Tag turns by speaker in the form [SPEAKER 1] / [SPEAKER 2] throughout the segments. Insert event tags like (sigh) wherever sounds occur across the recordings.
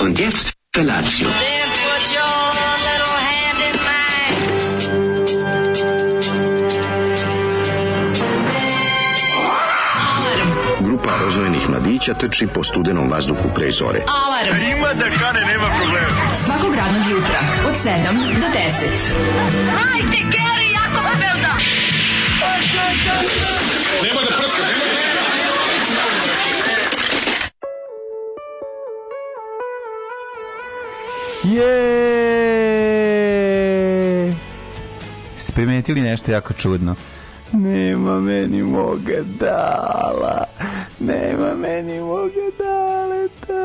[SPEAKER 1] Und jetzt Felatio.
[SPEAKER 2] Then put your little hand in mine.
[SPEAKER 3] Grupa rozvojenih mladića trči po studenom vazduhu pre zore.
[SPEAKER 4] Alarm. Ima da kane, nema problema. Svakog radnog jutra, od 7 do 10.
[SPEAKER 5] Je! Ste primetili nešto jako čudno? Nema meni moga dala. Nema meni moga daleta.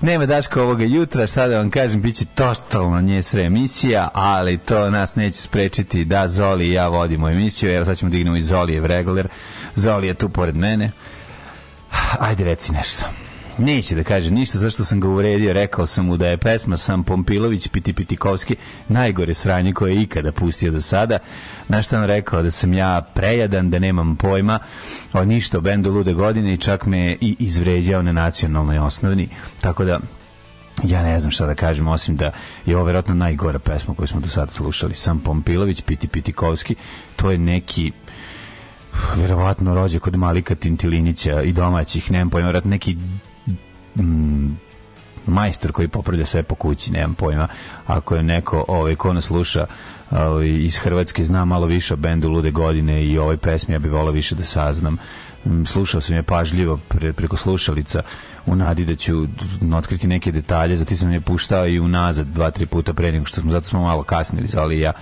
[SPEAKER 5] Nema Daška ovoga jutra, šta da vam kažem, bit će totalno nje sre emisija, ali to nas neće sprečiti da Zoli i ja vodimo emisiju. Evo sad ćemo dignemo i Zolijev regular. Zoli je tu pored mene. Ajde reci nešto. Neće da kaže ništa zašto sam ga uvredio. Rekao sam mu da je pesma Sam Pompilović Piti Pitikovski najgore sranje koje je ikada pustio do sada. Na što on rekao da sam ja prejadan, da nemam pojma o ništa o bendu Lude godine i čak me je i izvređao na nacionalnoj osnovni. Tako da ja ne znam šta da kažem, osim da je ovo verovatno najgora pesma koju smo do sada slušali. Sam Pompilović, Piti Pitikovski, to je neki verovatno rođe kod Malika Tintilinića i domaćih, nemam pojma, verovatno neki mm, majstor koji popravlja sve po kući, nemam pojma. Ako je neko ovaj, ko nas sluša ovaj, iz Hrvatske zna malo više o bendu Lude godine i ovoj pesmi, ja bih volao više da saznam. Mm, Slušao sam je pažljivo pre, preko slušalica u nadi da ću d- otkriti neke detalje, zato sam je puštao i unazad dva, tri puta pre nego što smo, zato smo malo kasnili, ali ja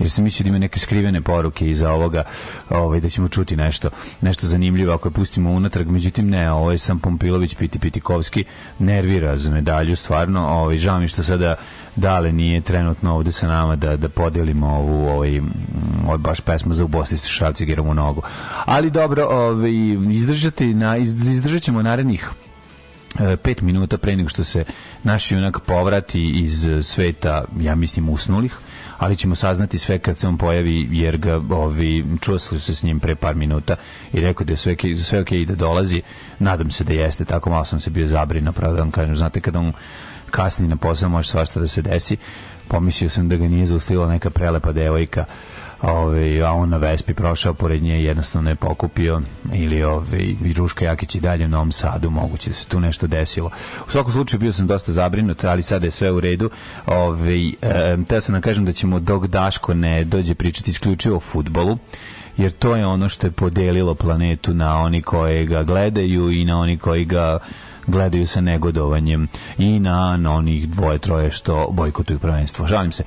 [SPEAKER 5] jer sam mislio da ima neke skrivene poruke iza ovoga, ovaj, da ćemo čuti nešto, nešto zanimljivo ako je pustimo unatrag, međutim ne, ovaj sam Pompilović Piti Pitikovski nervira za medalju, stvarno, ovaj, žao mi je što sada Dale nije trenutno ovde sa nama da, da podelimo ovu ovaj, mm, ovaj baš pesmu za u Bosni sa Šalcigerom u nogu. Ali dobro, ovaj, izdržati na, iz- izdržat ćemo narednih e, pet minuta pre nego što se naš junak povrati iz e, sveta, ja mislim, usnulih, ali ćemo saznati sve kad se on pojavi, jer ga ovi, čuo sam se s njim pre par minuta i rekao da je sve, ok- sve ok i da dolazi. Nadam se da jeste, tako malo sam se bio zabrino, pravo da vam kažem. Znate, kada on kasni na posao, može svašta da se desi. Pomislio sam da ga nije zaustavila neka prelepa devojka Ove, a on na Vespi prošao pored nje i jednostavno je pokupio ili ove, i Ruška Jakić i dalje u Novom Sadu, moguće da se tu nešto desilo. U svakom slučaju bio sam dosta zabrinut, ali sada je sve u redu. Ove, e, teo sam da kažem da ćemo dok Daško ne dođe pričati isključivo o futbolu, jer to je ono što je podelilo planetu na oni koji ga gledaju i na oni koji ga gledaju sa negodovanjem i na, na onih dvoje, troje što bojkotuju prvenstvo. Žalim se.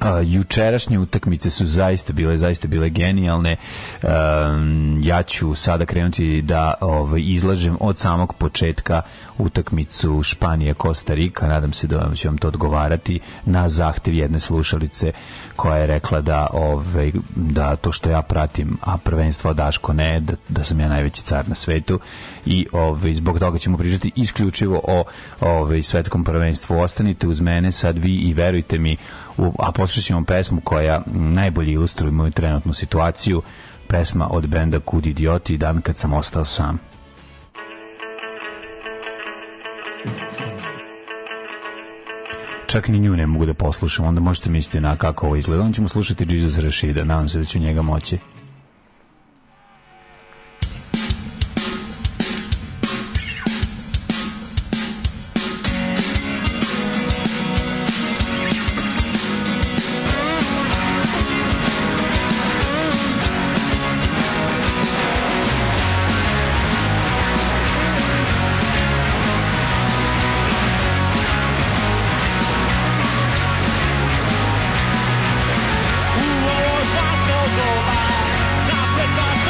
[SPEAKER 5] A, jučerašnje utakmice su zaista bile zaista bile genijalne. Um, ja ću sada krenuti da ovaj izlažem od samog početka utakmicu Španija Kosta Rika. Nadam se da vam će vam to odgovarati na zahtev jedne slušalice koja je rekla da ovaj da to što ja pratim, a prvenstvo Daško ne, da, da sam ja najveći car na svetu i ovaj zbog toga ćemo pričati isključivo o ovaj svetskom prvenstvu. Ostanite uz mene sad vi i verujte mi u, a poslušat ćemo pesmu koja m, najbolje ilustruje moju trenutnu situaciju, pesma od benda Kud idioti, dan kad sam ostao sam. Čak ni nju ne mogu da poslušam, onda možete misliti na kako ovo izgleda. Onda ćemo slušati Jesus Rashida, nadam se da ću njega moći.
[SPEAKER 2] Who always walked those old miles?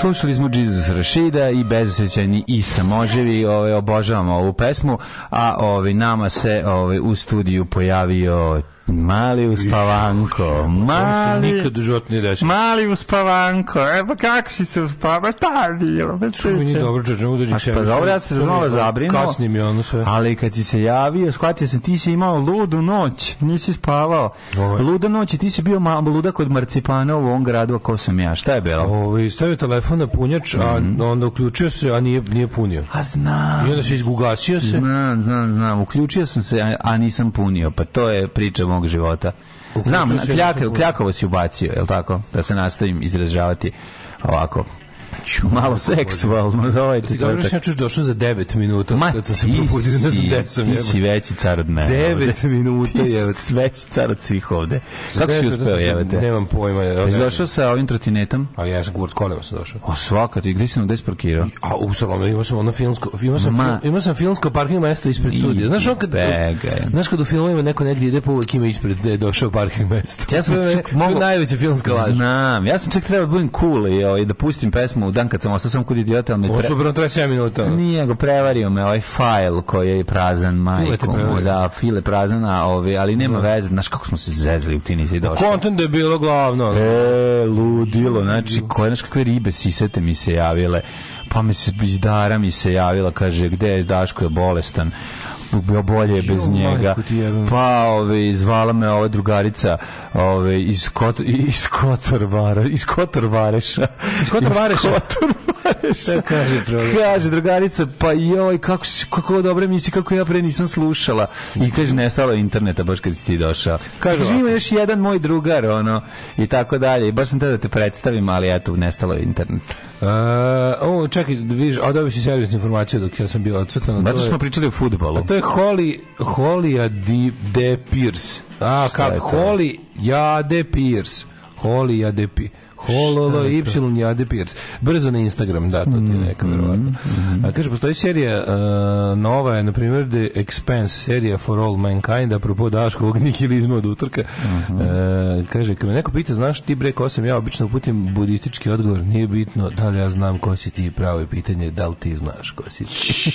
[SPEAKER 5] Slušali smo Jesus Rashida i bezosećajni i samoževi, ovaj obožavamo ovu pesmu, a ovaj nama se ovaj u studiju pojavio mali uspavanko,
[SPEAKER 1] Ovo se
[SPEAKER 5] mali
[SPEAKER 1] nikad u životu nije desilo.
[SPEAKER 5] Mali uspavanko, e pa kako si se uspava, šta je bilo, Pa bez
[SPEAKER 1] Čuj, nije
[SPEAKER 5] sreće?
[SPEAKER 1] dobro, čoče, udođi
[SPEAKER 5] A, Pa dobro, ja sam se malo zabrinuo.
[SPEAKER 1] Kasni mi ono sve.
[SPEAKER 5] Ali kad si se javio, shvatio sam, ti si imao ludu noć, nisi spavao.
[SPEAKER 1] Ovo je.
[SPEAKER 5] Luda noć i ti si bio ma- ludak od marcipana u ovom gradu, a ko sam ja, šta je bilo?
[SPEAKER 1] Ovaj stavio telefon na punjač, a
[SPEAKER 5] Mhm.
[SPEAKER 1] onda uključio se, a nije nije punio.
[SPEAKER 5] A znam.
[SPEAKER 1] I onda se izgugasio se.
[SPEAKER 5] Znam, znam, znam. Uključio sam se, a, a nisam punio. Pa to je priča mog života. Znam,
[SPEAKER 1] Uključio se,
[SPEAKER 5] kljaka-
[SPEAKER 1] nisam punio.
[SPEAKER 5] kljakavo si ubacio, je li tako? Da se nastavim izražavati ovako.
[SPEAKER 1] Pa
[SPEAKER 5] Malo seksualno, da ovaj
[SPEAKER 1] Ti dobro
[SPEAKER 5] četvrtak.
[SPEAKER 1] što ja čuš došao za 9 minuta
[SPEAKER 5] Ma,
[SPEAKER 1] kad sam se
[SPEAKER 5] ti
[SPEAKER 1] probudio, ne znam
[SPEAKER 5] si-
[SPEAKER 1] gde sam.
[SPEAKER 5] Ti
[SPEAKER 1] jebote.
[SPEAKER 5] si veći car od mene.
[SPEAKER 1] Devet
[SPEAKER 5] ovde.
[SPEAKER 1] minuta,
[SPEAKER 5] Ti
[SPEAKER 1] jebote.
[SPEAKER 5] si veći car od svih ovde. Kako si
[SPEAKER 1] Devet minuta
[SPEAKER 5] uspeo,
[SPEAKER 1] sam-
[SPEAKER 5] jevete?
[SPEAKER 1] Nemam pojma. evo,
[SPEAKER 5] Jesi
[SPEAKER 1] ne-
[SPEAKER 5] došao sa ovim trotinetom?
[SPEAKER 1] A ja sam kurac kolima sam došao.
[SPEAKER 5] O, svaka ti, gdje si nam gde spakirao?
[SPEAKER 1] A u salonu imao sam ono filmsko, imao sam,
[SPEAKER 5] Ma.
[SPEAKER 1] film, imao sam filmsko parking mesto ispred studija. Znaš on kad,
[SPEAKER 5] begaj.
[SPEAKER 1] znaš kad u filmovima neko negdje ide pa uvek ima ispred da je došao parking mesto.
[SPEAKER 5] Ja
[SPEAKER 1] (laughs)
[SPEAKER 5] sam
[SPEAKER 1] To je-
[SPEAKER 5] čak
[SPEAKER 1] to je
[SPEAKER 5] mogao-
[SPEAKER 1] najveća filmska laž.
[SPEAKER 5] Znam, ja sam čak trebao da budem cool i, ovaj, da pustim pesmu u dan kad sam ostao sam kod idiota, ali me
[SPEAKER 1] Ovo
[SPEAKER 5] pre...
[SPEAKER 1] su prvo 37 minuta. ono.
[SPEAKER 5] Nije, go prevario me ovaj fajl koji je prazan, majko mu,
[SPEAKER 1] prevario.
[SPEAKER 5] da, file prazan, a ovaj, ali nema veze, znaš kako smo se zezli, ti nisi
[SPEAKER 1] Pa
[SPEAKER 5] došao.
[SPEAKER 1] Content je bilo glavno. ono.
[SPEAKER 5] E, ludilo, znači, koje, znaš kakve ribe sisate mi se javile, pa mi se izdara mi se javila, kaže, gde je Daško je bolestan, bo- bolje je bez
[SPEAKER 1] Jo,
[SPEAKER 5] njega,
[SPEAKER 1] majku ti jebem.
[SPEAKER 5] pa ove, zvala me ova drugarica ove, iz, Kot, iz Kotorvara, iz Kotorvareša. Iz
[SPEAKER 1] Kotorvareša?
[SPEAKER 5] Kotorvareša.
[SPEAKER 1] Šta kaže druga?
[SPEAKER 5] Kaže drugarica, pa joj, kako, si- kako ovo dobro misli, kako ja pre nisam slušala. I kaže, nestalo je interneta baš kad si ti došao.
[SPEAKER 1] Kaže
[SPEAKER 5] Kaže,
[SPEAKER 1] ovako.
[SPEAKER 5] ima još jedan moj drugar, ono, i tako dalje. I baš sam te da te predstavim, ali eto, nestalo je internet.
[SPEAKER 1] E, o, čekaj, vidiš, a dobio si servisnu informaciju dok ja sam bio odsutan. a Pa to
[SPEAKER 5] Zato
[SPEAKER 1] je- Pa
[SPEAKER 5] smo pričali o futbolu.
[SPEAKER 1] To je Holly, Holly Di, De Pierce. A,
[SPEAKER 5] Šta je
[SPEAKER 1] kako?
[SPEAKER 5] to?
[SPEAKER 1] Holly, ja De Pierce. Holly, ja De Pierce. Hololo, Y, ja De Pierce. Brzo na Instagram, da, to ti je neka,
[SPEAKER 5] Mhm,
[SPEAKER 1] verovatno. A, kaže, postoji serija, e, nova je, na primjer, The Expanse, serija For All Mankind, apropo Daškovog (laughs) nihilizma od utorka.
[SPEAKER 5] Mhm.
[SPEAKER 1] E, kaže, kad me neko pita, znaš ti bre ko sam ja, obično uputim budistički odgovor, nije bitno da li ja znam ko si ti, pravo je pitanje, da li ti znaš ko si ti.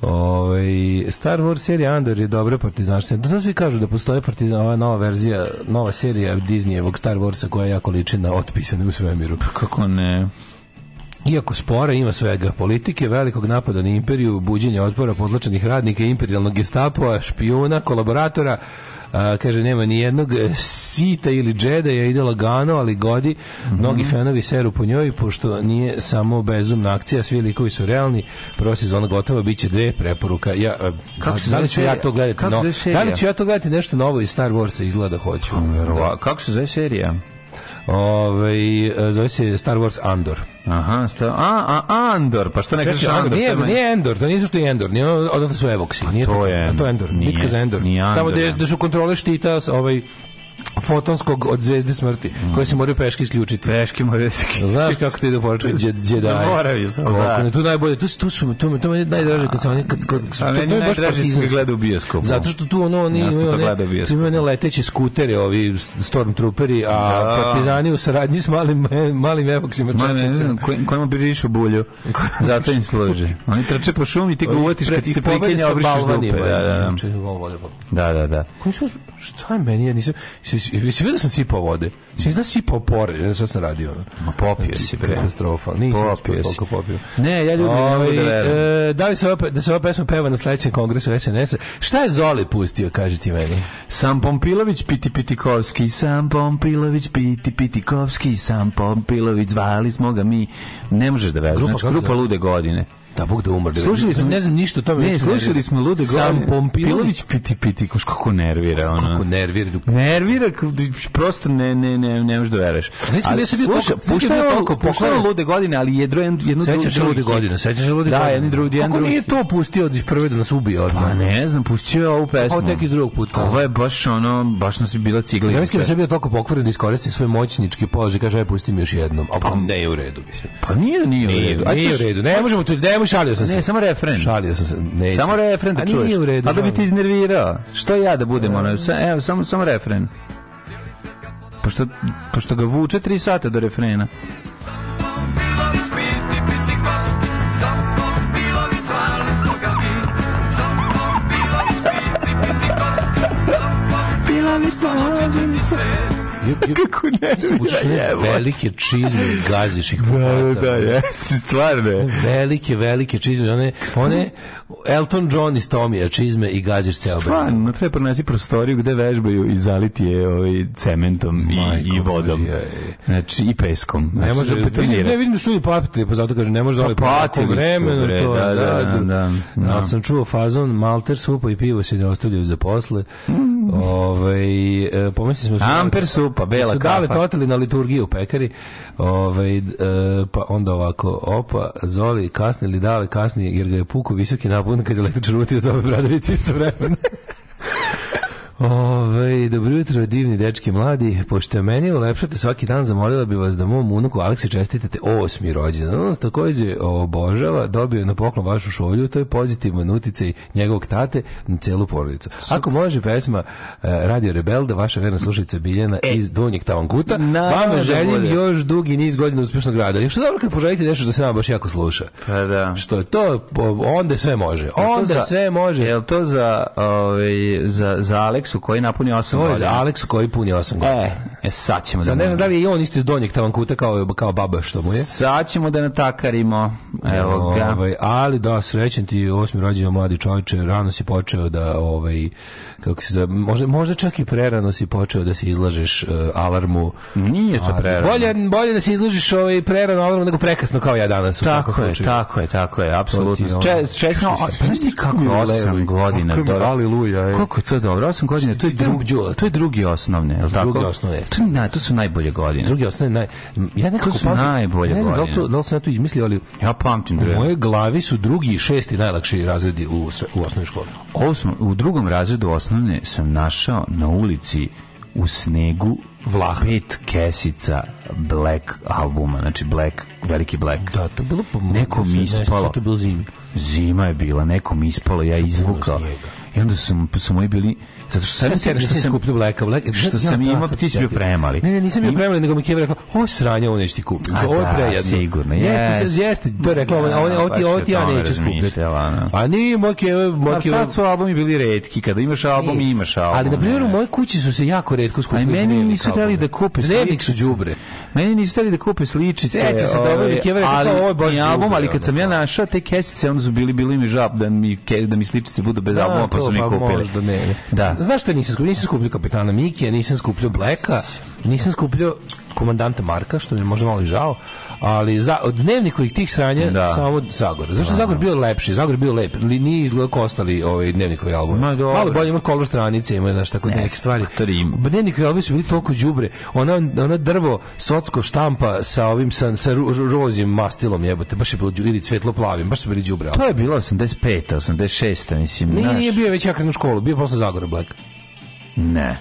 [SPEAKER 1] Ovaj Star Wars serija Andor je dobra partizanska. Da to svi kažu da postoji partizan, ova nova verzija, nova serija Disneyevog Star Warsa koja jako liči na otpisane u svemiru.
[SPEAKER 5] Kako ne?
[SPEAKER 1] Iako spora ima svega, politike, velikog napada na imperiju, buđenja otpora podlačenih radnika, imperialnog gestapoa, špijuna, kolaboratora, a, kaže, nema ni jednog e, sita ili džedaja, ide lagano, ali godi.
[SPEAKER 5] Mhm.
[SPEAKER 1] Mnogi fenovi seru po njoj, pošto nije samo bezumna akcija, svi likovi su realni. Prva sezona gotova, bit će dve preporuka. Ja, e,
[SPEAKER 5] Kako se
[SPEAKER 1] da
[SPEAKER 5] zove
[SPEAKER 1] li ću ja
[SPEAKER 5] serija?
[SPEAKER 1] to gledati?
[SPEAKER 5] Kako se
[SPEAKER 1] no-
[SPEAKER 5] zove
[SPEAKER 1] da
[SPEAKER 5] serija?
[SPEAKER 1] li ću ja to gledati nešto novo iz Star Warsa? Izgleda hoću.
[SPEAKER 5] Verova, kako se zove serija?
[SPEAKER 1] Ovaj, e, zove se Star Wars Andor.
[SPEAKER 5] Aha, sta, a, a, Andor, pa što ne kažeš
[SPEAKER 1] Čekaj,
[SPEAKER 5] Andor?
[SPEAKER 1] Andor, nije,
[SPEAKER 5] To je meni- Pa
[SPEAKER 1] nije Endor, to nisu što je Endor, nije ono, odatle su Evoksi. Nije
[SPEAKER 5] to je-
[SPEAKER 1] a to je Endor,
[SPEAKER 5] nije-
[SPEAKER 1] bitka za Endor.
[SPEAKER 5] nije
[SPEAKER 1] Tamo
[SPEAKER 5] Andor,
[SPEAKER 1] gde,
[SPEAKER 5] da.
[SPEAKER 1] gde su kontrole štita s- ovaj, fotonskog od zvezde smrti,
[SPEAKER 5] Mm.
[SPEAKER 1] koje se moraju peški isključiti.
[SPEAKER 5] Teški moraju da se kaže.
[SPEAKER 1] Znaš kako ti ide
[SPEAKER 5] (laughs)
[SPEAKER 1] poručka Jedi?
[SPEAKER 5] Zaboravio sam, da.
[SPEAKER 1] Tu najbolje, tu, su- tu su, tu, mi- to mi je najdraže kad se oni, kad, kad, kad,
[SPEAKER 5] A
[SPEAKER 1] to- to
[SPEAKER 5] meni
[SPEAKER 1] je baš
[SPEAKER 5] najdraži se
[SPEAKER 1] partizanski.
[SPEAKER 5] gleda u bioskopu.
[SPEAKER 1] Zato što tu ono oni
[SPEAKER 5] Ja sam to
[SPEAKER 1] imaju
[SPEAKER 5] gledao u
[SPEAKER 1] one, tu
[SPEAKER 5] bioskopu.
[SPEAKER 1] imaju one leteće skutere, ovi stormtrooperi, a
[SPEAKER 5] Da.
[SPEAKER 1] partizani u saradnji s malim (laughs) malim evoksima
[SPEAKER 5] Ma ne, ne
[SPEAKER 1] četnicima.
[SPEAKER 5] znam, koj- kojima birišu bulju. Zato im služi. Oni trče po šumi i
[SPEAKER 1] Pa
[SPEAKER 5] ti ga uvatiš kad ti se prikenja obrišiš dupe. Da, da,
[SPEAKER 1] Znači, ovo vode, pa-
[SPEAKER 5] da. da, da, da.
[SPEAKER 1] Koji su, šta je meni, ja nisam, si, si, si vidio da sam sipao vode? Si vidio da sam sipao pored, ne znam šta sam radio. ono.
[SPEAKER 5] Ma popio
[SPEAKER 1] Znači,
[SPEAKER 5] si, bre.
[SPEAKER 1] Katastrofa, nisam
[SPEAKER 5] Popio
[SPEAKER 1] uspio
[SPEAKER 5] si.
[SPEAKER 1] toliko popio.
[SPEAKER 5] Ne, ja ljudi ne mogu da verujem.
[SPEAKER 1] Ovaj, e, da li se ova, pe- da se ova pesma peva na sledećem kongresu SNS-a? Šta je Zoli pustio, kaži ti meni?
[SPEAKER 5] Sam Pompilović piti pitikovski, sam Pompilović piti pitikovski, sam Pompilović zvali smo ga mi. Ne možeš da veruješ,
[SPEAKER 1] Grupa
[SPEAKER 5] znači
[SPEAKER 1] kako
[SPEAKER 5] grupa
[SPEAKER 1] zove?
[SPEAKER 5] lude godine.
[SPEAKER 1] Da, Bog da umrde.
[SPEAKER 5] Slušali smo,
[SPEAKER 1] ne znam ništa o tome.
[SPEAKER 5] Ne,
[SPEAKER 1] neću
[SPEAKER 5] slušali
[SPEAKER 1] nervirati.
[SPEAKER 5] smo lude godine.
[SPEAKER 1] Sam Pompilović.
[SPEAKER 5] Pilović piti piti, koš kako nervira ono. ona.
[SPEAKER 1] Kako nervira. dok-
[SPEAKER 5] Nervira, k- prosto ne, ne, ne, ne možeš da veruješ.
[SPEAKER 1] Znaš kad
[SPEAKER 5] Ali
[SPEAKER 1] ja sam bio
[SPEAKER 5] slušaj,
[SPEAKER 1] toliko- znaš kad
[SPEAKER 5] puštao
[SPEAKER 1] ja
[SPEAKER 5] je
[SPEAKER 1] toliko
[SPEAKER 5] ovo- puštao je
[SPEAKER 1] pokvaren?
[SPEAKER 5] lude godine, ali jedro jednu jednu drugu.
[SPEAKER 1] Sećaš se lude godine, sećaš se lude
[SPEAKER 5] Da,
[SPEAKER 1] godine.
[SPEAKER 5] jedni drugi, jedan
[SPEAKER 1] Kako
[SPEAKER 5] drugi.
[SPEAKER 1] nije to pustio od prve da nas ubije odmah?
[SPEAKER 5] Pa ne znam, pustio je ovu pesmu.
[SPEAKER 1] Kao tek iz drugog puta.
[SPEAKER 5] Ovo je baš ono, baš nas je bila ciglica.
[SPEAKER 1] Zamislim da sam bio toliko pokvoren da iskoristim svoj moćnički položaj, kaže aj pusti mi još jednom, ali pa ne je u redu, mislim.
[SPEAKER 5] Pa nije, nije, u
[SPEAKER 1] Nije,
[SPEAKER 5] redu. A
[SPEAKER 1] nije u
[SPEAKER 5] ćeš-
[SPEAKER 1] redu. Ne možemo tu, ne, šalio sam se.
[SPEAKER 5] Ne, samo refren.
[SPEAKER 1] Šalio sam se. Ne,
[SPEAKER 5] Samo refren da
[SPEAKER 1] A
[SPEAKER 5] čuješ.
[SPEAKER 1] Nije u redu.
[SPEAKER 5] A da bi te iznervirao. Što ja da budem ono? sa- Evo, samo, samo refren. Pošto, pošto ga vuče tri sata do refrena.
[SPEAKER 6] Thank
[SPEAKER 5] Čavica,
[SPEAKER 1] (laughs)
[SPEAKER 5] Kako ne
[SPEAKER 1] Učne velike čizme i gaziš ih po
[SPEAKER 5] Da,
[SPEAKER 1] faca.
[SPEAKER 5] da, jeste, stvarno je.
[SPEAKER 1] Velike, velike čizme. One, one Elton John iz Tomija čizme i gaziš ceo brend.
[SPEAKER 5] Stvarno, treba pronaći prostoriju gde vežbaju i zaliti je ovaj, cementom i,
[SPEAKER 1] Majko
[SPEAKER 5] i vodom.
[SPEAKER 1] Božja, ej.
[SPEAKER 5] Znači, i peskom. Znači,
[SPEAKER 1] Ne može
[SPEAKER 5] betonirati.
[SPEAKER 1] betonirati. Ne vidim da su ljudi platili, pa zato kažem ne može da li
[SPEAKER 5] platili su,
[SPEAKER 1] vremenu
[SPEAKER 5] bre,
[SPEAKER 1] to.
[SPEAKER 5] da, da, da, da.
[SPEAKER 1] Ali sam čuo fazon malter supa i pivo se ne ostavljaju za posle. Ovaj e, pomislili smo da su-
[SPEAKER 5] Mm. Amper supa, bela
[SPEAKER 1] su dale
[SPEAKER 5] kafa.
[SPEAKER 1] totali na liturgiju u pekari. Ovaj e, pa onda ovako, opa, Zoli kasni li dale kasni jer ga je puku visoki napun kad je električan utio za ove bradovice isto vremena. Ove, dobro jutro, divni dečki mladi. Pošto meni ulepšate svaki dan, zamolila bi vas da mom unuku Aleksi čestitate osmi rođendan. On nas takođe obožava, dobio je na poklon vašu šolju, to je pozitivan uticaj njegovog tate na celu porodicu. Ako može pesma e, Radio Rebelda, vaša verna slušalica Biljana iz Donjeg Tavankuta,
[SPEAKER 5] E, naravno
[SPEAKER 1] vama
[SPEAKER 5] da
[SPEAKER 1] želim
[SPEAKER 5] bude.
[SPEAKER 1] još dugi niz godina uspešnog rada. Još je dobro kad poželite nešto što se nama baš jako sluša.
[SPEAKER 5] Pa da.
[SPEAKER 1] Što je to, o- onda sve može.
[SPEAKER 5] to
[SPEAKER 1] Onda
[SPEAKER 5] za-
[SPEAKER 1] sve može.
[SPEAKER 5] Jel to za, ovaj, za, za Aleksu koji napuni 8
[SPEAKER 1] To je
[SPEAKER 5] godina?
[SPEAKER 1] za Aleksu koji puni 8 godina.
[SPEAKER 5] E, e, sad ćemo
[SPEAKER 1] Sad
[SPEAKER 5] da...
[SPEAKER 1] ne znam da li je i on isto iz donjeg tavankuta kao, kao baba što mu je.
[SPEAKER 5] Sad ćemo da natakarimo. Evo ga.
[SPEAKER 1] Ovaj, ali da, srećen ti osmi rođendan mladi čovječe, rano si počeo da, ovaj, kako se zove, možda, možda čak i prerano si počeo da se izlažeš eh, alarmu.
[SPEAKER 5] Nije to
[SPEAKER 1] Ali
[SPEAKER 5] prerano.
[SPEAKER 1] Bolje, bolje da se izlažeš ovaj, prerano alarmu nego prekasno kao ja danas. u
[SPEAKER 5] Tako
[SPEAKER 1] svakom
[SPEAKER 5] je,
[SPEAKER 1] slučaju.
[SPEAKER 5] tako je, tako je, apsolutno.
[SPEAKER 1] To ti je ono-
[SPEAKER 5] Če- Česno, a, pa znaš ti kako je
[SPEAKER 1] Kako mi je
[SPEAKER 5] 8
[SPEAKER 1] levo,
[SPEAKER 5] godina?
[SPEAKER 1] kako mi je
[SPEAKER 5] dobro?
[SPEAKER 1] aleluja, ej.
[SPEAKER 5] Koliko je to dobro? 8 godina, to je
[SPEAKER 1] Si drug
[SPEAKER 5] drugi,
[SPEAKER 1] đula.
[SPEAKER 5] to je drugi osnovne, je li tako?
[SPEAKER 1] Drugi osnovne, jeste.
[SPEAKER 5] To, je naj- to su najbolje godine.
[SPEAKER 1] Drugi osnovni naj... Ja nekako
[SPEAKER 5] su
[SPEAKER 1] pamtim-
[SPEAKER 5] najbolje
[SPEAKER 1] Ne znam da li, to,
[SPEAKER 5] godine.
[SPEAKER 1] da li sam ja to izmislio, ali
[SPEAKER 5] Ja pa- pamtim
[SPEAKER 1] u
[SPEAKER 5] bre.
[SPEAKER 1] mojoj glavi su drugi i šesti najlakši razredi u, sre- u osnovnoj školi.
[SPEAKER 5] Osmo, u drugom razredu osnovne sam našao na ulici u snegu Vlah. pet kesica Black albuma, znači Black, veliki Black.
[SPEAKER 1] Da, to je bilo... po-
[SPEAKER 5] Neko mi
[SPEAKER 1] ne znam,
[SPEAKER 5] ispalo.
[SPEAKER 1] sad To je bilo zimi.
[SPEAKER 5] Zima je bila, neko mi ispalo, ja izvukao.
[SPEAKER 1] snijega.
[SPEAKER 5] I onda su, su moji bili, zato što sam
[SPEAKER 1] Sad
[SPEAKER 5] se
[SPEAKER 1] sam
[SPEAKER 5] što sam
[SPEAKER 1] kupio Blacka, Black,
[SPEAKER 5] što sam
[SPEAKER 1] da,
[SPEAKER 5] imao,
[SPEAKER 1] sad
[SPEAKER 5] ti si
[SPEAKER 1] se
[SPEAKER 5] bio
[SPEAKER 1] sjetim.
[SPEAKER 5] premali.
[SPEAKER 1] Ne, ne, nisam bio
[SPEAKER 5] I-
[SPEAKER 1] premali, nego mi Keva rekla, o sranje, ovo nećeš ti kupiti.
[SPEAKER 5] A
[SPEAKER 1] Ovo je
[SPEAKER 5] da,
[SPEAKER 1] prejedno.
[SPEAKER 5] sigurno,
[SPEAKER 1] Jeste,
[SPEAKER 5] jeste.
[SPEAKER 1] se- jeste, to je rekla, ovo, ovo, ovo, ti,
[SPEAKER 5] baš
[SPEAKER 1] ovo
[SPEAKER 5] je
[SPEAKER 1] ti
[SPEAKER 5] o
[SPEAKER 1] ja
[SPEAKER 5] tome
[SPEAKER 1] neću skupiti.
[SPEAKER 5] razmišljala, da.
[SPEAKER 1] A nije, moj Keva, moj
[SPEAKER 5] Pa
[SPEAKER 1] Keva,
[SPEAKER 5] tad su albumi bili redki, kada imaš album, imaš album.
[SPEAKER 1] ono- Ali, na primjer, u
[SPEAKER 5] ne.
[SPEAKER 1] mojoj kući su se jako redko skupili.
[SPEAKER 5] Aj, meni
[SPEAKER 1] vinili
[SPEAKER 5] nisu
[SPEAKER 1] kao
[SPEAKER 5] hteli
[SPEAKER 1] albumi.
[SPEAKER 5] da kupe
[SPEAKER 1] Dnevnik su
[SPEAKER 5] sličice.
[SPEAKER 1] đubre.
[SPEAKER 5] Meni nisu hteli da kupe sličice.
[SPEAKER 1] Sjeća se dobro,
[SPEAKER 5] ovaj,
[SPEAKER 1] dok je vreme,
[SPEAKER 5] ali,
[SPEAKER 1] kao, ovo je baš
[SPEAKER 5] ni album,
[SPEAKER 1] đubre,
[SPEAKER 5] ali kad
[SPEAKER 1] ono,
[SPEAKER 5] sam ja našao te kesice, onda su bili, bilo im je žab da mi, ke- da mi sličice budu bez albuma, pa
[SPEAKER 1] to,
[SPEAKER 5] su mi kupili.
[SPEAKER 1] Možda ne, ne.
[SPEAKER 5] Da.
[SPEAKER 1] Znaš šta nisam skupio? Nisam skupio kapitana Mikija, nisam skupio Bleka, nisam skupio komandanta Marka, što mi je možda malo i žao, ali za, od dnevniku i tih sranja
[SPEAKER 5] Da.
[SPEAKER 1] samo Zagor. Zašto je Zagor bio lepši? Zagor je bio lep, li, nije izgledao kao ostali ovaj, dnevnikovi albumi.
[SPEAKER 5] Ma, dobro. pa
[SPEAKER 1] Malo bolje ima kolor stranice, ima znaš, tako neke stvari.
[SPEAKER 5] to Rim.
[SPEAKER 1] Dnevnikovi albumi su bili toliko đubre. Ona, ona drvo, socko štampa sa ovim, sa, sa ru- ru- rozim mastilom jebote, baš je bilo đu- ili cvetlo plavim, baš su bili đubre. albumi.
[SPEAKER 5] To je bilo 85. 86. mislim,
[SPEAKER 1] Nije,
[SPEAKER 5] znaš.
[SPEAKER 1] nije bio već ja krenuo u školu, bio je posle Zagora Black.
[SPEAKER 5] Ne.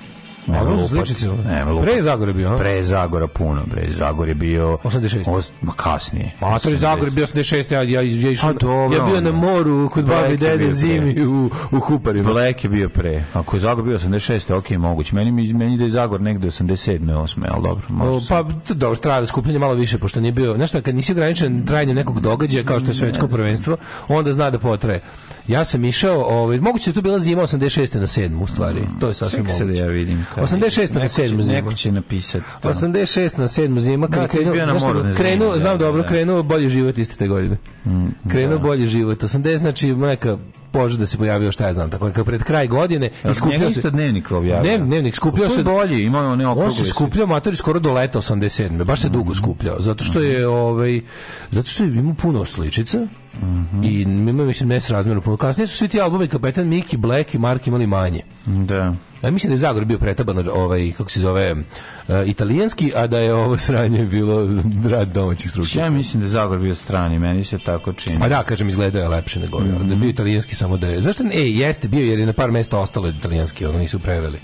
[SPEAKER 5] Ne,
[SPEAKER 1] A, ovo su
[SPEAKER 5] lupat.
[SPEAKER 1] sličice, ovo.
[SPEAKER 5] Ne, lupat.
[SPEAKER 1] Pre Zagora bio, a?
[SPEAKER 5] Pre Zagora puno, bre. Zagor je bio...
[SPEAKER 1] 86.
[SPEAKER 5] Os- ma kasnije.
[SPEAKER 1] A to je
[SPEAKER 5] 86.
[SPEAKER 1] Zagor bio 86. Ja, ja, ja, išao,
[SPEAKER 5] A, Pa dobro,
[SPEAKER 1] ja bio na
[SPEAKER 5] onda.
[SPEAKER 1] moru kod
[SPEAKER 5] Black
[SPEAKER 1] babi i
[SPEAKER 5] je bio
[SPEAKER 1] dede
[SPEAKER 5] pre.
[SPEAKER 1] zimi u, u Huparima.
[SPEAKER 5] Black je bio pre. Ako je Zagor bio 86. ok, moguće. Meni, mi- meni da je Zagor negde 87. 8. Ali dobro, možda
[SPEAKER 1] O,
[SPEAKER 5] sam-
[SPEAKER 1] Pa to dobro, trajalo je skupljanje malo više, pošto nije bio, znaš šta, kad nisi ograničen trajanje nekog događaja, kao što je svetsko prvenstvo, onda zna da potraje. Ja sam išao, ovaj, moguće da je tu bila zima 86. na 7. u stvari, to je pa, sasvim
[SPEAKER 5] Čekaj sad da
[SPEAKER 1] moguće.
[SPEAKER 5] ja vidim. kad-
[SPEAKER 1] 86. na Pa
[SPEAKER 5] Neko će-
[SPEAKER 1] 7. zima.
[SPEAKER 5] Neko će napisati. to.
[SPEAKER 1] 86 na 7. zima kad
[SPEAKER 5] Da,
[SPEAKER 1] je
[SPEAKER 5] kad je
[SPEAKER 1] krenuo,
[SPEAKER 5] bio na
[SPEAKER 1] znaš šta,
[SPEAKER 5] moru, ne znam,
[SPEAKER 1] krenuo
[SPEAKER 5] da,
[SPEAKER 1] znam
[SPEAKER 5] da, Mm,
[SPEAKER 1] dobro,
[SPEAKER 5] da.
[SPEAKER 1] krenuo bolji život iste te godine. Krenuo bolji život. 80 znači neka pože da se pojavio šta ja znam, tako kao pred kraj godine i
[SPEAKER 5] Njega
[SPEAKER 1] skupljao
[SPEAKER 5] isto
[SPEAKER 1] se
[SPEAKER 5] dnevnik objavio.
[SPEAKER 1] Dnevnik, dnevnik, skupljao
[SPEAKER 5] To je
[SPEAKER 1] se-
[SPEAKER 5] bolji, imao je one okrugli.
[SPEAKER 1] on se skupljao matori skoro do leta 87. Baš se
[SPEAKER 5] Mhm.
[SPEAKER 1] dugo skupljao, zato što je ovaj zato što je imao puno sličica.
[SPEAKER 5] Mhm.
[SPEAKER 1] I imao mislim nesrazmerno puno. Kasnije su svi ti albumi Kapetan Miki, Black i Mark imali manje.
[SPEAKER 5] Da.
[SPEAKER 1] Ja mislim da je Zagor bio pretaban od, ovaj kako se zove e, italijanski, a da je ovo sranje bilo rad domaćih stručnjaka.
[SPEAKER 5] Ja mislim da je Zagor bio strani, meni se tako čini.
[SPEAKER 1] Pa da, kažem, izgledao je lepše nego ovi. Da je bio italijanski samo da je... Zašto? ne- E, jeste bio, jer je na par mesta ostalo italijanski, ono nisu preveli.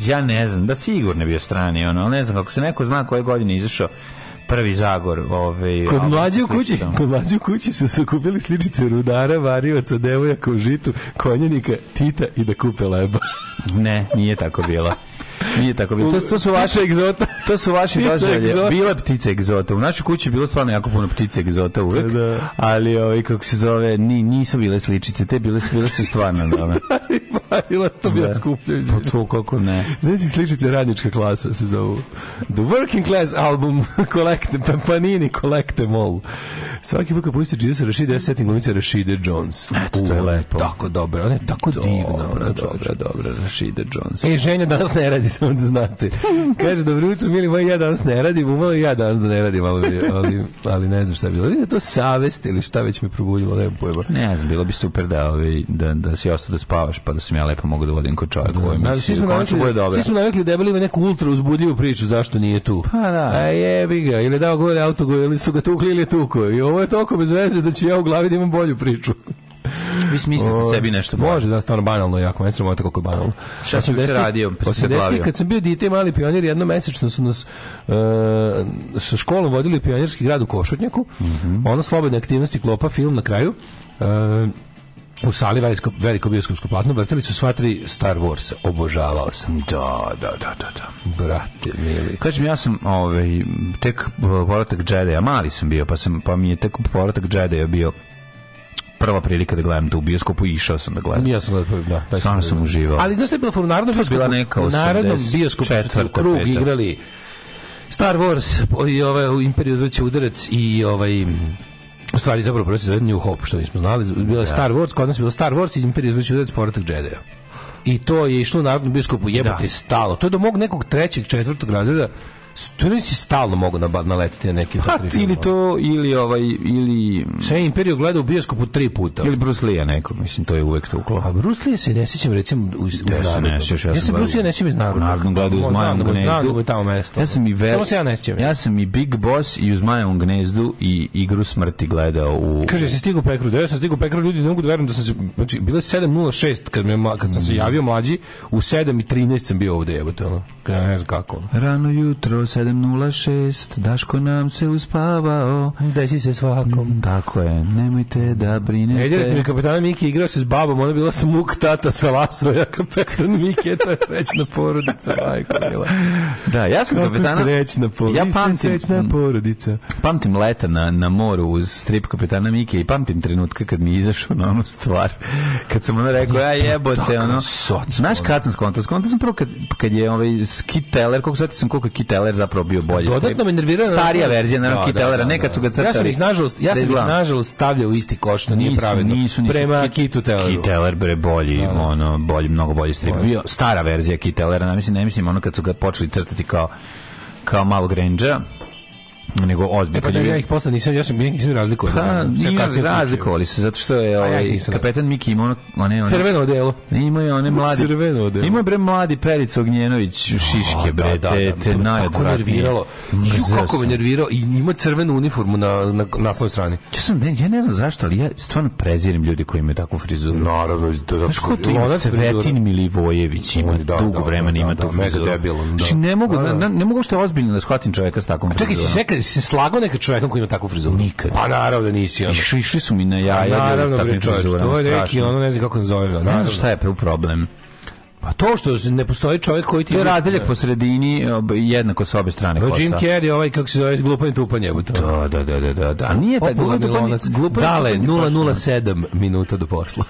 [SPEAKER 5] Ja ne znam, da sigurno je bio strani, ono, ali ne znam, kako se neko zna koje godine je izašao prvi Zagor. Ovaj,
[SPEAKER 1] Kod
[SPEAKER 5] album
[SPEAKER 1] mlađe
[SPEAKER 5] sa
[SPEAKER 1] u kući,
[SPEAKER 5] sličicama.
[SPEAKER 1] kod mlađe u kući su se kupili sličice rudara, varioca, devojaka u žitu, konjenika, tita i da kupe leba. (laughs)
[SPEAKER 5] Ne, nije tako bilo. Nije tako bilo. To, to su vaše
[SPEAKER 1] vaše egzota.
[SPEAKER 5] To su vaši
[SPEAKER 1] Ptice
[SPEAKER 5] doživlje.
[SPEAKER 1] egzota.
[SPEAKER 5] Bila je ptica egzota. U našoj kući je bilo stvarno jako puno ptice egzota uvek.
[SPEAKER 1] Da. (laughs)
[SPEAKER 5] Ali ovaj kako se zove, ni nisu bile sličice, te bile su bile su stvarno dobre.
[SPEAKER 1] radila, to bi ja skupljao. izvini.
[SPEAKER 5] Pa to kako ne.
[SPEAKER 1] Znaš ih sličice radnička klasa se zovu. The Working Class album (laughs) collect, pa Panini Collect Them All. Svaki put kad pustite Gidesa Rashida, ja se setim glumice Rashida Jones.
[SPEAKER 5] Eto, to je
[SPEAKER 1] U, ona
[SPEAKER 5] lepo.
[SPEAKER 1] Tako dobro, ona je tako divna.
[SPEAKER 5] Dobro,
[SPEAKER 1] ona,
[SPEAKER 5] dobro, dobro, Rashida Jones.
[SPEAKER 1] E, ženja danas ne radi, (laughs) samo da znate. Kaže, dobro jutro, mili moji, ja danas ne radim, umalo i ja danas da ne radim, ali, ali, ali ne znam šta je bilo. Vidite, to savest ili šta već me probudilo, nemam pojma.
[SPEAKER 5] Ne znam, bilo bi super da, ovi, da, da si ostao da spavaš, pa da sam ja lepo mogu da vodim kod čovjeka u ovoj
[SPEAKER 1] Da, svi
[SPEAKER 5] emisiji.
[SPEAKER 1] smo
[SPEAKER 5] Konačno bude
[SPEAKER 1] navikli,
[SPEAKER 5] dobro.
[SPEAKER 1] svi smo navikli debeli ima neku ultra uzbudljivu priču zašto nije tu.
[SPEAKER 5] Pa da.
[SPEAKER 1] A jebi ga, ili je dao gore autogo, ili su ga tukli ili je tuko. I ovo je toliko bez veze da ću ja u glavi da imam bolju priču.
[SPEAKER 5] Vi smislite sebi nešto bolje.
[SPEAKER 1] Može, da, stvarno banalno jako, ne sramota koliko je banalno.
[SPEAKER 5] Šta si juče
[SPEAKER 1] 80-ih
[SPEAKER 5] radio, pa si se
[SPEAKER 1] 80-ih
[SPEAKER 5] glavio?
[SPEAKER 1] Kad sam bio dite i mali pionir, jednom mesečno su nas e, sa školom vodili u pionirski grad u Košutnjaku.
[SPEAKER 5] Mhm.
[SPEAKER 1] Ono slobodne aktivnosti, klopa, film na kraju. E, u sali veliko, veliko bioskopsko platno vrtili su sva tri Star Warsa. Obožavao sam.
[SPEAKER 5] Da, da, da, da, da.
[SPEAKER 1] Brate, mili.
[SPEAKER 5] Kažem, ja sam ovaj, tek uh, povratak Jedi-a, mali sam bio, pa, sam, pa mi je tek povratak Jedi-a bio prva prilika da gledam to u bioskopu i išao sam da gledam.
[SPEAKER 1] Ja sam gledao, da, taj
[SPEAKER 5] Stvarno sam
[SPEAKER 1] gledao.
[SPEAKER 5] uživao.
[SPEAKER 1] Ali znaš šta je bilo u narodnom bioskopu?
[SPEAKER 5] bila neka
[SPEAKER 1] U narodnom
[SPEAKER 5] 84.,
[SPEAKER 1] bioskopu su
[SPEAKER 5] peta.
[SPEAKER 1] krug igrali Star Wars po- i ovaj u Imperiju izvrće udarac i ovaj u stvari zapravo prvo se zove New Hope, što nismo znali. Bilo je Star Wars, kod nas je bilo Star Wars i Imperiju izvrće udarac povratak Jedi-a. I to je išlo u narodnom bioskopu, jebote
[SPEAKER 5] Da.
[SPEAKER 1] stalo. To je do mog nekog trećeg, četvrtog razreda s- to nisi stalno mogu naba- naletiti na neki
[SPEAKER 5] Pa, ti ili to, ili ovaj, ili...
[SPEAKER 1] Sve Imperiju gledao u bioskopu tri puta.
[SPEAKER 5] Ili Bruce Lee-a neko, mislim, to je uvek to
[SPEAKER 1] A
[SPEAKER 5] uklapa.
[SPEAKER 1] Bruce Lee se ne sjećam recimo u, u
[SPEAKER 5] Ja se
[SPEAKER 1] narodu.
[SPEAKER 5] ne sjećam, ja
[SPEAKER 1] ja
[SPEAKER 5] sam
[SPEAKER 1] se Bruce Lee
[SPEAKER 5] gledao-
[SPEAKER 1] ne sjećam iz naroda.
[SPEAKER 5] Narodno gledao u
[SPEAKER 1] Znam
[SPEAKER 5] Zmajevom
[SPEAKER 1] da mu-
[SPEAKER 5] gnezdu.
[SPEAKER 1] Znam da mu je tamo mesto.
[SPEAKER 5] Ja sam i ver...
[SPEAKER 1] Samo se ja ne sjećam.
[SPEAKER 5] Ja sam i Big Boss i u Zmajevom gnezdu i igru smrti gledao u...
[SPEAKER 1] Kaže, se stigu pekru, da ja sam stigu pekru, ljudi ne mogu da verujem da sam se, znači, bilo je 7.06 kad, me, ma- kad sam se javio mlađi, u 7.13 sam bio ovde, jebote, ono, Ka- ne znam kako, ono.
[SPEAKER 5] Rano jutro, 7.06, Daško nam se uspavao.
[SPEAKER 1] Desi se svakom.
[SPEAKER 5] Tako je, nemojte da brinete.
[SPEAKER 1] E, djelite Mm. mi, kapetana Miki igrao se s babom, ona bila sam muk tata sa lasoja, (laughs) kapetan Miki, e, to je srećna porodica, majko, bila.
[SPEAKER 5] Da, ja sam
[SPEAKER 1] Kapetana,
[SPEAKER 5] kapetana...
[SPEAKER 1] srećna porodica,
[SPEAKER 5] Ja
[SPEAKER 1] ja
[SPEAKER 5] pamtim-
[SPEAKER 1] srećna porodica.
[SPEAKER 5] Pamtim leta na, na moru uz strip kapetana Mike i pamtim trenutka kad mi je izašao na onu stvar. Kad sam ono rekao, ja jebote, ono...
[SPEAKER 1] soc,
[SPEAKER 5] Znaš kad sam skontao? Skontao sam prvo kad, kad je ovaj Skit Teller, koliko sad sam koliko je Skit Teller zapravo bio bolji strip.
[SPEAKER 1] (laughs) Dodatno me nervirao.
[SPEAKER 5] Starija verzija, naravno,
[SPEAKER 1] Da,
[SPEAKER 5] Skit
[SPEAKER 1] da,
[SPEAKER 5] Tellera,
[SPEAKER 1] da,
[SPEAKER 5] nekad
[SPEAKER 1] da.
[SPEAKER 5] su ga crtali.
[SPEAKER 1] Ja sam ih, nažalost, ja
[SPEAKER 5] Da
[SPEAKER 1] sam ih,
[SPEAKER 5] izgleda.
[SPEAKER 1] nažalost, stavljao u isti koš, što nije
[SPEAKER 5] Nisu,
[SPEAKER 1] pravedno.
[SPEAKER 5] Nisu, nisu.
[SPEAKER 1] Prema
[SPEAKER 5] Kit-
[SPEAKER 1] Kitu Telleru.
[SPEAKER 5] Kit Teller bre bolji, ono, bolji, mnogo bolji strip. Bio stara verzija Kit Tellera, ne mislim, ne mislim, ono kad su ga počeli crtati kao kao malo Grange, nego ozbiljno.
[SPEAKER 1] E pa da, ja ih posle nisam, ja sam, ja ih nisam razlikovao.
[SPEAKER 5] Pa,
[SPEAKER 1] Sam
[SPEAKER 5] nije
[SPEAKER 1] kasnije
[SPEAKER 5] razlikovali se, zato što je
[SPEAKER 1] ja ih
[SPEAKER 5] ovaj,
[SPEAKER 1] nisam.
[SPEAKER 5] kapetan Miki imao ono- one,
[SPEAKER 1] otkrio.
[SPEAKER 5] one,
[SPEAKER 1] Crveno odelo.
[SPEAKER 5] Imao je one mladi.
[SPEAKER 1] Crveno odelo.
[SPEAKER 5] Imao je bre mladi Perica Ognjenović šiške bre, te, te
[SPEAKER 1] to me Tako
[SPEAKER 5] najodvratnije.
[SPEAKER 1] nerviralo. Ju,
[SPEAKER 5] Mrzeo
[SPEAKER 1] kako me
[SPEAKER 5] sam.
[SPEAKER 1] nervirao. I ima crvenu uniformu na, na, na naslovnoj strani.
[SPEAKER 5] Ja, sam, ne- ja ne znam zašto, ali ja stvarno prezirem ljudi koji imaju takvu frizuru.
[SPEAKER 1] Naravno, to je
[SPEAKER 5] Znaš ko to ima? Cvetin Milivojević ima
[SPEAKER 1] On je, da,
[SPEAKER 5] dugo
[SPEAKER 1] da,
[SPEAKER 5] vremena
[SPEAKER 1] da,
[SPEAKER 5] ima
[SPEAKER 1] da,
[SPEAKER 5] tu
[SPEAKER 1] mega
[SPEAKER 5] frizuru.
[SPEAKER 1] debilan, da.
[SPEAKER 5] Znači, ne mogu,
[SPEAKER 1] Da, da.
[SPEAKER 5] ne, ne mogu što ozbiljno da shvatim čoveka s takvom
[SPEAKER 1] Čekaj, si
[SPEAKER 5] frizurom.
[SPEAKER 1] se, kad si se slagao nekad čovekom koji ima takvu frizuru?
[SPEAKER 5] Nikad.
[SPEAKER 1] Pa naravno da nisi. Ono.
[SPEAKER 5] Išli, išli su mi na jaja. ljudi s
[SPEAKER 1] naravno,
[SPEAKER 5] takvim
[SPEAKER 1] bre, čoveč,
[SPEAKER 5] frizurama,
[SPEAKER 1] to je neki,
[SPEAKER 5] strašno.
[SPEAKER 1] ono, ne znam kako nazove.
[SPEAKER 5] Ne
[SPEAKER 1] Naravno,
[SPEAKER 5] znam šta je problem.
[SPEAKER 1] Pa to što ne postoji čovjek koji ti...
[SPEAKER 5] To je Pa razdeljak po sredini, ob- jednako sa obe strane
[SPEAKER 1] Evo
[SPEAKER 5] kosa.
[SPEAKER 1] Jim Carrey, ovaj kako se zove, glupan i tupan jebote.
[SPEAKER 5] Da, da, da, da, da, da. A Nije tako
[SPEAKER 1] Popularni
[SPEAKER 5] glupo,
[SPEAKER 1] lonac.
[SPEAKER 5] glupo-
[SPEAKER 1] Dale,
[SPEAKER 5] glupo-
[SPEAKER 1] 007 minuta do posla.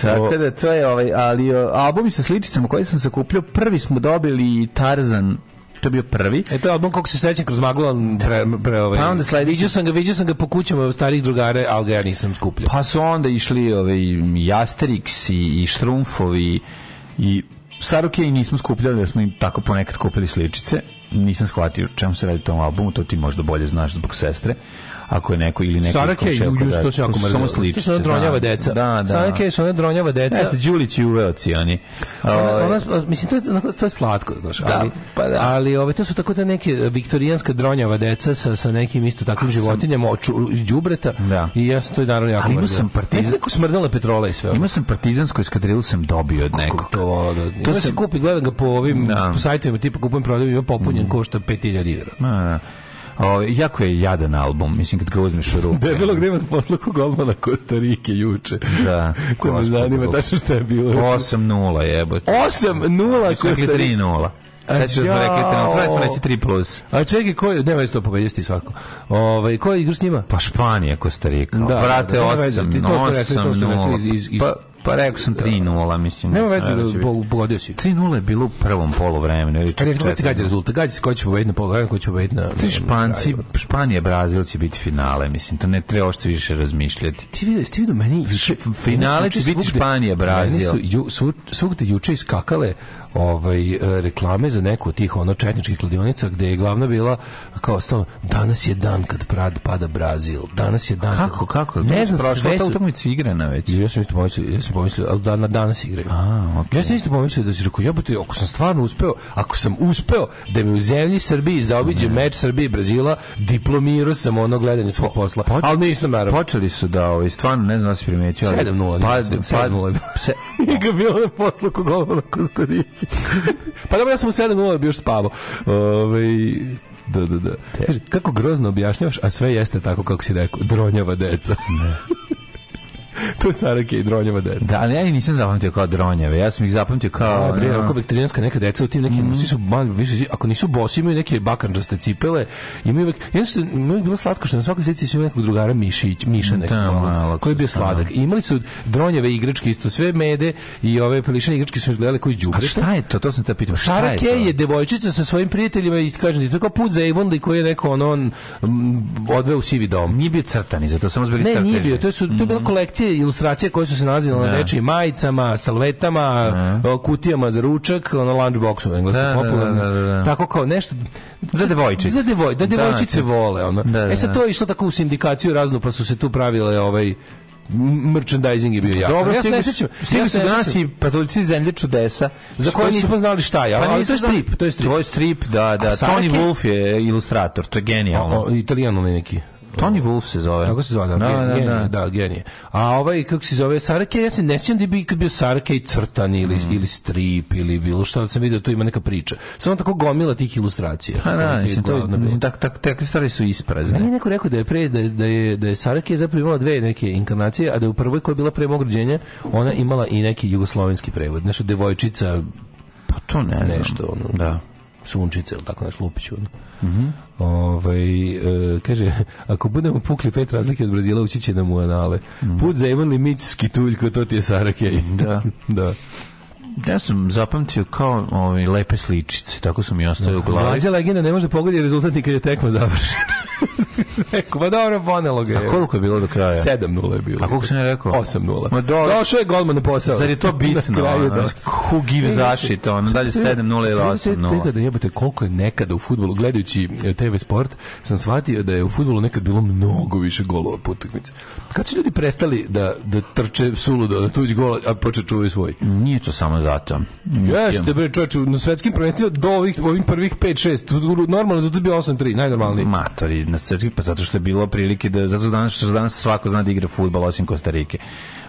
[SPEAKER 5] Tako da to je ovaj, ali o, albumi sa sličicama koje sam sakupljao, prvi smo dobili Tarzan, to je bio prvi.
[SPEAKER 1] (laughs) e to je album kako se sećam kroz maglu, on pre, pre ovaj.
[SPEAKER 5] Pa onda sledeći-
[SPEAKER 1] Viđao sam ga, viđao sam ga po kućama od starih drugara, ali ga ja nisam skupljao.
[SPEAKER 5] Pa su onda išli ovaj, Jasterix i, i Štrumfovi i Saruke i nismo skupljali, jer smo im tako ponekad kupili sličice. Nisam shvatio čemu se radi u tom albumu, to ti možda bolje znaš zbog sestre. Ako je neko ili neko... iz
[SPEAKER 1] Sarake,
[SPEAKER 5] komšija
[SPEAKER 1] ju,
[SPEAKER 5] oko
[SPEAKER 1] ju,
[SPEAKER 5] da-
[SPEAKER 1] to se jako
[SPEAKER 5] su
[SPEAKER 1] mrzelo.
[SPEAKER 5] Samo
[SPEAKER 1] To
[SPEAKER 5] sličice.
[SPEAKER 1] su ona dronjava
[SPEAKER 5] da.
[SPEAKER 1] deca.
[SPEAKER 5] Da, da.
[SPEAKER 1] Sarake su ona ono dronjava deca.
[SPEAKER 5] Jeste, Đulić i uveo cijani.
[SPEAKER 1] Ona, ona, mislim, to je, onako- to je slatko, znaš,
[SPEAKER 5] Da,
[SPEAKER 1] ali,
[SPEAKER 5] pa da.
[SPEAKER 1] ali ove, to su tako te neke viktorijanska dronjava deca sa, sa nekim isto takvim životinjama, oču, iz đubreta,
[SPEAKER 5] Da.
[SPEAKER 1] i ja sam to i naravno jako
[SPEAKER 5] Ali imao
[SPEAKER 1] mrzeo.
[SPEAKER 5] sam partizan-
[SPEAKER 1] Nekako smrdela petrola i sve. ono.
[SPEAKER 5] Imao sam partizansku eskadrilu, sam dobio od
[SPEAKER 1] Kako
[SPEAKER 5] nekog.
[SPEAKER 1] to volao da... To se
[SPEAKER 5] sam-
[SPEAKER 1] kupi, gledam ga po ovim
[SPEAKER 5] Da. Mm.
[SPEAKER 1] po sajtovima, tipa kupujem prodaju, ima popunjen, košta 5000 dinara.
[SPEAKER 5] Ma, da. Ovaj, jako je jadan album, mislim, kad ga uzmeš u ruku.
[SPEAKER 1] Debelo gde ima posla kog golmana Kostarike juče.
[SPEAKER 5] Da.
[SPEAKER 1] Samo
[SPEAKER 5] Gospod
[SPEAKER 1] zanima
[SPEAKER 5] Bog.
[SPEAKER 1] tačno šta je bilo.
[SPEAKER 5] 8-0, jebote.
[SPEAKER 1] 8-0
[SPEAKER 5] Dakle,
[SPEAKER 1] Kostarike.
[SPEAKER 5] 3-0. Sad ću smo rekli, te nam trebali smo reći 3 plus.
[SPEAKER 1] A čekaj, ko je, nema vezi to pobedjesti svako. Ovaj ko igra s njima?
[SPEAKER 5] Pa Španija, Kosta Rika. Da, Brate,
[SPEAKER 1] nema veze, ti
[SPEAKER 5] 8,
[SPEAKER 1] to smo rekli, to
[SPEAKER 5] 8,
[SPEAKER 1] smo rekli
[SPEAKER 5] 0.
[SPEAKER 1] iz- iz- iz-
[SPEAKER 5] Pa, pa rekao sam 3-0, mislim.
[SPEAKER 1] Nema
[SPEAKER 5] ne
[SPEAKER 1] veze,
[SPEAKER 5] znam,
[SPEAKER 1] da
[SPEAKER 5] će biti.
[SPEAKER 1] po- pogodio si.
[SPEAKER 5] 3-0 je bilo u prvom polovremenu ili
[SPEAKER 1] Kad je kad se gađa
[SPEAKER 5] 4
[SPEAKER 1] rezultat, gađa se ko će pobediti na polovremenu, ko će pobediti na...
[SPEAKER 5] Ti Španci, Španija, Brazil će biti finale, mislim, to ne treba ošte više razmišljati.
[SPEAKER 1] Ti vidio, ti vidio meni... znači,
[SPEAKER 5] Više
[SPEAKER 1] meni su
[SPEAKER 5] Znači, finale
[SPEAKER 1] juče
[SPEAKER 5] će biti
[SPEAKER 1] svugde-
[SPEAKER 5] Španija, Brazil.
[SPEAKER 1] Meni su ju, su, svugde juče iskakale ovaj, e, reklame za neku od tih ono četničkih kladionica gde je glavna bila kao stalno, danas je dan kad prad pada Brazil, danas je dan...
[SPEAKER 5] Kako,
[SPEAKER 1] kad-
[SPEAKER 5] kako?
[SPEAKER 1] Ne znam,
[SPEAKER 5] prošlo,
[SPEAKER 1] sve
[SPEAKER 5] ta
[SPEAKER 1] su...
[SPEAKER 5] utakmica igrana već.
[SPEAKER 1] Ja sam isto pomislio, ja sam pomislio, ali da, na danas igraju.
[SPEAKER 5] A, okej.
[SPEAKER 1] Ja sam isto pomislio da si rekao, jebote, ako sam stvarno uspeo, ako sam uspeo da mi u zemlji Srbiji zaobiđe meč Srbije i Brazila, diplomirao sam ono gledanje svog posla. ali nisam, naravno.
[SPEAKER 5] Počeli su da, ovaj, stvarno, ne znam da si primetio. ali-
[SPEAKER 1] 7:0,
[SPEAKER 5] Pa,
[SPEAKER 1] mislim,
[SPEAKER 5] pa-
[SPEAKER 1] 7:0 je bilo. (laughs)
[SPEAKER 5] se-
[SPEAKER 1] I ga bilo na poslu kog ovo na Kostariki. (laughs) pa dobro, ja sam u 7.0 bio još spavao. Ove, da, da, da. Kaže, kako grozno objašnjavaš, a sve jeste tako kako si rekao, dronjava deca. (laughs) to je Sarake i dronjava deca.
[SPEAKER 5] Da, ali ja ih nisam zapamtio kao dronjeve, ja sam ih zapamtio kao...
[SPEAKER 1] A, Mhm. bre,
[SPEAKER 5] ono,
[SPEAKER 1] ako viktorijanska neka deca u tim nekim, svi su manj, više, svi- ako nisu bosi, imaju neke bakanđaste cipele, imaju uvek, jedan su, imaju bilo slatko što na svakoj slici su imali nekog drugara Mišić, Miša nekog,
[SPEAKER 5] Da,
[SPEAKER 1] malog,
[SPEAKER 5] malo,
[SPEAKER 1] ono, koji je bio
[SPEAKER 5] da.
[SPEAKER 1] sladak. I imali su dronjeve igračke, isto sve mede i ove pelišane igračke su izgledale koji
[SPEAKER 5] A
[SPEAKER 1] džubreta.
[SPEAKER 5] šta je to? To sam te pitao. šta
[SPEAKER 1] Sara
[SPEAKER 5] je to?
[SPEAKER 1] Kay je devojčica sa svojim prijateljima i kažem ti, to je kao put za Avonley koji je neko ono on, mm, odveo u sivi dom.
[SPEAKER 5] Nije bio crtani, zato samo zbili
[SPEAKER 1] Ne,
[SPEAKER 5] crteži.
[SPEAKER 1] nije bio. To, su, to je
[SPEAKER 5] Mhm.
[SPEAKER 1] bila kolekcija ilustracija koje su se nalazile na nečijim majicama, salvetama, o, kutijama za ručak, ono lunchboxu, englesko
[SPEAKER 5] Da, da,
[SPEAKER 1] popularno.
[SPEAKER 5] da, da, da.
[SPEAKER 1] Tako kao nešto...
[SPEAKER 5] Za devojčice.
[SPEAKER 1] Za devoj, da devojčice
[SPEAKER 5] Da,
[SPEAKER 1] vole. Ono.
[SPEAKER 5] Da, da,
[SPEAKER 1] e sad to je išlo tako u sindikaciju raznu, pa su se tu pravile ovaj m- merchandising je bio jako.
[SPEAKER 5] Dobro,
[SPEAKER 1] ja se ne
[SPEAKER 5] stigli,
[SPEAKER 1] sećam.
[SPEAKER 5] su- stigli
[SPEAKER 1] ja
[SPEAKER 5] su
[SPEAKER 1] se ne
[SPEAKER 5] danas
[SPEAKER 1] sećam.
[SPEAKER 5] i patuljci zemlje čudesa.
[SPEAKER 1] Za koje
[SPEAKER 5] su-
[SPEAKER 1] nismo znali šta je, ali to
[SPEAKER 5] nisam
[SPEAKER 1] je
[SPEAKER 5] znao-
[SPEAKER 1] strip, to je strip.
[SPEAKER 5] To je strip, da, da.
[SPEAKER 1] A Sara
[SPEAKER 5] Tony
[SPEAKER 1] Kay-
[SPEAKER 5] Wolf je ilustrator, to je genijalno.
[SPEAKER 1] O, Italijan onaj neki.
[SPEAKER 5] Tony Wolf se zove.
[SPEAKER 1] Kako se zove? Da,
[SPEAKER 5] da, da, da.
[SPEAKER 1] da, genije. A ovaj, kako se zove, Sarke, ja se ne sjećam da je bi ikad bio Sarke i crtan ili, ili strip ili bilo šta, da sam vidio, tu ima neka priča. Samo tako gomila tih ilustracija.
[SPEAKER 5] Pa da,
[SPEAKER 1] Nekih
[SPEAKER 5] mislim, to je,
[SPEAKER 1] glavna
[SPEAKER 5] mislim,
[SPEAKER 1] bila.
[SPEAKER 5] tak, tak, takve stvari su isprazne.
[SPEAKER 1] Meni je neko rekao da je pre da je, da je, da je Sarke zapravo imala dve neke inkarnacije, a da je u prvoj koja je bila pre mog rođenja, ona imala i neki jugoslovenski prevod, nešto devojčica
[SPEAKER 5] Pa to ne znam.
[SPEAKER 1] Nešto, ono.
[SPEAKER 5] Da. Mhm.
[SPEAKER 1] sunčice ili tako nešto lupiću. Mm kaže, ako budemo pukli pet razlike od Brazila, ući će nam u anale. Put za Ivan Limicki tuljko, to ti je Sarakej.
[SPEAKER 5] Mhm. Da.
[SPEAKER 1] (laughs) da.
[SPEAKER 5] Ja sam zapamtio kao ovaj, lepe sličice, tako su mi ostaje u glavi.
[SPEAKER 1] Mlađa legenda ne može pogoditi rezultat ni kad je tekma
[SPEAKER 5] (laughs)
[SPEAKER 1] završena. Rekao, pa dobro, ponelo ga je.
[SPEAKER 5] A koliko je bilo do kraja?
[SPEAKER 1] 7-0 je bilo.
[SPEAKER 5] A koliko sam ja rekao?
[SPEAKER 1] 8-0.
[SPEAKER 5] Ma dobro.
[SPEAKER 1] Došao je golman na posao.
[SPEAKER 5] Zar je to bitno?
[SPEAKER 1] (laughs) Na kraju,
[SPEAKER 5] ono,
[SPEAKER 1] da.
[SPEAKER 5] Who gives a shit? Ono, dalje 7-0 ili 8-0.
[SPEAKER 1] Nekada jebote koliko je nekada u fudbalu gledajući e, TV sport sam shvatio da je u fudbalu nekad bilo mnogo više golova po utakmici. Kad su ljudi prestali da da trče suludo na tuđi gol, a počet čuvaju svoj.
[SPEAKER 5] Nije to samo zato.
[SPEAKER 1] Jeste bre čoveče, na svetskim prvenstvima do ovih ovih prvih 5-6, normalno zato je bio 8-3, najnormalniji.
[SPEAKER 5] matori na srpski pa zato što je bilo prilike da zato što danas što danas svako zna da igra fudbal osim Kostarike.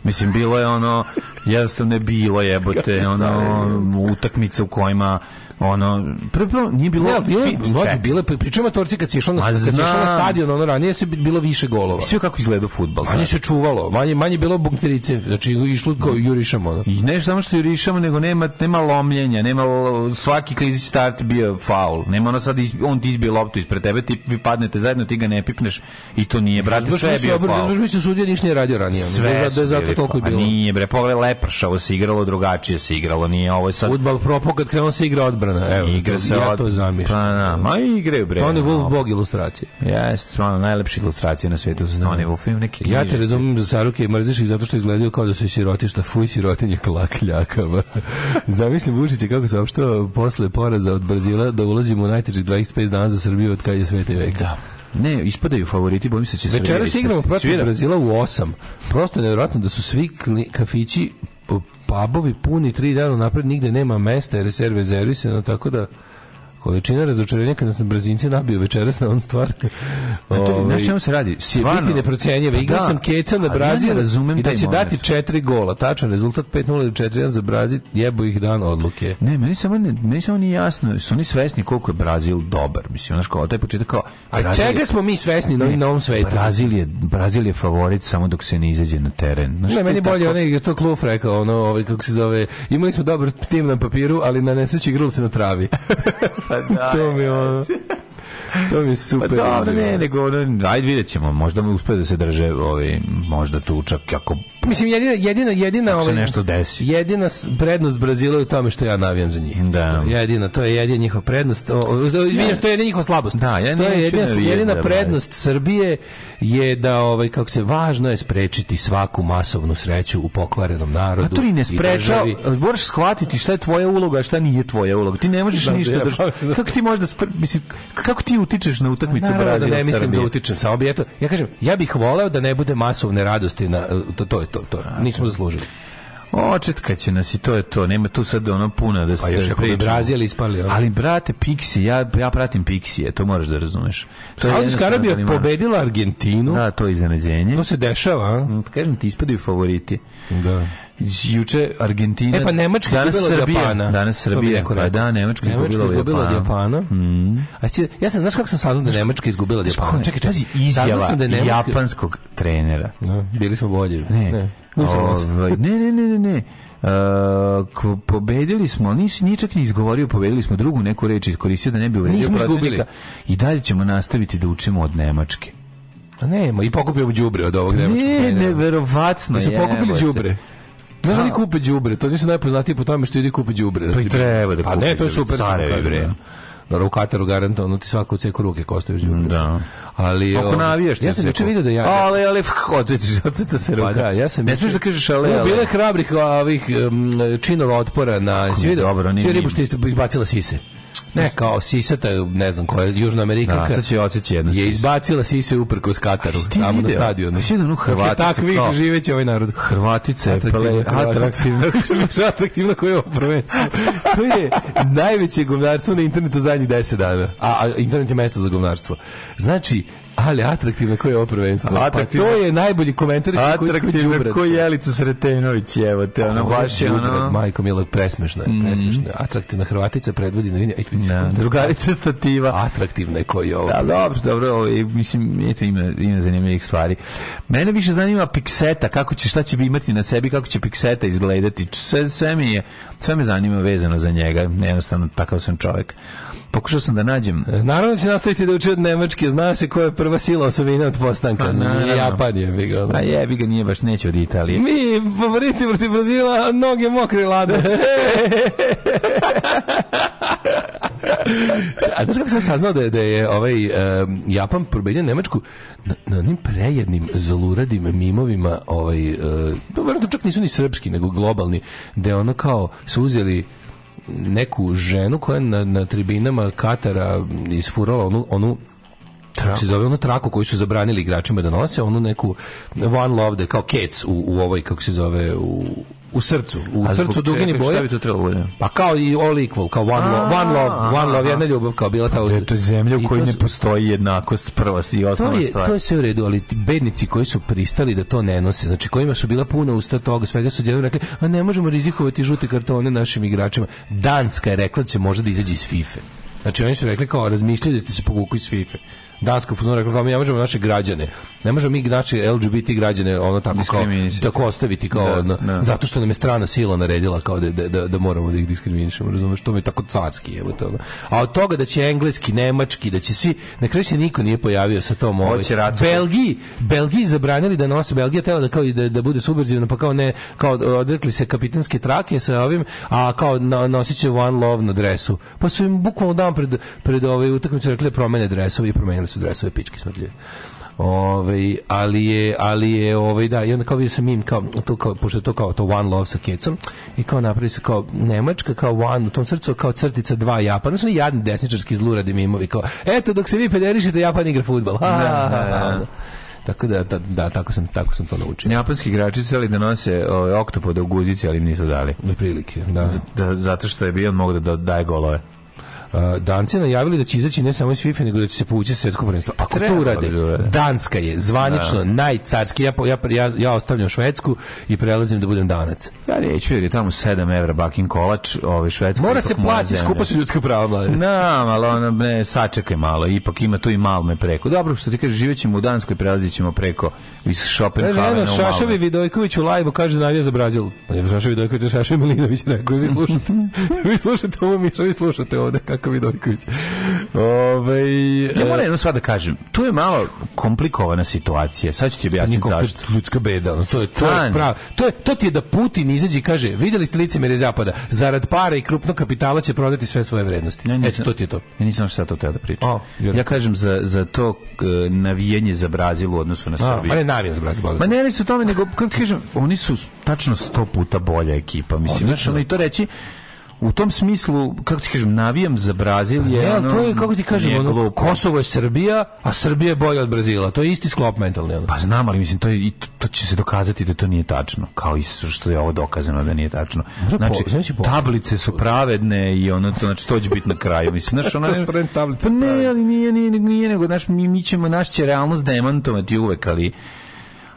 [SPEAKER 5] Mislim bilo je
[SPEAKER 1] (laughs)
[SPEAKER 5] ono jednostavno je bilo jebote ono utakmice u kojima ono prvo, prvo nije bilo
[SPEAKER 1] Ne, ali bilo je,
[SPEAKER 5] Čekaj.
[SPEAKER 1] mlađe, bilo je, pričujemo torci kad si išao na,
[SPEAKER 5] Ma
[SPEAKER 1] kad si išao na
[SPEAKER 5] znam.
[SPEAKER 1] stadion, ono ranije se bi- bilo više golova.
[SPEAKER 5] Svi kako izgleda fudbal.
[SPEAKER 1] Manje se čuvalo, manje, manje bilo bunkterice, znači išlo kao
[SPEAKER 5] Mm.
[SPEAKER 1] jurišamo. Ono.
[SPEAKER 5] I ne samo što jurišamo, nego nema, nema lomljenja, nema lo- svaki krizi start bio faul. Nema ono sad, iz- on ti izbije loptu ispred tebe, ti, vi padnete zajedno, ti ga ne pipneš i to nije, brate,
[SPEAKER 1] Baš
[SPEAKER 5] sve je
[SPEAKER 1] mislim,
[SPEAKER 5] bio faul.
[SPEAKER 1] baš mislim, sudija ništa nije radio ranije. ono. da, je za- da
[SPEAKER 5] su
[SPEAKER 1] je zato
[SPEAKER 5] bili
[SPEAKER 1] toliko i
[SPEAKER 5] faul. A
[SPEAKER 1] bilo.
[SPEAKER 5] Nije bre, pove lepršavo se igralo, drugačije se igralo, nije ovo je sad
[SPEAKER 1] Udbal propo kad krenula se igra odbrana. Evo,
[SPEAKER 5] igra se
[SPEAKER 1] ja
[SPEAKER 5] od-
[SPEAKER 1] to
[SPEAKER 5] Pa,
[SPEAKER 1] zamišljam.
[SPEAKER 5] na, ma igraju bre.
[SPEAKER 1] Pa on je Wolf
[SPEAKER 5] ono.
[SPEAKER 1] Bog ilustracije.
[SPEAKER 5] Jeste, stvarno najlepše ilustracije na svijetu su Stone Wolf, imam neke
[SPEAKER 1] Ja te
[SPEAKER 5] knjižice.
[SPEAKER 1] razumijem za Saruke i mrziš ih zato što izgledaju kao da su sirotišta, fuj sirotinje klakljaka.
[SPEAKER 5] (laughs)
[SPEAKER 1] Zamišljam Vučića kako se opštao posle poraza od Brazila da ulazimo u najtežih 25 dana za Srbiju od kad je svete veka.
[SPEAKER 5] Da. Ne, ispadaju favoriti, bojim se će se
[SPEAKER 1] Večeras igramo protiv
[SPEAKER 5] Svira.
[SPEAKER 1] Brazila u 8. Prosto je nevjerojatno da su svi kli- kafići p- pubovi puni tri dana napred, nigde nema mesta jer je sve rezervisano, tako da Količina razočarenja kada nas na brzinci nabio večeras na on stvar.
[SPEAKER 5] A to,
[SPEAKER 1] Ovaj,
[SPEAKER 5] znaš čemu se radi?
[SPEAKER 1] će biti neprocenjiva. Igrao
[SPEAKER 5] Pa Da,
[SPEAKER 1] sam keca na
[SPEAKER 5] ali
[SPEAKER 1] Brazil
[SPEAKER 5] ja ne razumem
[SPEAKER 1] i da
[SPEAKER 5] taj
[SPEAKER 1] će
[SPEAKER 5] moment.
[SPEAKER 1] dati četiri gola. Tačan rezultat 5-0 ili 4-1 za Brazil. Jebo ih dan odluke.
[SPEAKER 5] Ne, meni samo, ne, meni samo nije jasno, su oni svesni koliko je Brazil dobar, mislim, znaš kao, taj početak kao...
[SPEAKER 1] A
[SPEAKER 5] Brazil je-
[SPEAKER 1] čega smo mi svesni na ovom novom svetu?
[SPEAKER 5] Brazil je, Brazil je favorit samo dok se ne izađe na teren. Znaš,
[SPEAKER 1] Ne,
[SPEAKER 5] to
[SPEAKER 1] meni
[SPEAKER 5] je
[SPEAKER 1] je bolje
[SPEAKER 5] tako-
[SPEAKER 1] onaj je to Kluf rekao, ono, ovaj, kako se zove, imali smo dobar tim na papiru, ali na nesreći igralo se na (laughs) travi. Pa (laughs) to mi je ono, to mi je
[SPEAKER 5] Pa
[SPEAKER 1] super.
[SPEAKER 5] da,
[SPEAKER 1] izjava.
[SPEAKER 5] ne, nego, ono, ajde vidjet ćemo, možda mu uspe da se drže, ovaj, možda tučak, ako
[SPEAKER 1] Mislim, jedina, jedina, jedina,
[SPEAKER 5] Ako se
[SPEAKER 1] ovaj,
[SPEAKER 5] nešto desi.
[SPEAKER 1] jedina s- prednost Brazila je u tome što ja navijam za njih.
[SPEAKER 5] Da.
[SPEAKER 1] To je jedina, to je jedina njihova prednost, o, o, izvinjam, to je jedina njihova slabost.
[SPEAKER 5] Da, ja
[SPEAKER 1] to
[SPEAKER 5] neću
[SPEAKER 1] je jedina,
[SPEAKER 5] navijati
[SPEAKER 1] jedina
[SPEAKER 5] za
[SPEAKER 1] prednost Srbije je da, ovaj, kako se, važno je sprečiti svaku masovnu sreću u pokvarenom narodu.
[SPEAKER 5] A to ni
[SPEAKER 1] i
[SPEAKER 5] ne spreča,
[SPEAKER 1] državi.
[SPEAKER 5] moraš shvatiti šta je tvoja uloga, a šta nije tvoja uloga. Ti ne možeš
[SPEAKER 1] Da,
[SPEAKER 5] ništa
[SPEAKER 1] zajebao
[SPEAKER 5] da...
[SPEAKER 1] se, da.
[SPEAKER 5] Kako ti možeš da... Spr... Mislim, kako ti utičeš na utakmicu
[SPEAKER 1] Naravno
[SPEAKER 5] Brazila
[SPEAKER 1] da ne mislim
[SPEAKER 5] Srbije?
[SPEAKER 1] da utičem, samo bi eto, ja kažem, ja bih voleo da ne bude masovne radosti na e, to to je to, to je. nismo zaslužili.
[SPEAKER 5] Očetka će nas i to je to. Nema tu sad ono puno da se
[SPEAKER 1] Pa još ako bi
[SPEAKER 5] pričamo.
[SPEAKER 1] Brazil ispali. ono.
[SPEAKER 5] Ali brate Pixi, ja ja pratim Pixi, to moraš da razumeš. To je
[SPEAKER 1] Saudijska
[SPEAKER 5] jednostavno
[SPEAKER 1] Arabija
[SPEAKER 5] taliman.
[SPEAKER 1] pobedila Argentinu.
[SPEAKER 5] Da, to je iznenađenje.
[SPEAKER 1] To se dešava, a?
[SPEAKER 5] Mm, Kažem ti ispadaju favoriti.
[SPEAKER 1] Da.
[SPEAKER 5] Juče Argentina.
[SPEAKER 1] E pa Nemačka je
[SPEAKER 5] danas
[SPEAKER 1] izgubila od
[SPEAKER 5] Srbija,
[SPEAKER 1] Japana.
[SPEAKER 5] Danas
[SPEAKER 1] To bi
[SPEAKER 5] Srbija.
[SPEAKER 1] neko
[SPEAKER 5] Pa
[SPEAKER 1] rekao.
[SPEAKER 5] da, Nemačka je izgubila od
[SPEAKER 1] izgubila od
[SPEAKER 5] Japana. Mm.
[SPEAKER 1] Japana. A će, ja sam, znaš kako sam saznao da je Nemačka izgubila od Japana? Čekaj, čekaj.
[SPEAKER 5] Pazi, izjava
[SPEAKER 1] Saznao sam da je Nemačka-
[SPEAKER 5] japanskog trenera.
[SPEAKER 1] Da, bili smo bolji.
[SPEAKER 5] Ne.
[SPEAKER 1] Uzalud.
[SPEAKER 5] Ovaj, ne, ne, ne, ne, ne. E, ko- pobedili smo, ali nisi ni čak ni izgovorio, pobedili smo drugu neku reč iskoristio da ne bi uvredio
[SPEAKER 1] Nismo izgubili.
[SPEAKER 5] protivnika. I dalje ćemo nastaviti da učimo od Nemačke.
[SPEAKER 1] A ne, ma i pokupio đubre od ovog nemačkog.
[SPEAKER 5] Ne,
[SPEAKER 1] trenera.
[SPEAKER 5] neverovatno.
[SPEAKER 1] Da su pokupili
[SPEAKER 5] jebote.
[SPEAKER 1] đubre. Znaš da oni kupe đubre, to nisu najpoznatiji po tome što idi kupe đubre.
[SPEAKER 5] Pa i treba da
[SPEAKER 1] A
[SPEAKER 5] kupe
[SPEAKER 1] ne, to
[SPEAKER 5] đubre,
[SPEAKER 1] je super. samo
[SPEAKER 5] carevi,
[SPEAKER 1] kažem,
[SPEAKER 5] bre.
[SPEAKER 1] da. Dobro, u Kataru garantovano ti svako u ceku ruke kostaviš đubre.
[SPEAKER 5] Da.
[SPEAKER 1] Ali,
[SPEAKER 5] Ako
[SPEAKER 1] ovaj,
[SPEAKER 5] navijaš,
[SPEAKER 1] ja sam juče video da ja...
[SPEAKER 5] Ale, ale, hoćeš, hoćeš se
[SPEAKER 1] Pa
[SPEAKER 5] ruka.
[SPEAKER 1] da, ja sam
[SPEAKER 5] Ne
[SPEAKER 1] juče-
[SPEAKER 5] smeš da kažeš ale,
[SPEAKER 1] No,
[SPEAKER 5] ale.
[SPEAKER 1] bilo je hrabrih a, ovih um, činova otpora na svi video.
[SPEAKER 5] dobro, nije
[SPEAKER 1] Svi ribu
[SPEAKER 5] njima.
[SPEAKER 1] što je isto izbacila sise. Ne, kao sisata, ne znam koja je Južna Amerika.
[SPEAKER 5] Da, sad će odsjeći jednu
[SPEAKER 1] Je
[SPEAKER 5] sisu.
[SPEAKER 1] izbacila sise uprkos Kataru,
[SPEAKER 5] si ti
[SPEAKER 1] tamo na
[SPEAKER 5] video?
[SPEAKER 1] stadionu.
[SPEAKER 5] A si vidio onu
[SPEAKER 1] Dakle,
[SPEAKER 5] Hrvaticu
[SPEAKER 1] Takvih
[SPEAKER 5] kao-
[SPEAKER 1] živeće ovaj narod.
[SPEAKER 5] Hrvatice, pele, atraktivno.
[SPEAKER 1] (laughs) atraktivno. atraktivno koje je ovo prvenstvo. (laughs) To je najveće govnarstvo na internetu zadnjih 10 dana. A, a internet je mesto za govnarstvo. Znači, ali atraktivno koje je ovo prvenstvo.
[SPEAKER 5] Atraktivno.
[SPEAKER 1] Pa to je najbolji komentar koji- koji- koji
[SPEAKER 5] Atraktivno
[SPEAKER 1] đubrat,
[SPEAKER 5] ko
[SPEAKER 1] čovječe.
[SPEAKER 5] Jelica Sretenović, evo te, ono, baš je
[SPEAKER 1] Đubret,
[SPEAKER 5] ono... Mm.
[SPEAKER 1] Majko Milo, presmešno je, presmešno je. Atraktivna Hrvatica predvodi na vinje.
[SPEAKER 5] Da, drugarica stativa.
[SPEAKER 1] Atraktivna je koji je ovo.
[SPEAKER 5] Da, dobro, dobro, ovo je, mislim, eto, ima, ima zanimljivih stvari. Mene više zanima pikseta, kako će, šta će imati na sebi, kako će pikseta izgledati. Sve, sve mi je, sve me zanima vezano za njega, jednostavno, takav sam čovjek. Pokušao sam da nađem...
[SPEAKER 1] Naravno će nastaviti da uči od Nemačke, zna se koja je prva sila osovina od postanka.
[SPEAKER 5] Pa naravno.
[SPEAKER 1] Nije Japan je, bi ga.
[SPEAKER 5] A jebi ga, nije baš, neće od Italije.
[SPEAKER 1] Mi, favoriti protiv Brazila, noge mokre lade. (laughs) A znaš kako sam saznao da je, da je ovaj em, Japan probedio Nemačku na, na onim prejednim zaluradim mimovima, ovaj, e, to verovatno čak nisu ni srpski, nego globalni, da ono kao su uzeli neku ženu koja je na, na tribinama Katara isfurala onu, onu kako se zove onu traku koju su zabranili igračima da nose, onu neku one love da je kao kec u, u ovoj, kako se zove, u, u srcu, u
[SPEAKER 5] A
[SPEAKER 1] srcu
[SPEAKER 5] zbog
[SPEAKER 1] dugini
[SPEAKER 5] čega, Šta
[SPEAKER 1] boje.
[SPEAKER 5] bi to trebalo bude?
[SPEAKER 1] Pa kao i all equal, kao one love, one love, one love, jedna ljubav kao bila ta...
[SPEAKER 5] E, to je zemlja
[SPEAKER 1] I
[SPEAKER 5] u kojoj
[SPEAKER 1] to
[SPEAKER 5] ne
[SPEAKER 1] su-
[SPEAKER 5] postoji jednakost prva i
[SPEAKER 1] To
[SPEAKER 5] osnovna
[SPEAKER 1] je,
[SPEAKER 5] stvar.
[SPEAKER 1] to je sve u redu, ali ti bednici koji su pristali da to ne nose, znači kojima su bila puna usta toga, svega su djelom rekli, a ne možemo rizikovati žute kartone našim igračima. Danska je rekla da će možda da izađe iz FIFA. Znači oni su rekli kao razmišljaju da ste se povukli iz FIFA. E. Danska fuzon rekla kao mi ne možemo naše građane, ne možemo mi naše LGBT građane ono tako kao
[SPEAKER 5] Diskriminisati.
[SPEAKER 1] tako ostaviti kao
[SPEAKER 5] Da,
[SPEAKER 1] ono,
[SPEAKER 5] da.
[SPEAKER 1] zato što nam je strana sila naredila kao da, da, da, da moramo da ih diskriminišemo, razumeš, to mi je tako carski evo to. ono. A od toga da će engleski, nemački, da će svi, na kraju se niko nije pojavio sa tom ovaj,
[SPEAKER 5] Hoće racku.
[SPEAKER 1] Belgiji, Belgiji zabranili da nose, Belgija tela da kao i da, da bude subverzivna, pa kao ne, kao odrekli se kapitanske trake sa ovim, a kao na, nosit će One Love na dresu. Pa su im bukvalno dan pred, pred ovaj utakmicu rekli da promene dresove i promenili su dresove, pički smrtljivi. Ovaj, ali je, ali je, ovaj, da, i onda kao vidio sam im, kao, to kao, pošto je to kao to One Love sa kecom, i kao napravi se kao Nemačka, kao One, u tom srcu, kao crtica dva Japan, znači jadni desničarski zluradi mimovi, kao, eto, dok se vi pederišete, Japan igra futbal. Ha, ha, ha, ha. (laughs) Tako da, da, da, tako sam, tako sam to naučio.
[SPEAKER 5] Japanski igrači su ali da nose ovaj, ove, oktopode u guzici, ali im nisu dali.
[SPEAKER 1] Na prilike, da.
[SPEAKER 5] Da, zato što je bio mogu da da- daje golove.
[SPEAKER 1] Uh, Danci najavili da će izaći ne samo iz FIFA, nego da će se povući svetsko prvenstvo. Ako to
[SPEAKER 5] Trebalo
[SPEAKER 1] urade,
[SPEAKER 5] bi da urade.
[SPEAKER 1] Danska je zvanično najcarski. Ja, po- ja, ja, ja ostavljam Švedsku i prelazim da budem Danac.
[SPEAKER 5] Ja neću jer je tamo 7 evra bakin kolač, ovaj švedski.
[SPEAKER 1] Mora se plaći, skupa su ljudska prava, mlade.
[SPEAKER 5] Na, malo ono, ne, sačekaj malo, ipak ima tu i Malme preko. Dobro, što ti kažeš, živjet ćemo u Danskoj, prelazit ćemo preko iz
[SPEAKER 1] Kaže,
[SPEAKER 5] Šopenkavena u
[SPEAKER 1] eno,
[SPEAKER 5] Malme.
[SPEAKER 1] Šaševi Vidojković u lajvu kaže da navija za Brazil. Pa je Šaševi Vidojković, Šaševi Milinović rekao, vi (laughs) slušate, vi slušate ovo, Miša, vi slušate ovde kako Vidojković. e, Ove,
[SPEAKER 5] Ja moram jedno sva da kažem, tu je malo komplikovana situacija, sad ću ti objasniti zašto.
[SPEAKER 1] pa ljudska beda, ono, to je, to je
[SPEAKER 5] Stan.
[SPEAKER 1] pravo. To, je, to ti je da Putin izađe i kaže, vidjeli ste licemere zapada, zarad para i krupnog kapitala će prodati sve svoje vrednosti.
[SPEAKER 5] Ne, nisam-
[SPEAKER 1] Eto, to ti je to.
[SPEAKER 5] Ja nisam što sad to teo da pričam.
[SPEAKER 1] A, jer-
[SPEAKER 5] ja kažem za, za to e, navijenje za Brazil u odnosu na
[SPEAKER 1] A,
[SPEAKER 5] Srbiju.
[SPEAKER 1] ma ne, navijen za Brazil.
[SPEAKER 5] Ma ne, ali su tome, nego, kako ti kažem, oni su tačno sto puta bolja ekipa. Mislim, znači, ono i to reći, u tom smislu, kako ti kažem, navijam za Brazil je...
[SPEAKER 1] Pa Ne, ali to je,
[SPEAKER 5] ono,
[SPEAKER 1] kako ti kažem,
[SPEAKER 5] nije
[SPEAKER 1] ono,
[SPEAKER 5] glupo.
[SPEAKER 1] Kosovo je Srbija, a Srbija je bolja od Brazila. To je isti sklop mentalni. Ono.
[SPEAKER 5] Pa znam, ali mislim, to, je, i to- to će se dokazati da to nije tačno. Kao i što je ovo dokazano da nije tačno. Znači,
[SPEAKER 1] po- znači po-
[SPEAKER 5] tablice su pravedne i ono, to, znači, to će biti na kraju. Mislim, znaš, ono...
[SPEAKER 1] Transparent tablice
[SPEAKER 5] Pa ne, ali nije, nije, nije, nije nego, znaš, mi, mi ćemo, naš će realnost demantovati uvek, ali...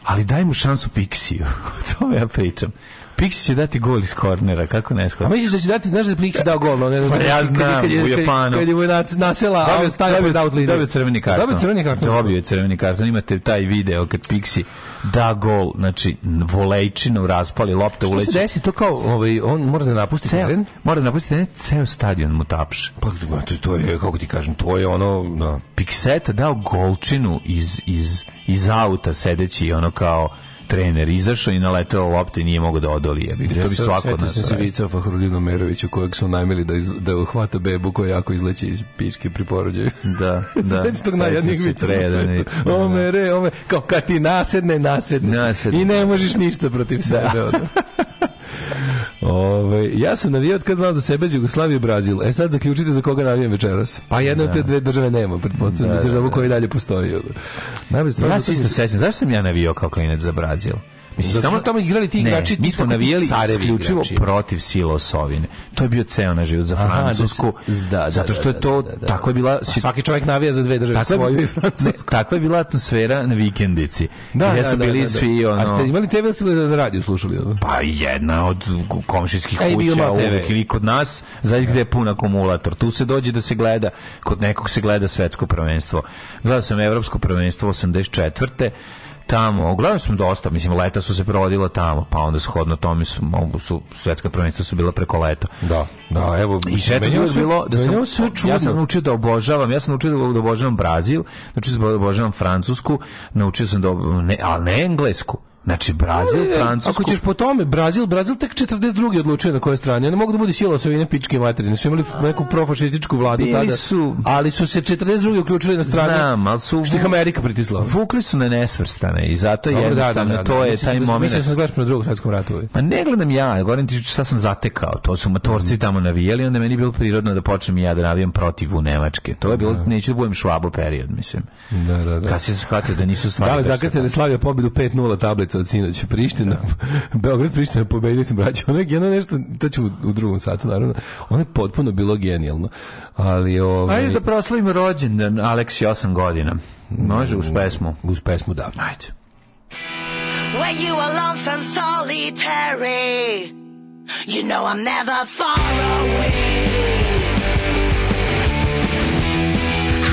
[SPEAKER 5] Ali daj mu šansu Pixiju. (laughs) o tome ja pričam. Pixi će dati gol iz kornera, kako ne
[SPEAKER 1] A
[SPEAKER 5] shvatim.
[SPEAKER 1] Pa misliš da će dati, znaš da je Pliks dao gol, no ne,
[SPEAKER 5] Pa ja znam,
[SPEAKER 1] kad je-
[SPEAKER 5] u
[SPEAKER 1] kad je-
[SPEAKER 5] Japanu.
[SPEAKER 1] Kad je Vojnac nasela, a on stavio pod out liniju.
[SPEAKER 5] dobio crveni karton.
[SPEAKER 1] Dobio crveni karton.
[SPEAKER 5] Dobio je crveni karton. Imate taj video kad Pixi da gol, znači volejčinu raspali, lopta
[SPEAKER 1] Što
[SPEAKER 5] uleći.
[SPEAKER 1] se desi, to kao, ovaj, on mora da napusti
[SPEAKER 5] Ceo,
[SPEAKER 1] teren.
[SPEAKER 5] mora da napusti teren, ceo stadion mu tapše.
[SPEAKER 1] Pa, znači, to je, kako ti kažem, to je ono, da.
[SPEAKER 5] Pikseta dao golčinu iz, iz, iz auta sedeći ono kao trener izašao i naletao lopte i nije mogao da odoli jebi ga. to bi svako od
[SPEAKER 1] Sjetio
[SPEAKER 5] nas (laughs)
[SPEAKER 1] sam se
[SPEAKER 5] radio.
[SPEAKER 1] Vica Fahrudinu Meroviću, kojeg su najmili da, iz, da uhvata bebu koja jako izleće iz pičke pri porođaju.
[SPEAKER 5] da, da.
[SPEAKER 1] (laughs) Da, Sveći tog najjadnijeg
[SPEAKER 5] Sećam se
[SPEAKER 1] vica na
[SPEAKER 5] trener i-
[SPEAKER 1] svetu. Ome, re, ome, kao kad ti nasedne, nasedne.
[SPEAKER 5] Nasedne.
[SPEAKER 1] I ne možeš ništa protiv sebe.
[SPEAKER 5] (laughs)
[SPEAKER 1] ono. Ove, ja sam navijao od kad znam za sebe za Jugoslaviju i Brazil. E sad zaključite za koga navijam večeras. Pa jedna od te dve države nema, pretpostavljam da, ćeš da, da, koji dalje postoji. ono. Najbolje stvar
[SPEAKER 5] Ja
[SPEAKER 1] je
[SPEAKER 5] se
[SPEAKER 1] da-
[SPEAKER 5] isto sećam, zašto sam ja navijao kao klinac za Brazil?
[SPEAKER 1] Zato što tamo igrali ti igrači,
[SPEAKER 5] ne, mi
[SPEAKER 1] ti
[SPEAKER 5] smo
[SPEAKER 1] kako ti
[SPEAKER 5] navijali
[SPEAKER 1] carevi
[SPEAKER 5] isključivo
[SPEAKER 1] igrači.
[SPEAKER 5] protiv sile Osovine. To je bio ceo naš život za
[SPEAKER 1] Aha,
[SPEAKER 5] Francusku,
[SPEAKER 1] da se- da, da,
[SPEAKER 5] zato što je to,
[SPEAKER 1] da, da, da.
[SPEAKER 5] tako je bila
[SPEAKER 1] A svaki čovjek navija za dve države,
[SPEAKER 5] Takva,
[SPEAKER 1] svoju i
[SPEAKER 5] je,
[SPEAKER 1] Francusku.
[SPEAKER 5] (laughs) ne, takva je bila atmosfera na vikendici. Da, gdje su bili svi, ono...
[SPEAKER 1] A ste imali TV ili ste na radiju slušali? Ono?
[SPEAKER 5] Pa jedna od komšijskih
[SPEAKER 1] A i
[SPEAKER 5] kuća
[SPEAKER 1] Bilma TV.
[SPEAKER 5] uvek ili kod nas, zaista gde je pun akumulator. Tu se dođe da se gleda, kod nekog se gleda svetsko prvenstvo. Gledao sam evropsko prvenstvo 84. Tamo, gledao sam dosta, mislim, leta su se provodila tamo, pa onda shodno tome su, mogu su svetska prvenstva su bila preko leta.
[SPEAKER 1] Da, da, evo.
[SPEAKER 5] I četvrto
[SPEAKER 1] meni je
[SPEAKER 5] je
[SPEAKER 1] ovo sve-
[SPEAKER 5] bilo da
[SPEAKER 1] meni je ovo
[SPEAKER 5] sam,
[SPEAKER 1] sve
[SPEAKER 5] ja
[SPEAKER 1] čudno.
[SPEAKER 5] sam naučio da obožavam, ja sam naučio da obožavam Brazil, naučio sam da obožavam Francusku, naučio sam da, ob- ne, ali ne Englesku, znači Brazil,
[SPEAKER 1] E,
[SPEAKER 5] Francusku,
[SPEAKER 1] Ako ćeš po tome, Brazil, Brazil tek 42. odlučuje na kojoj strani. Oni mogu da budu sila sa ovine pičke materine. Su imali f- neku profašističku vladu
[SPEAKER 5] Bili
[SPEAKER 1] tada.
[SPEAKER 5] su-
[SPEAKER 1] Ali su se 42. uključili na stranu.
[SPEAKER 5] Znam, ali su-
[SPEAKER 1] Što ih Amerika pritisla.
[SPEAKER 5] Vukli su na nesvrstane i zato je
[SPEAKER 1] Dobro,
[SPEAKER 5] jednostavno to je taj
[SPEAKER 1] Mislim da-
[SPEAKER 5] moment.
[SPEAKER 1] Mislim da sam gledaš na drugom svjetskom ratu. ovaj.
[SPEAKER 5] Pa ne gledam ja, govorim ti šta sam zatekao, to su matorci tamo navijali, onda je meni bilo prirodno da počnem i ja da navijam protiv u Nemačke. To je bilo, neću da budem švabo period, mislim.
[SPEAKER 1] Da, da, da.
[SPEAKER 5] Kad si se shvatio da nisu stvari...
[SPEAKER 1] Da li
[SPEAKER 5] baš
[SPEAKER 1] zakasnili Slavija pobjedu 5-0 tablica od sinoć Priština, (laughs) Beograd Priština pobedili sam braće. Ono je jedno nešto, to ću u, u drugom satu naravno, ono je potpuno bilo genijalno. Ali
[SPEAKER 5] tako.
[SPEAKER 1] ovaj,
[SPEAKER 5] Ajde da proslavimo rođendan, Aleksi 8 godina. Može, uz pesmu.
[SPEAKER 1] uz pesmu da.
[SPEAKER 5] Ajde.
[SPEAKER 2] Where you are lonesome, solitary. You know I'm never far away.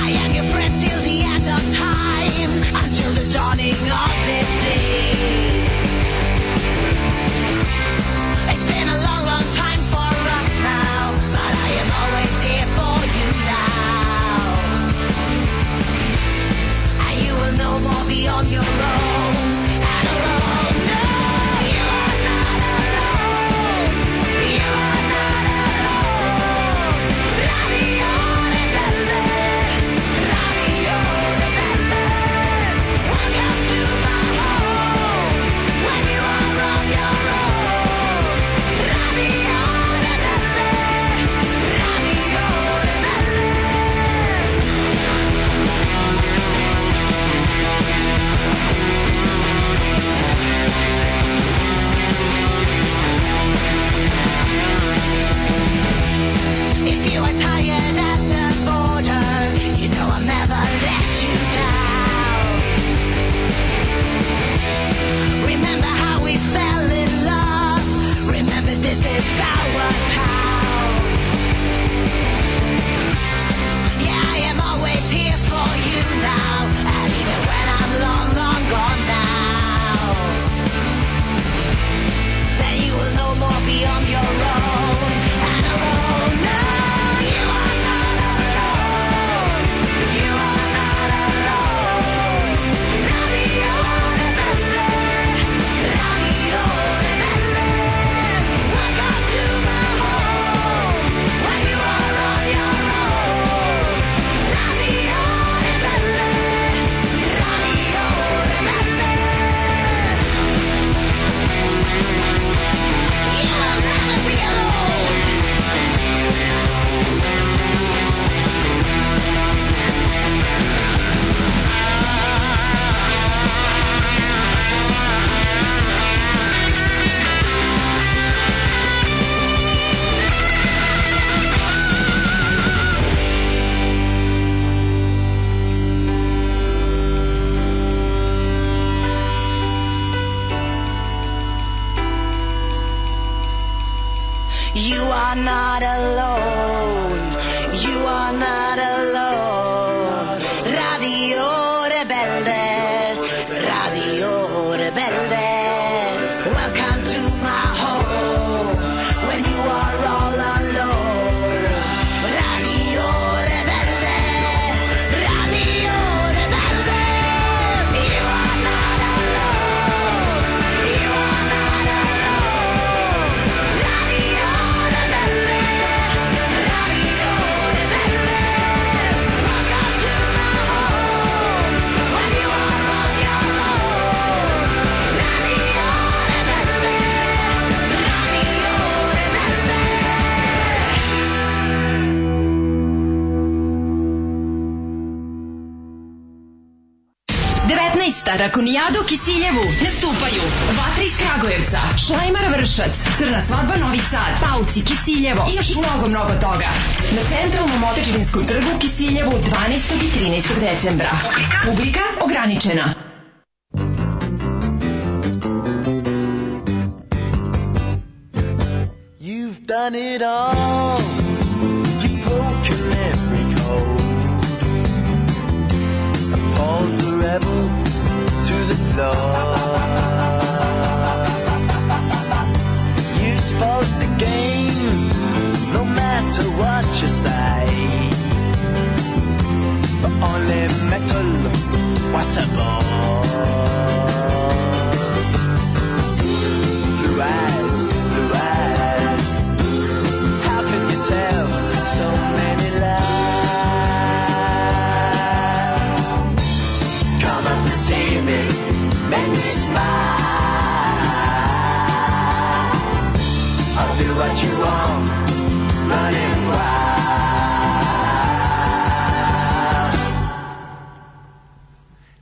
[SPEAKER 2] I am your friend till the end of time, until the dawning of this day. It's been a long, long time for us now, but I am always here for you now. And you will no more be on your own. And alone, no, you are not alone. You are not alone.
[SPEAKER 7] are not alone. You are not alone. Radio Rebelde. Radio Rebelde. Welcome to my home. When you are all alone. Radio Rebelde. Radio Rebelde. You are not alone. You are not alone. Radio Rebelde. Radio Rebelde. Welcome to my home. When you are on your own. Radio Rebelde. Radio Rebelde.
[SPEAKER 4] Rakonijada u Kisiljevu. Nastupaju Vatra iz Kragujevca, Šlajmara Vršac, Crna svadba Novi Sad, Pauci, Kisiljevo i još mnogo, mnogo toga. Na centralnom otečevinskom trgu u Kisiljevu 12. i 13. decembra. Publika ograničena.
[SPEAKER 2] You've done it all. You've broken every code. Appalled the rebel to the floor. You spoke the game, no matter what you say. But only metal, what a bore. Blue eyes, blue eyes. How can you tell so many lies? Come up and see me, make me smile. I'll do what you want, running wild.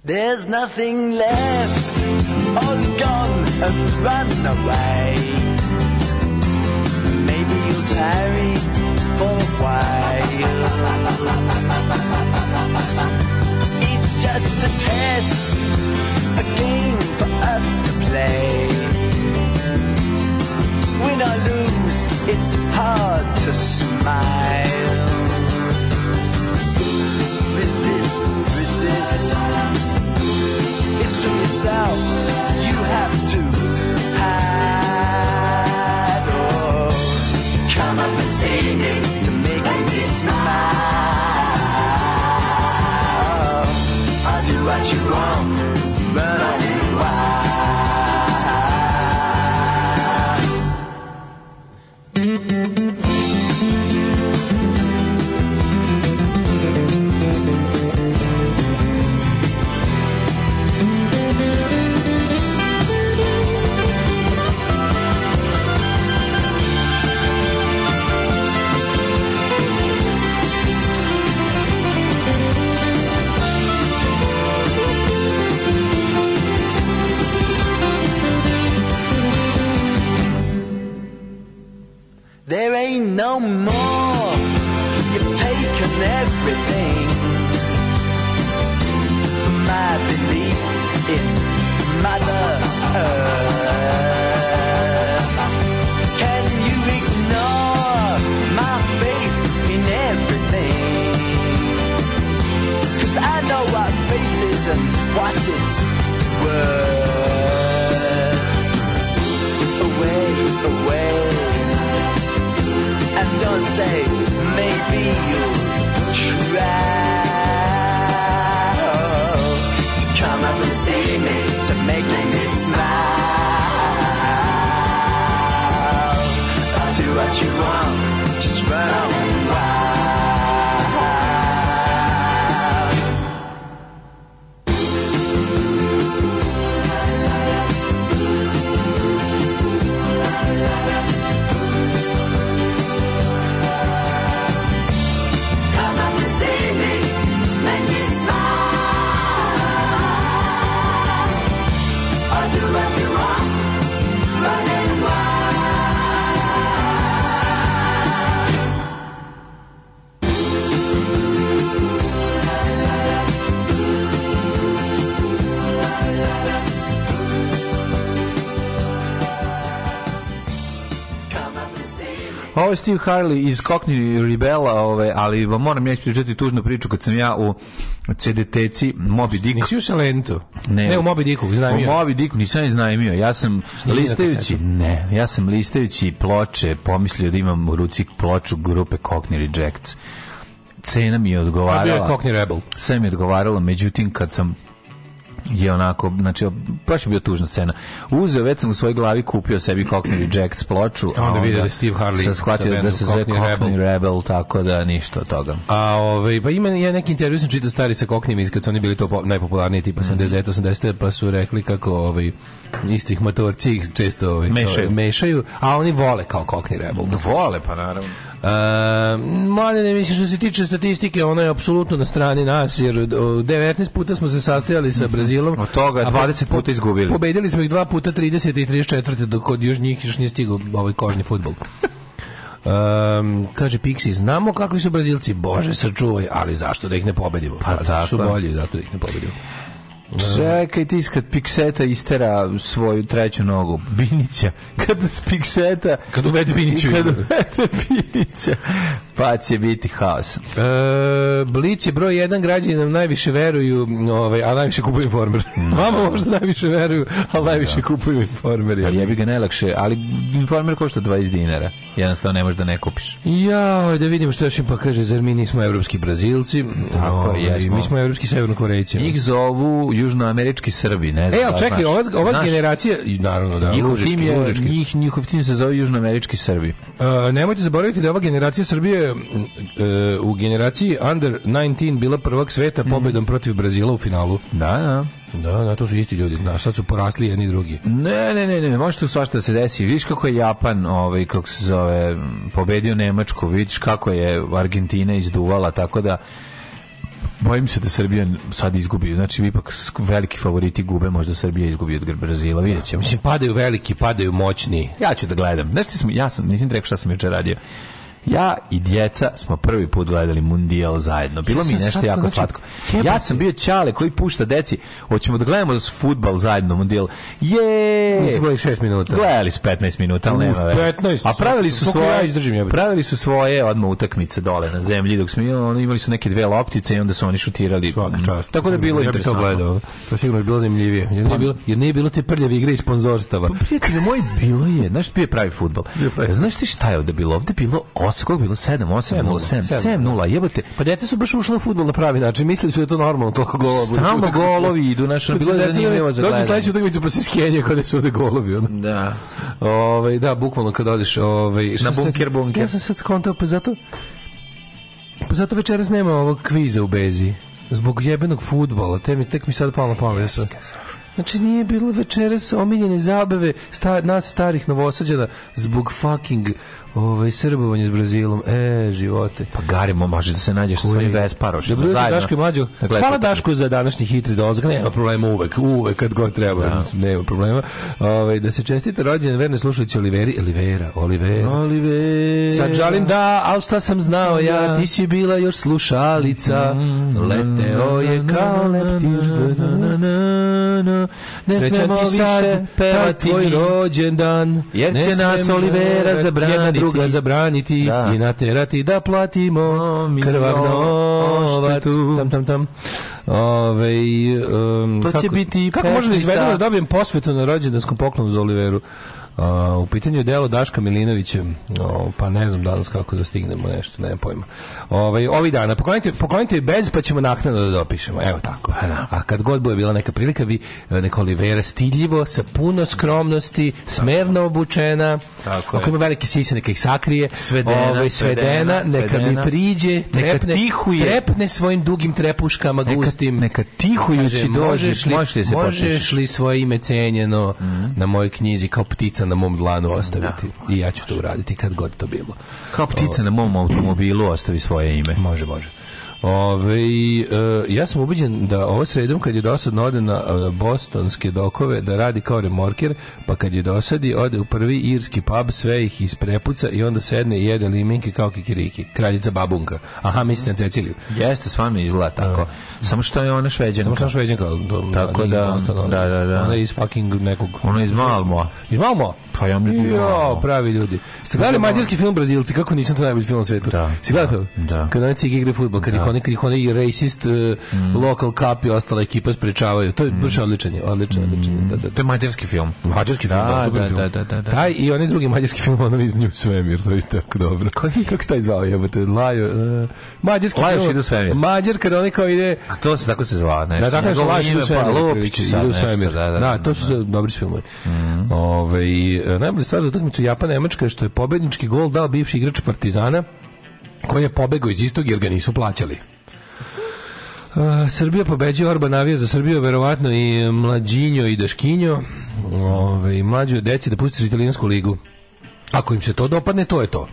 [SPEAKER 2] There's nothing left all gone and run away. Maybe you'll tarry for a while. It's just a test, a game for us to play. Win or lose, it's hard to smile. Resist, resist. It's from yourself you have to hide. Oh, come up and see me to make me smile. I'll do what you want, but I do why. There ain't no more. You've taken everything. My belief in Mother Earth. Can you ignore my faith in everything? Cause I know what faith is and what it's worth. Away, away and don't say maybe you'll try to come up and see me to make me smile. I'll do what you want, just run on wild.
[SPEAKER 4] Come up and see me, make me smile. I'll do what you want, running wild.
[SPEAKER 5] Ovo je Steve Harley iz Cockney Rebella, ove, ali vam moram ja ispričati tužnu priču kad sam ja u CDT-ci Moby Dick.
[SPEAKER 1] Nisi u Salentu?
[SPEAKER 5] Ne.
[SPEAKER 1] ne u Moby Dicku, znam
[SPEAKER 5] U
[SPEAKER 1] ja.
[SPEAKER 5] Moby Dicku nisam iznajmio. Ja sam
[SPEAKER 1] Snimio
[SPEAKER 5] listajući,
[SPEAKER 1] kasetu.
[SPEAKER 5] ne, ja sam listajući ploče pomislio da imam u ruci ploču grupe Cockney Rejects. Cena mi je
[SPEAKER 1] Pa bio je
[SPEAKER 5] odgovarala.
[SPEAKER 1] Cockney Rebel.
[SPEAKER 5] Sve mi je odgovaralo, međutim kad sam je onako, znači, baš je bio tužna scena. Uzeo, već sam u svojoj glavi kupio sebi Cockney
[SPEAKER 1] (clears throat)
[SPEAKER 5] Rejects ploču,
[SPEAKER 1] A onda vidio da je Steve Harley
[SPEAKER 5] sam
[SPEAKER 1] sa
[SPEAKER 5] shvatio da
[SPEAKER 1] bandom
[SPEAKER 5] se zove
[SPEAKER 1] Cockney
[SPEAKER 5] Cockney
[SPEAKER 1] Rebel.
[SPEAKER 5] Rebel. tako da ništa od toga.
[SPEAKER 1] A ovaj pa ima ja neki intervju sam čitao stari sa Koknim iz kad su oni bili to po- najpopularniji tipa 79 80 pa su rekli kako ovaj isto ih motorci ih često ovaj to-
[SPEAKER 5] Mešaju.
[SPEAKER 1] mešaju, a oni vole kao Kokni Rebel.
[SPEAKER 5] Vole, pa naravno.
[SPEAKER 1] E, mlade ne mislim što se tiče statistike, ona je apsolutno na strani nas jer o, 19 puta smo se sastajali sa Brazilom.
[SPEAKER 5] Od toga
[SPEAKER 1] a po-
[SPEAKER 5] 20 puta izgubili.
[SPEAKER 1] Pobedili smo ih dva puta 30 i 34 dok od još njih još nije stigao ovaj kožni futbol. Um, kaže Pixi, znamo kakvi su Brazilci, bože sačuvaj, ali zašto da ih ne pobedimo? Pa, zato su
[SPEAKER 5] tako.
[SPEAKER 1] bolji, zato da ih ne pobedimo.
[SPEAKER 5] Čekaj ti kad Pikseta istera svoju treću nogu, (laughs) Binića, kad s Pikseta...
[SPEAKER 1] Kad uvede Binića u
[SPEAKER 5] Kad
[SPEAKER 1] igru.
[SPEAKER 5] uvede (laughs) Binića, pa će biti haos.
[SPEAKER 1] E, Blic je broj jedan građani nam najviše veruju, m, ovaj, a najviše kupuju informer. Vama možda najviše veruju, ali najviše kupuju informer.
[SPEAKER 5] Ali jebi ga najlakše, ali informer košta 20 dinara. Jednostavno ne možeš da ne kupiš.
[SPEAKER 1] Ja, da vidimo što još im pa kaže, zar mi nismo evropski Brazilci?
[SPEAKER 5] Tako,
[SPEAKER 1] Ovaj,
[SPEAKER 5] jesmo.
[SPEAKER 1] Mi smo evropski severnokorejci.
[SPEAKER 5] Njih zovu južnoamerički Srbi, ne znam.
[SPEAKER 1] E, ali
[SPEAKER 5] da
[SPEAKER 1] čekaj,
[SPEAKER 5] znaš.
[SPEAKER 1] ova, ova
[SPEAKER 5] Znaš,
[SPEAKER 1] generacija, i naravno da,
[SPEAKER 5] Njihov
[SPEAKER 1] lužički,
[SPEAKER 5] tim, je,
[SPEAKER 1] lužički.
[SPEAKER 5] njih, njihov tim se zove južnoamerički Srbi.
[SPEAKER 1] E, nemojte zaboraviti da je ova generacija Srbije m, e, u generaciji Under 19 bila prvak
[SPEAKER 5] Mhm.
[SPEAKER 1] sveta pobedom protiv Brazila u finalu.
[SPEAKER 5] Da, da.
[SPEAKER 1] Da, da, to su isti ljudi, da, sad su porasli jedni i drugi.
[SPEAKER 5] Ne, ne, ne, ne, može tu svašta da se desi. Vidiš kako je Japan, ovaj, kako se zove, m, pobedio Nemačku, vidiš kako je Argentina izduvala, tako da bojim se da Srbija sad izgubi. Znači, ipak sk- veliki favoriti gube, možda Srbija izgubi od Brazila, vidjet ćemo.
[SPEAKER 1] Mislim, padaju veliki, padaju moćni.
[SPEAKER 5] Ja ću da gledam. Znaš ti sam, ja sam, nisam ti rekao šta sam juče radio. Ja i djeca smo prvi put gledali Mundijal zajedno. Bilo
[SPEAKER 1] Ja
[SPEAKER 5] mi
[SPEAKER 1] sam-
[SPEAKER 5] je
[SPEAKER 1] sad
[SPEAKER 5] nešto
[SPEAKER 1] smo,
[SPEAKER 5] jako
[SPEAKER 1] znači,
[SPEAKER 5] slatko.
[SPEAKER 1] jebote.
[SPEAKER 5] Ja sam bio Ćale koji pušta deci. Hoćemo da gledamo futbal zajedno Mundijal. Je!
[SPEAKER 1] Nisu gledali šest minuta.
[SPEAKER 5] Gledali su 15 minuta, ali nema
[SPEAKER 1] Uf,
[SPEAKER 5] veze.
[SPEAKER 1] 15,
[SPEAKER 5] A pravili su
[SPEAKER 1] koliko
[SPEAKER 5] svoje,
[SPEAKER 1] ja izdržim, jebote.
[SPEAKER 5] pravili su svoje odmah utakmice dole na zemlji, dok smo ono, imali, imali su neke dve loptice i onda su oni šutirali. Mhm.
[SPEAKER 1] Svaka čast.
[SPEAKER 5] Tako da je bilo
[SPEAKER 1] ja bih to
[SPEAKER 5] interesantno. Pa
[SPEAKER 1] gledao. Pa- To sigurno je bilo zanimljivije. Jer nije bilo, jer nije bilo te prljave igre i sponzorstava.
[SPEAKER 5] Prijatelju moj, bilo je, znaš, bio je pravi futbol. Znaš ti šta je ovde bilo? Ovde je bilo 8, koliko je bilo? 7, 8, 0, 7, 7, 0, jebote.
[SPEAKER 1] Pa djeca su baš ušla u futbol na pravi način. Mislili su da je to normalno, toliko golova. bude.
[SPEAKER 5] Stalno golovi idu, znaš, ono,
[SPEAKER 1] Što
[SPEAKER 5] bilo
[SPEAKER 1] se
[SPEAKER 5] je
[SPEAKER 1] deca
[SPEAKER 5] zanimljivo za
[SPEAKER 1] Dođu u
[SPEAKER 5] gledanje.
[SPEAKER 1] sledeću utakmicu pa se skenje kada su ovde golovi. Ono.
[SPEAKER 5] Da.
[SPEAKER 1] Ovaj da, bukvalno kad odeš ovaj šta
[SPEAKER 5] Na
[SPEAKER 1] sam
[SPEAKER 5] bunker,
[SPEAKER 1] rekao?
[SPEAKER 5] bunker.
[SPEAKER 1] Ja sam sad skontao pa zato pa zato večeras nema ovog kviza u Bezi. Zbog jebenog fudbala, te mi tek mi sad palo na pamet sad. Znači nije bilo večeras omiljene zabave sta, nas starih novosađana zbog fucking ovaj srbovanja s Brazilom. E, živote.
[SPEAKER 5] Pa garimo, može da se nađeš sa svojim Vesparošima.
[SPEAKER 1] Dobro jutro,
[SPEAKER 5] zajedno.
[SPEAKER 1] Daško i Mlađo.
[SPEAKER 5] Da gledate
[SPEAKER 1] Hvala
[SPEAKER 5] utakmicu.
[SPEAKER 1] Daško za današnji hitri dolazak. Nema problema uvek, uvek kad god treba. mislim, Nema problema. Ovaj, da se čestite rođendan verne slušajući Oliveri. Olivera, Olivera.
[SPEAKER 5] Oliver.
[SPEAKER 1] Sad žalim da, al šta sam znao ja, ti si bila još slušalica, leteo je kao leptir.
[SPEAKER 5] Ne
[SPEAKER 1] Srećan
[SPEAKER 5] smemo
[SPEAKER 1] ti
[SPEAKER 5] više
[SPEAKER 1] sad, taj
[SPEAKER 5] pevati
[SPEAKER 1] tvoj
[SPEAKER 5] mi.
[SPEAKER 1] rođendan.
[SPEAKER 5] Jer
[SPEAKER 1] Ne
[SPEAKER 5] će nas
[SPEAKER 1] smemo
[SPEAKER 5] Olivera
[SPEAKER 1] jedna
[SPEAKER 5] zabraniti.
[SPEAKER 1] druga zabraniti
[SPEAKER 5] Da.
[SPEAKER 1] i naterati da platimo
[SPEAKER 5] milion
[SPEAKER 1] krvav novac.
[SPEAKER 5] odštetu.
[SPEAKER 1] Tam, tam, tam. Ove, um,
[SPEAKER 5] To će
[SPEAKER 1] kako-
[SPEAKER 5] biti
[SPEAKER 1] Kako može da
[SPEAKER 5] pesnica.
[SPEAKER 1] izvedemo da dobijem posvetu na rođendanskom poklonu za Oliveru? A, u pitanju je delo Daška Milinovića. O, pa ne znam danas kako da stignemo nešto, nema pojma. Ove, ovi dana, poklonite, poklonite je bez, pa ćemo naknadno da dopišemo. Evo tako.
[SPEAKER 5] Pa
[SPEAKER 1] A kad god bude bila neka prilika, vi e, neka Olivera stiljivo, sa puno skromnosti, smerno obučena,
[SPEAKER 5] Tako je.
[SPEAKER 1] ako ima velike sise, neka ih sakrije,
[SPEAKER 5] Svedena,
[SPEAKER 1] Ovaj, svedena,
[SPEAKER 5] svedena,
[SPEAKER 1] neka mi
[SPEAKER 5] svedena.
[SPEAKER 1] priđe,
[SPEAKER 5] Neka
[SPEAKER 1] trepne,
[SPEAKER 5] tihuje.
[SPEAKER 1] trepne svojim dugim trepuškama
[SPEAKER 5] Neka-
[SPEAKER 1] gustim.
[SPEAKER 5] neka tihujući
[SPEAKER 1] Pa Kaže,
[SPEAKER 5] dođe,
[SPEAKER 1] možeš li,
[SPEAKER 5] možeš li se Mhm.
[SPEAKER 1] možeš
[SPEAKER 5] potpišeš?
[SPEAKER 1] li svoje ime cenjeno na mojoj knjizi kao ptica na mom dlanu ostaviti? I ja ću to uraditi kad god to bilo.
[SPEAKER 5] Kao ptica na mom automobilu ostavi svoje ime.
[SPEAKER 1] Može, može. Ove, i, e, ja sam ubeđen da ovo sredom kad je dosadno ode na e, bostonske dokove da radi kao remorker, pa kad je dosadi ode u prvi irski pub, sve ih isprepuca i onda sedne i jede liminke kao kikiriki. Kraljica babunka. Aha, mislite na Ceciliju.
[SPEAKER 5] Jeste, stvarno izgleda tako. Samo što je ona šveđanka.
[SPEAKER 1] Samo što je šveđanka. to-
[SPEAKER 5] Tako
[SPEAKER 1] nije
[SPEAKER 5] da,
[SPEAKER 1] Boston, ona
[SPEAKER 5] da,
[SPEAKER 1] je-
[SPEAKER 5] da, da.
[SPEAKER 1] Ona je iz fucking nekog...
[SPEAKER 5] Ona iz Malmoa.
[SPEAKER 1] Iz Malmo?
[SPEAKER 5] Pa ja mislim da je
[SPEAKER 1] Jo,
[SPEAKER 5] Malmo.
[SPEAKER 1] pravi ljudi. Ste gledali mađarski film Brazilci, kako nisam to najbolji film na svetu?
[SPEAKER 5] Da.
[SPEAKER 1] Si gledao to?
[SPEAKER 5] Da.
[SPEAKER 1] Kad oni cigi igre futbol, kad ih oni, kad ih oni i racist, eh,
[SPEAKER 5] Mm.
[SPEAKER 1] local cup i ostala ekipa sprečavaju. To je baš odličan je, odličan, odličan. je, Da, da,
[SPEAKER 5] To je Mm. mađarski film.
[SPEAKER 1] Mađarski film,
[SPEAKER 5] da,
[SPEAKER 1] super
[SPEAKER 5] da,
[SPEAKER 1] film.
[SPEAKER 5] da, da, da, da.
[SPEAKER 1] Taj i onaj drugi mađarski film, ono iz nju svemir, to je isto jako dobro. Kako se taj zvao, jebote, Lajo, eh, mađarski
[SPEAKER 5] Lajoš
[SPEAKER 1] film.
[SPEAKER 5] ide u svemir.
[SPEAKER 1] Mađar, kad oni kao ide,
[SPEAKER 5] A to se tako se zvao, nešto.
[SPEAKER 1] da, dakle, tako je
[SPEAKER 5] Njegovo
[SPEAKER 1] Slash
[SPEAKER 5] ime,
[SPEAKER 1] idu sve.
[SPEAKER 5] pa Lupić i sad nešto,
[SPEAKER 1] Da, da, da, to su da, Mhm. dobri filmovi. Ove, i, e, najbolja stvar za utakmicu Japan-Nemačka je što je pobednički gol dao bivši igrač Partizana koji je pobegao iz istog jer ga nisu plaćali. E, Srbija pobeđuje Orban navija za Srbiju verovatno i Mlađinjo i Daškinjo Ove, i mlađu deci da pustiš italijansku ligu ako im se to dopadne to je to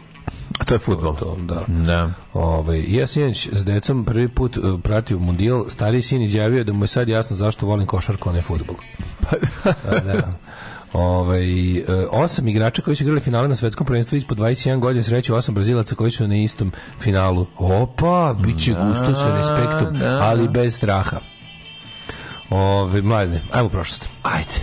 [SPEAKER 5] To je futbol.
[SPEAKER 1] to, da.
[SPEAKER 5] Da.
[SPEAKER 1] Ove, Ovaj, ja sinoć s decom prvi put e, pratio mundijal, stariji sin izjavio da mu je sad jasno zašto volim košarku, a ne futbol. Pa da. Ove, e, osam igrača koji su igrali finale na svetskom prvenstvu ispod 21 godina sreću osam brazilaca koji su na istom finalu. Opa, bit će gusto sa respektom,
[SPEAKER 5] da.
[SPEAKER 1] ali bez straha. Ove, mladine, ajmo u prošlost.
[SPEAKER 5] Ajde.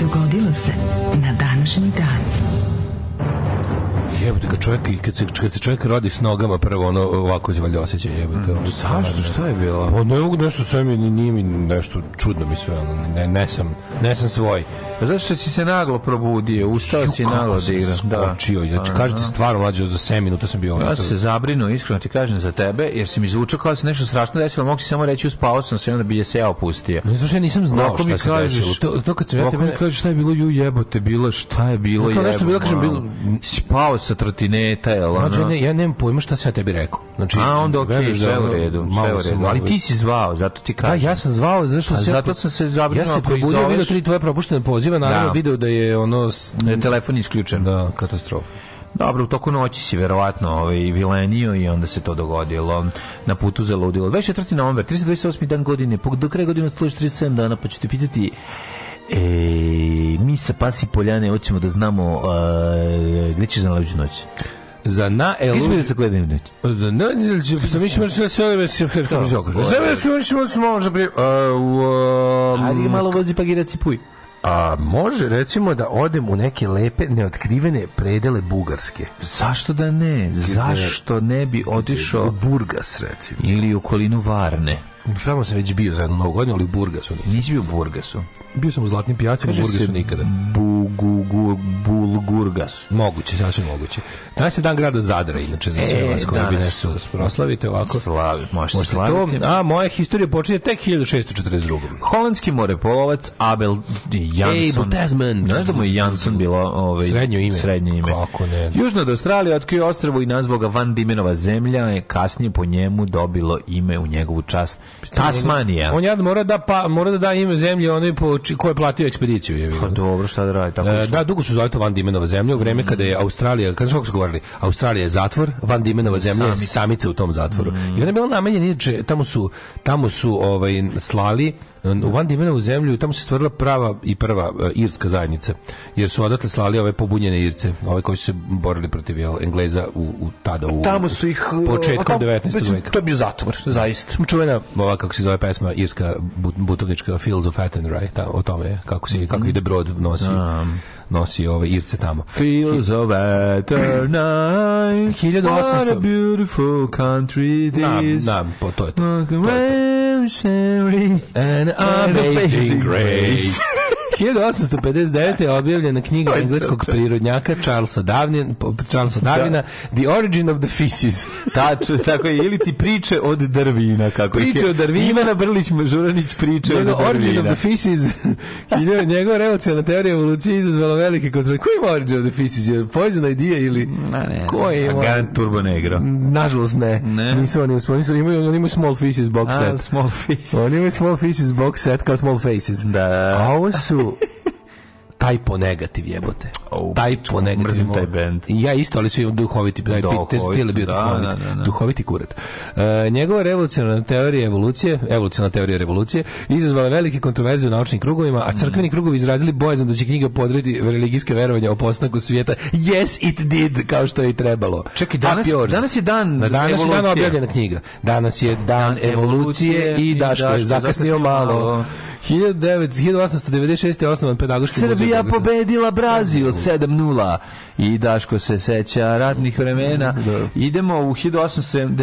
[SPEAKER 4] Dogodilo se na današnji dan.
[SPEAKER 1] Jebote, kad čovjek, kad se, kad se čovjek rodi s nogama prvo, ono ovako izvalja osjećaj, jebote. ono,
[SPEAKER 5] Zašto? Šta je bilo?
[SPEAKER 1] Pa ne mogu nešto sve mi, nije mi nešto čudno mi sve, ono, ne, ne sam, ne sam svoj.
[SPEAKER 5] Zato Pa što si se naglo probudio, ustao si
[SPEAKER 1] Ju, kako
[SPEAKER 5] naglo da
[SPEAKER 1] sam
[SPEAKER 5] igra.
[SPEAKER 1] Skočio, znači, kažete stvarno, mlađe, za 7 minuta sam bio
[SPEAKER 5] Ja
[SPEAKER 1] ovaj.
[SPEAKER 5] sam se zabrinuo, iskreno ti kažem za tebe, jer si mi zvučao kao da se nešto strašno desilo, mogu si samo reći uspao sam se i onda bi je se ja opustio.
[SPEAKER 1] Ne znam što ja nisam znao
[SPEAKER 5] Ovako mi
[SPEAKER 1] šta se
[SPEAKER 5] kažeš-
[SPEAKER 1] desilo. To, to kad sam ja
[SPEAKER 5] Ovako
[SPEAKER 1] tebe...
[SPEAKER 5] mi kažeš šta je bilo, ju jebote, bilo je, šta je bilo, ono,
[SPEAKER 1] Kao nešto bilo, kažem, bilo-
[SPEAKER 5] Spao sa trotineta, jel?
[SPEAKER 1] Mlađe,
[SPEAKER 5] ono?
[SPEAKER 1] ne, ja nemam pojma šta sam ja tebi rekao. Znači,
[SPEAKER 5] A onda okej,
[SPEAKER 1] veruješ da
[SPEAKER 5] sve u
[SPEAKER 1] ono,
[SPEAKER 5] redu, sve
[SPEAKER 1] malo
[SPEAKER 5] u
[SPEAKER 1] sam
[SPEAKER 5] redu. Ali
[SPEAKER 1] ovaj-
[SPEAKER 5] ti si zvao, zato ti
[SPEAKER 1] Da,
[SPEAKER 5] kažem.
[SPEAKER 1] ja sam zvao, zašto
[SPEAKER 5] A
[SPEAKER 1] se...
[SPEAKER 5] zato sam se zabrinuo
[SPEAKER 1] Ja sam
[SPEAKER 5] ako
[SPEAKER 1] probudio,
[SPEAKER 5] izoveš-
[SPEAKER 1] vidio tri tvoje propuštene poziva, naravno
[SPEAKER 5] Da.
[SPEAKER 1] video da je ono... s-
[SPEAKER 5] Da je E, telefon isključen.
[SPEAKER 1] Da, katastrofa.
[SPEAKER 5] Dobro, u toku noći si verovatno ovaj, vilenio i onda se to dogodilo. Na putu za ludilo. 24. novembar, 328. dan godine, pog- do kraja godine služiš 37 dana, pa ću te pitati E, mi sa Pasi Poljane hoćemo da znamo e, gde ćeš za najluđu noć.
[SPEAKER 1] Za na
[SPEAKER 5] Gde ćeš
[SPEAKER 1] Elu...
[SPEAKER 5] vidjeti za koju dnevnu noć?
[SPEAKER 1] Ne, ili će sam išao sve sve ove se kako bi zokar. Sve ove se išao smo možda pri
[SPEAKER 5] Ajde ga malo vozi pa giraci puj.
[SPEAKER 1] a može recimo da odem u neke lepe neotkrivene predele bugarske.
[SPEAKER 5] Zašto da ne? Zašto ne bi
[SPEAKER 1] U
[SPEAKER 5] otišao
[SPEAKER 1] Burgas recimo.
[SPEAKER 5] ili u okolinu Varne?
[SPEAKER 1] Tamo sam već bio za jednu novu godinu, ali u Burgasu nisam.
[SPEAKER 5] Nisi bio u Burgasu.
[SPEAKER 1] Bio sam u Zlatnim pijacima, u Burgasu nikada.
[SPEAKER 5] Bugugu, Bulgurgas.
[SPEAKER 1] Moguće, sasvim moguće. Danas je dan grada Zadra, inače, za sve
[SPEAKER 5] E,
[SPEAKER 1] vas koji bi
[SPEAKER 5] danas.
[SPEAKER 1] nešto da proslavite ovako.
[SPEAKER 5] Slavi, možete
[SPEAKER 1] Možete to,
[SPEAKER 5] slaviti.
[SPEAKER 1] a moja historija počinje tek 1642.
[SPEAKER 5] Holandski morepolovac Abel Jansson.
[SPEAKER 1] Abel Tasman.
[SPEAKER 5] Znaš da mu je Jansson bilo ovaj,
[SPEAKER 1] Srednje ime.
[SPEAKER 5] Srednje ime.
[SPEAKER 1] Kako ne.
[SPEAKER 5] Južno od Australije otkrio ostrvo i nazvao ga Van Dimenova zemlja. Je kasnije po njemu dobilo ime u njegovu čast Tasmanija.
[SPEAKER 1] On jad mora da pa mora da da ime zemlje onaj po či, ko je platio ekspediciju je.
[SPEAKER 5] Pa dobro, šta da radi? Tako
[SPEAKER 1] E,
[SPEAKER 5] što- Mm.
[SPEAKER 1] da, dugo su zvali to Van Dimenova zemlja u vreme kada je Australija, kada su kako su govorili, Australija je zatvor, Van Dimenova zemlja je
[SPEAKER 5] Samica. Mm.
[SPEAKER 1] samica u tom zatvoru. I ona je bila namenjena, inače, tamo su, tamo su ovaj, slali, u Van Dimenovu zemlju, tamo se stvorila prava i prva e, irska zajednica, jer su odatle slali ove pobunjene Irce, ove koji su se borili protiv jel, Engleza u, u tada u
[SPEAKER 5] Tamo su ih...
[SPEAKER 1] početkom
[SPEAKER 5] a,
[SPEAKER 1] 19.
[SPEAKER 5] mislim,
[SPEAKER 1] veka.
[SPEAKER 5] To je bio zatvor, zaista.
[SPEAKER 1] čuvena ova kako se zove pesma irska but- butovnička Fields of Attenry ta, o tome je, kako se
[SPEAKER 5] Mhm.
[SPEAKER 1] kako ide brod nosi nosi ove irce tamo
[SPEAKER 5] Feels of eternite.
[SPEAKER 1] 1800.
[SPEAKER 5] What a beautiful country this.
[SPEAKER 1] da, po, to je to.
[SPEAKER 5] Welcome, Sherry.
[SPEAKER 1] An amazing
[SPEAKER 5] Amazing
[SPEAKER 1] grace. (laughs)
[SPEAKER 5] grace.
[SPEAKER 1] 1859. je objavljena knjiga engleskog prirodnjaka Charlesa Davina, Charlesa Davina The Origin of the Feces.
[SPEAKER 5] Tačno, tako je. Ili ti priče od drvina. Kako ih je.
[SPEAKER 1] Priče od drvina.
[SPEAKER 5] Ivana Brlić-Žuranić priče od
[SPEAKER 1] Njegov Ono, Origin of
[SPEAKER 5] drvina.
[SPEAKER 1] the (laughs) Feces, njegov- njegova revolucionalna teorija evolucije izazvala velike kontrole. Ko ima Origin of the Feces? Je li Poison Idea ili...
[SPEAKER 5] Ma Mm, ne
[SPEAKER 1] Ko
[SPEAKER 5] znam.
[SPEAKER 1] je ima?
[SPEAKER 5] Agant Turbo Negro.
[SPEAKER 1] Nažalost ne.
[SPEAKER 5] Ne.
[SPEAKER 1] Nisu oni uspeli. Nisu, imaju, oni imaju Small Feces box
[SPEAKER 5] A,
[SPEAKER 1] set.
[SPEAKER 5] small face.
[SPEAKER 1] Oni imaju Small Feces box set kao Small Faces.
[SPEAKER 5] Da, da.
[SPEAKER 1] A ovo su taj po negativ jebote.
[SPEAKER 5] Au,
[SPEAKER 1] taj po negativ.
[SPEAKER 5] mrzim taj bend.
[SPEAKER 1] I ja isto, ali su im duhoviti. Taj
[SPEAKER 5] Duhovit,
[SPEAKER 1] Peter Steele je bio
[SPEAKER 5] da,
[SPEAKER 1] duhovit.
[SPEAKER 5] da, da, da.
[SPEAKER 1] Duhoviti kurat. E, njegova revolucionarna teorija evolucije, evolucionarna teorija revolucije, izazvala je velike kontroverze u naučnim krugovima, a
[SPEAKER 5] Mm.
[SPEAKER 1] crkveni krugovi izrazili bojazan da će knjiga podredi religijske verovanja o postanku svijeta. Yes, it did, kao što je i trebalo.
[SPEAKER 5] Čekaj, danas-
[SPEAKER 1] Up yours.
[SPEAKER 5] danas je dan
[SPEAKER 1] Na danas je dan
[SPEAKER 5] evolucije.
[SPEAKER 1] objavljena knjiga. Danas je dan, evolucije i Daško je zakasnio malo. 1900 1896. je osnovan pedagoški muzej
[SPEAKER 5] Srbija
[SPEAKER 1] u Beogradu.
[SPEAKER 5] pobedila Brazil 7-0 i Daško se seća ratnih vremena. Idemo u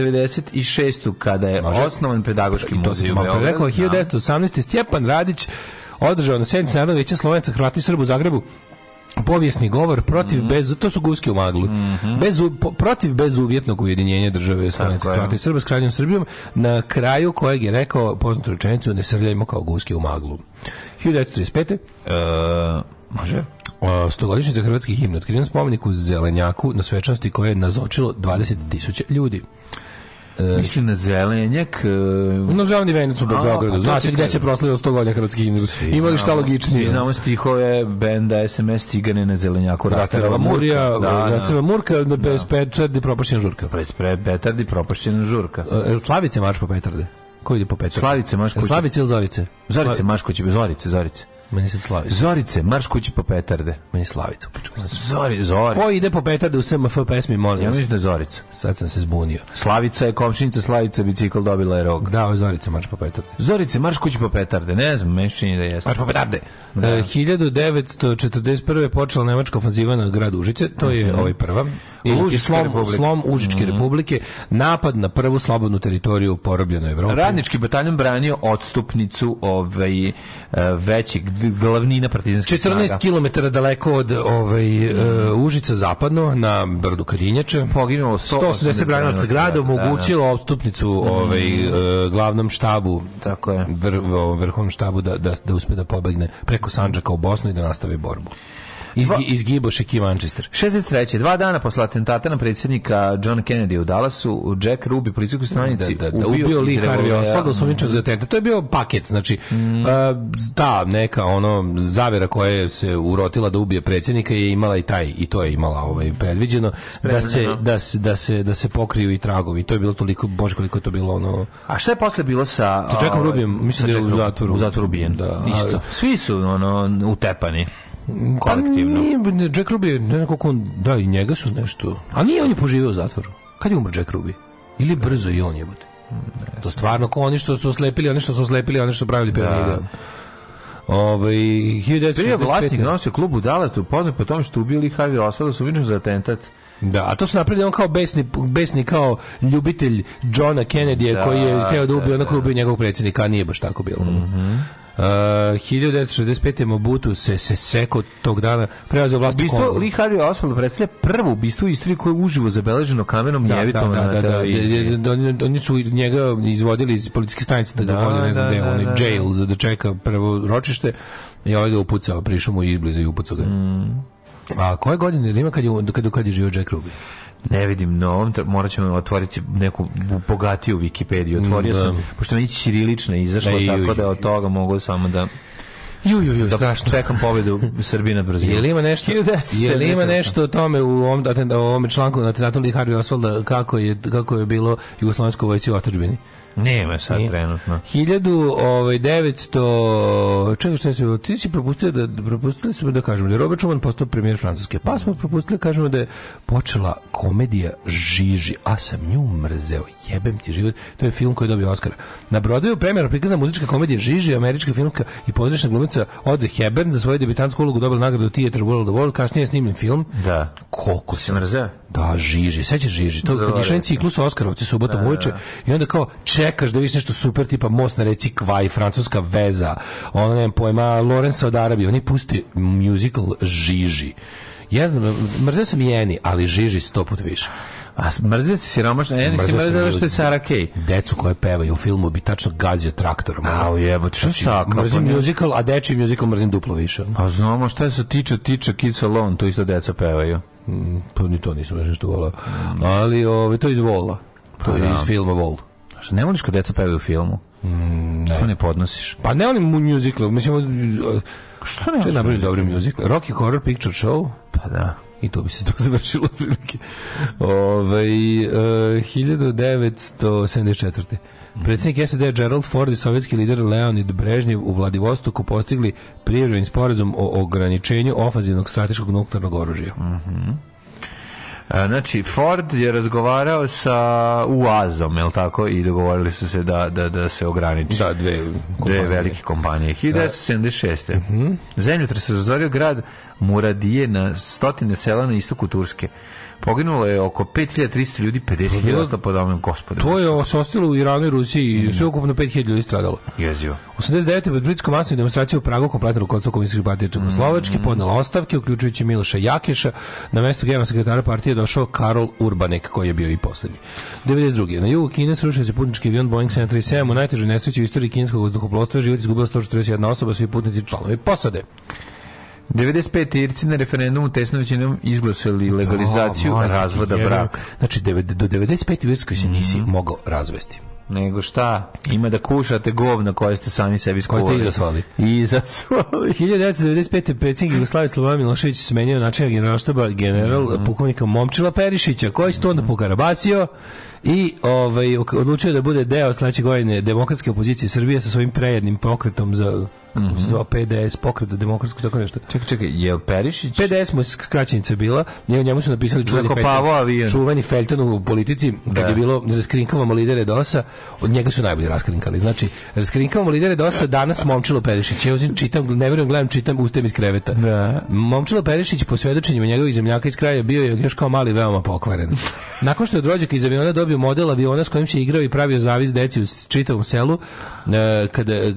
[SPEAKER 5] 1896. kada je
[SPEAKER 1] Može.
[SPEAKER 5] osnovan pedagoški
[SPEAKER 1] I to se
[SPEAKER 5] muzej u
[SPEAKER 1] malo pre rekao.
[SPEAKER 5] Beogradu. Da.
[SPEAKER 1] 1918. Stjepan Radić održao na sednici Narodnog veća Slovenaca, Hrvata i Srba u Zagrebu povijesni govor protiv bez to su guske u maglu bez, protiv bezuvjetnog ujedinjenja države Slovenska
[SPEAKER 5] je.
[SPEAKER 1] Hrvata i Srba s kraljem Srbijom na kraju kojeg je rekao poznatu rečenicu ne srljajmo kao guske u maglu 1935.
[SPEAKER 5] E, može?
[SPEAKER 1] Uh, Stogodišnjica hrvatskih himne otkriven spomenik u Zelenjaku na svečanosti koje je nazočilo 20.000 ljudi.
[SPEAKER 5] Mislim na zelenjak. e,
[SPEAKER 1] No, zavni venac u
[SPEAKER 5] A, pa
[SPEAKER 1] Beogradu.
[SPEAKER 5] to
[SPEAKER 1] Zna
[SPEAKER 5] ti
[SPEAKER 1] se gde
[SPEAKER 5] kažem.
[SPEAKER 1] se proslavio 100 godina hrvatskih himne. Ima li šta
[SPEAKER 5] znamo-
[SPEAKER 1] logičnije?
[SPEAKER 5] svi Znamo stihove benda SMS Cigane na zelenjaku.
[SPEAKER 1] Rastrela Murija, e, Rastrela Murka, da bez Petarde propašćena žurka.
[SPEAKER 5] Pred pre Betardi propašćena žurka.
[SPEAKER 1] Uh, jel Slavice marš po Petarde. Ko ide po Petarde?
[SPEAKER 5] Slavice marš
[SPEAKER 1] Jel
[SPEAKER 5] kuće.
[SPEAKER 1] Slavice ili Zorice?
[SPEAKER 5] Zorice,
[SPEAKER 1] Sla-
[SPEAKER 5] maš kući, Zorice, Zorice.
[SPEAKER 1] Meni se Slavice.
[SPEAKER 5] Zorice, marš kući po petarde.
[SPEAKER 1] Meni je Slavica. u pičku.
[SPEAKER 5] Zori, Zori.
[SPEAKER 1] Ko ide po Petarde u SMF pesmi, molim
[SPEAKER 5] Ja
[SPEAKER 1] vas.
[SPEAKER 5] mislim da je Zorica.
[SPEAKER 1] Sad sam se zbunio.
[SPEAKER 5] Slavica je komšinica, Slavica bicikl dobila je rog.
[SPEAKER 1] Da, ovo je Zorica marš po Petarde.
[SPEAKER 5] Zorice, marš kući po petarde. Ne znam, meni se čini da jeste.
[SPEAKER 1] Marš po petarde. E, 1941. je počela nemačka ofanziva na grad Užice, to
[SPEAKER 5] Mhm.
[SPEAKER 1] je ovaj prva. I,
[SPEAKER 5] Užička
[SPEAKER 1] i slom,
[SPEAKER 5] republika.
[SPEAKER 1] slom Užičke
[SPEAKER 5] Mhm.
[SPEAKER 1] republike, napad na prvu slobodnu teritoriju u porobljenoj Evropi.
[SPEAKER 5] Radnički bataljon branio odstupnicu ovaj, e, većeg, glavnina partizanskih snaga.
[SPEAKER 1] 14 km daleko od ovaj, e, Užica zapadno na brdu Karinjače.
[SPEAKER 5] Poginulo 180
[SPEAKER 1] 180 branaca grada omogućilo odstupnicu ovaj, e, glavnom štabu
[SPEAKER 5] Mhm. Tako je.
[SPEAKER 1] Vr, o, vrhovnom štabu da, da, da uspe da pobegne preko Sanđaka u Bosnu i da nastave borbu. Izgi,
[SPEAKER 5] Dva-
[SPEAKER 1] izgiboše Kim Manchester.
[SPEAKER 5] 63. Dva dana posle atentata na predsjednika John Kennedy u Dallasu, Jack Ruby, policijsku stranici,
[SPEAKER 1] da, da, da, ubio, Lee
[SPEAKER 5] iz
[SPEAKER 1] Harvey
[SPEAKER 5] revolvera. Mm.
[SPEAKER 1] Oswalda osumnjičenog za atentata. To je bio paket, znači a, ta neka ono zavera koja je se urotila da ubije predsjednika je imala i taj i to je imala ovaj predviđeno da se da se da se da se pokriju i tragovi. To je bilo toliko bože koliko je to bilo ono
[SPEAKER 5] A šta je posle bilo sa...
[SPEAKER 1] Sa Jackom
[SPEAKER 5] ovaj,
[SPEAKER 1] Rubyjem? Mislim
[SPEAKER 5] sa
[SPEAKER 1] da je u
[SPEAKER 5] Jackom Rubyjem.
[SPEAKER 1] zatvoru.
[SPEAKER 5] U zatvoru ubijen.
[SPEAKER 1] Da,
[SPEAKER 5] Isto.
[SPEAKER 1] ali-
[SPEAKER 5] Svi su ono, utepani. Kolektivno.
[SPEAKER 1] Pa nije, ne, Jack Ruby, je, ne znam koliko on, da, i njega su nešto. A nije on je poživio u zatvoru. Kad je umro Jack Ruby? Ili brzo i on je To stvarno, ko oni što su oslepili, oni što su oslepili, oni što su pravili piramide. Ovaj 1965.
[SPEAKER 5] Bio je vlasnik nosio klub u Daletu, poznat po tome što ubio Lee Harvey Oswalda su za atentat.
[SPEAKER 1] Da, a to su napravili on kao besni, besni kao ljubitelj Johna Kennedy koji je hteo da ubije onako ubio njegovog predsjednika, a nije baš tako bilo. Uh, 1965. Mobutu se, se seko tog dana preuzeo vlast u
[SPEAKER 5] Ubistvo
[SPEAKER 1] Kongu.
[SPEAKER 5] Lee Harvey Oswalda predstavlja prvo ubistvo u istoriji koje je uživo zabeleženo kamenom
[SPEAKER 1] Da,
[SPEAKER 5] njevitom
[SPEAKER 1] da, da,
[SPEAKER 5] na
[SPEAKER 1] da, da,
[SPEAKER 5] televiziji.
[SPEAKER 1] da, oni- oni su njega izvodili iz policijske stanice da ga
[SPEAKER 5] Da,
[SPEAKER 1] vode, ne znam
[SPEAKER 5] da,
[SPEAKER 1] gde,
[SPEAKER 5] da,
[SPEAKER 1] onaj
[SPEAKER 5] da.
[SPEAKER 1] jail za da čeka prvo ročište i ovaj ga je upucao, prišao mu izbliza i upucao ga. je.
[SPEAKER 5] Mm.
[SPEAKER 1] A koje godine da ima kad je, kad, je- kad je živio Jack Ruby?
[SPEAKER 5] Ne vidim, no ovom tre- morat ćemo otvoriti neku bu- bogatiju Wikipediju. Otvorio
[SPEAKER 1] Mm, Da.
[SPEAKER 5] sam, pošto meni ćirilična izašla,
[SPEAKER 1] Da, i-
[SPEAKER 5] tako da od toga mogu samo da,
[SPEAKER 1] Ju, ju, ju,
[SPEAKER 5] da
[SPEAKER 1] strašno.
[SPEAKER 5] čekam pobedu Srbije nad Brazilom.
[SPEAKER 1] Je li ima nešto, je li ima
[SPEAKER 5] 1970.
[SPEAKER 1] nešto o tome u ovom, atent- o ovome članku na atentatu Lee Harvey Oswalda kako je, kako je bilo jugoslovensko vojci u otačbini?
[SPEAKER 5] Nema sad
[SPEAKER 1] Nije.
[SPEAKER 5] Pa trenutno.
[SPEAKER 1] 1900 čega šta se ti si propustio da da propustili smo da kažemo da je Robert Schuman postao premijer Francuske pa smo propustili da kažemo da je počela komedija Žiži a sam nju mrzeo jebem ti život to je film koji je dobio Oskara na Broadwayu premijera prikaza muzička komedija Žiži američka filmska i pozorišna glumica glumica Audrey Hepburn za svoju debitantsku ulogu dobila nagradu Theatre World Award, kasnije je snimljen film.
[SPEAKER 5] Da.
[SPEAKER 1] Koliko se
[SPEAKER 5] Sam mrzeo?
[SPEAKER 1] Da, žiži, sećaš žiži. To kad je išao
[SPEAKER 5] recimo.
[SPEAKER 1] jedan ciklus Oskarovci subotom uveče i onda kao čekaš da vidiš nešto super tipa most na reci Kvaj, francuska veza, ono nemam pojma, Lorenza od Arabije, oni pusti musical žiži. Ja znam, mrzeo sam jeni, ali žiži sto put više.
[SPEAKER 5] A s- mrzeo si siromašno? Ja nisi
[SPEAKER 1] sam
[SPEAKER 5] mrzeo što je
[SPEAKER 1] ljudi.
[SPEAKER 5] Sara Kay.
[SPEAKER 1] Decu koje pevaju u filmu bi tačno gazio traktorom. ono.
[SPEAKER 5] Au jebote, što
[SPEAKER 1] Znači,
[SPEAKER 5] znači, tako?
[SPEAKER 1] mrzim musical, a dečiji musical mrzim duplo više. ono.
[SPEAKER 5] A Pa znamo šta se tiče, tiče Kids Alone, to isto deca pevaju.
[SPEAKER 1] Pa ni to nisam baš nešto volao. Ali ove, to je iz Vola. To je iz filma Vol.
[SPEAKER 5] A Što ne voliš kad deca pevaju u filmu?
[SPEAKER 1] Mm, ne.
[SPEAKER 5] To ne podnosiš.
[SPEAKER 1] Pa ne volim mu musical, mislim... uh,
[SPEAKER 5] Što ne
[SPEAKER 1] Što je
[SPEAKER 5] voliš?
[SPEAKER 1] napravio dobri musical? Rocky Horror Picture Show?
[SPEAKER 5] Pa da.
[SPEAKER 1] I to bi se to (laughs) završilo otprilike. Ove, e, 1974. Predsjednik SED Gerald Ford i sovjetski lider Leonid Brežnjev u Vladivostoku postigli privremeni sporazum o ograničenju ofazivnog strateškog nuklearnog oružja.
[SPEAKER 5] Mhm. A, Znači, Ford je razgovarao sa UAZ-om, je li tako? I dogovorili su se da, da, da se ograniči.
[SPEAKER 1] Da, dve
[SPEAKER 5] Dve
[SPEAKER 1] kompanije. Mhm.
[SPEAKER 5] velike kompanije. 1976. Mm -hmm. Zemljotres je razorio grad Muradije na stotine sela na istoku Turske. Poginulo je oko 5300 ljudi, 50.000 po domem gospodu.
[SPEAKER 1] To je se ostalo u Iranu i Rusiji i sve ukupno 5000 ljudi stradalo.
[SPEAKER 5] jezivo.
[SPEAKER 1] 89. pred britskom masovnoj demonstracijom u Pragu kompletno rukovodstvo komunističke partije Čekoslovačke
[SPEAKER 5] Mm.
[SPEAKER 1] podnela ostavke, uključujući Miloša Jakeša. Na mesto generalnog sekretara partije je došao Karol Urbanek, koji je bio i posljednji. 92. Na jugu Kine srušio se putnički avion Boeing 737. U najtežoj nesreći u istoriji kineskog vazduhoplovstva život izgubila 141 osoba, svi putnici članovi posade.
[SPEAKER 5] 95. Irci na referendumu tesno većinom izglasali legalizaciju
[SPEAKER 1] O, majke ti
[SPEAKER 5] razvoda
[SPEAKER 1] jebe.
[SPEAKER 5] braka. Mhm.
[SPEAKER 1] Znači, devet- do 95. u Irskoj se nisi mogao razvesti.
[SPEAKER 5] Nego šta? Ima da kušate govna koje ste sami sebi
[SPEAKER 1] Koje
[SPEAKER 5] skuvali.
[SPEAKER 1] ste izazvali.
[SPEAKER 5] Izazvali.
[SPEAKER 1] 1995. predsjednik Jugoslavije Slobodan Milošević smenio načina generalštaba general pukovnika Momčila Perišića, koji se tu onda pokarabasio i ovaj, odlučio da bude deo sledeće godine demokratske opozicije Srbije sa svojim prejednim pokretom za kako se zvao PDS, pokret za demokratsku, tako nešto.
[SPEAKER 5] Čekaj, čekaj, je li Perišić?
[SPEAKER 1] PDS mu je skraćenica bila, i o njemu su napisali čuveni
[SPEAKER 5] Zakopavao
[SPEAKER 1] feljton-
[SPEAKER 5] avion.
[SPEAKER 1] čuveni feljton u politici, kad
[SPEAKER 5] Da.
[SPEAKER 1] je bilo raskrinkavamo lidere DOS-a, od njega su najbolje raskrinkali. Znači, raskrinkavamo lidere DOS-a, danas Momčilo Perišić. Ja uzim, čitam, ne verujem, gledam, čitam, ustajem iz kreveta.
[SPEAKER 5] Da.
[SPEAKER 1] Momčilo Perišić, po svedočenjima njegovih zemljaka iz kraja, bio je još kao mali veoma
[SPEAKER 5] (laughs)
[SPEAKER 1] pokvaren. Nakon što je od rođaka iz aviona dobio model aviona s kojim se igrao i pravio zavis deci u s- čitavom selu, e, kada, e,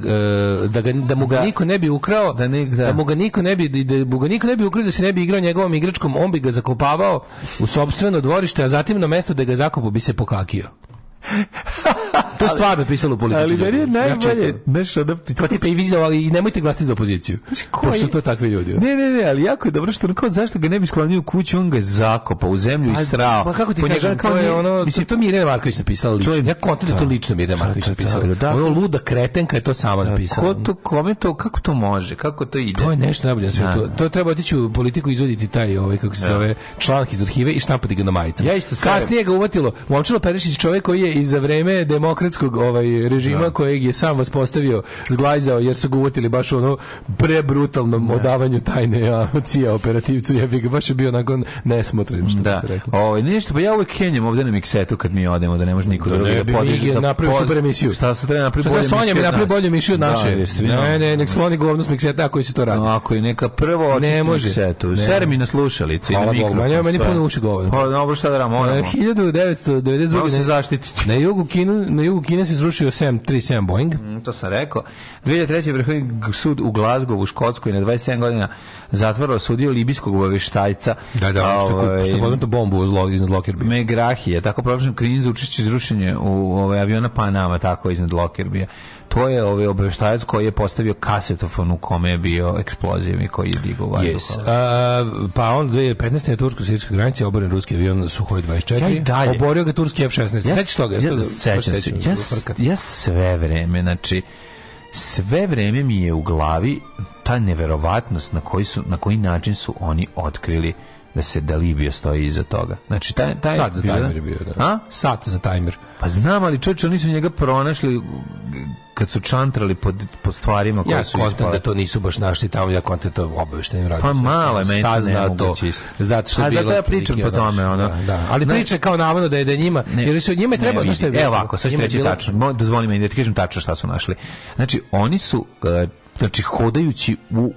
[SPEAKER 1] da, ga, da mu ga niko ne bi ukrao,
[SPEAKER 5] Da ne- da.
[SPEAKER 1] da mu ga niko ne bi da mu ga niko ne bi ukrao da se ne bi igrao njegovom igračkom, on bi ga zakopavao u sopstveno dvorište, a zatim na mesto da ga zakopu bi se pokakio. To je stvarno pisalo u politici.
[SPEAKER 5] Ali meni je
[SPEAKER 1] ljudi. Ja
[SPEAKER 5] najbolje,
[SPEAKER 1] čitam.
[SPEAKER 5] znaš, ono,
[SPEAKER 1] Kao tipa pa i vi za- i nemojte glasiti za opoziciju.
[SPEAKER 5] koji-
[SPEAKER 1] Pošto su to takvi ljudi.
[SPEAKER 5] Ne, ne, ne, ali jako je dobro što ono kao zašto ga ne bi sklonio u kuću, on ga je zakopao u zemlju i
[SPEAKER 1] A,
[SPEAKER 5] srao.
[SPEAKER 1] Pa kako ti
[SPEAKER 5] Po njega
[SPEAKER 1] kažem,
[SPEAKER 5] kao
[SPEAKER 1] to je
[SPEAKER 5] nije-
[SPEAKER 1] ono, mislim,
[SPEAKER 5] mislim,
[SPEAKER 1] to mi je Irena Marković napisala lično.
[SPEAKER 5] To je-
[SPEAKER 1] ja kontam da je to
[SPEAKER 5] da.
[SPEAKER 1] lično mi je Irena Marković
[SPEAKER 5] To je- to je-
[SPEAKER 1] napisala.
[SPEAKER 5] da.
[SPEAKER 1] Ono luda kretenka je to sama
[SPEAKER 5] ko
[SPEAKER 1] napisala.
[SPEAKER 5] to, kome to, kako to može, kako to ide?
[SPEAKER 1] To je nešto najbolje na svetu. To treba otići u politiku i izvoditi taj ovaj kako se zove članak iz arhive i štampati ga na majicama.
[SPEAKER 5] Ja isto sam-
[SPEAKER 1] Kasnije ga uvatilo Momčilo Perišić, čovjek koji je i za vreme demokratskog ovaj režima kojeg je sam vaspostavio, zglajzao jer su ga uvatili baš u ono prebrutalnom odavanju tajne a, cija operativcu. Ja ga baš je bio onako nesmotren što da.
[SPEAKER 5] Da,
[SPEAKER 1] se reklo.
[SPEAKER 5] ovaj, nešto, pa ja uvek kenjam ovde na miksetu kad mi odemo, da ne može niko
[SPEAKER 1] Da
[SPEAKER 5] drugi
[SPEAKER 1] ne
[SPEAKER 5] da
[SPEAKER 1] bi mi
[SPEAKER 5] podiže.
[SPEAKER 1] je
[SPEAKER 5] da pa
[SPEAKER 1] napravio
[SPEAKER 5] pod-
[SPEAKER 1] super emisiju.
[SPEAKER 5] Šta se treba napraviti
[SPEAKER 1] Što
[SPEAKER 5] bolje
[SPEAKER 1] sad Sonja mi
[SPEAKER 5] emisiju od
[SPEAKER 1] napravi
[SPEAKER 5] nas?
[SPEAKER 1] bolju emisiju od
[SPEAKER 5] Da,
[SPEAKER 1] naše.
[SPEAKER 5] jeste,
[SPEAKER 1] ne, ne, nek sloni govno s mikseta ako se to radi.
[SPEAKER 5] No, ako je neka prvo
[SPEAKER 1] Ne
[SPEAKER 5] očisti
[SPEAKER 1] može.
[SPEAKER 5] miksetu.
[SPEAKER 1] Ne.
[SPEAKER 5] Ser mi na slušalici,
[SPEAKER 1] Hvala
[SPEAKER 5] na
[SPEAKER 1] Bogu,
[SPEAKER 5] mikrofon.
[SPEAKER 1] meni- meni
[SPEAKER 5] sve.
[SPEAKER 1] puno uši govore.
[SPEAKER 5] Pa dobro, šta da radimo,
[SPEAKER 1] E,
[SPEAKER 5] moramo.
[SPEAKER 1] 1992.
[SPEAKER 5] Moramo se
[SPEAKER 1] ne-
[SPEAKER 5] zaštititi.
[SPEAKER 1] Na jugu, Kinu, na jugu Kine se srušio 737 Boeing.
[SPEAKER 5] Mm, To sam rekao. 2003. je Vrhovni sud u Glazgovu u Škotskoj na 27 godina zatvora osudio libijskog obaveštajca.
[SPEAKER 1] što,
[SPEAKER 5] ovaj,
[SPEAKER 1] je- što je podmeto bombu od lo- iznad Lockerbie.
[SPEAKER 5] Megrahi je tako proglašen krimin za učešće izrušenje u ovaj aviona Panama tako iznad Lockerbie. To je ovaj obaveštajac koji je postavio kasetofon u kome je bio eksploziv i koji je digao vazduh. ovaj.
[SPEAKER 1] Yes. A, pa onda 2015. na tursko-sirijskoj granici je oboren ruski avion Suhoj
[SPEAKER 5] Ja i
[SPEAKER 1] 24.
[SPEAKER 5] dalje.
[SPEAKER 1] Oborio ga turski F-16. Ja, Sećaš toga?
[SPEAKER 5] Ja,
[SPEAKER 1] To-
[SPEAKER 5] sećam
[SPEAKER 1] baš
[SPEAKER 5] se.
[SPEAKER 1] sećam
[SPEAKER 5] Ja,
[SPEAKER 1] zbog frka.
[SPEAKER 5] ja sve vreme, znači, sve vreme mi je u glavi ta neverovatnost na koji, su, na koji način su oni otkrili da se da Libija stoji iza toga. Znači, taj, taj
[SPEAKER 1] Sat za
[SPEAKER 5] bila-
[SPEAKER 1] tajmer je bio. Da.
[SPEAKER 5] A?
[SPEAKER 1] Sat za tajmer.
[SPEAKER 5] Pa znam, ali čovječe, oni su njega pronašli kad su čantrali pod, pod stvarima koje
[SPEAKER 1] Ja
[SPEAKER 5] su
[SPEAKER 1] kontam
[SPEAKER 5] ispale.
[SPEAKER 1] da to nisu baš našli tamo, ja kontam to obaveštenim radom.
[SPEAKER 5] Pa malo je meni to
[SPEAKER 1] Saznao to.
[SPEAKER 5] nemoguće isto.
[SPEAKER 1] Zato što
[SPEAKER 5] A
[SPEAKER 1] je bilo
[SPEAKER 5] zato ja pričam
[SPEAKER 1] otprilike
[SPEAKER 5] po tome,
[SPEAKER 1] ono.
[SPEAKER 5] ono.
[SPEAKER 1] Da, da. Ali
[SPEAKER 5] Ne.
[SPEAKER 1] priča je kao navodno da je da njima,
[SPEAKER 5] Ne,
[SPEAKER 1] jer su njima je
[SPEAKER 5] ne
[SPEAKER 1] trebalo
[SPEAKER 5] vidi.
[SPEAKER 1] znaš šta je bilo.
[SPEAKER 5] Evo ovako, sad ću
[SPEAKER 1] Njima je
[SPEAKER 5] reći
[SPEAKER 1] bilo-
[SPEAKER 5] tačno. Mo, dozvoli mi da ti kažem tačno šta su našli. Znači, oni su e, znači hodajući u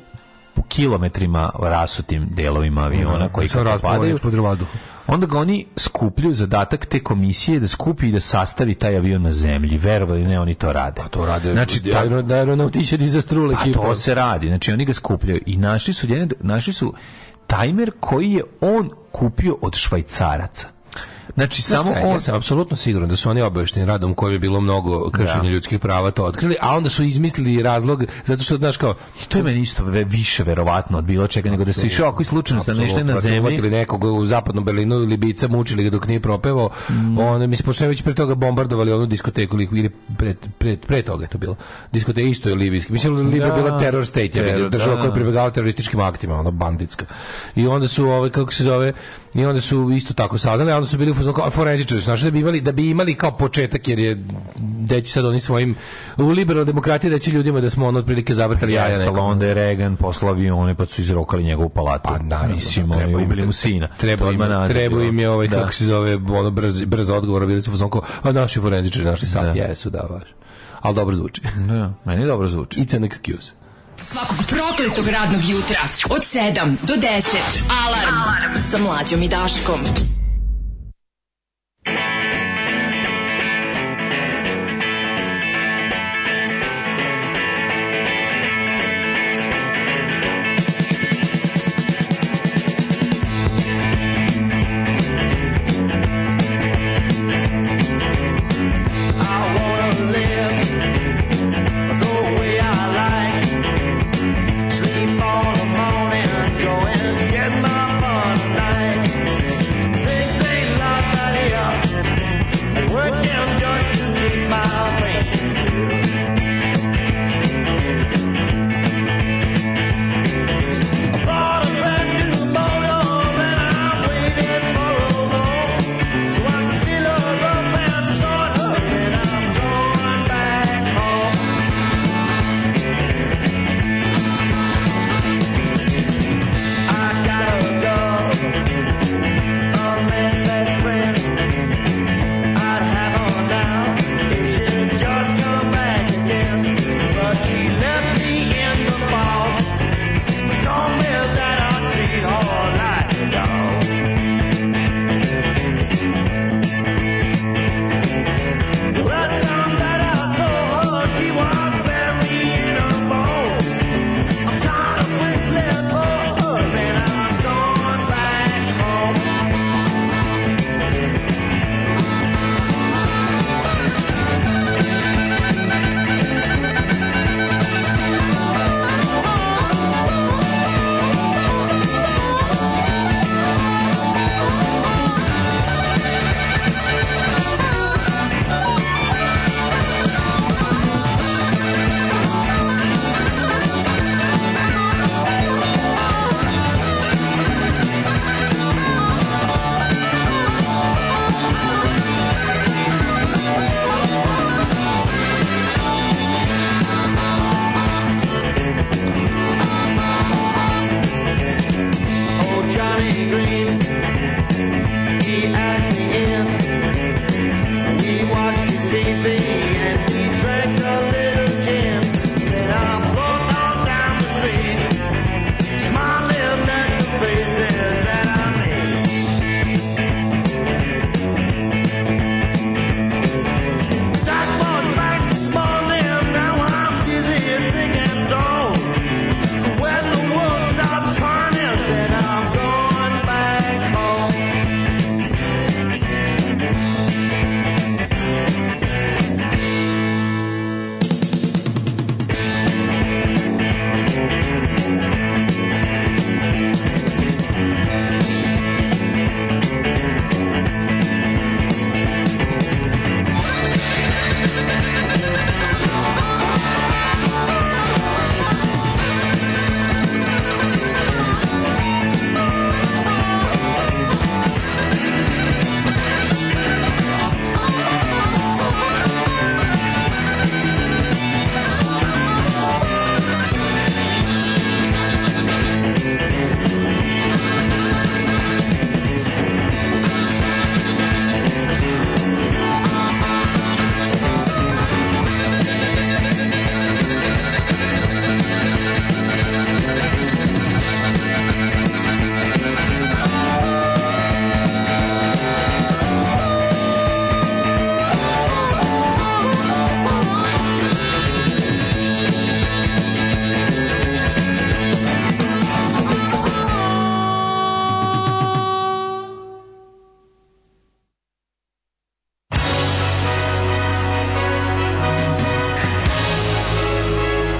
[SPEAKER 5] u kilometrima rasutim delovima aviona koji
[SPEAKER 1] Sa
[SPEAKER 5] kako
[SPEAKER 1] raspadom
[SPEAKER 5] padaju,
[SPEAKER 1] ispod vazduha.
[SPEAKER 5] onda ga oni skupljaju zadatak te komisije da skupi i da sastavi taj avion na zemlji. Verovali ili ne, oni to rade.
[SPEAKER 1] A Pa to rade
[SPEAKER 5] Znači, ta-
[SPEAKER 1] da aeronautiče disastrule
[SPEAKER 5] a
[SPEAKER 1] ekipa.
[SPEAKER 5] Pa to se radi. Znači oni ga skupljaju i našli su jedan, našli su tajmer koji je on kupio od švajcaraca. Znači
[SPEAKER 1] Znaš
[SPEAKER 5] samo
[SPEAKER 1] šta je,
[SPEAKER 5] on
[SPEAKER 1] ja sam apsolutno siguran da su oni obavešteni radom koji je bilo mnogo kršenja
[SPEAKER 5] Da.
[SPEAKER 1] ljudskih prava to otkrili, a onda su izmislili razlog zato što znaš kao
[SPEAKER 5] I to je meni isto ve- više verovatno od bilo čega nego da se išao ako i slučajno stanovništvo na
[SPEAKER 1] Apsolutno,
[SPEAKER 5] zemlji.
[SPEAKER 1] uhvatili nekog u zapadnom Berlinu ili bica mučili ga dok nije propevao.
[SPEAKER 5] Mm.
[SPEAKER 1] On mi se pošto je već pre toga bombardovali onu diskoteku ili- ili pre, pre, pre toga je to bilo. Diskoteka isto je libijski. Mislim da Libija
[SPEAKER 5] Da.
[SPEAKER 1] je bila terror state, ja
[SPEAKER 5] Teror,
[SPEAKER 1] vidim, država
[SPEAKER 5] da.
[SPEAKER 1] koja je pribegala terorističkim aktima, ona banditska. I onda su ove kako se zove, i onda su isto tako saznali, a onda su bili u fazonu kao, a forenzičari, su našli da bi imali da bi imali kao početak jer je deći sad oni svojim u liberal demokratiji da će ljudima da smo ono otprilike zavrtali
[SPEAKER 5] Ja
[SPEAKER 1] jaja.
[SPEAKER 5] Jeste,
[SPEAKER 1] nekom.
[SPEAKER 5] onda je Reagan poslao avione pa su izrokali njegovu palatu.
[SPEAKER 1] Pa naravno,
[SPEAKER 5] Mislim,
[SPEAKER 1] da,
[SPEAKER 5] oni
[SPEAKER 1] treba im-
[SPEAKER 5] ubili mu sina.
[SPEAKER 1] Treba
[SPEAKER 5] To
[SPEAKER 1] im,
[SPEAKER 5] odmah nazad
[SPEAKER 1] Pa, treba
[SPEAKER 5] bilo.
[SPEAKER 1] im je ovaj,
[SPEAKER 5] Da.
[SPEAKER 1] kako se zove, ono brz, brz odgovor, bili su u fazonu kao, a naši forenzičari našli sam, jesu, da, baš. Ali dobro zvuči.
[SPEAKER 5] Da, meni dobro zvuči.
[SPEAKER 1] It's an excuse.
[SPEAKER 4] Svakog prokletog radnog jutra od 7 do 10. Alarm, Alarm. sa mlađom i Daškom.
[SPEAKER 8] I wanna live the way I like. Sleep all the morning, go and get my fun tonight. oh,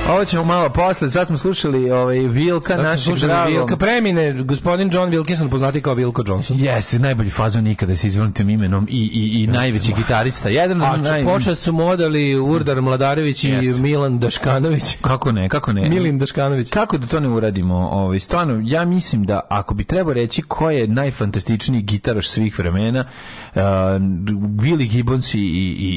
[SPEAKER 9] ovo ćemo malo posle. Sad smo slušali ovaj, Vilka,
[SPEAKER 1] Sad smo
[SPEAKER 9] našeg
[SPEAKER 1] slušali
[SPEAKER 9] dragog.
[SPEAKER 1] Vilka premine, gospodin John Wilkinson, poznati kao Vilko Johnson.
[SPEAKER 5] Jeste, najbolji fazon ikada sa izvrnutim imenom i, i, i najveći gitarista. Jedan
[SPEAKER 1] A
[SPEAKER 5] od naj...
[SPEAKER 1] počas su modali Urdar Mladarević i
[SPEAKER 5] Jeste.
[SPEAKER 1] Milan Daškanović.
[SPEAKER 5] Kako ne, kako ne.
[SPEAKER 1] Milin Daškanović.
[SPEAKER 5] Kako da to ne uradimo? Ovaj, stvarno, ja mislim da ako bi trebao reći ko je najfantastičniji gitaraš svih vremena, uh, Billy Gibbons i, i,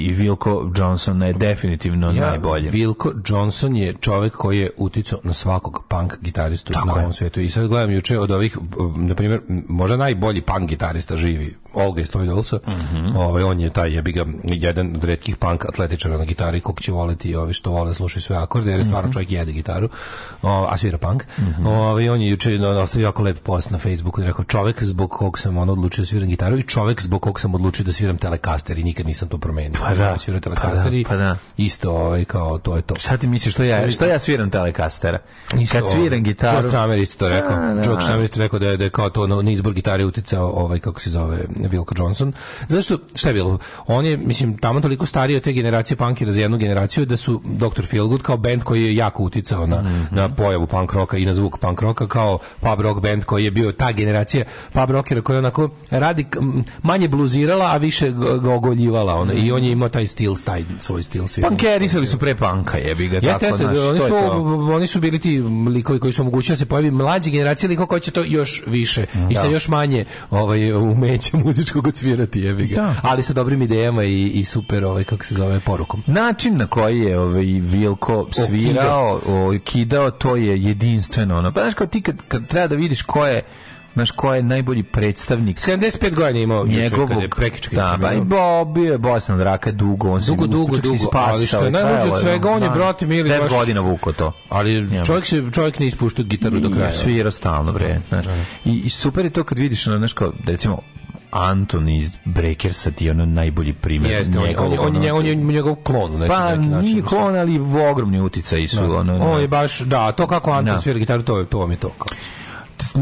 [SPEAKER 5] i Wilco Johnson je definitivno najbolje.
[SPEAKER 1] Vilko Johnson je čovjek koji je uticao na svakog punk gitaristu
[SPEAKER 5] Tako
[SPEAKER 1] na
[SPEAKER 5] je.
[SPEAKER 1] ovom svijetu. I sad gledam juče od ovih, m, na primjer, m, možda najbolji punk gitarista živi, Olga Stojdolsa.
[SPEAKER 5] Mhm.
[SPEAKER 1] ovaj, on je taj, jebi ga, jedan od retkih punk atletičara na gitari, kog će voliti i ovi što vole da slušaju sve akorde, jer je
[SPEAKER 5] Mhm.
[SPEAKER 1] stvarno čovjek jede gitaru, o, a svira punk. Ovaj, on je juče no, ostavio jako lep post na Facebooku i rekao, čovjek zbog kog sam on odlučio da sviram gitaru i čovjek zbog kog sam odlučio da sviram telekaster i nikad nisam to promenio.
[SPEAKER 5] Pa da,
[SPEAKER 1] Svirao
[SPEAKER 5] pa da,
[SPEAKER 1] Telecaster i
[SPEAKER 5] pa da.
[SPEAKER 1] isto ovaj kao to je to.
[SPEAKER 5] Šta ti misliš, što ja, što ja sviram telekastera? Kad
[SPEAKER 1] Isto,
[SPEAKER 5] sviram gitaru...
[SPEAKER 1] George Stramer isto to rekao.
[SPEAKER 5] A, da.
[SPEAKER 1] George Stramer isto rekao da je, da je kao to na, na izbor gitare uticao ovaj kako se zove Wilco Johnson. Zašto šta je bilo? On je mislim tamo toliko stariji od te generacije punkira za jednu generaciju da su Dr. Feelgood kao bend koji je jako uticao na
[SPEAKER 5] Mhm.
[SPEAKER 1] na pojavu punk roka i na zvuk punk roka kao pub rock band koji je bio ta generacija pub rockera koja je onako radi m, manje bluzirala, a više g- ga ogoljivala ona i on je imao taj stil, taj svoj stil
[SPEAKER 5] Pa
[SPEAKER 1] sviranja.
[SPEAKER 5] Pankerisali su pre panka, jebi ga.
[SPEAKER 1] Jeste,
[SPEAKER 5] tako,
[SPEAKER 1] jeste,
[SPEAKER 5] znaš,
[SPEAKER 1] oni
[SPEAKER 5] to je
[SPEAKER 1] su,
[SPEAKER 5] to.
[SPEAKER 1] oni su bili ti likovi koji su omogućili da se pojavi mlađe generacije likova koji će to još više
[SPEAKER 5] Mm,
[SPEAKER 1] i sa još manje ovaj, umeća (laughs) muzičkog odsvirati, jebi ga.
[SPEAKER 5] Da.
[SPEAKER 1] Ali sa dobrim idejama i, i super, ovaj, kako se zove, porukom.
[SPEAKER 5] Način na koji je ovaj Vilko svirao, o, kidao, to je jedinstveno. Ono. Pa znaš kao ti kad, kad treba da vidiš ko je, znaš, ko je najbolji predstavnik
[SPEAKER 1] 75 godina je imao njegovog,
[SPEAKER 5] njegovog,
[SPEAKER 1] je prekički
[SPEAKER 5] da, pa i bo, bio je bosan od raka dugo, on se
[SPEAKER 1] Dugo, dugo,
[SPEAKER 5] čak se
[SPEAKER 1] dugo,
[SPEAKER 5] ispasao
[SPEAKER 1] ali što je
[SPEAKER 5] i
[SPEAKER 1] najluđe
[SPEAKER 5] trajalo
[SPEAKER 1] od svega, on je,
[SPEAKER 5] da,
[SPEAKER 1] brate mili,
[SPEAKER 5] 10
[SPEAKER 1] baš-
[SPEAKER 5] godina vuko to.
[SPEAKER 1] Ali čovjek, se, čovjek ne ispušta gitaru do kraja.
[SPEAKER 5] Svira stalno, bre. znaš. I, I super je to kad vidiš, ono, znaš, kao, da recimo, Anton iz Breakersa ti je ono najbolji primjer.
[SPEAKER 1] Jeste, on, je- on, je- on, je- on, je njegov klon. u neki-
[SPEAKER 5] ono- Pa
[SPEAKER 1] neki način,
[SPEAKER 5] nije klon, ali ogromni uticaji su. Ono,
[SPEAKER 1] On je baš, da, to kako Anton
[SPEAKER 5] Da.
[SPEAKER 1] svira gitaru, to, je- to vam je to. kao.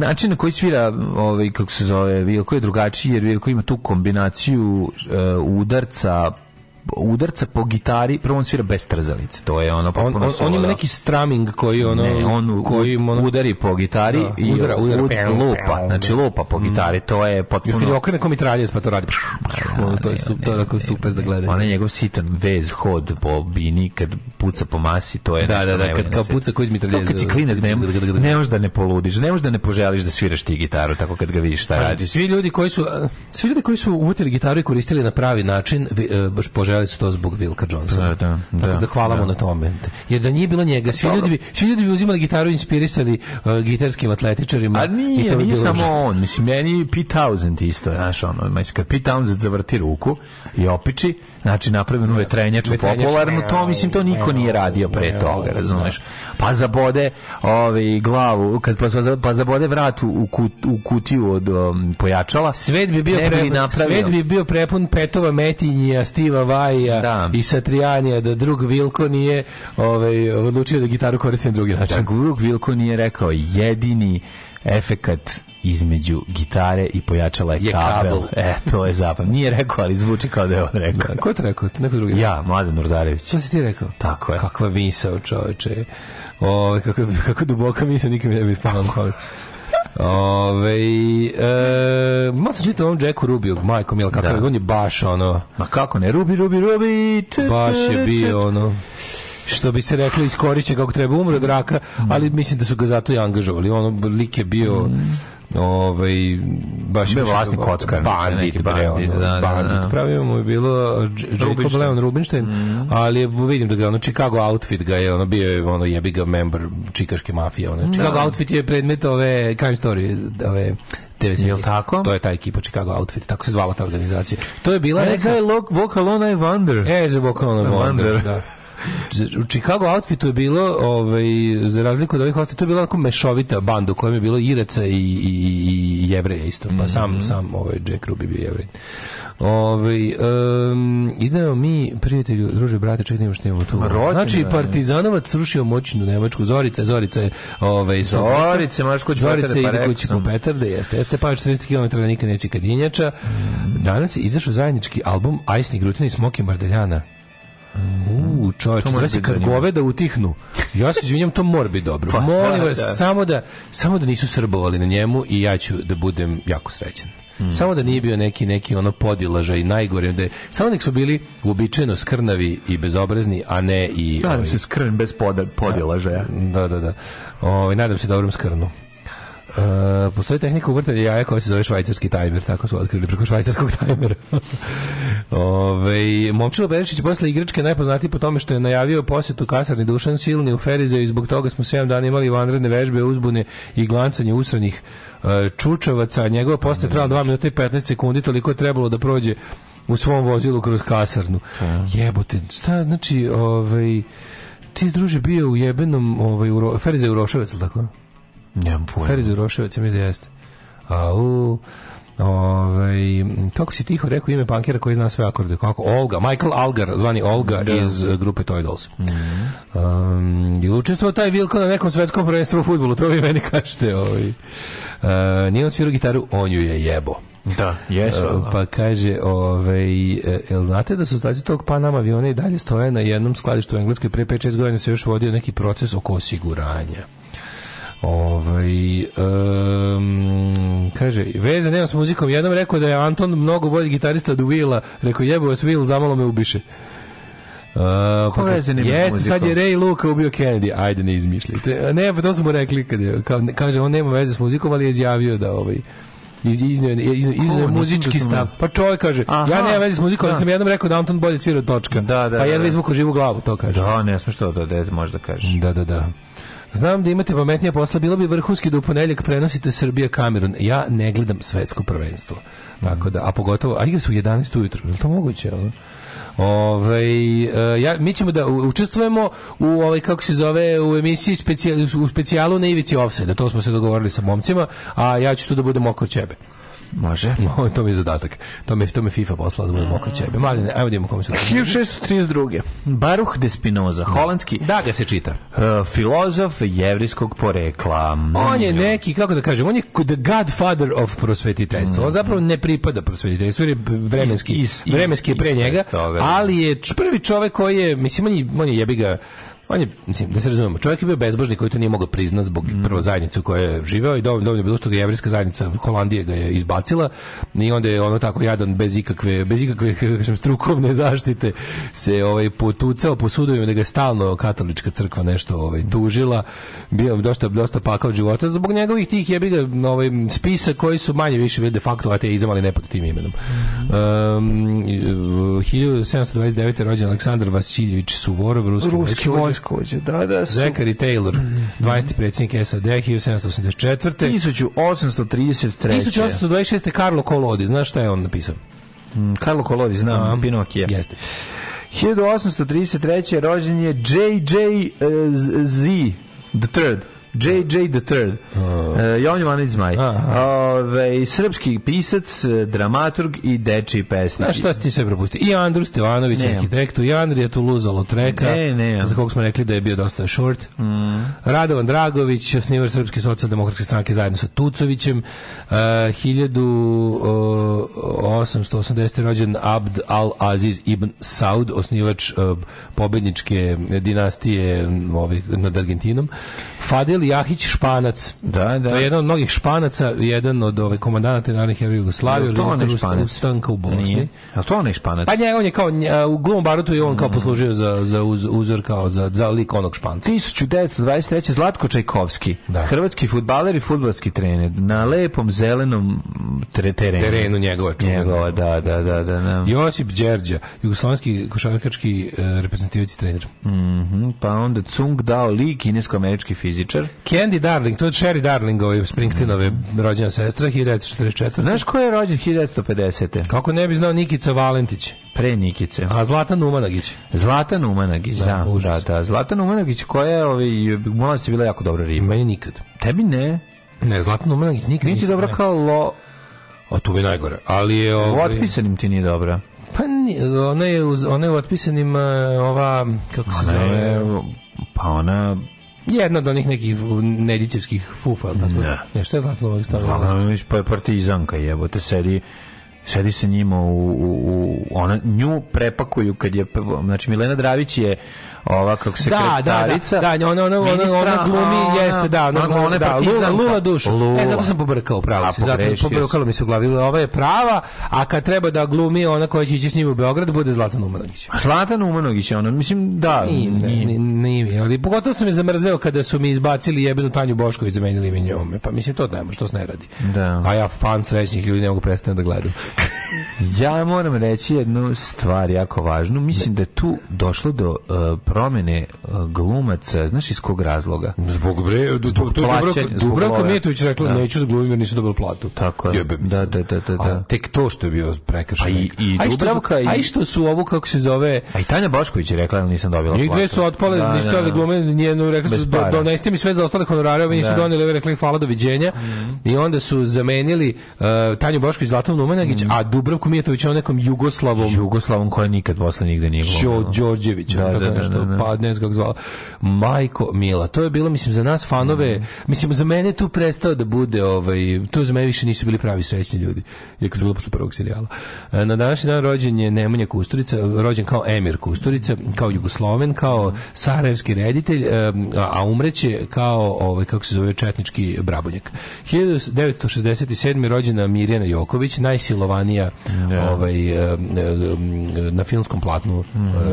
[SPEAKER 5] način na koji svira ovaj kako se zove Vilko je drugačiji jer Vilko ima tu kombinaciju e, udarca udarca po gitari, prvo on svira bez trzalice, to je ono
[SPEAKER 1] On,
[SPEAKER 5] potpuno
[SPEAKER 1] on, on
[SPEAKER 5] solo,
[SPEAKER 1] ima
[SPEAKER 5] da.
[SPEAKER 1] neki straming koji ono,
[SPEAKER 5] Ne, on u-
[SPEAKER 1] koji ono,
[SPEAKER 5] udari po gitari
[SPEAKER 1] Da,
[SPEAKER 5] i
[SPEAKER 1] udara, udara,
[SPEAKER 5] ud-
[SPEAKER 1] pew,
[SPEAKER 5] lupa,
[SPEAKER 1] pew,
[SPEAKER 5] znači lupa po gitari, to je
[SPEAKER 1] Mm. Još
[SPEAKER 5] potpuno...
[SPEAKER 1] kad je okrene ko mitraljez pa to radi. Ono, to je su- to je onako super za
[SPEAKER 5] Ona
[SPEAKER 1] gledanje.
[SPEAKER 5] njegov sitan vez, hod po bini, kad puca po masi, to je
[SPEAKER 1] Da,
[SPEAKER 5] nešto
[SPEAKER 1] da, da,
[SPEAKER 5] najbolje
[SPEAKER 1] kad
[SPEAKER 5] na
[SPEAKER 1] kao
[SPEAKER 5] svijetu.
[SPEAKER 1] puca ko iz mitraljeza.
[SPEAKER 5] To kad si klinac, ne, ne možeš da ne poludiš, ne možeš da ne poželiš da sviraš ti gitaru, tako kad ga vidiš šta radi.
[SPEAKER 1] Kažete, svi ljudi koji su a, svi ljudi koji su uvotili gitaru i koristili na pravi način, vi- e, baš poželjeli su to zbog Vilka Johnsona.
[SPEAKER 5] Da, da,
[SPEAKER 1] Tako
[SPEAKER 5] da,
[SPEAKER 1] da hvala mu na tome. Jer da nije bilo njega, svi ljudi bi svi ljudi bi uzimali gitaru i inspirisali e, gitarskim atletičarima.
[SPEAKER 5] A
[SPEAKER 1] i
[SPEAKER 5] nije,
[SPEAKER 1] to bi
[SPEAKER 5] nije
[SPEAKER 1] bilo
[SPEAKER 5] samo
[SPEAKER 1] užasno.
[SPEAKER 5] on, mislim, meni Pete Townsend isto, znaš, ono, mislim, kad Pete Townsend zavrti ruku i opiči, znači, napravi nove trenjaču
[SPEAKER 1] Vetrenjaču.
[SPEAKER 5] popularnu, to, mislim, to niko nije radio pre toga, razumeš, pa zabode ovaj, glavu, kad, pa, za- pa zabode vrat u, u kut- u kutiju od um, pojačala,
[SPEAKER 1] Svet bi bio
[SPEAKER 5] ne bi li
[SPEAKER 1] prepun,
[SPEAKER 5] napravio.
[SPEAKER 1] svet bi bio prepun Petova Metinija, Stiva Vaja
[SPEAKER 5] Da.
[SPEAKER 1] i Satrijanija da drug Vilko nije ovaj odlučio da gitaru koristi na drugi način.
[SPEAKER 5] Da Guruk Znači, Vilko nije rekao jedini efekat između gitare i pojačala je,
[SPEAKER 1] Je
[SPEAKER 5] kabel.
[SPEAKER 1] kabel.
[SPEAKER 5] E, to je zapam. Nije rekao, ali zvuči kao da je on rekao.
[SPEAKER 1] Ko je to rekao? Neko drugi?
[SPEAKER 5] Ja, Mladen Urdarević.
[SPEAKER 1] Što si ti rekao?
[SPEAKER 5] Tako je.
[SPEAKER 1] Kakva misao, čoveče. Ove, kako, kako duboka misao, nikad mi ne bi palo na pamet. Ove, e, malo sam čitao ovom Jacku Rubiju, majko mila, kakav
[SPEAKER 5] Da.
[SPEAKER 1] je, on je baš ono,
[SPEAKER 5] Ma kako ne? Rubi, rubi, rubi. ča,
[SPEAKER 1] baš
[SPEAKER 5] ča,
[SPEAKER 1] je
[SPEAKER 5] ča.
[SPEAKER 1] bio ono, što bi se reklo iskorišće kako treba umre od raka, ali mislim da su ga zato i angažovali. Ono, lik je bio... Ovaj baš
[SPEAKER 5] Bio
[SPEAKER 1] mislim da-
[SPEAKER 5] vlasnik kockarnice, neki
[SPEAKER 1] bandit, bre,
[SPEAKER 5] bandit,
[SPEAKER 1] ono,
[SPEAKER 5] da, da,
[SPEAKER 1] bandit.
[SPEAKER 5] da.
[SPEAKER 1] Pravio mu je bilo J- Jacob
[SPEAKER 5] Rubinstein.
[SPEAKER 1] Leon Rubinstein,
[SPEAKER 5] Mhm.
[SPEAKER 1] ali je- vidim da ga je ono Chicago outfit ga je ono bio je ono jebi ga member čikaške mafije, ono. Chicago outfit je predmet ove crime story, ove TV serije.
[SPEAKER 5] Jel tako?
[SPEAKER 1] To je ta ekipa Chicago outfit, tako se zvala ta organizacija. To je bila
[SPEAKER 5] As
[SPEAKER 1] neka
[SPEAKER 5] I look, walk alone, I wonder.
[SPEAKER 1] E, za Boca Raton
[SPEAKER 5] Wonder.
[SPEAKER 1] Wonder, da. Z- U Chicago outfitu je bilo, ovaj, za razliku od ovih ostalih, to je bila onako mešovita banda u kojem je bilo Iraca i, i, i- i jevreja isto. Pa sam,
[SPEAKER 5] Mhm.
[SPEAKER 1] sam ovaj Jack Ruby bio jevrej. Ovaj, em, idemo mi, prijatelju, druže, brate, čekaj, nema što imamo tu.
[SPEAKER 5] Rođendan
[SPEAKER 1] znači,
[SPEAKER 5] je.
[SPEAKER 1] Partizanovac srušio moćnu Nemačku. Zorica, Zorica je... Ovaj, sa
[SPEAKER 5] Zorice,
[SPEAKER 1] Obrasta.
[SPEAKER 5] možeš kući
[SPEAKER 1] Zorica
[SPEAKER 5] petarde, pa
[SPEAKER 1] ide
[SPEAKER 5] rekao
[SPEAKER 1] kući po
[SPEAKER 5] sam.
[SPEAKER 1] petarde, jeste. Jeste, pa 40 km nikad neće kad jenjača.
[SPEAKER 5] Mm.
[SPEAKER 1] Danas je izašao zajednički album Ajsni Grutin i Smoki Mardeljana. U, čovječ,
[SPEAKER 5] Mm. To mora
[SPEAKER 1] znaš
[SPEAKER 5] biti
[SPEAKER 1] kad
[SPEAKER 5] zanimljivo.
[SPEAKER 1] goveda utihnu, Ja se izvinjam, to mora biti dobro.
[SPEAKER 5] (laughs) Pa,
[SPEAKER 1] Molim
[SPEAKER 5] da,
[SPEAKER 1] vas,
[SPEAKER 5] da.
[SPEAKER 1] samo da samo da nisu srbovali na njemu i ja ću da budem jako srećan.
[SPEAKER 5] Mm.
[SPEAKER 1] Samo da nije bio neki neki ono podilažaj najgore, da je, samo nek su bili uobičajeno skrnavi i bezobrazni, a ne i
[SPEAKER 5] Nadam
[SPEAKER 1] ovaj,
[SPEAKER 5] se skrn bez poda- podilažaja.
[SPEAKER 1] Da, da, da. Ovaj nadam se dobrom skrnu. E, postoji tehnika uvrtanja jaja koja se zove švajcarski tajmer, tako su otkrili preko švajcarskog tajmera. (laughs) Ove, Momčilo Berišić posle igračke je najpoznatiji po tome što je najavio posjetu kasarni Dušan Silni u Ferizeju i zbog toga smo 7 dana imali vanredne vežbe, uzbune i glancanje usranih e, čučavaca. a Njegova posta je trajala 2 minuta i 15 sekundi, toliko je trebalo da prođe u svom vozilu kroz kasarnu. Jebote, šta, znači, ovaj, ti druže bio u jebenom ovaj u Ro- Ferize Uroševac, jel tako?
[SPEAKER 5] Nemam pojma.
[SPEAKER 1] Ferize Uroševac, ja mislim da jeste. A u Ovaj, m, kako si tiho rekao ime pankera koji zna sve akorde? Kako? Olga, Michael Algar, zvani Olga iz eh, grupe Toy Dolls. Mm um, jel učestvovao taj Vilko na nekom svetskom prvenstvu u futbolu, to vi meni kažete. Ovaj. Uh, nije on svirao gitaru, on ju je jebo.
[SPEAKER 5] Da, jesu.
[SPEAKER 1] E, Pa kaže, ovaj, e, jel znate da su stazi tog Panama aviona i dalje stoje na jednom skladištu u Engleskoj, pre 5-6 godina se još vodio neki proces oko osiguranja. Ovaj, em, kaže, veze nema s muzikom, jednom rekao da je Anton mnogo bolji gitarista od Willa, rekao jebo vas Will, zamalo me ubiše. Uh,
[SPEAKER 5] Ko Pa veze nema s
[SPEAKER 1] jeste, sad je
[SPEAKER 5] muzikom?
[SPEAKER 1] Ray Luka ubio Kennedy, ajde ne izmišljajte. Ne, pa to smo rekli, kad je, kao, kaže, on nema veze s muzikom, ali je izjavio da ovaj, iz, iznio, je- iz, iznio je
[SPEAKER 5] nisam
[SPEAKER 1] muzički
[SPEAKER 5] razumeo.
[SPEAKER 1] stav. Pa čovjek kaže,
[SPEAKER 5] Aha.
[SPEAKER 1] ja nema veze s muzikom, ali
[SPEAKER 5] Da.
[SPEAKER 1] sam jednom rekao da Anton bolje svira od točka.
[SPEAKER 5] Da, da, da,
[SPEAKER 1] pa jedva
[SPEAKER 5] da.
[SPEAKER 1] izvuku živu glavu, to kaže.
[SPEAKER 5] Da, ne smiješ to da dete možda kažeš.
[SPEAKER 1] Da, da, da. Znam da imate pametnija posla, bilo bi vrhunski da u ponedjeljak prenosite Srbija Kamerun. Ja ne gledam svetsko prvenstvo. Tako da, a pogotovo, a igra su u 11 ujutro, je li to moguće? ono? Ovaj, e, ja, mi ćemo da u- učestvujemo u ovaj kako se zove u emisiji specijal, u specijalu na ivici offside, to smo se dogovorili sa momcima, a ja ću tu da budem oko ćebe. (laughs)
[SPEAKER 5] Može.
[SPEAKER 1] to mi je zadatak. To me to me FIFA poslala da budem oko ćebe. Maline, ajmo da vidimo kome se.
[SPEAKER 5] 1632. Baruch de Spinoza, holandski
[SPEAKER 1] Da ga se čita.
[SPEAKER 5] e, filozof jevrijskog porekla. Mm.
[SPEAKER 1] On je neki, kako da kažem, on je the godfather of prosvetiteljstva. On zapravo ne pripada prosvetiteljstvu, jer je vremenski,
[SPEAKER 5] Iz- iz-
[SPEAKER 1] vremenski je pre
[SPEAKER 5] iz-
[SPEAKER 1] njega,
[SPEAKER 5] toga.
[SPEAKER 1] ali je č- prvi čovek koji je, mislim, on je, on je jebi ga, on je, mislim, da se razumemo, čovjek je bio bezbožnik koji to nije mogao priznat zbog prvo zajednice u kojoj je živeo i dovoljno, dovoljno je bilo što ga je jevrijska zajednica Holandije ga je izbacila i onda je ono tako jadan bez ikakve, bez ikakve (laughs) kako da kažem, strukovne zaštite se ovaj, potucao po sudovima da ga je stalno katolička crkva nešto ovaj, tužila, bio je dosta, dosta pakao života zbog njegovih tih jebi ga ovaj, spisa koji su manje više bili de facto ateizam, ali ne pod tim imenom. Um, 1729. je rođen Aleksandar Vasiljević Suvorov, ruski,
[SPEAKER 10] Ruski
[SPEAKER 1] vojskovođa.
[SPEAKER 10] vojskovođe, da, da. Su.
[SPEAKER 1] Zachary Taylor, 20. predsjednik SAD, 1784.
[SPEAKER 5] 1833.
[SPEAKER 1] 1826. Karlo Kolodi, znaš šta je on napisao?
[SPEAKER 5] Karlo Kolodi, znam, Pinokije.
[SPEAKER 1] Jeste.
[SPEAKER 5] 1833. rođen je J.J. eh, Z- Z. The Third. J.J. the Third. Uh, Jovan Jovanović Zmaj.
[SPEAKER 1] Aha.
[SPEAKER 5] Ovaj, srpski pisac, eh, dramaturg i dečiji pesnik.
[SPEAKER 1] Znaš šta si ti sve propustio? I Andru Stevanović,
[SPEAKER 5] Nemam.
[SPEAKER 1] arhitektu, i Andrija Tuluza Lotreka,
[SPEAKER 5] Ne, nemam. Mm.
[SPEAKER 1] za kog smo rekli da je bio dosta short. Radovan Dragović, osnivač Srpske socijaldemokratske stranke zajedno sa Tucovićem. Uh, 1880. rođen Abd al-Aziz ibn Saud, osnivač uh, pobedničke dinastije mm, ovaj, nad Argentinom. Fadil Jahić Španac.
[SPEAKER 5] Da, da.
[SPEAKER 1] To je jedan od mnogih Španaca, jedan od ovaj, komandanata narodnih heroja Jugoslavije,
[SPEAKER 5] to onaj
[SPEAKER 1] organizator ust-
[SPEAKER 5] Španac?
[SPEAKER 1] ustanka u Bosni.
[SPEAKER 5] Nije. Je li to onaj španac?
[SPEAKER 1] Pa ne, on je kao nja- u Glumom barutu i on kao poslužio za, za uz- uzor kao za, za lik onog španca.
[SPEAKER 5] 1923. Zlatko Čajkovski,
[SPEAKER 1] Da.
[SPEAKER 5] hrvatski futbaler i futbalski trener, na lepom zelenom tre, terenu.
[SPEAKER 1] Terenu njegove čuvene.
[SPEAKER 5] Njegova, da, da, da, da. da.
[SPEAKER 1] Josip Đerđa, jugoslovenski košarkački e, reprezentativac i trener.
[SPEAKER 5] Mhm, pa onda Cung Dao Li, kinesko-američki fizičar.
[SPEAKER 1] Candy Darling, to je Sherry Darling, ove Springsteenove rođena sestra, 1944.
[SPEAKER 5] Znaš ko je rođen 1950.
[SPEAKER 1] Kako ne bi znao Nikica Valentić,
[SPEAKER 5] Pre Nikice.
[SPEAKER 1] a Zlatan Umanagić.
[SPEAKER 5] Zlatan Umanagić, da, da, da,
[SPEAKER 1] užas.
[SPEAKER 5] Zlatan Umanagić koja je, ovaj, mladost je bila jako dobra riba.
[SPEAKER 1] Meni nikad.
[SPEAKER 5] Tebi ne.
[SPEAKER 1] Ne, Zlatan Umanagić nikad
[SPEAKER 5] Nije ti
[SPEAKER 1] nisam-
[SPEAKER 5] dobra kao lo...
[SPEAKER 1] A tu mi je najgore. Ali je...
[SPEAKER 5] O
[SPEAKER 1] Ovaj,
[SPEAKER 5] otpisanim ti nije dobra.
[SPEAKER 1] pa ni- ona je, uz, ona je u otpisanim e, ova... Kako se
[SPEAKER 5] Ona je,
[SPEAKER 1] zove?
[SPEAKER 5] pa ona...
[SPEAKER 1] Jedna od onih nekih nedićevskih fufa, ili tako?
[SPEAKER 5] Ne.
[SPEAKER 1] Ne, šta je Zlatan Umanagić?
[SPEAKER 5] Zlatan Umanagić pa je partizanka jebote, sedi sedi sa njima u, u, u ona, nju prepakuju kad je, znači Milena Dravić je ova kako se
[SPEAKER 1] Da, da, da, da, ona, ona, ona,
[SPEAKER 5] Ministra,
[SPEAKER 1] ona
[SPEAKER 5] a
[SPEAKER 1] glumi,
[SPEAKER 5] ona-
[SPEAKER 1] jeste, da, ona,
[SPEAKER 5] ona-
[SPEAKER 1] glumi,
[SPEAKER 5] ona je
[SPEAKER 1] da, lula,
[SPEAKER 5] partizanka.
[SPEAKER 1] lula dušu.
[SPEAKER 5] Lula.
[SPEAKER 1] E, zato sam pobrkao, pravo
[SPEAKER 5] A,
[SPEAKER 1] si, zato
[SPEAKER 5] pogrešio
[SPEAKER 1] pobrkalo mi se u glavi, ova je prava, a kad treba da glumi ona koja će ići s njim u Beograd, bude Zlatan Umanović.
[SPEAKER 5] Zlatan Umanović je ona, mislim, da,
[SPEAKER 1] Nije,
[SPEAKER 5] nije-
[SPEAKER 1] nije, nije, ali pogotovo sam je zamrzeo kada su mi izbacili jebenu Tanju Bošković zamenili mi njome. Pa mislim, to dajmo, što se ne radi.
[SPEAKER 5] Da.
[SPEAKER 1] A ja fan srećnih ljudi ne mogu prestane da gledam.
[SPEAKER 5] Ja moram reći jednu stvar jako važnu. Mislim da je tu došlo do uh, promene uh, glumaca, znaš iz kog razloga?
[SPEAKER 1] Zbog bre, to, to, to je
[SPEAKER 5] plaćanja,
[SPEAKER 1] Dubravka,
[SPEAKER 5] zbog
[SPEAKER 1] Dubravka
[SPEAKER 5] love.
[SPEAKER 1] Mijetović rekla,
[SPEAKER 5] Da.
[SPEAKER 1] neću da glumim jer nisu dobili platu.
[SPEAKER 5] Tako je.
[SPEAKER 1] Jebe mi se.
[SPEAKER 5] Da, da, da, da,
[SPEAKER 1] A
[SPEAKER 5] da.
[SPEAKER 1] tek to što je bio prekršaj.
[SPEAKER 5] A i-
[SPEAKER 1] neka.
[SPEAKER 5] i
[SPEAKER 1] A što su-
[SPEAKER 5] Dubravka i-
[SPEAKER 1] A i što su ovu, kako se zove,
[SPEAKER 5] A i Tanja Bošković je rekla da nisam dobila
[SPEAKER 1] Njih dve su otpale, da, nisu htjeli glume, njenu rekli
[SPEAKER 5] Bez
[SPEAKER 1] su, do,
[SPEAKER 5] para.
[SPEAKER 1] donesite mi sve za ostale honorare, ovi nisu
[SPEAKER 5] Da. Mhm.
[SPEAKER 1] donijeli, ovi rekli hvala, doviđenja. I onda su zamenili uh, Tanju Bošković, Zlatan Lumanagić,
[SPEAKER 5] Mhm.
[SPEAKER 1] a Dubravku Mijetović on nekom Jugoslavom
[SPEAKER 5] Jugoslavom koja nikad posle nigde nije
[SPEAKER 1] Đo
[SPEAKER 5] glumila.
[SPEAKER 1] Đorđević, da, da, da,
[SPEAKER 5] da, da.
[SPEAKER 1] pa ne znam kako zvala. Majko Mila, to je bilo mislim za nas fanove, mislim za mene tu prestao da bude ovaj, tu za mene više nisu bili pravi srećni ljudi, iako su bilo posle prvog serijala. E, Na današnji dan rođen je Nemanja Kusturica, rođen kao Emir Kusturica, kao Jugosloven, kao sarajevski reditelj, e, a a umreće kao ovaj kako se zove četnički Brabonjak. 1967. rođena Mirjana Joković, najsilovanija ovaj, e, e, na filmskom platnu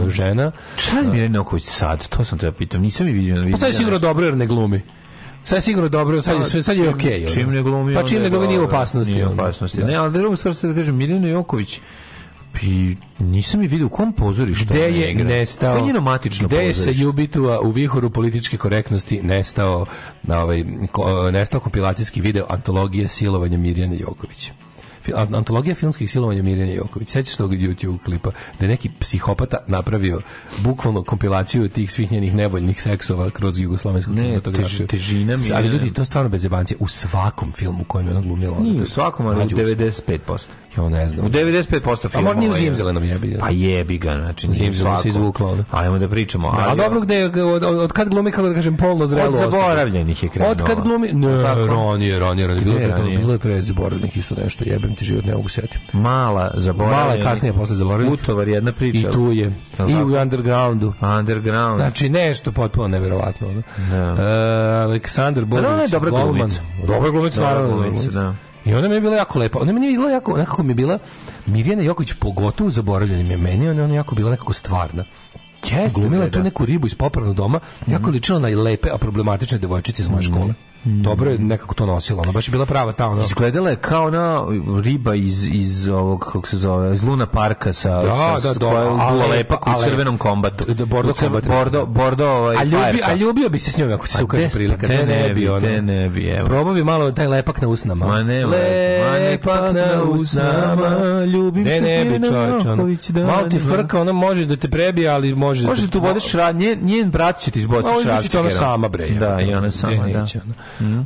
[SPEAKER 1] e, žena.
[SPEAKER 5] Šta je Mirjana Oković sad? To sam te pitam. Nisam je vidio.
[SPEAKER 1] Pa sad je sigurno dobro jer ne glumi. Sad je sigurno dobro, sad je, sve, sad je okej. ono.
[SPEAKER 5] Pa Čim ne glumi,
[SPEAKER 1] Pa
[SPEAKER 5] onda
[SPEAKER 1] čim
[SPEAKER 5] je
[SPEAKER 1] ne glumi nije u
[SPEAKER 5] dobro.
[SPEAKER 1] opasnosti.
[SPEAKER 5] Nije u
[SPEAKER 1] ono.
[SPEAKER 5] opasnosti.
[SPEAKER 1] Da.
[SPEAKER 5] Ne, ali drugu stvar ste da kažem, Mirjana Joković, i nisam je vidio u kom pozorištu
[SPEAKER 1] Gde
[SPEAKER 5] ona
[SPEAKER 1] je
[SPEAKER 5] igra? To
[SPEAKER 1] nestao?
[SPEAKER 5] je njeno matično
[SPEAKER 1] Gde je
[SPEAKER 5] pozorište.
[SPEAKER 1] sa Jubitua u vihoru političke korektnosti nestao na ovaj ko- nestao kompilacijski video antologije silovanja Mirjane Jokovića. Fi- an- Antologija filmskih silovanja Mirjane Joković. Sećaš tog YouTube klipa da je neki psihopata napravio bukvalno kompilaciju tih svih njenih nevoljnih seksova kroz jugoslovensku
[SPEAKER 5] Ne,
[SPEAKER 1] kinematografiju.
[SPEAKER 5] tež- težina mi
[SPEAKER 1] Ali
[SPEAKER 5] je-
[SPEAKER 1] ljudi, to stvarno bez jebancije. U svakom filmu u kojem je ona glumila. ona
[SPEAKER 5] Nije
[SPEAKER 1] to-
[SPEAKER 5] u Dakle, svakom, ali u
[SPEAKER 1] Mađu-
[SPEAKER 5] 95%.
[SPEAKER 1] Ja ne znam.
[SPEAKER 5] U 95%
[SPEAKER 1] A
[SPEAKER 5] filmova.
[SPEAKER 1] možda nije u
[SPEAKER 5] je.
[SPEAKER 1] Zimzelenom jebi.
[SPEAKER 5] Pa jebi ga, znači nije
[SPEAKER 1] Zimzelom se
[SPEAKER 5] svako.
[SPEAKER 1] izvukla ona.
[SPEAKER 5] Ajmo da pričamo.
[SPEAKER 1] A
[SPEAKER 5] ali- ono-
[SPEAKER 1] dobro gde je- od, od, od kad glumi kako da kažem polno zrelo
[SPEAKER 5] Od zaboravljenih je krenuo.
[SPEAKER 1] Od kad glumi ne,
[SPEAKER 5] Tako.
[SPEAKER 1] ranije, ranije, ranije, bilo je pre-
[SPEAKER 5] ranije?
[SPEAKER 1] bilo je pre zaboravljenih isto nešto, jebem ti život ne mogu setiti.
[SPEAKER 5] Mala zaboravljenih.
[SPEAKER 1] Mala je kasnije posle zaboravljenih.
[SPEAKER 5] Utovar jedna
[SPEAKER 1] I
[SPEAKER 5] priča.
[SPEAKER 1] tu je
[SPEAKER 5] Jel
[SPEAKER 1] i
[SPEAKER 5] tako?
[SPEAKER 1] u undergroundu.
[SPEAKER 5] Underground.
[SPEAKER 1] Znači nešto potpuno neverovatno. ono.
[SPEAKER 5] Da.
[SPEAKER 1] E, Aleksandar Bogović.
[SPEAKER 5] ona je dobra
[SPEAKER 1] golman.
[SPEAKER 5] glumica.
[SPEAKER 1] Dobra glumica,
[SPEAKER 5] Dobra
[SPEAKER 1] naravno.
[SPEAKER 5] glumica, da.
[SPEAKER 1] I ona mi je bila jako lepa. Ona meni je bila jako, nekako mi je bila Mirjana Joković pogotovo zaboravljenim je meni, ona je ona jako bila nekako stvarna.
[SPEAKER 5] Jeste,
[SPEAKER 1] glumila je
[SPEAKER 5] bre,
[SPEAKER 1] tu
[SPEAKER 5] da.
[SPEAKER 1] neku ribu iz popravnog doma, jako je ličila na i lepe, a problematične devojčice iz moje škole. Dobro je nekako to nosila, ona baš je bila prava ta ona.
[SPEAKER 5] Izgledala je kao ona riba iz, iz ovog, kako se zove, iz Luna Parka sa,
[SPEAKER 1] Da,
[SPEAKER 5] sa,
[SPEAKER 1] da,
[SPEAKER 5] sa
[SPEAKER 1] do-
[SPEAKER 5] koja je
[SPEAKER 1] a
[SPEAKER 5] bila
[SPEAKER 1] lepa,
[SPEAKER 5] lepa
[SPEAKER 1] a
[SPEAKER 5] u
[SPEAKER 1] lepa.
[SPEAKER 5] crvenom kombatu.
[SPEAKER 1] Da, bordo
[SPEAKER 5] U crv-
[SPEAKER 1] kombatu.
[SPEAKER 5] Bordo, bordo ovaj,
[SPEAKER 1] A, ljubi,
[SPEAKER 5] fajerka.
[SPEAKER 1] a ljubio bi se s njom ako ti se ukaže
[SPEAKER 5] des- te
[SPEAKER 1] prilika. Pa Te
[SPEAKER 5] ne
[SPEAKER 1] ne
[SPEAKER 5] bi,
[SPEAKER 1] bi, ono.
[SPEAKER 5] te ne bi, evo.
[SPEAKER 1] Probao bi malo taj lepak na usnama.
[SPEAKER 5] Ma ne, veze, ma ne,
[SPEAKER 1] lepak na usnama, ljubim
[SPEAKER 5] se s
[SPEAKER 1] ne bi,
[SPEAKER 5] Mirjanom
[SPEAKER 1] čoveč, ono.
[SPEAKER 5] Joković, da,
[SPEAKER 1] Malo ti
[SPEAKER 5] da, da.
[SPEAKER 1] frka, ona može da te prebije, ali može...
[SPEAKER 5] Može
[SPEAKER 1] da
[SPEAKER 5] da tu bodeš ra, njen, njen brat će ti izbosti
[SPEAKER 1] Ovo je
[SPEAKER 5] šrafcigerom.
[SPEAKER 1] više ona sama bre. jebote.
[SPEAKER 5] Da, i ona sama,
[SPEAKER 1] Ne,
[SPEAKER 5] da. Mm.
[SPEAKER 1] neće ona.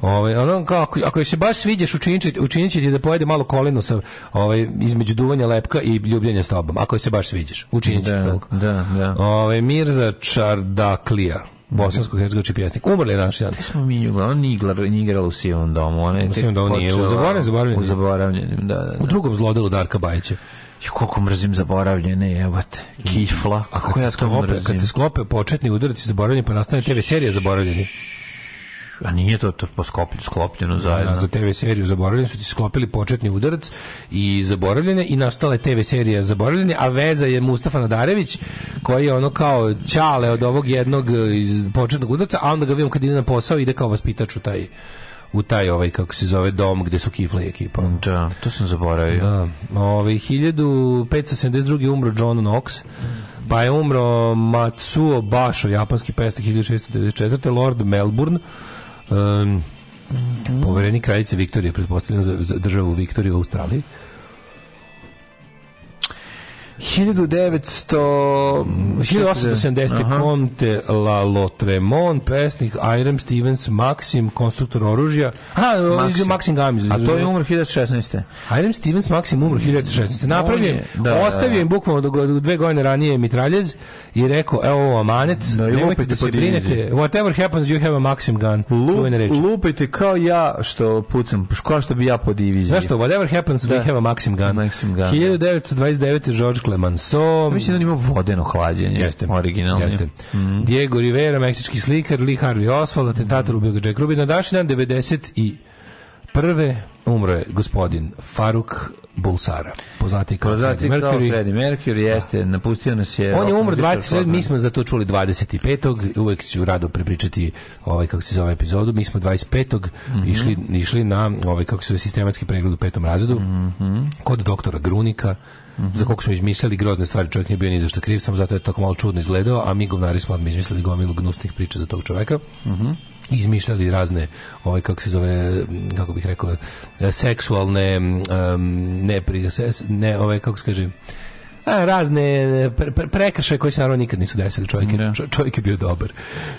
[SPEAKER 1] Ovaj ono kao ako- ako joj se baš sviđaš učinit će- učinit će ti da pojede malo koleno sa ovaj između duvanja lepka i ljubljenja s tobom. Ako joj se baš sviđaš, učinit će
[SPEAKER 5] Da,
[SPEAKER 1] ti toliko.
[SPEAKER 5] da, da.
[SPEAKER 1] Ovaj Mirza Čardaklija, bosansko hercegovački pjesnik, umrli je naš dan.
[SPEAKER 5] Gde smo mi nju gledali? Ona nije igrala, nije igrala u sivom domu. Ona je
[SPEAKER 1] U
[SPEAKER 5] tek
[SPEAKER 1] sivom domu nije, u
[SPEAKER 5] počela-
[SPEAKER 1] zaboravljenim, zaboravljenim.
[SPEAKER 5] U zaboravljenim, da, da.
[SPEAKER 1] U
[SPEAKER 5] da.
[SPEAKER 1] drugom zlodelu Darka Bajića.
[SPEAKER 5] Ju, koliko mrzim zaboravljene, evo te. Kifla.
[SPEAKER 1] Mm. A
[SPEAKER 5] Kako
[SPEAKER 1] kad, se sklope, kad se sklope početni udarac zaboravljeni pa nastane TV serija zaboravljeni.
[SPEAKER 5] A nije to, to po skopljeno, sklopljeno zajedno.
[SPEAKER 1] Za TV seriju Zaboravljeni su ti sklopili početni udarac i Zaboravljene i nastala je TV serija Zaboravljene, a veza je Mustafa Nadarević koji je ono kao ćale od ovog jednog e, iz početnog udarca, a onda ga vidim kad ide na posao ide kao vaspitač u taj u taj ovaj kako se zove dom gde su kifle i ekipa.
[SPEAKER 5] Da, to sam zaboravio.
[SPEAKER 1] Da, ovaj 1572 umro John Knox. Pa je umro Matsuo Basho, japanski pesnik 1694. Lord Melbourne. Um, poverenik kraljice Viktorije, pretpostavljam za, za državu Viktorije u Australiji.
[SPEAKER 5] 1900...
[SPEAKER 1] 1870.
[SPEAKER 5] Aha.
[SPEAKER 1] Conte La Lotremont, pesnik Irem Stevens, Maxim, konstruktor oružja. A, Maxim, Maxim Gamis.
[SPEAKER 5] A to je umro 1916.
[SPEAKER 1] Hiram Stevens Maxim umro 1916. Napravljen,
[SPEAKER 5] On je- da, da,
[SPEAKER 1] ostavio
[SPEAKER 5] da.
[SPEAKER 1] im bukvalno do go- dve godine ranije mitraljez i rekao, evo ovo amanet,
[SPEAKER 5] Da, i
[SPEAKER 1] nemojte
[SPEAKER 5] lupajte
[SPEAKER 1] da
[SPEAKER 5] po
[SPEAKER 1] se
[SPEAKER 5] diviziji.
[SPEAKER 1] brinete, whatever happens, you have a Maxim gun. Čuvene reči.
[SPEAKER 5] lupajte kao ja što pucam, kao što bi ja po diviziji.
[SPEAKER 1] Zašto? Whatever happens,
[SPEAKER 5] Da.
[SPEAKER 1] we have a Maxim gun.
[SPEAKER 5] Maxim gun, da.
[SPEAKER 1] 1929. George Clemenceau.
[SPEAKER 5] Mislim da Mhm. on ima vodeno hlađenje.
[SPEAKER 1] Jeste.
[SPEAKER 5] Originalno.
[SPEAKER 1] Jeste. Diego Rivera, meksički slikar, Lee Harvey Oswald, atentator ubio ga Jack Rubin. Na današnji dan 90 i prve umro je gospodin Faruk Bulsara, poznati kao
[SPEAKER 5] Prozati
[SPEAKER 1] Freddie
[SPEAKER 5] Pa kao
[SPEAKER 1] Mercury.
[SPEAKER 5] Freddie Mercury jeste, napustio nas je...
[SPEAKER 1] On je umro
[SPEAKER 5] rock'n'roll
[SPEAKER 1] 27,
[SPEAKER 5] Scotland.
[SPEAKER 1] mi smo za to čuli 25. Uvek ću rado prepričati ovaj, kako se zove epizodu. Mi smo 25. išli, išli na ovaj, kako se zove sistematski pregled u petom razredu kod doktora Grunika za koliko smo izmislili grozne stvari. Čovjek nije bio ni za što kriv, samo zato je tako malo čudno izgledao, a mi govnari smo odmah izmislili gomilu gnusnih priča za tog čovjeka izmišljali razne ovaj kako se zove m, kako bih rekao e, seksualne m, em, ne pri- se- ne ovaj kako se kaže a, razne pre, pre- prekršaje koji se naravno nikad nisu desili čovjek je, čo- čovjek je bio dobar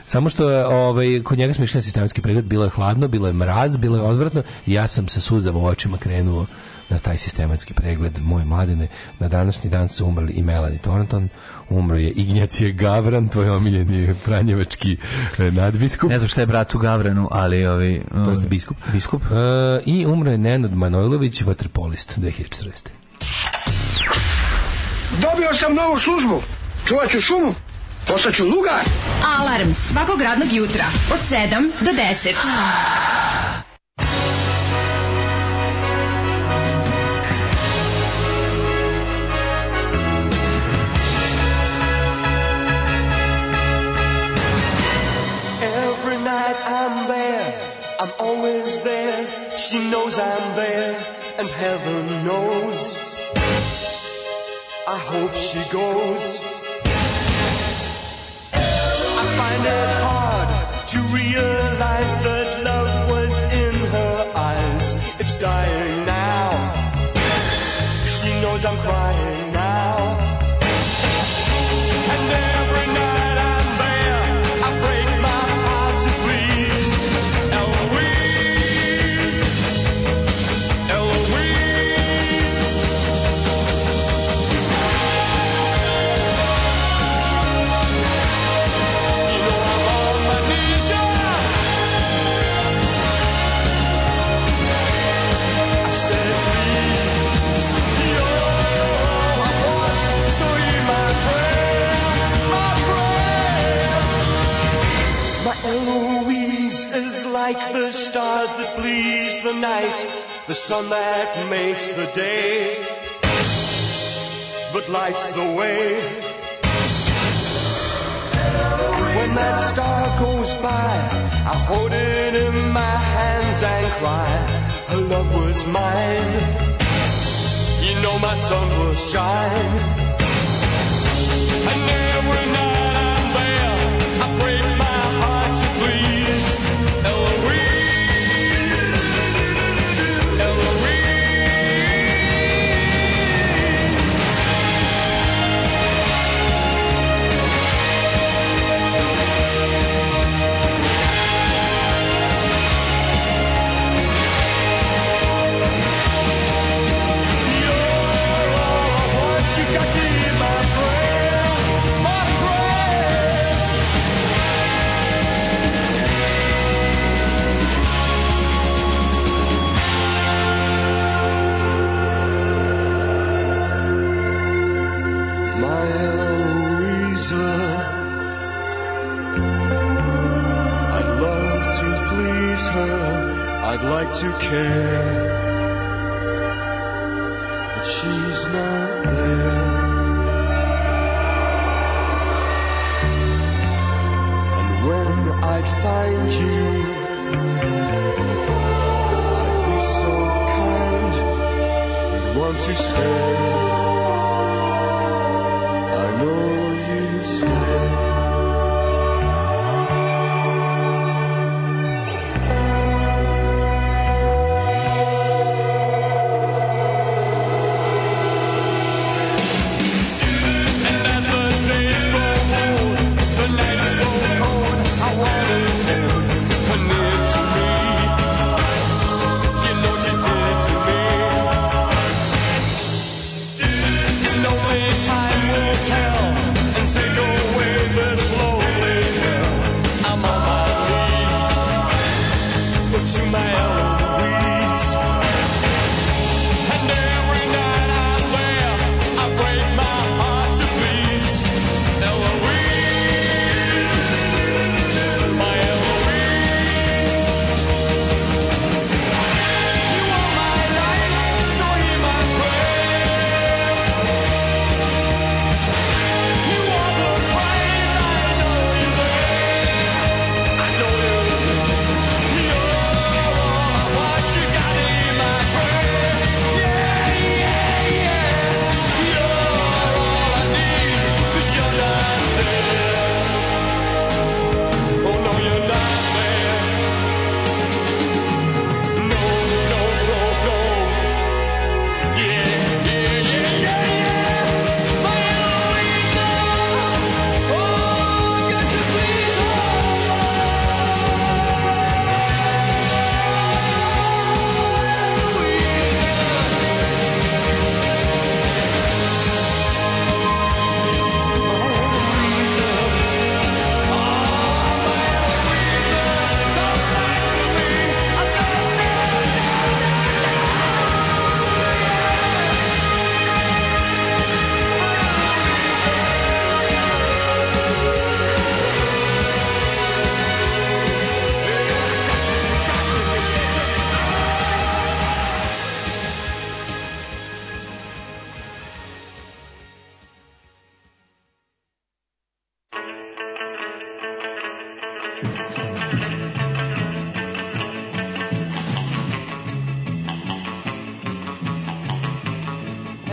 [SPEAKER 1] samo što je, ovaj kod njega smo išli na sistematski pregled bilo je hladno bilo je mraz bilo je odvratno i ja sam sa suzama u očima krenuo na taj sistematski pregled moje mladine. Na današnji dan su umrli i Melanie Thornton, umro je Ignjacije Gavran, tvoj omiljeni franjevački e, nadbiskup.
[SPEAKER 5] Ne znam šta je bracu Gavranu, ali ovi... To
[SPEAKER 1] jeste biskup.
[SPEAKER 5] Biskup.
[SPEAKER 1] E, I umro je Nenad Manojlović, vaterpolist 2014.
[SPEAKER 11] Dobio sam novu službu. Čuvat ću šumu. Postaću lugar.
[SPEAKER 4] Alarm svakog radnog jutra od 7 do 10.
[SPEAKER 12] Every night I'm there, I'm always there. She knows I'm there, and heaven knows. I hope she goes. I find it hard to realize that love was in her eyes. It's dying now. She knows I'm crying now. And every night I'm there, I break my heart to please Eloise, Eloise. You know I'm on my knees, yeah. I said please, you're I want, so you're my friend. My friend. My Eloise is like the stars that please the night, the sun that makes the day, but lights the way. And when that star goes by, I hold it in my hands and cry, her love was mine. You know my sun will shine. And every night I'm there, I break my heart to please Eloise, Eloise. What you got to hear, my friend, my friend. My Eloisa, I'd love to please her. I'd like to care, but she's not there. And when I'd find you, I'd be so kind and want to stay. I know you stay.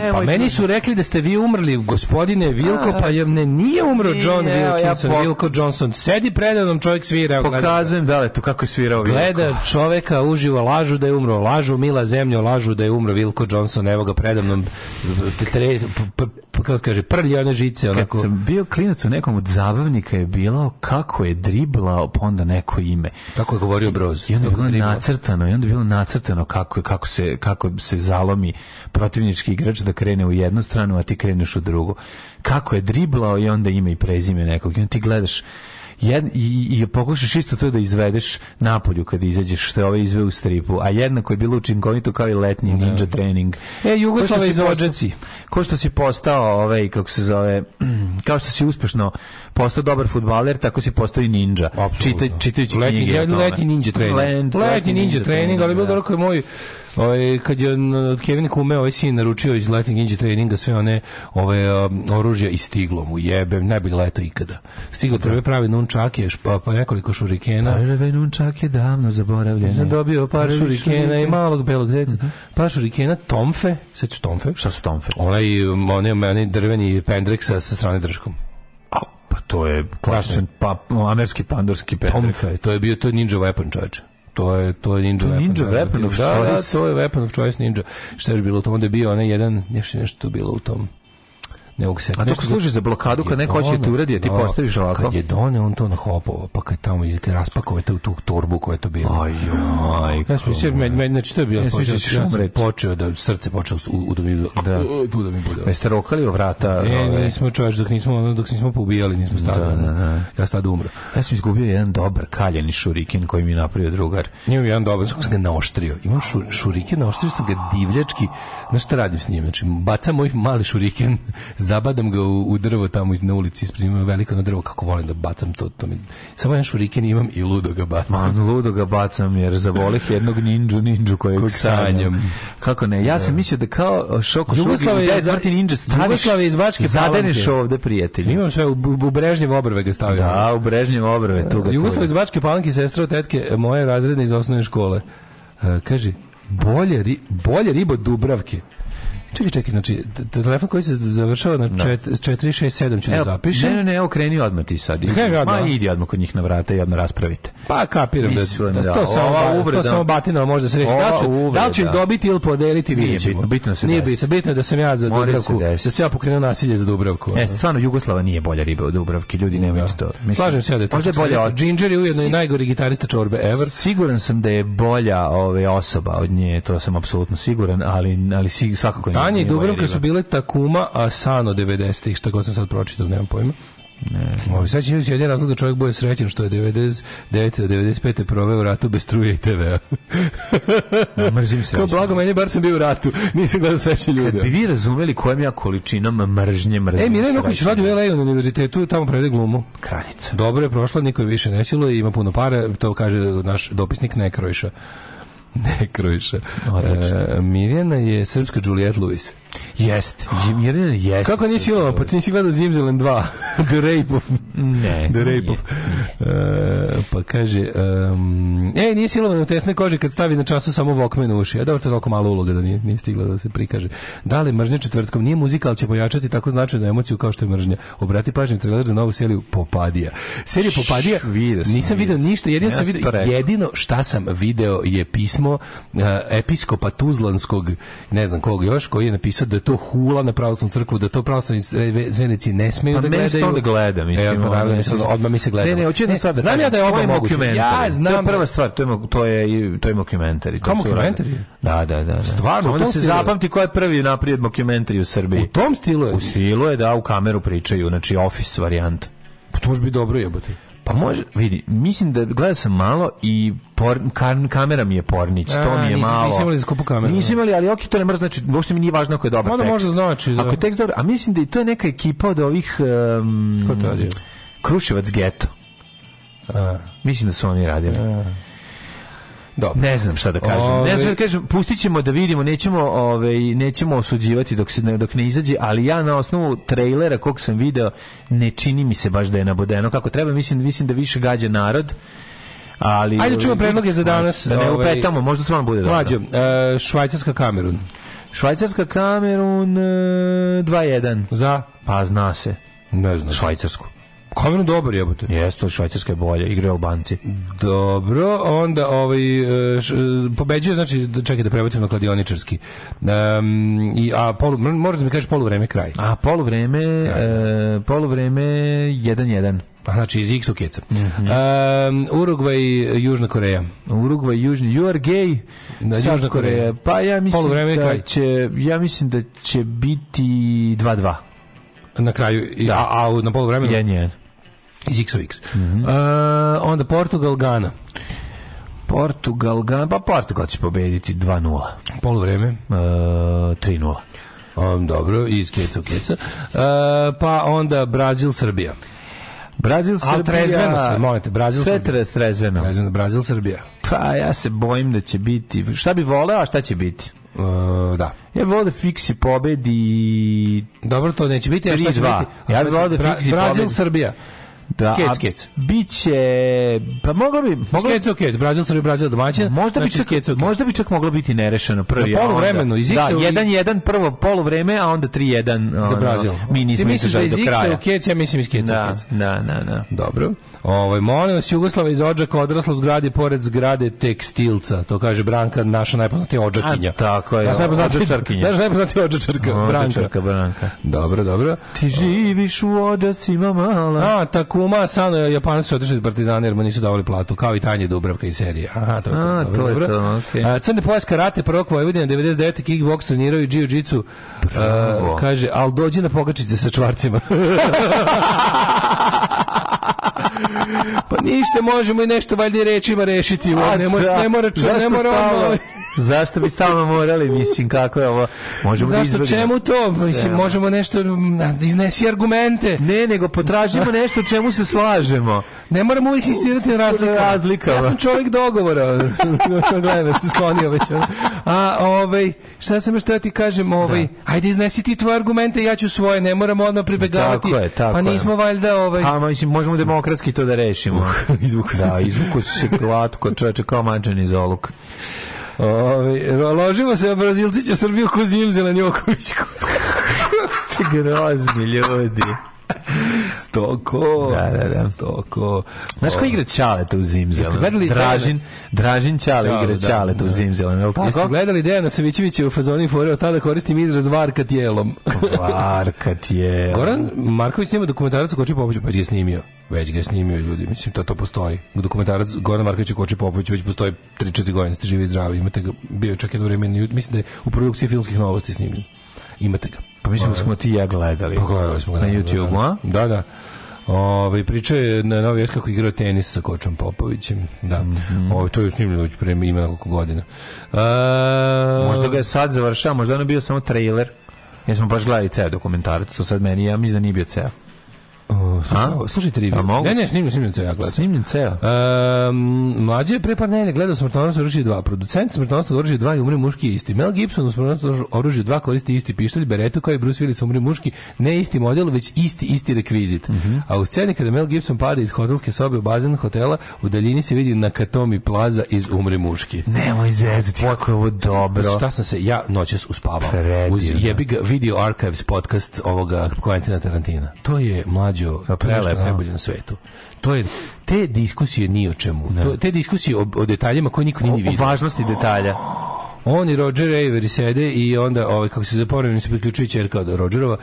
[SPEAKER 1] Pa
[SPEAKER 5] nemoj.
[SPEAKER 1] meni su rekli da ste vi umrli, gospodine Vilko, pa je ne, nije umro
[SPEAKER 5] Nije, evo,
[SPEAKER 1] John
[SPEAKER 5] ja
[SPEAKER 1] Wilkinson,
[SPEAKER 5] pok-
[SPEAKER 1] Vilko Johnson. Sedi predavnom, čovjek svira. evo, gleda.
[SPEAKER 5] Pokazujem da li tu kako je svirao Vilko.
[SPEAKER 1] Gleda čoveka uživo, lažu da je umro, lažu mila zemljo, lažu da je umro Vilko Johnson, evo ga predavnom, tre, p, p, p- kako kaže, prlje one žice,
[SPEAKER 5] Kad
[SPEAKER 1] onako.
[SPEAKER 5] sam bio klinac u nekom od zabavnika je bilo kako je driblao pa onda neko ime.
[SPEAKER 1] Tako je govorio Broz.
[SPEAKER 5] I onda je
[SPEAKER 1] Kako
[SPEAKER 5] bilo
[SPEAKER 1] dribla.
[SPEAKER 5] nacrtano, i onda je bilo nacrtano kako, je- kako, se, kako se zalomi protivnički igrač da krene u jednu stranu, a ti kreneš u drugu. Kako je driblao i onda ime i prezime nekog. I onda ti gledaš jed- i, i pokušaš isto to da izvedeš napolju kad izađeš, što je ovaj izve u stripu, a jednako je bilo učinkovito kao i letnji ninja trening. E,
[SPEAKER 1] Jugoslava iz
[SPEAKER 5] Ođaci. Ko što si postao, ovaj, kako se zove, (clears throat) kao što si uspešno postao dobar futbaler, tako si postao i ninja.
[SPEAKER 1] Apsolutno.
[SPEAKER 5] Čitaj, čitajući
[SPEAKER 1] letnji,
[SPEAKER 5] knjige o
[SPEAKER 1] letnji-
[SPEAKER 5] tome.
[SPEAKER 1] letnji ninja trening.
[SPEAKER 5] Lent-
[SPEAKER 1] letnji, ninja trening, ali bilo
[SPEAKER 5] da.
[SPEAKER 1] dobro koji moj ovaj, kad je n- od Kevin Kume ovaj sin naručio iz letnji ninja treninga sve one ove um, oružja i stiglo mu jebem, najbolje leto ikada. Stiglo prve pravi nunčake, šp- pa, pa nekoliko šurikena.
[SPEAKER 5] Prve nunčak je davno zaboravljen.
[SPEAKER 1] Sam dobio par
[SPEAKER 5] Prvi
[SPEAKER 1] šurikena i
[SPEAKER 5] šuriken.
[SPEAKER 1] malog belog zeca.
[SPEAKER 5] Mhm.
[SPEAKER 1] Par šurikena, tomfe, sećaš tomfe?
[SPEAKER 5] Šta su tomfe?
[SPEAKER 1] Onaj, um, onaj, onaj drveni pendrek sa, sa strane držkom.
[SPEAKER 5] A, pa to je klasičan pa, amerski pandorski petak.
[SPEAKER 1] Tomfe, to je bio to je ninja weapon, čoveče. To je to je ninja
[SPEAKER 5] je
[SPEAKER 1] weapon.
[SPEAKER 5] ninja weapon of
[SPEAKER 1] da, da,
[SPEAKER 5] choice.
[SPEAKER 1] to je weapon of choice ninja. Šta je još bilo u tom? Onda je bio onaj jedan, nešto nešto bilo u tom. Ne mogu se.
[SPEAKER 5] A to
[SPEAKER 1] nešto-
[SPEAKER 5] služi za blokadu kad neko hoće da ti uradi, a ti
[SPEAKER 1] ono? Da,
[SPEAKER 5] postaviš ovako.
[SPEAKER 1] Kad je doneo on to na hopovo, pa kad tamo iz- kad raspakovao je tu tu torbu koja je to bila.
[SPEAKER 5] Aj, aj,
[SPEAKER 1] Ja sam mislio, meni, meni, znači to je bilo,
[SPEAKER 5] Ja sam mislio da ćeš
[SPEAKER 1] ja sam
[SPEAKER 5] umreti.
[SPEAKER 1] počeo da srce počeo u, u da mi
[SPEAKER 5] Da. E,
[SPEAKER 1] u, tu da mi bude.
[SPEAKER 5] Jeste rokali o vrata?
[SPEAKER 1] Ne,
[SPEAKER 5] ove?
[SPEAKER 1] nismo čovječ, dok nismo, ono, dok nismo poubijali, nismo stali.
[SPEAKER 5] Da, da, da.
[SPEAKER 1] Ja sam tada umro.
[SPEAKER 5] Ja sam izgubio jedan dobar kaljeni šuriken koji mi je napravio drugar.
[SPEAKER 1] Imam jedan dobar, sam ga naoštrio. Imam šu, šuriken, naoštrio sam ga divljački. Znaš šta radim s njim? Znači, bacam moj mali šuriken, (laughs) zabadam ga u, u drvo tamo iz- na ulici, ispred ima veliko na drvo, kako volim da bacam to. to mi... Samo jedan šuriken imam i ludo ga bacam.
[SPEAKER 5] Man, Pa, ludo ga bacam jer zavolih jednog ninđu, ninđu kojeg
[SPEAKER 1] Kojeg sanjam.
[SPEAKER 5] sanjam. Kako ne, ja sam mislio da kao e, šoko
[SPEAKER 1] Jugoslav je
[SPEAKER 5] šogi, da je
[SPEAKER 1] iz-
[SPEAKER 5] smrti ninđa staviš,
[SPEAKER 1] Jugoslav je iz Bačke
[SPEAKER 5] zadeneš
[SPEAKER 1] Palanke.
[SPEAKER 5] ovde prijatelji.
[SPEAKER 1] Imam sve, u, u brežnjev obrve ga stavio.
[SPEAKER 5] Da, u brežnjem obrve, tuga,
[SPEAKER 1] Jugoslav
[SPEAKER 5] tuga.
[SPEAKER 1] iz Bačke Palanke, sestra od tetke, moje razredne iz osnovne škole. E, kaže, bolje, ri, bolje ribo Dubravke. Čekaj, čekaj, znači, t- t- telefon koji se završava na čet, 467 ću da
[SPEAKER 5] Evo,
[SPEAKER 1] zapišem.
[SPEAKER 5] Ne, ne, ne, okreni odmah ti sad.
[SPEAKER 1] Kaj ga odmah?
[SPEAKER 5] Ma idi odmah kod njih na vrata i odmah raspravite. E,
[SPEAKER 1] Pa kapiram da,
[SPEAKER 5] Mislim,
[SPEAKER 1] da,
[SPEAKER 5] da.
[SPEAKER 1] to, samo,
[SPEAKER 5] Ova
[SPEAKER 1] ba-
[SPEAKER 5] uvreda-
[SPEAKER 1] to samo batina možda se reši.
[SPEAKER 5] Ova
[SPEAKER 1] Da li, ću, da li ću ih
[SPEAKER 5] uvreda.
[SPEAKER 1] dobiti ili podeliti, vidjet ćemo.
[SPEAKER 5] bitno, bitno se
[SPEAKER 1] Nije
[SPEAKER 5] desi.
[SPEAKER 1] bitno, bitno je da sam ja za
[SPEAKER 5] Mora se
[SPEAKER 1] Dubravku,
[SPEAKER 5] desiti.
[SPEAKER 1] da sam ja pokrenuo nasilje za Dubravku.
[SPEAKER 5] Jeste, stvarno, Jugoslava nije bolja riba od Dubravke, ljudi nemojte to. Mislim,
[SPEAKER 1] Slažem se ja da je to.
[SPEAKER 5] Možda je
[SPEAKER 1] što sam
[SPEAKER 5] bolja
[SPEAKER 1] rekao.
[SPEAKER 5] od
[SPEAKER 1] Ginger je ujedno i najgori gitarista čorbe ever.
[SPEAKER 5] Siguran sam da je bolja ove osoba od nje, to sam apsolutno siguran, ali, ali si- svakako nije-
[SPEAKER 1] Tanja i
[SPEAKER 5] nije bolja
[SPEAKER 1] Dubravka
[SPEAKER 5] riba.
[SPEAKER 1] su bile Takuma, a Sano 90-ih, šta god sam sad pročitao, nemam pojma. Ne. Ovi, sad će ići jedan razlog da čovjek bude srećen što je 99. do 95. proveo u ratu bez struje i TV-a.
[SPEAKER 5] Ja Mrzim se.
[SPEAKER 1] Kao blago meni, bar sam bio u ratu. Nisam gledao srećne ljude.
[SPEAKER 5] Bi vi razumeli kojim ja količinom mržnje mrzim
[SPEAKER 1] E, Mirjana Joković
[SPEAKER 5] sreću?
[SPEAKER 1] radi u LA na univerzitetu, tamo predaje glumu.
[SPEAKER 5] Kraljica.
[SPEAKER 1] Dobro je prošla, niko je više nećilo i ima puno para, to kaže naš dopisnik Nekrojša. (laughs) Nekrojša.
[SPEAKER 5] Odlično.
[SPEAKER 1] E, Mirjana je srpska Juliette Lewis.
[SPEAKER 5] Jeste. (gasps) Mirjana jeste.
[SPEAKER 1] Kako nisi ovo? Pa ti nisi gledao Zimzelen 2. (laughs) The Rape of...
[SPEAKER 5] Ne.
[SPEAKER 1] The Rape of... E, pa kaže... Um, e, nije silovan u tesnoj koži kad stavi na času samo Walkman u uši. A dobro, to je toliko mala uloga da nije, nije stigla da se prikaže. Da li mržnja četvrtkom? Nije muzika, ali će pojačati tako značajnu emociju kao što je mržnja. Obrati pažnju trailer za novu seriju Popadija. Seriju Popadija
[SPEAKER 5] Šš, vidio sam,
[SPEAKER 1] nisam
[SPEAKER 5] vidio
[SPEAKER 1] video
[SPEAKER 5] sam.
[SPEAKER 1] ništa, jedino
[SPEAKER 5] Ja
[SPEAKER 1] sam
[SPEAKER 5] sam
[SPEAKER 1] video,
[SPEAKER 5] to rekao.
[SPEAKER 1] jedino šta sam video je pismo e, episkopa Tuzlanskog, ne znam kog još, koji je napisao da je to hula na pravoslavnu crku, da to pravoslavni zve- zvenici ne smeju
[SPEAKER 5] Pa
[SPEAKER 1] da
[SPEAKER 5] meni se
[SPEAKER 1] gledaju.
[SPEAKER 5] to onda gleda, mislim,
[SPEAKER 1] E, pa,
[SPEAKER 5] ono,
[SPEAKER 1] naravno, mislim,
[SPEAKER 5] mislim,
[SPEAKER 1] odmah mi se gleda.
[SPEAKER 5] Ne, ne, hoću jednu stvar da
[SPEAKER 1] Znam
[SPEAKER 5] kažem.
[SPEAKER 1] ja da je
[SPEAKER 5] To
[SPEAKER 1] oba moguće.
[SPEAKER 5] mockumentary.
[SPEAKER 1] Ja znam.
[SPEAKER 5] To je prva stvar, to je, mo- to je, to je mockumentary. To
[SPEAKER 1] Kao
[SPEAKER 5] su
[SPEAKER 1] mockumentary?
[SPEAKER 5] uradili. Da, da, da. da.
[SPEAKER 1] Stvarno,
[SPEAKER 5] Samo
[SPEAKER 1] u
[SPEAKER 5] da
[SPEAKER 1] tom
[SPEAKER 5] se
[SPEAKER 1] stilu je?
[SPEAKER 5] zapamti ko je prvi naprijed mockumentary u Srbiji.
[SPEAKER 1] U tom stilu je.
[SPEAKER 5] U stilu je da u kameru pričaju, znači office varijanta.
[SPEAKER 1] Pa To može biti dobro jebote.
[SPEAKER 5] Pa može, vidi, mislim da gledao sam malo i por, kar- kamera mi je pornić,
[SPEAKER 1] A,
[SPEAKER 5] to mi je
[SPEAKER 1] nisi-
[SPEAKER 5] malo.
[SPEAKER 1] nisi imali za skupu kameru,
[SPEAKER 5] Nisi
[SPEAKER 1] da.
[SPEAKER 5] imali, ali ok, to ne mora znači, uopšte mi nije važno ako je dobar
[SPEAKER 1] Onda
[SPEAKER 5] tekst.
[SPEAKER 1] možda znači, da.
[SPEAKER 5] Ako je tekst dobar, a mislim da i to je neka ekipa od ovih... Um,
[SPEAKER 1] Ko to radi?
[SPEAKER 5] Kruševac geto. Mislim da su oni radili.
[SPEAKER 1] Dobro.
[SPEAKER 5] Ne znam šta da kažem. Ne znam
[SPEAKER 1] Ove-
[SPEAKER 5] da kažem, pustit ćemo da vidimo, nećemo, ovaj, nećemo osuđivati dok, se ne, dok ne izađe, ali ja na osnovu trejlera kog sam video, ne čini mi se baš da je nabodeno kako treba, mislim, mislim da više gađa narod. Ali,
[SPEAKER 1] Ajde, čujemo
[SPEAKER 5] ovaj,
[SPEAKER 1] predloge za danas,
[SPEAKER 5] Da ne
[SPEAKER 1] ovaj, eh,
[SPEAKER 5] upetamo, možda stvarno bude dobro.
[SPEAKER 1] Mlađo, e, Švajcarska Kamerun.
[SPEAKER 5] Švajcarska Kamerun e, 2-1.
[SPEAKER 1] Za?
[SPEAKER 5] Pa zna se.
[SPEAKER 1] Ne znam.
[SPEAKER 5] Švajcarsku.
[SPEAKER 1] Kamerun dobar jebote.
[SPEAKER 5] Jeste, ali Švajcarska je bolja, igraju Albanci.
[SPEAKER 1] Dobro, onda ovaj e, š- e, pobeđuje znači da- čekaj da prebacim na kladioničarski. Ehm i a polu mor- možeš da mi kažeš poluvreme kraj.
[SPEAKER 5] A poluvreme, e, poluvreme 1-1.
[SPEAKER 1] Pa znači iz X u keca. Mm Urugvaj Južna Koreja.
[SPEAKER 5] Urugvaj, Južni, you are gay.
[SPEAKER 1] Da,
[SPEAKER 5] Sad
[SPEAKER 1] Južna Koreja.
[SPEAKER 5] Pa ja mislim,
[SPEAKER 1] Poluvreme je
[SPEAKER 5] da
[SPEAKER 1] kraj.
[SPEAKER 5] će, ja mislim da će biti 2-2.
[SPEAKER 1] Na kraju i- a, a u- na poluvremenu
[SPEAKER 5] 1-1.
[SPEAKER 1] iz X u X. E, onda Portugal Gana.
[SPEAKER 5] Portugal, Gana- pa Portugal će pobediti 2-0.
[SPEAKER 1] Poluvreme.
[SPEAKER 5] E, 3-0.
[SPEAKER 1] Um, dobro, iz keca u keca. E, pa onda Brazil Srbija.
[SPEAKER 5] Brazil, Srbija...
[SPEAKER 1] Al trezveno se, molim te, Brazil,
[SPEAKER 5] Sve
[SPEAKER 1] Srbija.
[SPEAKER 5] trez, trezveno.
[SPEAKER 1] Brazil, Brazil Srbija.
[SPEAKER 5] Pa ja se bojim da će biti... Šta bi voleo, a šta će biti?
[SPEAKER 1] E, da.
[SPEAKER 5] Ja bih voleo da Fiksi pobedi...
[SPEAKER 1] Dobro, to neće biti. a šta će
[SPEAKER 5] 3:2.
[SPEAKER 1] biti? A
[SPEAKER 5] Ja
[SPEAKER 1] šta
[SPEAKER 5] bih
[SPEAKER 1] će-
[SPEAKER 5] volio da
[SPEAKER 1] Bra-
[SPEAKER 5] Fiksi
[SPEAKER 1] Brazil
[SPEAKER 5] pobedi.
[SPEAKER 1] Srbija.
[SPEAKER 5] Da, a
[SPEAKER 1] Kec, kec.
[SPEAKER 5] Biće... Pa moglo bi... Moglo,
[SPEAKER 1] Skeco Kec, Brazil Srbija, Brazil domaćin.
[SPEAKER 5] možda, bi
[SPEAKER 1] znači
[SPEAKER 5] čak,
[SPEAKER 1] Skeco Kec.
[SPEAKER 5] možda bi čak moglo biti nerešeno prvi.
[SPEAKER 1] Na
[SPEAKER 5] a onda-
[SPEAKER 1] poluvremenu, iz
[SPEAKER 5] Da,
[SPEAKER 1] Iksa u-
[SPEAKER 5] 1-1 prvo poluvreme, a onda 3-1
[SPEAKER 1] za Brazil.
[SPEAKER 5] ono, Mi nismo izdržali do
[SPEAKER 1] Ti misliš da iz
[SPEAKER 5] kraja.
[SPEAKER 1] Iksa u Kec, ja mislim iz Keca u
[SPEAKER 5] Da,
[SPEAKER 1] Kec.
[SPEAKER 5] da, da, da.
[SPEAKER 1] Dobro. Ovaj molim vas Jugoslava iz Odžaka odrasla u zgradi pored zgrade tekstilca. To kaže Branka, naša najpoznatija Odžakinja.
[SPEAKER 5] A, tako je,
[SPEAKER 1] Naša najpoznatija
[SPEAKER 5] Odžačarkinja.
[SPEAKER 1] (laughs) Naša najpoznatija Odžačarka,
[SPEAKER 5] Branka,
[SPEAKER 1] Branka.
[SPEAKER 5] Branka.
[SPEAKER 1] Dobro, dobro.
[SPEAKER 5] Ti živiš u ođacima mala.
[SPEAKER 1] A, Takuma, Sano, Japanci su otišli iz Partizana jer mu nisu davali platu, kao i Tanje Dubravka iz serije. Aha, to je to.
[SPEAKER 5] A,
[SPEAKER 1] dobro,
[SPEAKER 5] to je
[SPEAKER 1] dobro.
[SPEAKER 5] to, okej.
[SPEAKER 1] A, Crne pojas karate, prvok Vojvodina, 99. kickboks trenirao i jiu-jitsu. A, kaže, al dođi na pogačice sa
[SPEAKER 5] (laughs)
[SPEAKER 1] čvarcima. pa ništa, možemo i nešto valjda i rečima rešiti. A, ne, mora,
[SPEAKER 5] da.
[SPEAKER 1] ne mora, ču, ne
[SPEAKER 5] Zašto
[SPEAKER 1] mora
[SPEAKER 5] stalno-
[SPEAKER 1] ono...
[SPEAKER 5] Zašto bi stalno morali, mislim, kako je ovo? Možemo da
[SPEAKER 1] Zašto,
[SPEAKER 5] izbegnemo.
[SPEAKER 1] čemu to? Mislim, možemo nešto, m, iznesi argumente.
[SPEAKER 5] Ne, nego potražimo nešto u čemu se slažemo.
[SPEAKER 1] Ne moramo uvijek insistirati na razlikama.
[SPEAKER 5] Razlikama.
[SPEAKER 1] Ja sam čovjek dogovora. (laughs) ja sam gledam, se sklonio već. ono. A, ovaj, šta sam još teo ti kažem, ovaj, ajde iznesi ti tvoje argumente, ja ću svoje, ne moramo odmah pribegavati.
[SPEAKER 5] Tako je, tako
[SPEAKER 1] pa
[SPEAKER 5] je.
[SPEAKER 1] nismo valjda, ovaj,
[SPEAKER 5] Pa, ma, mislim, možemo demokratski to da
[SPEAKER 1] (laughs)
[SPEAKER 5] rešimo. izvuku da, izvuku su se glatko, čoveče, kao mađan iz oluk.
[SPEAKER 1] ovaj, ložimo se, a Brazilci će Srbiju ko zimzela Njokovićku.
[SPEAKER 5] (laughs) Ste grozni ljudi.
[SPEAKER 1] Stoko.
[SPEAKER 5] Da, da, da.
[SPEAKER 1] Stoko.
[SPEAKER 5] Znaš ko igra Ćaleta u Zimzelen?
[SPEAKER 1] gledali-
[SPEAKER 5] Dražin, Dražin Ćale
[SPEAKER 1] Ćale,
[SPEAKER 5] igra
[SPEAKER 1] da,
[SPEAKER 5] Ćaleta u
[SPEAKER 1] da. Pa
[SPEAKER 5] Zimzelen, je li
[SPEAKER 1] Jeste
[SPEAKER 5] tako?
[SPEAKER 1] gledali Dejana Savićevića u fazoni fore, od tada koristim izraz varka
[SPEAKER 5] (laughs)
[SPEAKER 1] tijelom.
[SPEAKER 5] Varkat je...
[SPEAKER 1] Goran Marković snima dokumentarac o Koči Popoviću, pa je snimio. Već ga je snimio ljudi, mislim, to to postoji. Dokumentarac Goran Marković o Koči Popoviću već postoji 3-4 godine, ste živi i zdravi. Imate ga, bio je čak jedno vrijeme, na YouTube, mislim da je u produkciji filmskih novosti snimljen. Imate ga.
[SPEAKER 5] Pa mislim da smo ti i ja gledali.
[SPEAKER 1] Pogledali Pa smo ga.
[SPEAKER 5] Na
[SPEAKER 1] da,
[SPEAKER 5] YouTube-u, a?
[SPEAKER 1] Da, da. da. Ove, priča je na novi vijest kako igrao tenis sa Kočom Popovićem. Da.
[SPEAKER 5] Mhm.
[SPEAKER 1] Ove, to je snimljeno već pre ima nekoliko godina. A,
[SPEAKER 5] Možda ga je sad završava, možda je ono bio samo trailer. Jer smo baš gledali ceo dokumentarac, to sad meni, ja mislim da nije bio ceo.
[SPEAKER 1] o, slušaj,
[SPEAKER 5] A?
[SPEAKER 1] slušajte
[SPEAKER 5] A
[SPEAKER 1] review.
[SPEAKER 5] mogu?
[SPEAKER 1] Ne, ne, snimljeno, snimljeno, ja gledam.
[SPEAKER 5] Snimljen ceo.
[SPEAKER 1] Um, mlađe je pre par nedelja gledao smrtonosno oružje 2. Producent smrtonosnog oružja 2 i umri muški je isti. Mel Gibson u smrtonosnom oružju 2 koristi isti pištolj, beretu kao i Bruce Willis umri muški, ne isti model, već isti, isti rekvizit. A u sceni kada Mel Gibson pada iz hotelske sobe u bazen hotela, u daljini se vidi Nakatomi plaza iz umri muški.
[SPEAKER 5] Nemoj zezati, kako je ovo dobro.
[SPEAKER 1] Pa Šta sam se ja noćas uspavao?
[SPEAKER 5] Predivno.
[SPEAKER 1] Uz jebi ga video archives podcast ovoga Quentina Tarantina. To je mlađo to je nešto
[SPEAKER 5] prelepo.
[SPEAKER 1] najbolje na svetu. To je te diskusije ni o čemu. To, te diskusije o, o detaljima koje niko nije ni
[SPEAKER 5] O
[SPEAKER 1] vidio.
[SPEAKER 5] važnosti detalja.
[SPEAKER 1] On i Roger Avery sede i onda, ovaj, kako se zaporavim, mi se priključuje čerka od Rogerova,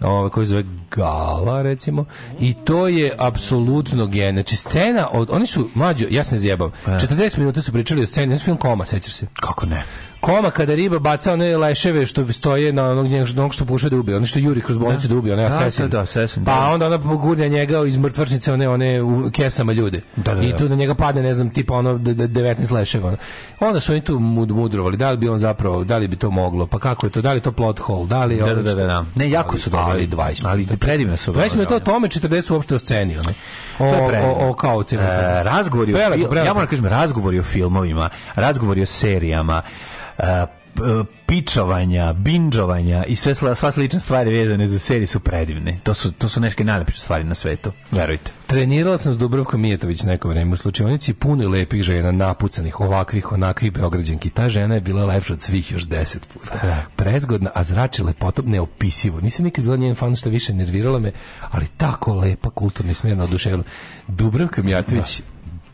[SPEAKER 1] ovaj, koja se zove Gala, recimo, i to je apsolutno gen. Znači, scena od... Oni su, mlađo, ja se ne zjebam, 40 minuta su pričali o sceni, znaš film Koma, sećaš se?
[SPEAKER 5] Kako ne?
[SPEAKER 1] Koma kada riba baca one leševe što stoje na onog njeg, na onog što puša da ubije, ono što juri kroz bolnicu da ubije, onaj
[SPEAKER 5] Da,
[SPEAKER 1] asesin.
[SPEAKER 5] da, da, asesin, da.
[SPEAKER 1] Pa onda ona pogurne njega iz mrtvačnice, one, one u kesama ljude.
[SPEAKER 5] Da, da, da.
[SPEAKER 1] I tu na njega padne, ne znam, tipa ono de- de- 19 leševa. Ono. Onda su oni tu mud, mudrovali, da li bi on zapravo, da li bi to moglo, pa kako je to, da li je to plot hole, da li je
[SPEAKER 5] Da,
[SPEAKER 1] ono
[SPEAKER 5] da, da,
[SPEAKER 1] što-
[SPEAKER 5] da, da. Ne, jako
[SPEAKER 1] Ali-
[SPEAKER 5] su dobro.
[SPEAKER 1] ali 20
[SPEAKER 5] Ali
[SPEAKER 1] minuta.
[SPEAKER 5] predivno su.
[SPEAKER 1] 20 minuta o
[SPEAKER 5] to.
[SPEAKER 1] tome, 40 uopšte o sceni, ono. O,
[SPEAKER 5] je predivno.
[SPEAKER 1] o, o, kao cijelu.
[SPEAKER 5] E, razgovori o
[SPEAKER 1] Prelepo,
[SPEAKER 5] fil-
[SPEAKER 1] prelepo.
[SPEAKER 5] ja moram kažem razgovori o filmovima, razgovori o serijama. e, p- pičovanja, binđovanja i sve sla- sva slične stvari vezane za serije su predivne. To su, to su neke najlepše stvari na svetu, verujte.
[SPEAKER 1] Trenirala sam s Dubrovkom Mijetović neko vreme u slučionici puno lepih žena, napucanih, ovakvih, onakvih beograđanki. Ta žena je bila lepša od svih još deset
[SPEAKER 5] E.
[SPEAKER 1] puta. Prezgodna, a zrači lepotop neopisivo. Nisam nikad bila njen fan što više nervirala me, ali tako lepa, kulturno i smjerna oduševila. Dubrovka Mijatović,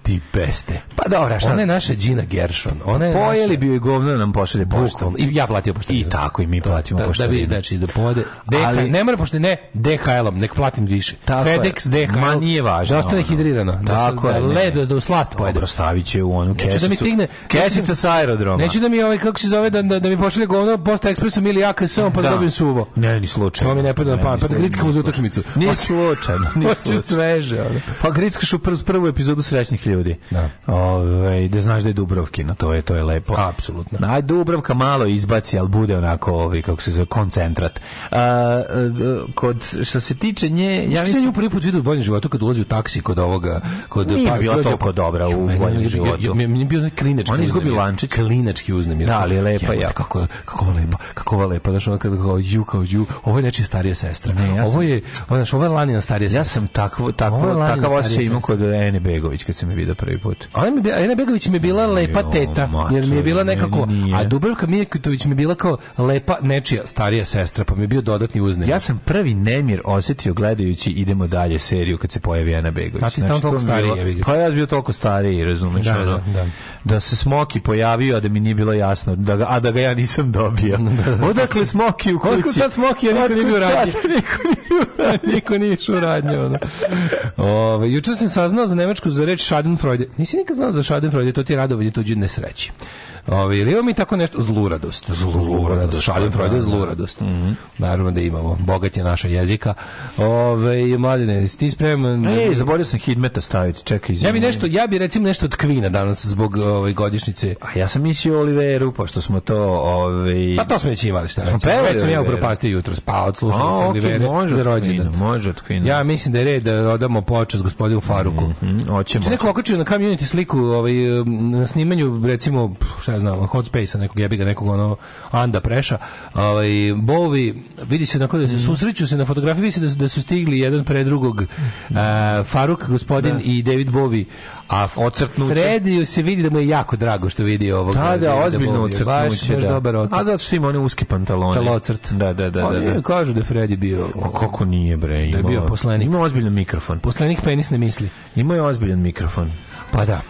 [SPEAKER 1] ti beste.
[SPEAKER 5] Pa dobro, a šta?
[SPEAKER 1] Ona je naša Gina Gershon. Ona je
[SPEAKER 5] Pojeli
[SPEAKER 1] naša-
[SPEAKER 5] bi joj govno da nam pošalje poštom.
[SPEAKER 1] Bukvalno. I ja platio pošteninu.
[SPEAKER 5] I tako i mi platimo
[SPEAKER 1] da, da, bi,
[SPEAKER 5] pošteninu.
[SPEAKER 1] znači, da pode. DH,
[SPEAKER 5] Ali-
[SPEAKER 1] ne mora pošto ne, DHL-om, nek platim više.
[SPEAKER 5] Tako je.
[SPEAKER 1] FedEx, DHL.
[SPEAKER 5] Ma nije važno.
[SPEAKER 1] Da ostane
[SPEAKER 5] ono.
[SPEAKER 1] hidrirano.
[SPEAKER 5] Tako
[SPEAKER 1] da,
[SPEAKER 5] je,
[SPEAKER 1] se-
[SPEAKER 5] ne.
[SPEAKER 1] da, ledo, da u slast pojede.
[SPEAKER 5] Pa Dobro, stavit će u onu
[SPEAKER 1] Neću
[SPEAKER 5] kesicu.
[SPEAKER 1] da mi stigne...
[SPEAKER 5] Kesica sa aerodroma.
[SPEAKER 1] Neću da mi ovaj, kako se zove, da, da, da mi počne govno posta ekspresom ili AKS-om, pa da. dobijem suvo.
[SPEAKER 5] Ne, ni slučajno.
[SPEAKER 1] To mi ne pada na
[SPEAKER 5] Ne,
[SPEAKER 1] pamet.
[SPEAKER 5] ni
[SPEAKER 1] Pa da grickamo za utakmicu.
[SPEAKER 5] Ni
[SPEAKER 1] Hoću-
[SPEAKER 5] slučajno, ni
[SPEAKER 1] Hoću
[SPEAKER 5] slučajno.
[SPEAKER 1] sveže. ono.
[SPEAKER 5] Pa grickaš u prvu, prvu epizodu srećnih ljudi.
[SPEAKER 1] Da.
[SPEAKER 5] Ovaj, da znaš da je Dubrovkina, to je to je lepo.
[SPEAKER 1] Apsolutno.
[SPEAKER 5] Aj Dubrovka malo izbaci, ali bude onako ovaj kako se zove koncentrat. A, a, d- kod što se tiče nje, ja
[SPEAKER 1] Ja sam nju
[SPEAKER 5] mislim
[SPEAKER 1] prvi put vidio u boljem životu kad ulazi u taksi kod ovoga, kod
[SPEAKER 5] Nije
[SPEAKER 1] Pavića
[SPEAKER 5] bila
[SPEAKER 1] Đorđa-
[SPEAKER 5] toliko dobra u
[SPEAKER 1] Ju, meni-
[SPEAKER 5] boljem
[SPEAKER 1] ja- ja-
[SPEAKER 5] životu.
[SPEAKER 1] ja- Meni je bio onaj klinački
[SPEAKER 5] Ona izgubi
[SPEAKER 1] uznemir.
[SPEAKER 5] lančić.
[SPEAKER 1] Klinački uznemir.
[SPEAKER 5] Da, ali je lepa,
[SPEAKER 1] Jebote,
[SPEAKER 5] ja.
[SPEAKER 1] Kako, je- kako je lepa, kako je lepa. Znaš, ono kada kao ju, kao ju, ovo je nečija starija sestra.
[SPEAKER 5] Ne, ja sam-
[SPEAKER 1] ovo je, ono, znaš, ovo je Lanina starija sestra.
[SPEAKER 5] ja sam takvo takvo
[SPEAKER 1] Ovo je Lanina
[SPEAKER 5] takav osjećaj
[SPEAKER 1] starija
[SPEAKER 5] imao
[SPEAKER 1] sestra.
[SPEAKER 5] kod Ene Begović kad sam je vidio prvi put.
[SPEAKER 1] Ona mi je bila- Ena Begović mi je bila lepa
[SPEAKER 5] Jo,
[SPEAKER 1] teta,
[SPEAKER 5] maco,
[SPEAKER 1] jer mi je bila
[SPEAKER 5] meni
[SPEAKER 1] nekako,
[SPEAKER 5] nije.
[SPEAKER 1] a Dubravka Mijekitović mi je bila kao lepa nečija starija sestra, pa mi je bio dodatni uznemir.
[SPEAKER 5] Ja sam prvi nemir osjetio gledajući Idemo dalje seriju kad se pojavi Ana Begović. Znači,
[SPEAKER 1] A Pa ti stalno
[SPEAKER 5] to mi
[SPEAKER 1] toliko
[SPEAKER 5] je bilo-
[SPEAKER 1] stariji, jebi ga.
[SPEAKER 5] Pa ja sam bio toliko stariji, razumeš?
[SPEAKER 1] Da,
[SPEAKER 5] ono.
[SPEAKER 1] da, da.
[SPEAKER 5] Da se Smoki pojavio, a da mi nije bilo jasno, da ga, a da ga ja nisam
[SPEAKER 1] (laughs)
[SPEAKER 5] dobio. Odakle Smoki u kući?
[SPEAKER 1] Otkud sad Smoki, a niko nije bio
[SPEAKER 5] Otkud sad?
[SPEAKER 1] radnje.
[SPEAKER 5] (laughs)
[SPEAKER 1] Niko nije išao u radnje. Ono. Ove, jučer sam saznao za nemačku za reč Schadenfreude. Nisi nikad znao za Schadenfreude, to ti je radovanje tuđe nesreći. Ove, ili imamo mi tako nešto? Zluradost.
[SPEAKER 5] pa
[SPEAKER 1] Zluradost. Schadenfreude je zluradost.
[SPEAKER 5] Mhm.
[SPEAKER 1] Naravno da imamo. Bogat je naša jezika. Ove, mladine, si ti spreman?
[SPEAKER 5] Ej, zaboravio sam Hidmeta staviti, čekaj.
[SPEAKER 1] ja bi
[SPEAKER 5] izvini.
[SPEAKER 1] nešto, ja bi recimo nešto od Kvina danas zbog ove godišnjice.
[SPEAKER 5] A ja sam mislio Oliveru, pošto smo to... Ovaj...
[SPEAKER 1] Pa to smo već imali šta. Već,
[SPEAKER 5] pevali
[SPEAKER 1] već sam ja
[SPEAKER 5] Olivera.
[SPEAKER 1] upropastio jutro, spao od
[SPEAKER 5] A,
[SPEAKER 1] slušalice
[SPEAKER 5] okej,
[SPEAKER 1] Olivere
[SPEAKER 5] može
[SPEAKER 1] za
[SPEAKER 5] od
[SPEAKER 1] rođendan.
[SPEAKER 5] Kvina, Može od Kvina.
[SPEAKER 1] Ja mislim da je red da odamo počast gospodinu Faruku.
[SPEAKER 5] Mhm, hoćemo.
[SPEAKER 1] Se neko okačio na community sliku ovaj, um, na snimanju, recimo, pf, šta ja znam, Hot Space-a, nekog jebiga, nekog ono Anda Preša, ovaj, Bovi, vidi se onako da se susreću se na fotografiji, vidi se da su, da su stigli jedan pre drugog e, Faruk, gospodin i David Bovi, a
[SPEAKER 5] Ocrtnuće.
[SPEAKER 1] Freddy se vidi da mu je jako drago što vidi ovog.
[SPEAKER 5] Da, da,
[SPEAKER 1] Davida
[SPEAKER 5] ozbiljno
[SPEAKER 1] Bovija.
[SPEAKER 5] ocrtnuće.
[SPEAKER 1] Baš, baš
[SPEAKER 5] da.
[SPEAKER 1] dobar ocrt.
[SPEAKER 5] A zato što ima one uske pantalone.
[SPEAKER 1] Talocrt.
[SPEAKER 5] Da, da, da. da,
[SPEAKER 1] Oni
[SPEAKER 5] da.
[SPEAKER 1] Kažu da je Freddy bio... ono,
[SPEAKER 5] Pa kako nije bre, ima.
[SPEAKER 1] bio poslanik.
[SPEAKER 5] Ima ozbiljan mikrofon.
[SPEAKER 1] Poslanik penis ne misli.
[SPEAKER 5] Ima je ozbiljan mikrofon.
[SPEAKER 1] Pa da.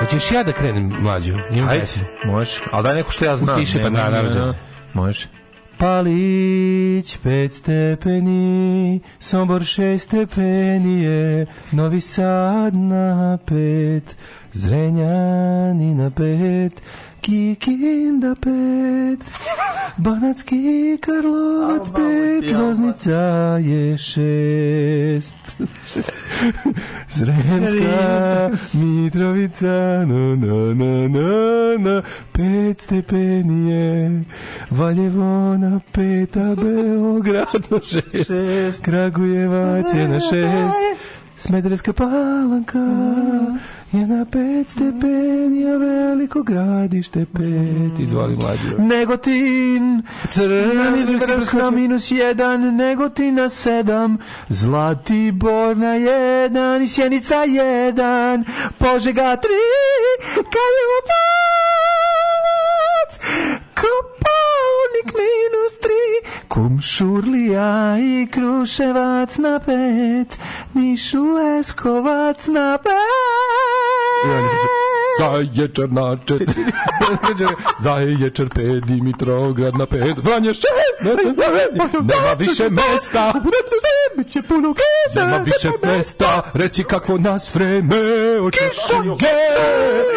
[SPEAKER 1] Hoćeš ja da krenem mlađu? Imam
[SPEAKER 5] Ajde,
[SPEAKER 1] pesmu.
[SPEAKER 5] može. Al da neko što ja znam.
[SPEAKER 1] Utiši, pa
[SPEAKER 5] Nemoj,
[SPEAKER 1] da, naravno.
[SPEAKER 5] da, da. Može.
[SPEAKER 1] Palić pet stepeni, Sombor šest stepeni je, Novi Sad na pet, Zrenjani na pet, Kikinda pet, Banatski Karlovac pet, Loznica je šest. Sremska Mitrovica no, no, no, no, no, Pet stepeni je Valjevo na pet A Beograd na šest, Kragujevac je na šest Smederska palanka je na pet stepeni, a veliko gradište pet. Izvoli mlađi.
[SPEAKER 5] Negotin,
[SPEAKER 1] Crveni vrh se
[SPEAKER 5] Crna
[SPEAKER 1] preskočio.
[SPEAKER 5] minus jedan, Negotina sedam, Zlatibor na jedan, i Sjenica jedan, Požega tri, Kaljevo pet, Koponik minus tri, Kumšurlija i Kruševac na pet, Niš Leskovac na pet.
[SPEAKER 1] Zaječar na četiri. (laughs) Zaječar pet, Dimitrograd na pet, Vranje šest, ne znam zavedni. Nema više mesta.
[SPEAKER 5] Biće puno kesa.
[SPEAKER 1] Nema više mesta, reci kakvo nas vreme očekuje.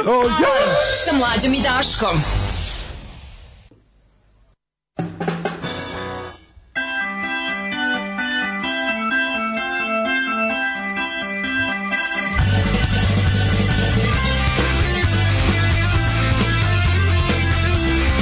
[SPEAKER 1] O je!
[SPEAKER 4] Sa mlađom i Daškom.
[SPEAKER 13] I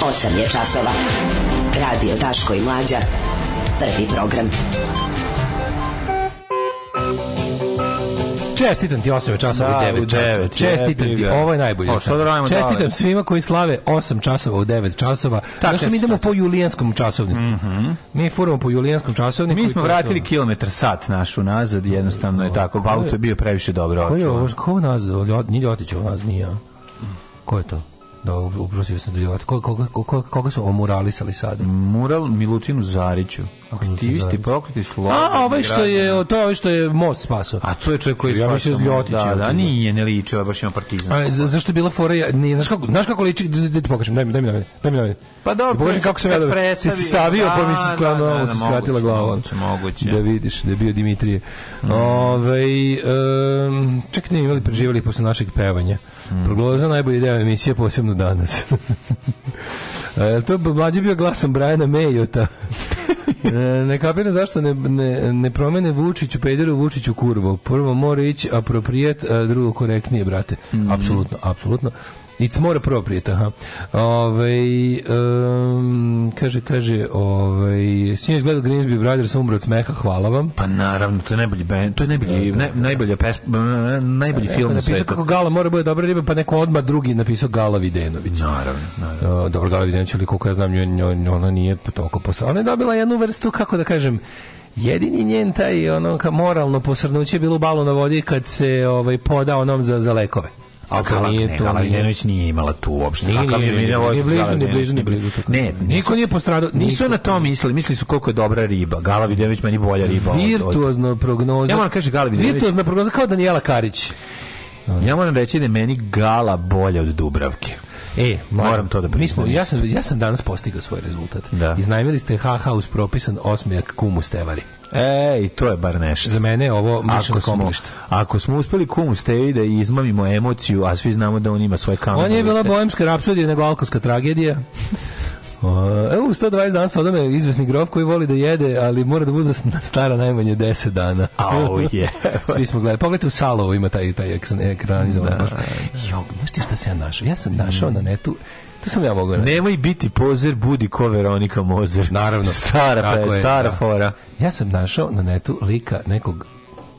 [SPEAKER 2] 8 je časova. Radio Daško i Mlađa. Prvi program.
[SPEAKER 1] Čestitam ti 8 časova
[SPEAKER 5] Da,
[SPEAKER 1] u 9
[SPEAKER 5] u
[SPEAKER 1] časova.
[SPEAKER 5] devet,
[SPEAKER 1] Čestitam
[SPEAKER 5] jebi
[SPEAKER 1] ti,
[SPEAKER 5] ga.
[SPEAKER 1] ovo je najbolje.
[SPEAKER 5] O, što da radimo
[SPEAKER 1] Čestitam
[SPEAKER 5] dalje?
[SPEAKER 1] svima koji slave 8 časova u 9 časova. Tako što mi
[SPEAKER 5] je Mhm.
[SPEAKER 1] idemo po julijanskom časovniku. Mi furamo po julijanskom časovniku.
[SPEAKER 5] Mi
[SPEAKER 1] i
[SPEAKER 5] smo
[SPEAKER 1] to je to.
[SPEAKER 5] vratili kilometar sat naš unazad, jednostavno je tako. Auto je bio previše dobro
[SPEAKER 1] Ko je ovo?
[SPEAKER 5] očuvan.
[SPEAKER 1] Pa Ko je nazad? Ljot, nije Ljotić, ovo nazad nije. a? Ko je to? Da, uprosio sam da Ljotić. Ko- Koga, koga, koga su omuralisali sada?
[SPEAKER 5] Mural Milutinu Zariću. Mm, Aktivisti
[SPEAKER 1] Zarić.
[SPEAKER 5] prokleti slobodni
[SPEAKER 1] A, ovaj što je, to je ovaj što je most spaso.
[SPEAKER 5] A to je čovjek koji
[SPEAKER 1] Ja mislim
[SPEAKER 5] spasao
[SPEAKER 1] da je
[SPEAKER 5] most.
[SPEAKER 1] Ljotić
[SPEAKER 5] Da,
[SPEAKER 1] je
[SPEAKER 5] da,
[SPEAKER 1] otišao.
[SPEAKER 5] nije, ne liči, ovaj baš ima partizan.
[SPEAKER 1] A, za- zašto je bila fora? ja- Ne, znaš kako, znaš kako liči? Da, da ti pokažem, daj mi, daj mi, daj mi, daj mi, daj mi.
[SPEAKER 5] Pa dobro,
[SPEAKER 1] Da pokažem
[SPEAKER 5] pre-
[SPEAKER 1] kako sam ja dobro.
[SPEAKER 5] presavi-
[SPEAKER 1] Si savio, pa mi
[SPEAKER 5] Da,
[SPEAKER 1] se skladno,
[SPEAKER 5] da, da,
[SPEAKER 1] ovo se
[SPEAKER 5] da,
[SPEAKER 1] skratila
[SPEAKER 5] moguće,
[SPEAKER 1] glava.
[SPEAKER 5] moguće, moguće. Mm.
[SPEAKER 1] Da vidiš, da je bio Dimitrije. Ovej, em, čekajte, mi imali preživali posle našeg pevanja.
[SPEAKER 5] Mm.
[SPEAKER 1] Progloza najbolji deo emisije, posebno danas. A, jel to bi mlađi bio glasom Brajana Mejota? E, ne kapiram zašto ne, ne, ne promene Vučiću, pederu Vučiću kurvo. Prvo mora ići aproprijet, a drugo korektnije, brate. Apsolutno, apsolutno. It's more appropriate, aha. Ovej, em, kaže, kaže, ovaj, sinoć gledao Grimsby Brothers, umro od smeha, hvala vam.
[SPEAKER 5] Pa naravno, to je najbolji band, to je najbolji, naj- najbolja pesma, najbolji film na
[SPEAKER 1] Napisao
[SPEAKER 5] svijetu.
[SPEAKER 1] pa kako Gala mora bude dobra riba, pa neko odmah drugi napisao Gala Videnović.
[SPEAKER 5] Naravno, naravno.
[SPEAKER 1] Uh, dobro, Gala Videnović, ali koliko ja znam, nju- nju- ona nije toliko posrnuta. Ona je dobila jednu vrstu, kako da kažem, jedini njen taj ono, ka moralno posrnuće je bilo u balu na vodi kad se ovaj, poda onom za, za lekove. Ali to
[SPEAKER 5] Gala-
[SPEAKER 1] nije,
[SPEAKER 5] ne,
[SPEAKER 1] to
[SPEAKER 5] Gala
[SPEAKER 1] nije.
[SPEAKER 5] Videnović nije imala tu uopšte.
[SPEAKER 1] Nije,
[SPEAKER 5] A Gala
[SPEAKER 1] nije, nije,
[SPEAKER 5] Videnović-
[SPEAKER 1] nije blizu,
[SPEAKER 5] Gala
[SPEAKER 1] ni blizu, ni
[SPEAKER 5] Videnović-
[SPEAKER 1] blizu, tako.
[SPEAKER 5] Ne, nisu-
[SPEAKER 1] Niko nije postradao,
[SPEAKER 5] Nisu
[SPEAKER 1] niko-
[SPEAKER 5] na to mislili, mislili su koliko je dobra riba. Gala Videnović meni bolja riba. od- od-
[SPEAKER 1] Virtuozno prognoza.
[SPEAKER 5] Ja moram kaži Gala Videnović.
[SPEAKER 1] Virtuozna prognoza kao Danijela Karić.
[SPEAKER 5] Ja moram reći da je meni Gala bolja od Dubravke.
[SPEAKER 1] E,
[SPEAKER 5] Moram
[SPEAKER 1] mlađo,
[SPEAKER 5] to da
[SPEAKER 1] mi smo,
[SPEAKER 5] priznam
[SPEAKER 1] ja sam, ja sam danas postigao svoj rezultat.
[SPEAKER 5] Da.
[SPEAKER 1] Iznajmili ste HH uz propisan osmijak kumu Stevari.
[SPEAKER 5] E, i to je bar nešto.
[SPEAKER 1] Za mene je ovo mišljeno
[SPEAKER 5] Ako smo,
[SPEAKER 1] komlište.
[SPEAKER 5] ako smo uspeli kumu Stevi da izmamimo emociju, a svi znamo da on ima svoje kamere.
[SPEAKER 1] On je bila bohemska rapsodija nego alkoholska tragedija. (laughs) O, Evo, u 120 dana sa odame izvesni grof koji voli da jede, ali mora da bude stara najmanje 10 dana.
[SPEAKER 5] Au, je.
[SPEAKER 1] Svi smo gledali. Pogledajte u Salovu ima taj, taj ekran- ekranizovan. Da. Jo, znaš ti šta sam ja našao? Ja
[SPEAKER 5] Mm.
[SPEAKER 1] sam našao na netu, to sam ja mogao naći.
[SPEAKER 5] Nemoj biti pozer, budi ko Veronika Mozer.
[SPEAKER 1] Naravno.
[SPEAKER 5] Stara,
[SPEAKER 1] Tako
[SPEAKER 5] pe,
[SPEAKER 1] je,
[SPEAKER 5] stara
[SPEAKER 1] da.
[SPEAKER 5] fora.
[SPEAKER 1] Ja sam našao na netu lika nekog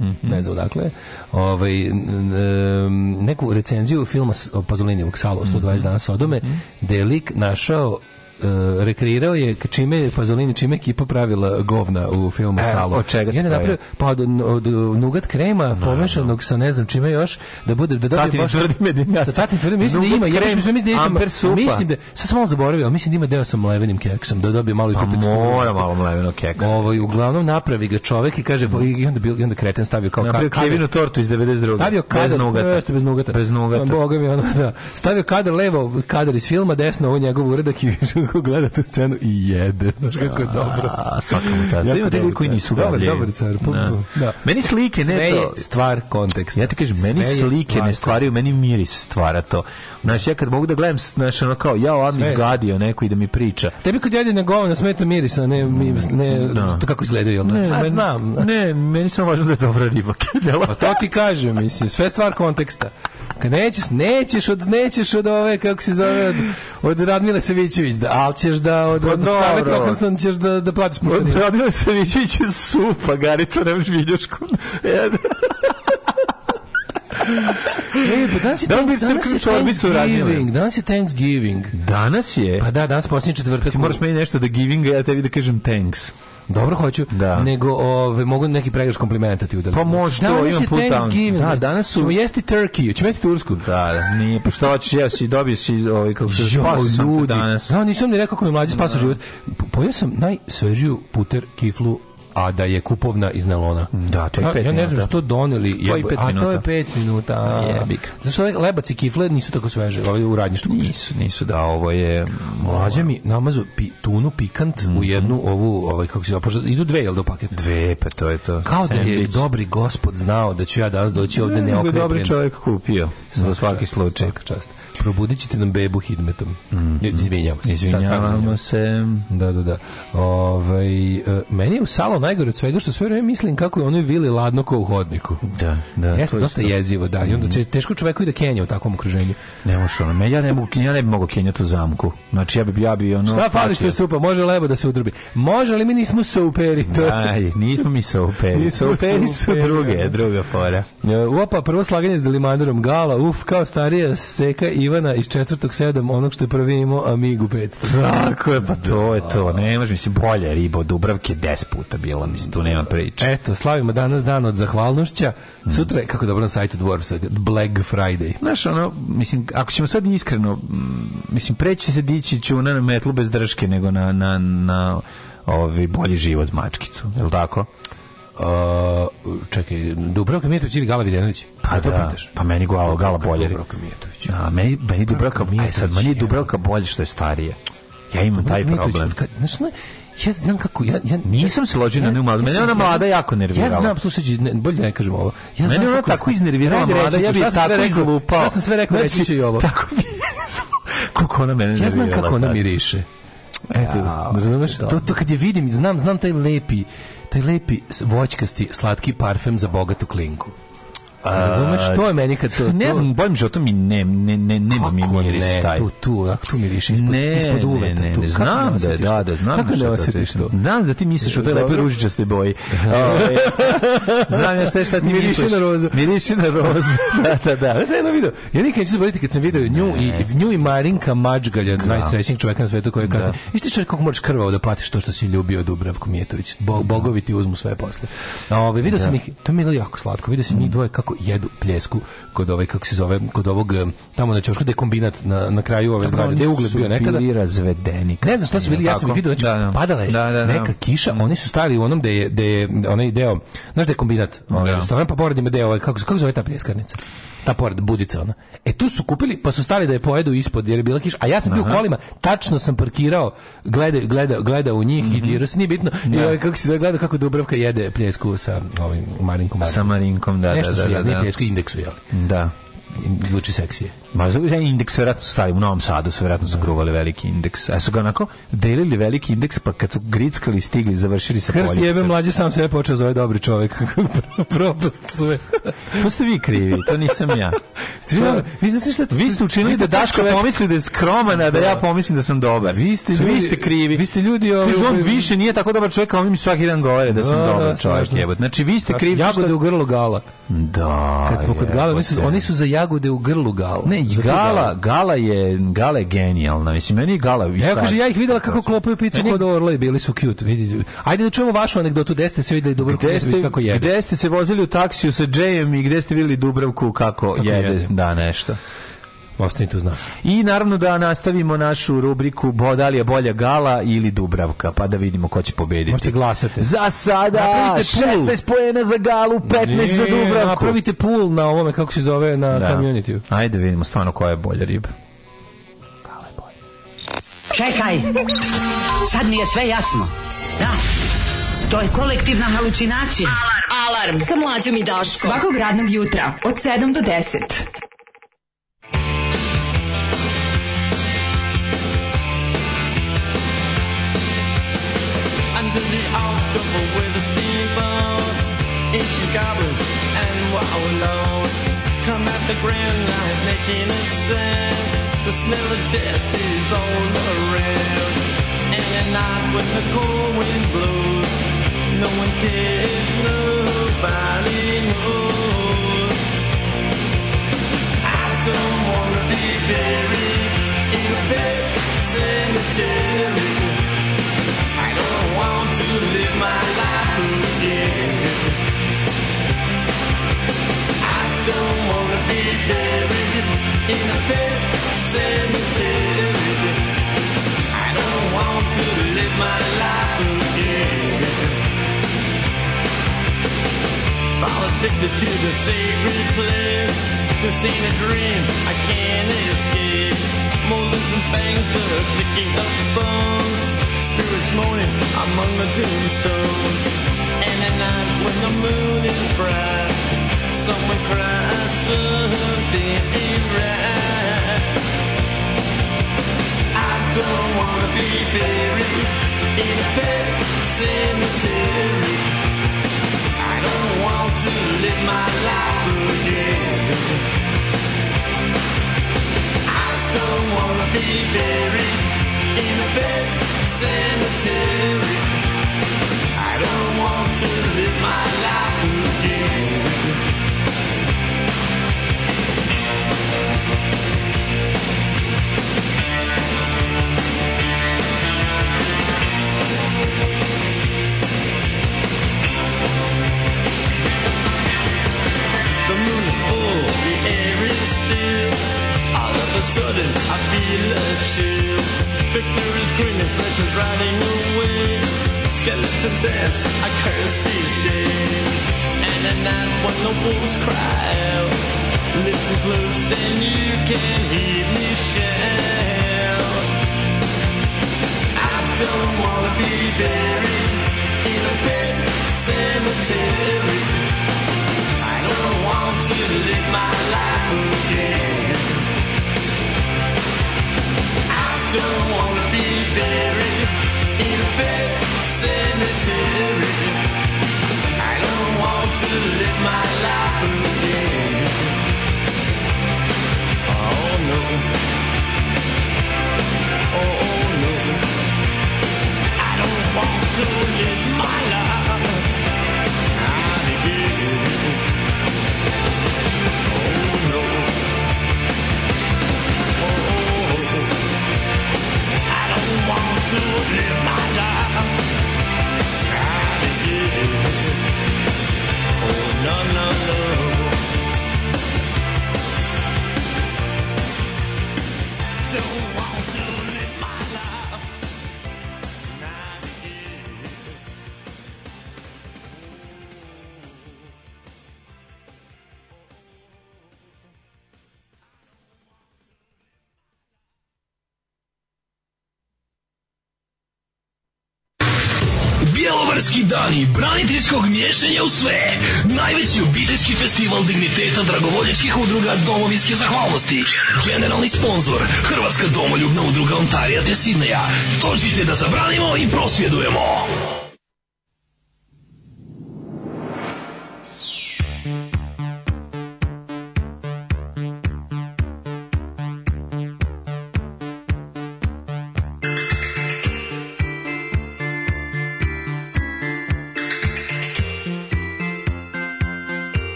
[SPEAKER 5] Mhm.
[SPEAKER 1] ne znam odakle, je, ovaj, n- n- neku recenziju filma s- o Pazolinijevog sala
[SPEAKER 5] Mhm.
[SPEAKER 1] od 120 dana Sodome, gde je lik našao e, rekreirao je k- čime je Pazolini, čime je ekipa pravila govna u filmu
[SPEAKER 5] E,
[SPEAKER 1] Salo.
[SPEAKER 5] od čega
[SPEAKER 1] I onda
[SPEAKER 5] se
[SPEAKER 1] napravio, pa od, od nugat krema pomešanog sa ne znam čime još, da bude da dobije
[SPEAKER 5] Tatini
[SPEAKER 1] baš...
[SPEAKER 5] tvrdi medinjaci.
[SPEAKER 1] Sa tatini tvrdi, mislim da
[SPEAKER 5] Nougat
[SPEAKER 1] ima, ja mislim,
[SPEAKER 5] krem,
[SPEAKER 1] mislim da ima-
[SPEAKER 5] amber supa.
[SPEAKER 1] mislim da, sad sam malo zaboravio, ali mislim da ima deo sa mlevenim keksom, da dobije malo i
[SPEAKER 5] Pa
[SPEAKER 1] tu teksturu.
[SPEAKER 5] mora malo mleveno keksa.
[SPEAKER 1] Ovaj uglavnom napravi ga čovek i kaže i onda bil i onda kreten stavio kao
[SPEAKER 5] Napravio
[SPEAKER 1] ka- kader-
[SPEAKER 5] Kevinu tortu iz 92.
[SPEAKER 1] Stavio kader
[SPEAKER 5] Bez nugata.
[SPEAKER 1] Jeste, bez nugata.
[SPEAKER 5] Bez nugata.
[SPEAKER 1] Boga mi ono da. Stavio kader levo, kader iz filma, desno ovo njegov uradak i (laughs) više ko gleda tu scenu i jede. Znaš kako je dobro.
[SPEAKER 5] A, svaka mu čast.
[SPEAKER 1] Jako
[SPEAKER 5] Ima te ljudi
[SPEAKER 1] dobar
[SPEAKER 5] koji
[SPEAKER 1] car.
[SPEAKER 5] nisu
[SPEAKER 1] Dobar,
[SPEAKER 5] gadljivi.
[SPEAKER 1] dobar car, pa,
[SPEAKER 5] Da.
[SPEAKER 1] da.
[SPEAKER 5] Meni slike
[SPEAKER 1] Sve
[SPEAKER 5] ne
[SPEAKER 1] je
[SPEAKER 5] to...
[SPEAKER 1] stvar konteksta.
[SPEAKER 5] Ja ti kažem, meni
[SPEAKER 1] Sve je
[SPEAKER 5] slike ne
[SPEAKER 1] stvar
[SPEAKER 5] stvaraju, meni miris stvara to. Znači, ja kad mogu da gledam, znači, ono kao, ja ovam
[SPEAKER 1] Sve je
[SPEAKER 5] izgadio neko i da mi priča.
[SPEAKER 1] Tebi kod jedine govna smeta miris, a ne, mi- ne
[SPEAKER 5] Da.
[SPEAKER 1] to kako izgledaju. jel da? A,
[SPEAKER 5] meni-
[SPEAKER 1] znam.
[SPEAKER 5] Ne, meni samo važno da je dobra riba
[SPEAKER 1] Pa to ti kažem, mislim, sve stvar konteksta. Kad nećeš, nećeš od, nećeš od ove, kako se zove, od, od Radmile Savićević, da, ali ćeš da, od,
[SPEAKER 5] Pa
[SPEAKER 1] od Scarlett
[SPEAKER 5] dobro. Pa
[SPEAKER 1] Johansson ćeš da, da platiš pušteninu.
[SPEAKER 5] Odradila se Vićić iz supa, Garica, nemaš vidjuškom na sede.
[SPEAKER 1] E, pa danas je,
[SPEAKER 5] Da, bi
[SPEAKER 1] danas
[SPEAKER 5] se
[SPEAKER 1] je
[SPEAKER 5] uključio, bi se uradile.
[SPEAKER 1] Thanksgiving, danas je Thanksgiving.
[SPEAKER 5] Danas je.
[SPEAKER 1] Pa da, danas posljednji četvrtak.
[SPEAKER 5] Ti moraš meni nešto da giving, a ja tebi da kažem thanks.
[SPEAKER 1] Dobro hoću,
[SPEAKER 5] Da.
[SPEAKER 1] nego ove, mogu neki pregraš komplimenta ti udalim.
[SPEAKER 5] Pa može, to,
[SPEAKER 1] danas
[SPEAKER 5] imam
[SPEAKER 1] je
[SPEAKER 5] put down.
[SPEAKER 1] Thanksgiving.
[SPEAKER 5] Da, danas su-
[SPEAKER 1] Ćemo jesti turkey, ćemo jesti tursku.
[SPEAKER 5] Da, da, nije, pa što hoćeš, ja si dobio si, ovaj, kako se
[SPEAKER 1] Jo,
[SPEAKER 5] spasio sam te
[SPEAKER 1] ljudi.
[SPEAKER 5] danas.
[SPEAKER 1] Da, nisam ni rekao kako mi mlađi spasao život. Po- Pojeo sam najsvežiju puter kiflu a da je kupovna iz nelona.
[SPEAKER 5] Da, Mm. to je
[SPEAKER 1] Ja-
[SPEAKER 5] pet
[SPEAKER 1] Ja ne znam
[SPEAKER 5] minuta.
[SPEAKER 1] što doneli.
[SPEAKER 5] je
[SPEAKER 1] jebo-
[SPEAKER 5] pet
[SPEAKER 1] a to je
[SPEAKER 5] minuta.
[SPEAKER 1] 5 minuta. a.
[SPEAKER 5] Jebi ga.
[SPEAKER 1] Zašto ove lebac i kifle nisu tako sveže? Ovaj u radnji što kupiš.
[SPEAKER 5] Nisu, nisu, da, ovo je...
[SPEAKER 1] Mlađa mi namazu pi, tunu pikant u jednu ovu, ovaj, kako se zove, pošto idu dve, jel do paket?
[SPEAKER 5] Mhm. Dve, pa to je to.
[SPEAKER 1] Kao da je
[SPEAKER 5] Sandvič.
[SPEAKER 1] dobri gospod znao da ću ja danas doći ovde
[SPEAKER 5] Nego je
[SPEAKER 1] neokrepljen.
[SPEAKER 5] Dobri čovjek kupio, za svaki
[SPEAKER 1] čast,
[SPEAKER 5] slučaj.
[SPEAKER 1] Svaka čast. probudit ćete nam bebu hidmetom. Mm. Izvinjavam se. Sad sam-
[SPEAKER 5] Izvinjavamo Mhm. se.
[SPEAKER 1] Da, da, da. Ovaj, e, meni je u salo najgore od svega što sve vreme mislim kako je onoj vili ladno ko u hodniku.
[SPEAKER 5] Da, da, to
[SPEAKER 1] Jeste
[SPEAKER 5] je isto.
[SPEAKER 1] dosta
[SPEAKER 5] Mhm.
[SPEAKER 1] jezivo, da. I onda će- teško čoveku i da kenja u takvom okruženju.
[SPEAKER 5] Ne možeš ono, me- ja ne mogu, ja ne bi mogao kenjati u zamku. Znači ja bi ja bi ono
[SPEAKER 1] Šta fali što
[SPEAKER 5] patio.
[SPEAKER 1] je supa? Može lebo da se udrbi. Može, ali mi nismo superi. To je-
[SPEAKER 5] Aj, nismo mi se uperi.
[SPEAKER 1] Nismo
[SPEAKER 5] Uperi su
[SPEAKER 1] sauperi,
[SPEAKER 5] druge,
[SPEAKER 1] da.
[SPEAKER 5] druga fora.
[SPEAKER 1] E, Opa, prvo slaganje s Delimandarom Gala, uf, kao starija seka Ivana iz četvrtog sedam, onog što je prvi imao Amigu 500.
[SPEAKER 5] Tako je, pa to je to. Ne može, mislim, bolje je riba od Dubravke 10 puta bila, mislim, tu nema priče.
[SPEAKER 1] Eto, slavimo danas dan od zahvalnošća.
[SPEAKER 5] Mhm.
[SPEAKER 1] Sutra je, kako dobro na sajtu Dvorsa, Black Friday.
[SPEAKER 5] Znaš, ono, mislim, ako ćemo sad iskreno, mm, mislim, preći se dići ću na metlu bez drške nego na, na, na ovaj bolji život mačkicu, je li tako?
[SPEAKER 1] A, čekaj, Dubravka Mijetović ili Gala Videnović?
[SPEAKER 5] Pa
[SPEAKER 1] to
[SPEAKER 5] da,
[SPEAKER 1] pitaš?
[SPEAKER 5] pa meni gala, gala
[SPEAKER 1] Dubravka,
[SPEAKER 5] bolje.
[SPEAKER 1] Dubravka Mijatović.
[SPEAKER 5] A, meni, meni Dubravka, aj sad, meni je
[SPEAKER 1] Mijatović,
[SPEAKER 5] Dubravka bolje što je starija. Ja imam taj
[SPEAKER 1] Mijatović,
[SPEAKER 5] problem. (laughs)
[SPEAKER 1] od kad- Znaš, ne, ja znam kako, ja, ja,
[SPEAKER 5] Nisam se ložio na nju mladu, mene
[SPEAKER 1] ja
[SPEAKER 5] ona
[SPEAKER 1] sam-
[SPEAKER 5] mlada jako nervirala.
[SPEAKER 1] Ja znam, slušaj, ne, bolje ne kažem ovo. Ja
[SPEAKER 5] Mene
[SPEAKER 1] znam
[SPEAKER 5] ona
[SPEAKER 1] kako-
[SPEAKER 5] tako iznervirala
[SPEAKER 1] Ajde,
[SPEAKER 5] mlada,
[SPEAKER 1] reći ću,
[SPEAKER 5] ja bi
[SPEAKER 1] šta sam sve
[SPEAKER 5] tako
[SPEAKER 1] rekao?
[SPEAKER 5] izlupao.
[SPEAKER 1] Šta sam sve rekao, reći ću i ovo.
[SPEAKER 5] Znači, Tako mi Koliko ona mene
[SPEAKER 1] Ja znam
[SPEAKER 5] nervirala
[SPEAKER 1] kako ona
[SPEAKER 5] tad.
[SPEAKER 1] miriše. Eto, razumeš? To, to kad je vidim, znam, znam taj lepi, taj lepi s- voćkasti, slatki parfem za bogatu klinku. Razumeš? To je meni kad to...
[SPEAKER 5] Ne
[SPEAKER 1] to-
[SPEAKER 5] znam, bojim životom mi ne, ne, ne, ne
[SPEAKER 1] Kako
[SPEAKER 5] mi miris
[SPEAKER 1] ne,
[SPEAKER 5] taj.
[SPEAKER 1] Tu, tu, onako tu miriše ispod,
[SPEAKER 5] ne,
[SPEAKER 1] ispod uveta.
[SPEAKER 5] ne, ne,
[SPEAKER 1] tu.
[SPEAKER 5] ne,
[SPEAKER 1] Kako
[SPEAKER 5] znam da je,
[SPEAKER 1] osjetiš
[SPEAKER 5] da,
[SPEAKER 1] to?
[SPEAKER 5] da, znam.
[SPEAKER 1] Kako
[SPEAKER 5] šta
[SPEAKER 1] ne
[SPEAKER 5] to
[SPEAKER 1] osjetiš
[SPEAKER 5] ti-
[SPEAKER 1] (laughs) to?
[SPEAKER 5] Znam da ti misliš o toj lepoj ružičastoj
[SPEAKER 1] (laughs)
[SPEAKER 5] boji. Ovaj, (laughs) znam ja sve šta ti
[SPEAKER 1] Miriše
[SPEAKER 5] misliš.
[SPEAKER 1] na rozu.
[SPEAKER 5] Miriši na
[SPEAKER 1] (laughs)
[SPEAKER 5] rozu. da, da, da.
[SPEAKER 1] Ja sam jedno video. Ja nikad neću zaboraviti kad sam video nju i nju i Marinka Mačgalja, najsrećnijeg čoveka na svetu koji je kasnije. Da. Isti čovjek kako moraš krvavo da platiš to što si ljubio Dubravku Mijetović. Bo, bogovi ti uzmu sve posle. A ovaj video sam ih, to mi je bilo jako slatko. Video sam njih dvoje kako jedu pljesku kod ovaj kako se zove, kod ovog em, tamo na ćošku gde je kombinat na na kraju ove zgrade, gde je ugled bio nekada.
[SPEAKER 5] Bili razvedeni.
[SPEAKER 1] Ne znam šta su bili, ja sam ih
[SPEAKER 5] Tako?
[SPEAKER 1] vidio, znači,
[SPEAKER 5] Da, da.
[SPEAKER 1] padala je
[SPEAKER 5] Da, da, da.
[SPEAKER 1] neka kiša, oni su stali u onom gde je, gde je onaj deo, znaš gde je kombinat, onaj
[SPEAKER 5] Da.
[SPEAKER 1] restoran, pa pored ima deo, ovaj, kako, se- kako se zove ta pljeskarnica? Ta pored, budica ona. E tu su kupili, pa su stali da je pojedu ispod, jer je bila kiša, a ja sam bio u kolima, tačno sam parkirao, gledao gleda, gleda u njih
[SPEAKER 5] Mhm.
[SPEAKER 1] i dirao se, nije bitno, i ovaj, kako se zove, gledao kako Dubravka jede pljesku sa ovim Marinkom.
[SPEAKER 5] Sa Marinkom, da,
[SPEAKER 1] Nešto
[SPEAKER 5] da,
[SPEAKER 1] su
[SPEAKER 5] da, da,
[SPEAKER 1] jedni
[SPEAKER 5] da.
[SPEAKER 1] pljesku indeksu, jel?
[SPEAKER 5] Da.
[SPEAKER 1] I- Zvuči seksije.
[SPEAKER 5] Ma za ja indeks verovatno stavi u Novom Sadu, su verovatno zagruvali veliki indeks. A su ga onako delili veliki indeks, pa kad su grickali, stigli, završili sa
[SPEAKER 1] Krst jebe
[SPEAKER 5] poljicom.
[SPEAKER 1] mlađe sam sebe počeo zove dobri
[SPEAKER 5] (laughs)
[SPEAKER 1] čovek. Propast sve.
[SPEAKER 5] To ste vi krivi, to nisam
[SPEAKER 1] (laughs)
[SPEAKER 5] ja.
[SPEAKER 1] Vi,
[SPEAKER 5] To-
[SPEAKER 1] ono, vi znate šta
[SPEAKER 5] Vi ste učinili
[SPEAKER 1] vi
[SPEAKER 5] da
[SPEAKER 1] ste
[SPEAKER 5] Daško
[SPEAKER 1] čovek-
[SPEAKER 5] pomisli da je skroman, a da ja pomislim da sam dobar. Vi ste, vi ste krivi.
[SPEAKER 1] Vi ste ljudi ovaj
[SPEAKER 5] Kažu, on
[SPEAKER 1] ovaj-
[SPEAKER 5] više nije tako dobar čovjek, a oni mi svaki dan govore da sam
[SPEAKER 1] Da, da,
[SPEAKER 5] dobar čovjek.
[SPEAKER 1] strašno.
[SPEAKER 5] jebote. Znači, vi ste krivi.
[SPEAKER 1] Jagode
[SPEAKER 5] što-
[SPEAKER 1] u grlu gala.
[SPEAKER 5] Da.
[SPEAKER 1] Kad smo kod gala, oni su,
[SPEAKER 5] jebote.
[SPEAKER 1] oni su za jagode u grlu gala.
[SPEAKER 5] Ne, i
[SPEAKER 1] Za to
[SPEAKER 5] Gala, Gala je, Gala je genijalna. Mislim, meni je Gala i
[SPEAKER 1] Evo
[SPEAKER 5] sad-
[SPEAKER 1] kaže, ja ih videla kako klopaju picu
[SPEAKER 5] Meni-
[SPEAKER 1] kod Orla i bili su cute. Vidi. Ajde da čujemo vašu anegdotu, gde ste se videli dobro
[SPEAKER 5] Gde ste,
[SPEAKER 1] kako jede.
[SPEAKER 5] gde ste se vozili u taksiju sa Džejem i gde ste vidjeli Dubravku kako, jede.
[SPEAKER 1] jede.
[SPEAKER 5] Da, nešto.
[SPEAKER 1] Ostanite uz nas.
[SPEAKER 5] I naravno da nastavimo našu rubriku bo, da li je bolja Gala ili Dubravka, pa da vidimo ko će pobediti.
[SPEAKER 1] Možete glasate.
[SPEAKER 5] Za sada
[SPEAKER 1] Napravite pulu.
[SPEAKER 5] 16 pojena za Galu, 15 za
[SPEAKER 1] Ne,
[SPEAKER 5] Dubravku.
[SPEAKER 1] Napravite pool na ovome, kako se zove, na
[SPEAKER 5] Da.
[SPEAKER 1] community.
[SPEAKER 5] Ajde vidimo stvarno koja je bolja riba.
[SPEAKER 14] Čekaj, sad mi je sve jasno. Da, to je kolektivna halucinacija.
[SPEAKER 4] Alarm sa mlađom i Daškom. Svakog radnog jutra od 7 do 10.
[SPEAKER 6] Under the October with the steamboats Ancient goblins and wallows Come at the grand line making a sound The smell of death is all around And at night when the cold wind blows No one cares, nobody knows I don't wanna be buried in a big cemetery I don't want to live my life again. I don't want to be buried in a pet cemetery. I don't want to live my life again. I'm addicted to the sacred place. This ain't a dream I can't escape. Moldings and fangs, the clicking of bones. Spirits moaning among the tombstones. And at night when the moon is bright, someone cries something ain't right.
[SPEAKER 8] wanna be buried in a pet cemetery. I don't want to live my life again. I don't wanna be buried in a pet cemetery. I don't want to live my life again. The moon is full, the air is still. All of a sudden, I feel a chill. Victor is grinning, flesh is running away. Skeleton dance, I curse these days. And at night when the wolves cry out, listen close, then you can hear me shout. I don't wanna be buried in a big cemetery. I don't want to live my life again. I don't want to be buried in a big cemetery. I don't want to live my life again. Oh no. Oh, oh no. I don't want to live my life again. to live my life. I did. Oh, no, no, no. Don't want to live my life. I did.
[SPEAKER 15] Bjelovarski dani braniteljskog miješanja u sve. Najveći obiteljski festival digniteta dragovoljačkih udruga domovinske zahvalnosti. Generalni sponsor Hrvatska domoljubna udruga Ontarija te Sidneja. Dođite da zabranimo i prosvjedujemo.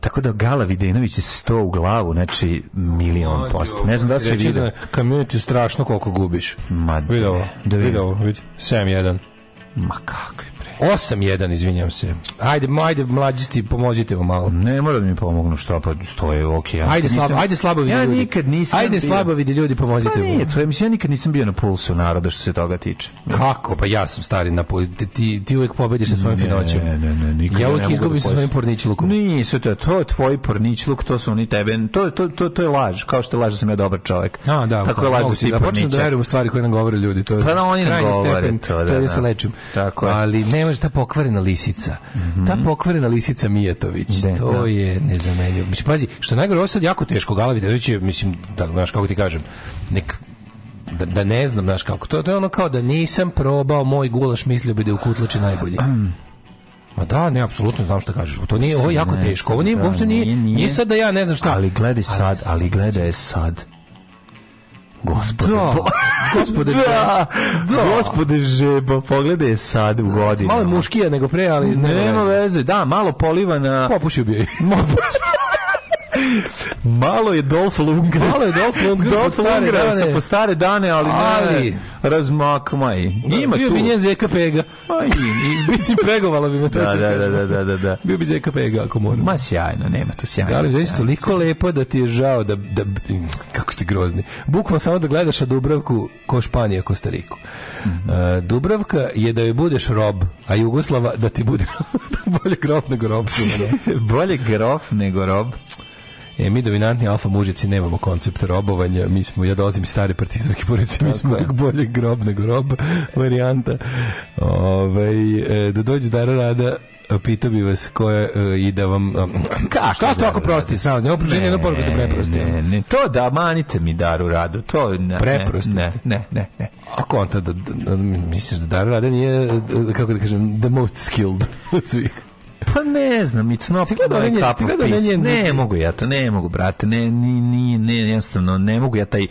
[SPEAKER 5] Tako da Gala Videnović je 100 u glavu, znači milion posto. Ne znam da li se
[SPEAKER 1] Reći da
[SPEAKER 5] vidio.
[SPEAKER 1] je Community strašno koliko gubiš.
[SPEAKER 5] Ma,
[SPEAKER 1] vidi ovo,
[SPEAKER 5] da vidim.
[SPEAKER 1] vidi ovo, vidi. 7-1.
[SPEAKER 5] Ma kakvi bre.
[SPEAKER 1] 8-1, izvinjam se. Ajde, ajde, mlađisti, pomozite mu malo.
[SPEAKER 5] Ne mora da mi pomognu šta pa stoje, ok. Ja
[SPEAKER 1] Ajde, slabo, ajde slabo vidi
[SPEAKER 5] Ja
[SPEAKER 1] ljudi.
[SPEAKER 5] nikad nisam
[SPEAKER 1] Ajde,
[SPEAKER 5] bio-
[SPEAKER 1] slabo vidi ljudi, pomozite
[SPEAKER 5] Pa
[SPEAKER 1] mu.
[SPEAKER 5] nije, to je, mislim, ja nikad nisam bio na pulsu naroda što se toga tiče.
[SPEAKER 1] Kako? Pa ja sam stari na pol- ti, ti, ti uvijek pobediš sa svojim finoćem.
[SPEAKER 5] Ne, ne, ne, nikad
[SPEAKER 1] ja uvijek
[SPEAKER 5] mogu
[SPEAKER 1] izgubim
[SPEAKER 5] da
[SPEAKER 1] sa svojim
[SPEAKER 5] pođem.
[SPEAKER 1] porničlukom.
[SPEAKER 5] Nisu to, to je tvoj porničluk, to su oni tebe, to, to, to, to je laž, kao što je laž da sam ja dobar čovjek.
[SPEAKER 1] A, da,
[SPEAKER 5] Tako
[SPEAKER 1] pa,
[SPEAKER 5] je laž
[SPEAKER 1] mogu
[SPEAKER 5] da
[SPEAKER 1] si
[SPEAKER 5] si
[SPEAKER 1] da počnem da
[SPEAKER 5] porničak.
[SPEAKER 1] verujem u stvari koje nam govore ljudi. To je
[SPEAKER 5] Pa da, oni nam
[SPEAKER 1] krajnji
[SPEAKER 5] govore
[SPEAKER 1] stepen,
[SPEAKER 5] to, da,
[SPEAKER 1] je
[SPEAKER 5] da.
[SPEAKER 1] se lečim.
[SPEAKER 5] Tako je. Mhm.
[SPEAKER 1] Ali ne može ta pokvarena lisica. Ta pokvarena lisica Mijatović.
[SPEAKER 5] Da,
[SPEAKER 1] to
[SPEAKER 5] da.
[SPEAKER 1] je nezamenljivo. Mislim, pazi, što je najgore, ovo je sad jako teško. Gala Videnović je, mislim, da, znaš, kako ti kažem, nek, da, da ne znam, znaš kako. To, to je ono kao da nisam probao moj gulaš, mislio bi da je u kutlači
[SPEAKER 5] (clears throat)
[SPEAKER 1] najbolji. Ma da, ne, apsolutno znam šta kažeš. To nije, ovo je jako
[SPEAKER 5] Ne,
[SPEAKER 1] teško. Ovo nije,
[SPEAKER 5] da,
[SPEAKER 1] uopšte nije,
[SPEAKER 5] nije, nije.
[SPEAKER 1] nije sad da ja ne znam šta.
[SPEAKER 5] Ali gledaj sad, ali gledaj sad. Gospode, (laughs)
[SPEAKER 1] Da,
[SPEAKER 5] bo-
[SPEAKER 1] gospode,
[SPEAKER 5] da, gospode žebo, pogledaj sad u godinu.
[SPEAKER 1] Malo je muškija nego pre, ali ne,
[SPEAKER 5] Nema veze, da, malo poliva na...
[SPEAKER 1] Popušio (laughs) bi je.
[SPEAKER 5] Malo je Dolph Lundgren. Malo je Dolph
[SPEAKER 1] Lundgren pod
[SPEAKER 5] Dolph
[SPEAKER 1] stare
[SPEAKER 5] Lundgren
[SPEAKER 1] dane.
[SPEAKER 5] sa po stare dane, ali,
[SPEAKER 1] Ali-
[SPEAKER 5] ne, razmakmaj. Ima
[SPEAKER 1] Bio
[SPEAKER 5] tu.
[SPEAKER 1] bi njen zeka pega.
[SPEAKER 5] Ma, Pa i-
[SPEAKER 1] (laughs)
[SPEAKER 5] i-
[SPEAKER 1] Mislim, pegovala bi me to.
[SPEAKER 5] Da,
[SPEAKER 1] ću
[SPEAKER 5] da, da,
[SPEAKER 1] kažem.
[SPEAKER 5] da, da, da, da.
[SPEAKER 1] Bio bi zeka pega ako moram.
[SPEAKER 5] Ma sjajno, nema tu sjajno.
[SPEAKER 1] Da ali znaš,
[SPEAKER 5] sjajno.
[SPEAKER 1] toliko lepo da ti je žao da, da kako ste grozni. Bukvalno samo da gledaš a Dubravku ko Španija, Kostariku.
[SPEAKER 5] Mhm.
[SPEAKER 1] E, Dubravka je da joj budeš rob, a Jugoslava da ti bude (laughs) bolje grob nego rob.
[SPEAKER 5] (laughs) Bolje grof nego rob.
[SPEAKER 1] E, mi dominantni alfa mužici nemamo koncept robovanja, mi smo, ja dolazim iz stare partizanske porodice, mi smo uvijek bolje grob nego rob varijanta. Ove, da dođe Dara Rada, pitao bi vas koje e, i da vam... Ka, šta ste ovako prosti? Samo, ne opruženi, jednu poruku ste preprosti.
[SPEAKER 5] E, Ne, ne, to da manite mi daru radu, to ne,
[SPEAKER 1] Preprosti
[SPEAKER 5] ne,
[SPEAKER 1] ste.
[SPEAKER 5] ne, ne, ne.
[SPEAKER 1] A konta da, da, da- misliš da Dara Rada nije, e, kako da kažem, the most skilled od svih.
[SPEAKER 5] Pa ne znam, it's not
[SPEAKER 1] Ti gledao
[SPEAKER 5] my
[SPEAKER 1] onaj njen-
[SPEAKER 5] cup
[SPEAKER 1] ti
[SPEAKER 5] of
[SPEAKER 1] gledao onaj
[SPEAKER 5] peace.
[SPEAKER 1] njen-
[SPEAKER 5] Ne mogu ja to, ne mogu, brate, ne, ni, ni, ne, jednostavno, ne mogu ja taj,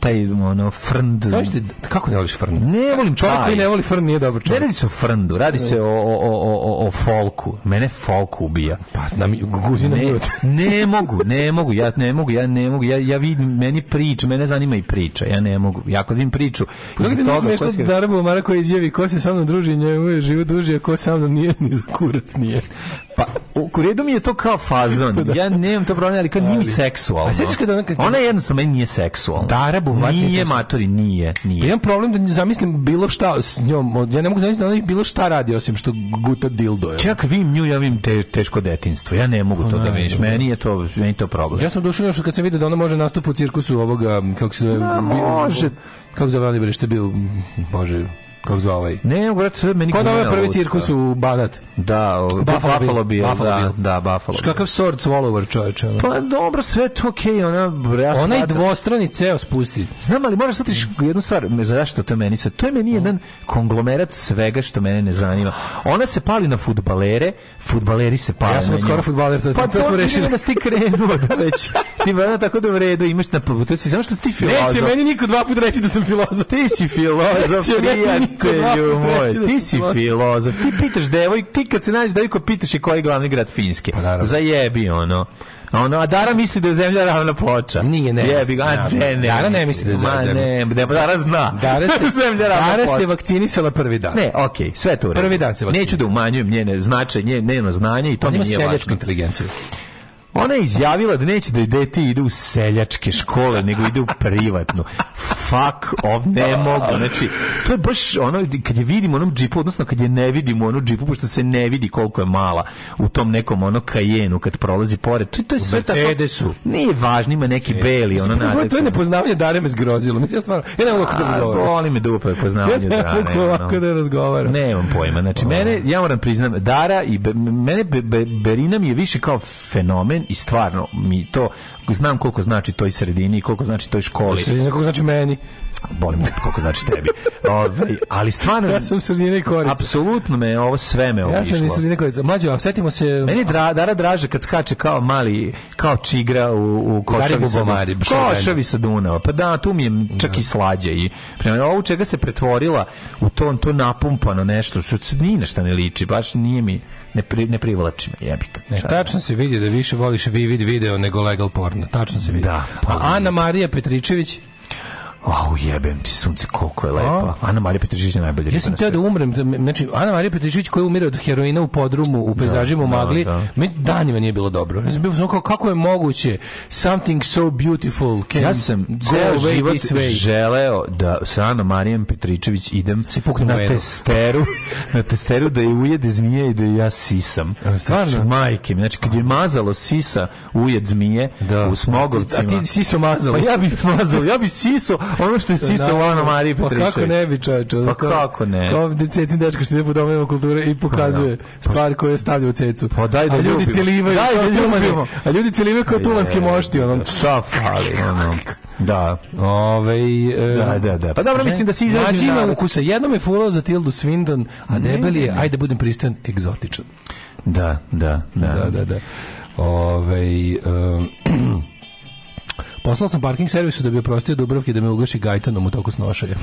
[SPEAKER 5] taj, ono, frnd.
[SPEAKER 1] Znaš ti, kako ne voliš Frnd?
[SPEAKER 5] Ne volim
[SPEAKER 1] Čovjek
[SPEAKER 5] Pa, taj.
[SPEAKER 1] koji ne voli Frnd nije dobar
[SPEAKER 5] Ne
[SPEAKER 1] čovjek.
[SPEAKER 5] radi se o frndu, radi se o, o, o, o, o folku. Mene folk ubija.
[SPEAKER 1] Pa, nam, guzina
[SPEAKER 5] Ne,
[SPEAKER 1] ljud.
[SPEAKER 5] ne mogu, ne mogu, ja ne mogu, ja ne mogu, ja, ja vidim, meni priča, mene zanima i priča, ja ne mogu, ja kad vidim priču,
[SPEAKER 1] Kako
[SPEAKER 5] iza
[SPEAKER 1] ti nije
[SPEAKER 5] toga,
[SPEAKER 1] smiješno
[SPEAKER 5] ko se-
[SPEAKER 1] da Dara Bulmara koji izjavi ko se sa mnom druži, njemu je život duži, a ko sa mnom nije, ni za kurac nije.
[SPEAKER 5] Pa, u u redu mi je to kao fazon. Ja nemam to problem, ali kao nije mi seksualno.
[SPEAKER 1] A sjećaš kad ona- kad-
[SPEAKER 5] Ona jednostavno meni nije seksualna.
[SPEAKER 1] Dara Bumar nije
[SPEAKER 5] Nije
[SPEAKER 1] seksualna.
[SPEAKER 5] matori, nije,
[SPEAKER 1] Pa Ja
[SPEAKER 5] nije.
[SPEAKER 1] imam problem da ne zamislim bilo šta s njom, od- ja ne mogu zamisliti da ona bilo šta radi, osim što guta dildo je.
[SPEAKER 5] Pa Ja kad vidim nju, ja vidim te, teško detinstvo. Ja ne mogu to da vidiš.
[SPEAKER 1] naravno.
[SPEAKER 5] Meni je to, meni je to problem.
[SPEAKER 1] Ja sam dušao što kad sam vidio da ona može nastup u cirkusu ovoga, kako se zove... bi-
[SPEAKER 5] može.
[SPEAKER 1] Kako se zove, Andibir, što je bio, može, kako se zove ovaj...
[SPEAKER 5] Ne, mogu, brate, to je meni...
[SPEAKER 1] Kod ovaj
[SPEAKER 5] genijalno
[SPEAKER 1] prvi
[SPEAKER 5] lutko.
[SPEAKER 1] cirkus u Banat.
[SPEAKER 5] Da, o-
[SPEAKER 1] Buffalo
[SPEAKER 5] Buffalo
[SPEAKER 1] Bill.
[SPEAKER 5] Bill.
[SPEAKER 1] Buffalo
[SPEAKER 5] Da,
[SPEAKER 1] Bill.
[SPEAKER 5] da, Buffalo Bill.
[SPEAKER 1] Kakav sword swallower čoveče. ono.
[SPEAKER 5] Pa dobro, sve je to okej, ona... Ja
[SPEAKER 1] Onaj
[SPEAKER 5] shvatam-
[SPEAKER 1] dvostrani ceo spusti.
[SPEAKER 5] Znam, ali moraš shvatiti
[SPEAKER 1] Mhm.
[SPEAKER 5] jednu stvar, me zašto to meni sad. To je meni jedan konglomerat svega što mene ne zanima. Ona se pali na fudbalere, fudbaleri se pale
[SPEAKER 1] Ja sam
[SPEAKER 5] na
[SPEAKER 1] od skoro
[SPEAKER 5] nju.
[SPEAKER 1] fudbaler, to-
[SPEAKER 5] pa
[SPEAKER 1] to smo
[SPEAKER 5] ti
[SPEAKER 1] rešili.
[SPEAKER 5] da si ti krenuo da
[SPEAKER 1] (laughs)
[SPEAKER 5] već. ti valjda tako da u redu, imaš na pa to si, samo što si ti filozof.
[SPEAKER 1] Neće meni niko dva puta reći da sam
[SPEAKER 5] (laughs)
[SPEAKER 1] filozof.
[SPEAKER 5] Ti si filozof,
[SPEAKER 1] Neće meni niko
[SPEAKER 5] prijatelju
[SPEAKER 1] dva puta reći
[SPEAKER 5] moj.
[SPEAKER 1] da
[SPEAKER 5] Ti
[SPEAKER 1] sam
[SPEAKER 5] si
[SPEAKER 1] filozof.
[SPEAKER 5] filozof. Ti pitaš devoj, ti kad se nađeš devojko, pitaš je koji je glavni grad Finjske.
[SPEAKER 1] Pa naravno.
[SPEAKER 5] Zajebi ono. A Ono, a Dara misli da je zemlja ravna ploča.
[SPEAKER 1] Nije, ne
[SPEAKER 5] Jebi
[SPEAKER 1] misli,
[SPEAKER 5] ga, a
[SPEAKER 1] naravno.
[SPEAKER 5] ne, ne.
[SPEAKER 1] Dara ne misli da je zemlja
[SPEAKER 5] Ma
[SPEAKER 1] ravna.
[SPEAKER 5] ne, ne, Dara zna.
[SPEAKER 1] Dara (laughs)
[SPEAKER 5] da je
[SPEAKER 1] se,
[SPEAKER 5] (laughs) zemlja ravna
[SPEAKER 1] Dara
[SPEAKER 5] ploča.
[SPEAKER 1] se vakcinisala prvi dan.
[SPEAKER 5] Ne, okej, sve to u redu.
[SPEAKER 1] Prvi dan se vakciniš.
[SPEAKER 5] Neću da umanjujem njene značaj, njene, njeno znanje i to
[SPEAKER 1] on
[SPEAKER 5] mi
[SPEAKER 1] ima
[SPEAKER 5] nije
[SPEAKER 1] seljačku
[SPEAKER 5] važno.
[SPEAKER 1] inteligenciju.
[SPEAKER 5] Ona je izjavila da neće da deti ide u seljačke škole, nego ide u privatnu. Fuck off, ne mogu. Znači, to je baš ono, kad je vidim u onom džipu, odnosno kad je ne vidim u onom džipu, pošto se ne vidi koliko je mala u tom nekom ono kajenu kad prolazi pored. To, to je sve tako...
[SPEAKER 1] Mercedesu.
[SPEAKER 5] Nije važno, ima neki beli, ono
[SPEAKER 1] Prvo, to je
[SPEAKER 5] nalepljeno.
[SPEAKER 1] nepoznavanje Dare me zgrozilo. Mislim, ja stvarno, ja ne mogu kako da
[SPEAKER 5] A,
[SPEAKER 1] razgovaram.
[SPEAKER 5] boli me dupa
[SPEAKER 1] (laughs) Ja
[SPEAKER 5] poznavanje
[SPEAKER 1] ne
[SPEAKER 5] Drane.
[SPEAKER 1] mogu ovako
[SPEAKER 5] ono.
[SPEAKER 1] da razgovaram.
[SPEAKER 5] Nemam pojma. Znači, mene, ja moram priznam, Dara i Be- mene Be- Be- Berina mi je više kao fenomen i stvarno mi to, znam koliko znači toj sredini i koliko znači toj školi.
[SPEAKER 1] Sve znači kako znači meni.
[SPEAKER 5] Bolim te koliko znači tebi.
[SPEAKER 1] (laughs)
[SPEAKER 5] Ovaj, ali stvarno...
[SPEAKER 1] Ja sam sredine korica.
[SPEAKER 5] Apsolutno me ovo sve me
[SPEAKER 1] Ja sam
[SPEAKER 5] obišlo.
[SPEAKER 1] iz sredine korica. Mlađo, a setimo se...
[SPEAKER 5] Meni je dra, Dara draže kad skače kao mali, kao čigra u, u košavi sa,
[SPEAKER 1] Bubamari, Šogan.
[SPEAKER 5] košavi sa Dunava. Pa da, tu mi je čak i slađe. I, prema ovo u čega se pretvorila u to, to napumpano nešto, što se ni na šta ne liči, baš nije mi, ne, pri, ne privlači me, jebik.
[SPEAKER 1] Ne, tačno se vidi da više voliš Vivid video nego legal porno. Tačno se vidi.
[SPEAKER 5] Da, pa
[SPEAKER 1] a Ana Marija Petričević,
[SPEAKER 5] Au, jebem ti sunce, koliko je lepa. Ana Marija Petričić je najbolja. riba na
[SPEAKER 1] ja sam teo
[SPEAKER 5] svetu.
[SPEAKER 1] da umrem. da me- Znači, Ana Marija Petričević koja umire od heroina u podrumu, u pejzažima u
[SPEAKER 5] da,
[SPEAKER 1] magli,
[SPEAKER 5] da.
[SPEAKER 1] meni danima nije bilo dobro. Ja sam bio u fazonu kao, kako je moguće something so beautiful can
[SPEAKER 5] Ja sam
[SPEAKER 1] go
[SPEAKER 5] ceo
[SPEAKER 1] away
[SPEAKER 5] život
[SPEAKER 1] this way.
[SPEAKER 5] želeo da sa Anom Marijem Petričević idem
[SPEAKER 1] puknem u
[SPEAKER 5] na
[SPEAKER 1] veru. (laughs)
[SPEAKER 5] testeru, na testeru da je ujede zmije i da je ja sisam.
[SPEAKER 1] E, stvarno?
[SPEAKER 5] Znači, majke mi. Znači, kad je mazalo sisa ujed zmije
[SPEAKER 1] Da.
[SPEAKER 5] u smogovcima.
[SPEAKER 1] A ti si so mazalo.
[SPEAKER 5] Pa ja bih mazalo, ja bih siso ono što je sisao
[SPEAKER 1] Da.
[SPEAKER 5] Ana Marije
[SPEAKER 1] Pa
[SPEAKER 5] Petričević.
[SPEAKER 1] kako ne bi, čovječe? ono
[SPEAKER 5] Pa
[SPEAKER 1] kao-
[SPEAKER 5] kako ne?
[SPEAKER 1] Kao ovdje cecin dečko što ide po domovima kulture i pokazuje stvari koje stavlja u cecu.
[SPEAKER 5] Pa daj da
[SPEAKER 1] A ljudi
[SPEAKER 5] ljubimo.
[SPEAKER 1] cilivaju
[SPEAKER 5] Daj
[SPEAKER 1] kao
[SPEAKER 5] da
[SPEAKER 1] tumani.
[SPEAKER 5] ljubimo. Pa
[SPEAKER 1] A ljudi cilivaju kao tumanske mošti. Ono.
[SPEAKER 5] Šta fali, ono. Da.
[SPEAKER 1] Ove, e,
[SPEAKER 5] Da, da, da. Pa dobro, mislim da si izrazim
[SPEAKER 1] Mlađi ima
[SPEAKER 5] narod.
[SPEAKER 1] ukusa. Jednom je fulao za Tildu Swinton, a debeli je, ajde budem pristojan, egzotičan.
[SPEAKER 5] Da, da, da.
[SPEAKER 1] Da, da, da. Ove, um, (clears throat) poslao sam parking servisu da bi oprostio Dubrovki da me ugaši gajtanom u toku snošaja.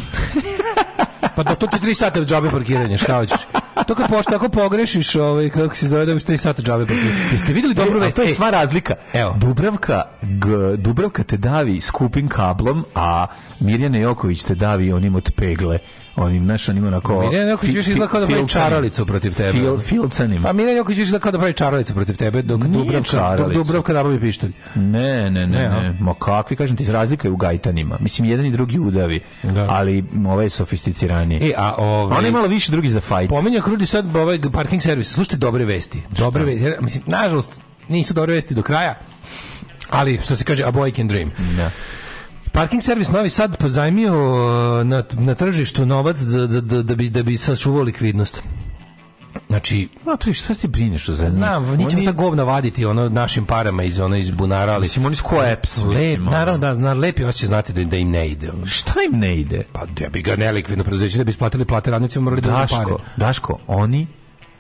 [SPEAKER 1] pa da, to ti tri sata džabe parkiranje, šta hoćeš? To kad pošto ako pogrešiš, ovaj, kako se zove, dobiš tri sata džabe parkiranje. Jeste vidjeli dobru
[SPEAKER 5] A
[SPEAKER 1] vest?
[SPEAKER 5] to je
[SPEAKER 1] E,
[SPEAKER 5] sva razlika.
[SPEAKER 1] Evo.
[SPEAKER 5] Dubravka, g, Dubravka te davi skupim kablom, a Mirjana Joković te davi onim od pegle. Onim, znaš, onim onako...
[SPEAKER 1] Mirjana Joković
[SPEAKER 5] fi-
[SPEAKER 1] više izgleda kao da
[SPEAKER 5] fi-
[SPEAKER 1] pravi
[SPEAKER 5] filcanim.
[SPEAKER 1] čaralicu protiv tebe.
[SPEAKER 5] Fil, filcanim.
[SPEAKER 1] Pa Miljan Jokić više kao da pravi čaralicu protiv tebe, dok
[SPEAKER 5] Nije
[SPEAKER 1] Dubravka, dok
[SPEAKER 5] čaralicu.
[SPEAKER 1] Dubravka nabavi pištolj.
[SPEAKER 5] Ne, ne, ne,
[SPEAKER 1] Ne, a?
[SPEAKER 5] ne. Ma kakvi, kažem ti, razlika je u gajtanima. Mislim, jedan i drugi udavi,
[SPEAKER 1] Da.
[SPEAKER 5] ali m, ovaj je sofisticiraniji.
[SPEAKER 1] E, a ovaj...
[SPEAKER 5] On je malo više drugi za fajt.
[SPEAKER 1] Pominjao Krudi sad ovaj parking servis. Slušajte dobre vesti. Dobre vesti. Ja, Mislim, nažalost, nisu dobre vesti do kraja. Ali, što se kaže, a boy can dream.
[SPEAKER 5] Da.
[SPEAKER 1] Parking servis Novi Sad pozajmio e, na, na tržištu novac za, za, da, da, bi, da bi sačuvao likvidnost. Znači,
[SPEAKER 5] Ma, tu, šta ti brineš o za njih?
[SPEAKER 1] znam, mi ćemo
[SPEAKER 5] Oni-
[SPEAKER 1] ta govna vaditi ono našim parama iz ono iz bunara, ali
[SPEAKER 5] Mislim, oni su ko EPS,
[SPEAKER 1] lep,
[SPEAKER 5] mislim, ono.
[SPEAKER 1] naravno da, na, lepi hoće znati da, da im ne ide. ono.
[SPEAKER 5] Šta im ne ide?
[SPEAKER 1] Pa da bi ga nelikvidno preduzeće da bi isplatili plate radnicima morali da uzmu pare.
[SPEAKER 5] Daško, Daško, oni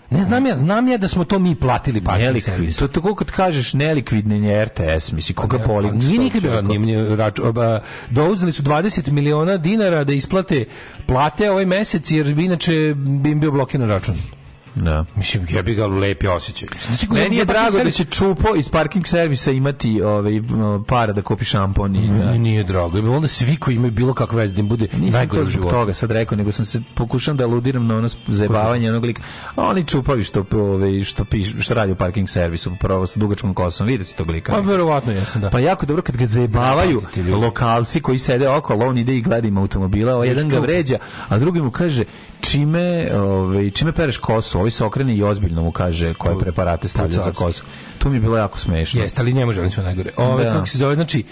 [SPEAKER 1] Ne znam ja, znam ja da smo to mi platili parking
[SPEAKER 5] Nelikvidni.
[SPEAKER 1] servis.
[SPEAKER 5] To tako kad kažeš nelikvidni je RTS, misli koga
[SPEAKER 1] Pa
[SPEAKER 5] boli.
[SPEAKER 1] Nije
[SPEAKER 5] što
[SPEAKER 1] nikad bilo
[SPEAKER 5] čovjek-
[SPEAKER 1] nije mi račun. oba, Douzeli su 20 miliona dinara da isplate plate ovaj mesec, jer bi inače bi im bio blokiran račun.
[SPEAKER 5] Da.
[SPEAKER 1] Mislim, ja bi ga lepi osjećaj. Znači,
[SPEAKER 5] Meni je
[SPEAKER 1] ja- ja-
[SPEAKER 5] drago da
[SPEAKER 1] servis-
[SPEAKER 5] će Čupo iz parking servisa imati ovaj m, para da kupi šampon i da.
[SPEAKER 1] Meni nije drago. Ima Onda svi koji imaju bilo kakve veze da im bude
[SPEAKER 5] Nisam to
[SPEAKER 1] najgore u
[SPEAKER 5] zbog
[SPEAKER 1] životu.
[SPEAKER 5] toga sad rekao, nego sam se pokušao da aludiram na ono zajebavanje onog lika. A oni čupavi što, ovaj, što, piš, što radi u parking servisu, prvo sa dugačkom kosom, vidio si tog lika.
[SPEAKER 1] Pa verovatno jesam, da.
[SPEAKER 5] Pa jako dobro kad ga zajebavaju
[SPEAKER 1] Zapamtite, ljudi.
[SPEAKER 5] lokalci koji sede okolo, on ide i gleda im automobila, ovaj jedan ga
[SPEAKER 1] čupa.
[SPEAKER 5] vređa, a drugi mu kaže čime, ovaj, čime pereš kosu, ovaj se okrene i ozbiljno mu kaže koje preparate stavlja za
[SPEAKER 1] Pucavski.
[SPEAKER 5] kosu. To mi je bilo jako smešno.
[SPEAKER 1] Jeste, ali njemu želim sve najgore. Ove,
[SPEAKER 5] Da.
[SPEAKER 1] kako se zove, znači,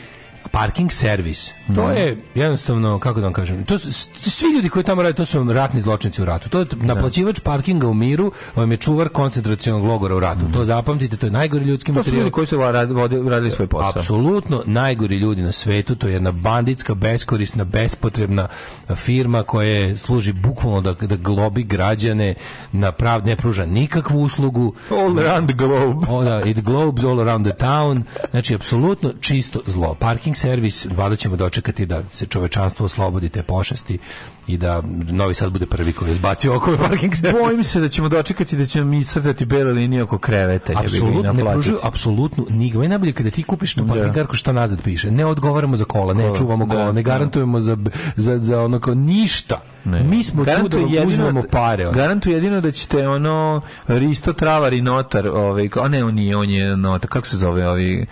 [SPEAKER 1] parking servis. To je jednostavno, kako da vam kažem, to su, s- svi ljudi koji tamo rade, to su vam ratni zločinci u ratu. To je naplaćivač parkinga u miru, vam je čuvar koncentracionog logora u ratu. To zapamtite, to je najgori ljudski
[SPEAKER 5] Mhm. To su
[SPEAKER 1] materijal.
[SPEAKER 5] ljudi koji su radi- vode- radili svoj posao.
[SPEAKER 1] Apsolutno najgori ljudi na svetu, to je jedna banditska, beskorisna, bespotrebna firma koja služi bukvalno da, da globi građane, na prav, ne pruža nikakvu uslugu,
[SPEAKER 5] All around the
[SPEAKER 1] (laughs)
[SPEAKER 5] globe.
[SPEAKER 1] o, da, it globes all around the town. Znači, apsolutno čisto zlo. Parking servis, valjda ćemo dočekati da se čovečanstvo oslobodi te pošasti i da Novi Sad bude prvi koji je zbacio oko parking servis.
[SPEAKER 5] Bojim se da ćemo dočekati da ćemo mi srtati bele linije oko kreveta. jebi ga, i
[SPEAKER 1] Apsolutno, ne
[SPEAKER 5] naplatiti.
[SPEAKER 1] pružaju apsolutno nigma. I najbolje je kada ti kupiš na parkingarku šta nazad piše. Ne odgovaramo za kola, ne čuvamo kola, ne garantujemo za, za, za onako ništa. Mi smo tu da
[SPEAKER 5] Garantuje
[SPEAKER 1] vam uzmemo pare. ono.
[SPEAKER 5] Garantuje jedino da ćete ono Risto Travar i Notar, ovaj, a ne on nije, on je Notar, kako se zove ovi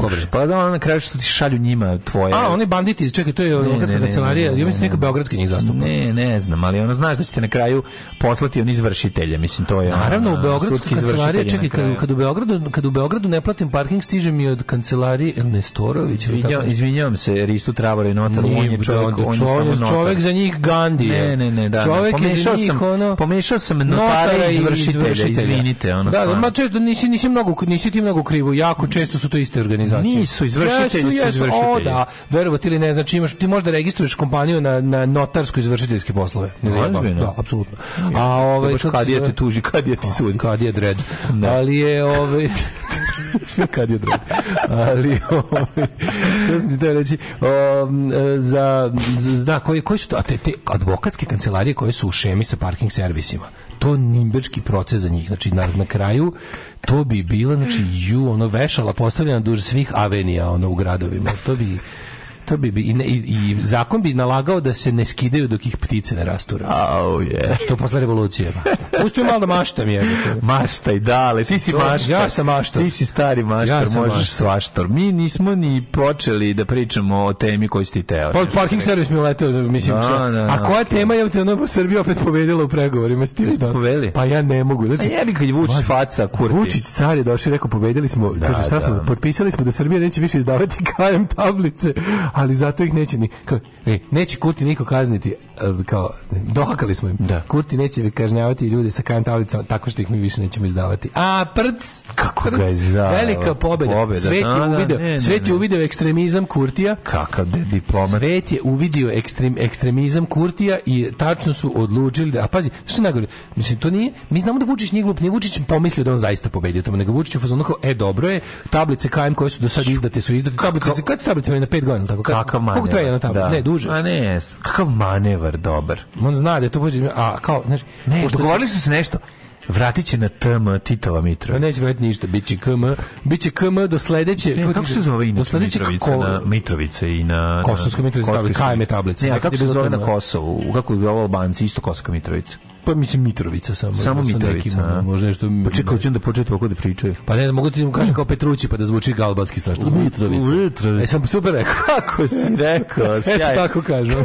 [SPEAKER 5] Kobrež. Pa da, ono na kraju što ti šalju njima tvoje.
[SPEAKER 1] A, oni banditi, čekaj, to je advokatska
[SPEAKER 5] ne, ne,
[SPEAKER 1] kancelarija,
[SPEAKER 5] ne, ne,
[SPEAKER 1] ja mislim
[SPEAKER 5] ne,
[SPEAKER 1] neka beogradska njih zastupa. postupak.
[SPEAKER 5] Ne, ne znam, ali ono znaš da ćete na kraju poslati on izvršitelja, mislim to je.
[SPEAKER 1] Naravno,
[SPEAKER 5] ono,
[SPEAKER 1] u Beogradsku
[SPEAKER 5] sudski
[SPEAKER 1] kancelariju,
[SPEAKER 5] izvršitelj je
[SPEAKER 1] čekaj,
[SPEAKER 5] na kraju.
[SPEAKER 1] kad, kad, u Beogradu, kad u Beogradu ne platim parking, stiže mi od kancelarije El Nestorović. ili
[SPEAKER 5] Izvinjavam,
[SPEAKER 1] tako nešto.
[SPEAKER 5] izvinjavam se Ristu Travaru i Notaru, on
[SPEAKER 1] Nije,
[SPEAKER 5] je čovjek,
[SPEAKER 1] da,
[SPEAKER 5] on je
[SPEAKER 1] čovjek-
[SPEAKER 5] samo notar.
[SPEAKER 1] čovjek za njih Gandhi. je.
[SPEAKER 5] Ne, ne, ne, da.
[SPEAKER 1] Čovjek
[SPEAKER 5] da.
[SPEAKER 1] je za
[SPEAKER 5] Pomešao
[SPEAKER 1] njih,
[SPEAKER 5] sam,
[SPEAKER 1] ono,
[SPEAKER 5] pomešao sam notara i izvršitelja, izvinite, ono
[SPEAKER 1] da, da,
[SPEAKER 5] stvarno.
[SPEAKER 1] ma često nisi, nisi, mnogo, nisi ti mnogo krivo, jako često su to iste organizacije.
[SPEAKER 5] Nisu, izvršitelji su
[SPEAKER 1] jesu, O,
[SPEAKER 5] izvršitelji.
[SPEAKER 1] da, verovati ili ne, znači imaš, ti možda registruješ kompaniju na, na notarsko-izvršiteljske poslove. Ne znam,
[SPEAKER 5] Ozbiljno?
[SPEAKER 1] da, apsolutno. A ovaj,
[SPEAKER 5] Pa baš
[SPEAKER 1] kako se
[SPEAKER 5] kadija
[SPEAKER 1] zove? Pa.
[SPEAKER 5] te tuži, kadija ti
[SPEAKER 1] (laughs)
[SPEAKER 5] sudi.
[SPEAKER 1] Kad je dread. Ali je, ovaj,
[SPEAKER 5] Sve kad je drugo.
[SPEAKER 1] ali ovaj, što sam ti teo reći um, e, za, za da, koji, koji su to, a te, te advokatske kancelarije koje su u šemi sa parking servisima to nimbečki proces za njih znači na, na kraju to bi bila znači ju ono vešala postavljena duž svih avenija ono u gradovima to bi to bi, bi- i, ne- i, i zakon bi nalagao da se ne skidaju dok ih ptice ne rasture
[SPEAKER 5] Au, je.
[SPEAKER 1] što posle revolucije pusti malo da maštam jebote.
[SPEAKER 5] Maštaj, dale, ti si
[SPEAKER 1] To-
[SPEAKER 5] maštar.
[SPEAKER 1] ja sam maštar.
[SPEAKER 5] Ti si stari maštar,
[SPEAKER 1] Ja sam
[SPEAKER 5] možeš
[SPEAKER 1] maštar.
[SPEAKER 5] svaštor. Mi nismo ni počeli da pričamo o temi koju si ti teo.
[SPEAKER 1] Pa parking servis mi je leteo, mislim.
[SPEAKER 5] Da,
[SPEAKER 1] šta-
[SPEAKER 5] da, da.
[SPEAKER 1] a koja tema je te ono Srbija opet pobedila u pregovorima s tim? da-
[SPEAKER 5] pobedili?
[SPEAKER 1] Pa ja ne mogu. Znači,
[SPEAKER 5] A jebi kad je Vučić
[SPEAKER 1] Mlađe,
[SPEAKER 5] faca, kurati.
[SPEAKER 1] Vučić car je došao i rekao pobedili smo. kaže šta
[SPEAKER 5] da.
[SPEAKER 1] smo? Potpisali smo da Srbija neće više izdavati (laughs) KM tablice, ali zato ih neće ni kao, e, neće Kurti niko kazniti. e, Kao dohakali smo im.
[SPEAKER 5] Da.
[SPEAKER 1] Kurti neće kažnjavati ljude sa KM tablicama tako što ih mi više nećemo izdavati. A prc, kako
[SPEAKER 5] ga je zaveo.
[SPEAKER 1] Velika pobeda.
[SPEAKER 5] Pobeda,
[SPEAKER 1] Svet
[SPEAKER 5] da,
[SPEAKER 1] je
[SPEAKER 5] da,
[SPEAKER 1] uvideo,
[SPEAKER 5] ne, ne,
[SPEAKER 1] svet je
[SPEAKER 5] ne.
[SPEAKER 1] uvideo ekstremizam Kurtija.
[SPEAKER 5] Kakav de- diplomat.
[SPEAKER 1] Svet je uvidio ekstrem, ekstremizam Kurtija i tačno su odlučili, da- a pazi, što najgore, mislim, to nije, mi znamo da Vučić nije glup, nije Vučić pomislio da on zaista pobedio tamo, nego Vučić u fazonu kao, e, dobro je, tablice KM koje su do sad izdate su izdate, tablice, se- kad su tablice meni na pet godina, tako, kad,
[SPEAKER 5] Kakav manevar.
[SPEAKER 1] koliko traje jedna tablica,
[SPEAKER 5] Da.
[SPEAKER 1] ne, duže,
[SPEAKER 5] A ne, kakav manevar dobar.
[SPEAKER 1] on zna da je to pođe, a kao, znaš,
[SPEAKER 5] Ne,
[SPEAKER 1] pošto će-
[SPEAKER 5] dogovorili su se nešto. Vratit će na TM Titova
[SPEAKER 1] Pa
[SPEAKER 5] Mitrovica.
[SPEAKER 1] neće vratiti ništa, bit će KM, bit će KM do sledeće...
[SPEAKER 5] Ne, kako se zove
[SPEAKER 1] Do
[SPEAKER 5] inače
[SPEAKER 1] sledećeg
[SPEAKER 5] Mitrovica,
[SPEAKER 1] ko-
[SPEAKER 5] na Mitrovica i na... na-
[SPEAKER 1] Kosovska Mitrovica,
[SPEAKER 5] Kosovska-
[SPEAKER 1] tablica, KM tablica.
[SPEAKER 5] Ne, a
[SPEAKER 1] E Nekad
[SPEAKER 5] kako
[SPEAKER 1] je
[SPEAKER 5] se
[SPEAKER 1] bilo
[SPEAKER 5] zove
[SPEAKER 1] tamo-
[SPEAKER 5] na Kosovu? Kako je zove Albanci? Isto Kosovska Mitrovica.
[SPEAKER 1] Pa mislim Mitrovica samo.
[SPEAKER 5] Samo
[SPEAKER 1] sa nekim, ono,
[SPEAKER 5] Mitrovica. a?
[SPEAKER 1] možda nešto...
[SPEAKER 5] Pa čekaj, hoću da početi ovako da pričaju.
[SPEAKER 1] Pa ne znam, mogu ti mu kažem kao Petrući pa da zvuči kao albanski strašno. Mitrovica.
[SPEAKER 5] Mitrovica.
[SPEAKER 1] E, sam super rekao.
[SPEAKER 5] Kako si rekao,
[SPEAKER 1] (laughs) Eto
[SPEAKER 5] sjaj.
[SPEAKER 1] tako kažem.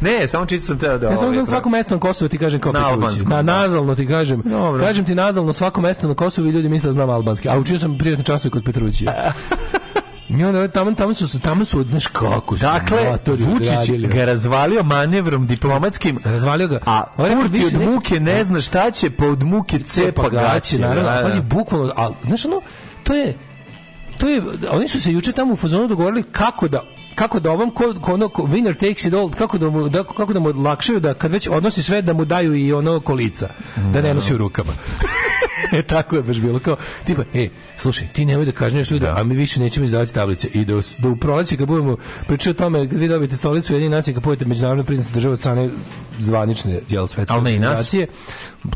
[SPEAKER 5] ne, samo čisto sam teo da...
[SPEAKER 1] Ja samo
[SPEAKER 5] ovaj-
[SPEAKER 1] znam svako mesto na Kosovu ti kažem kao
[SPEAKER 5] Na
[SPEAKER 1] Petrući.
[SPEAKER 5] albanskom,
[SPEAKER 1] Na
[SPEAKER 5] da.
[SPEAKER 1] nazalno ti kažem.
[SPEAKER 5] Dobro.
[SPEAKER 1] Kažem ti nazalno svako mesto na Kosovu i ljudi misle da znam albanski. A učio sam privatne časove kod
[SPEAKER 5] (laughs)
[SPEAKER 1] Petrućija. I onda tamo, tamo su, tamo su, znaš kako su.
[SPEAKER 5] Dakle,
[SPEAKER 1] matori
[SPEAKER 5] Vučić
[SPEAKER 1] odradili.
[SPEAKER 5] ga razvalio manevrom diplomatskim,
[SPEAKER 1] Razvalio ga.
[SPEAKER 5] a
[SPEAKER 1] On je rekao,
[SPEAKER 5] Kurti
[SPEAKER 1] više
[SPEAKER 5] od
[SPEAKER 1] neće-
[SPEAKER 5] muke ne zna šta će, pa od
[SPEAKER 1] Znači,
[SPEAKER 5] muke cepa gaće.
[SPEAKER 1] naravno.
[SPEAKER 5] Da, da.
[SPEAKER 1] a Pazi, bukvalno, ali, znaš ono, to je, to je, oni su se juče tamo u fazonu dogovorili kako da kako da ovom ko, ko ono ko winner takes it all kako da mu da, kako da mu odlakšaju da kad već odnosi sve da mu daju i ono kolica da ne nosi u rukama e (laughs) tako je baš bilo kao tipa e slušaj ti nemoj da kažnjavaš ljude a mi više nećemo izdavati tablice i da, u- da u proleće kad budemo pričali o tome kad vi dobijete stolicu jedini nacije kad budete međunarodno priznata država od strane zvanične jel svetske
[SPEAKER 5] Ali ne i nas.
[SPEAKER 1] organizacije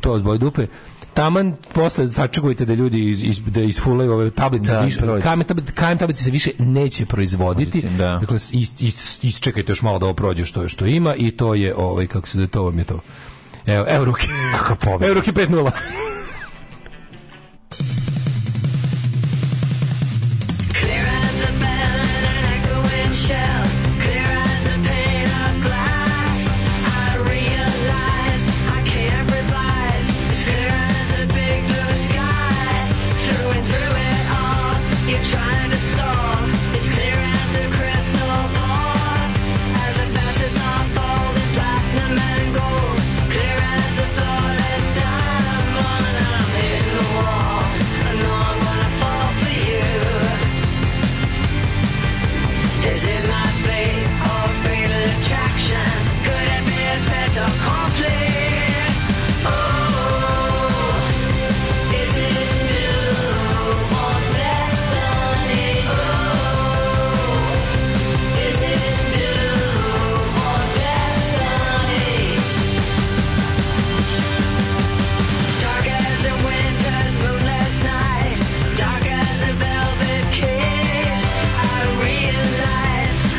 [SPEAKER 1] to zbog dupe taman posle sačekujte da ljudi iz, iz, da isfulaju ove tablice
[SPEAKER 5] Da,
[SPEAKER 1] više
[SPEAKER 5] proizvod.
[SPEAKER 1] kamen tablice, kamen tablice se više neće proizvoditi
[SPEAKER 5] Da.
[SPEAKER 1] dakle is, is, isčekajte još malo da ovo prođe što je što ima i to je ovaj kako se zove to vam je to evo evo ruke kako pobeda evo ruke 5:0
[SPEAKER 2] Trying to stall, it's clear as a crystal ball, as a facet's unfolded platinum and gold, clear as a flawless diamond. And I'm hitting the wall, I know I'm gonna fall for you. Is it my fate or fatal attraction? Could it be a fait accompli? Oh, is it doom or destiny? Oh, is it doom or destiny? Dark as a winter's moonless night, dark as a velvet cape. I realize Oh,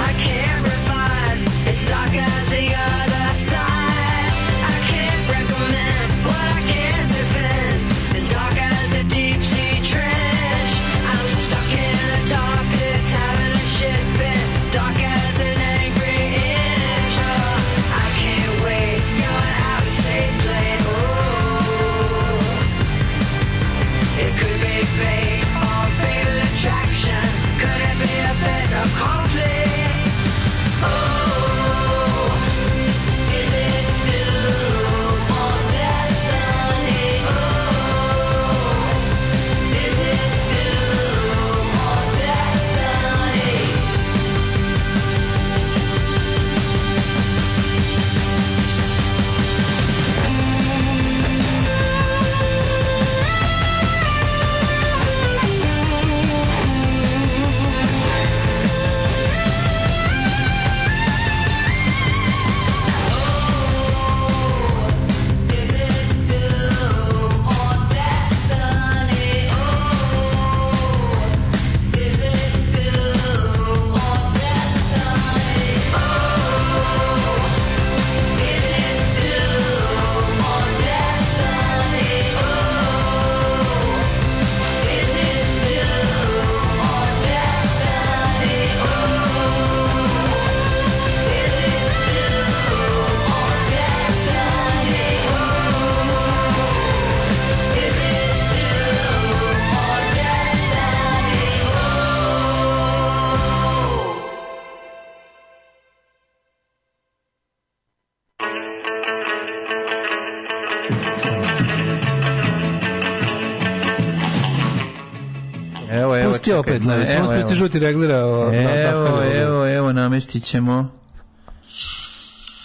[SPEAKER 1] Ajde opet,
[SPEAKER 5] znači,
[SPEAKER 1] na, samo spusti žuti reglira. o, na- na-
[SPEAKER 5] Evo,
[SPEAKER 1] na-
[SPEAKER 5] evo, evo, namestit ćemo.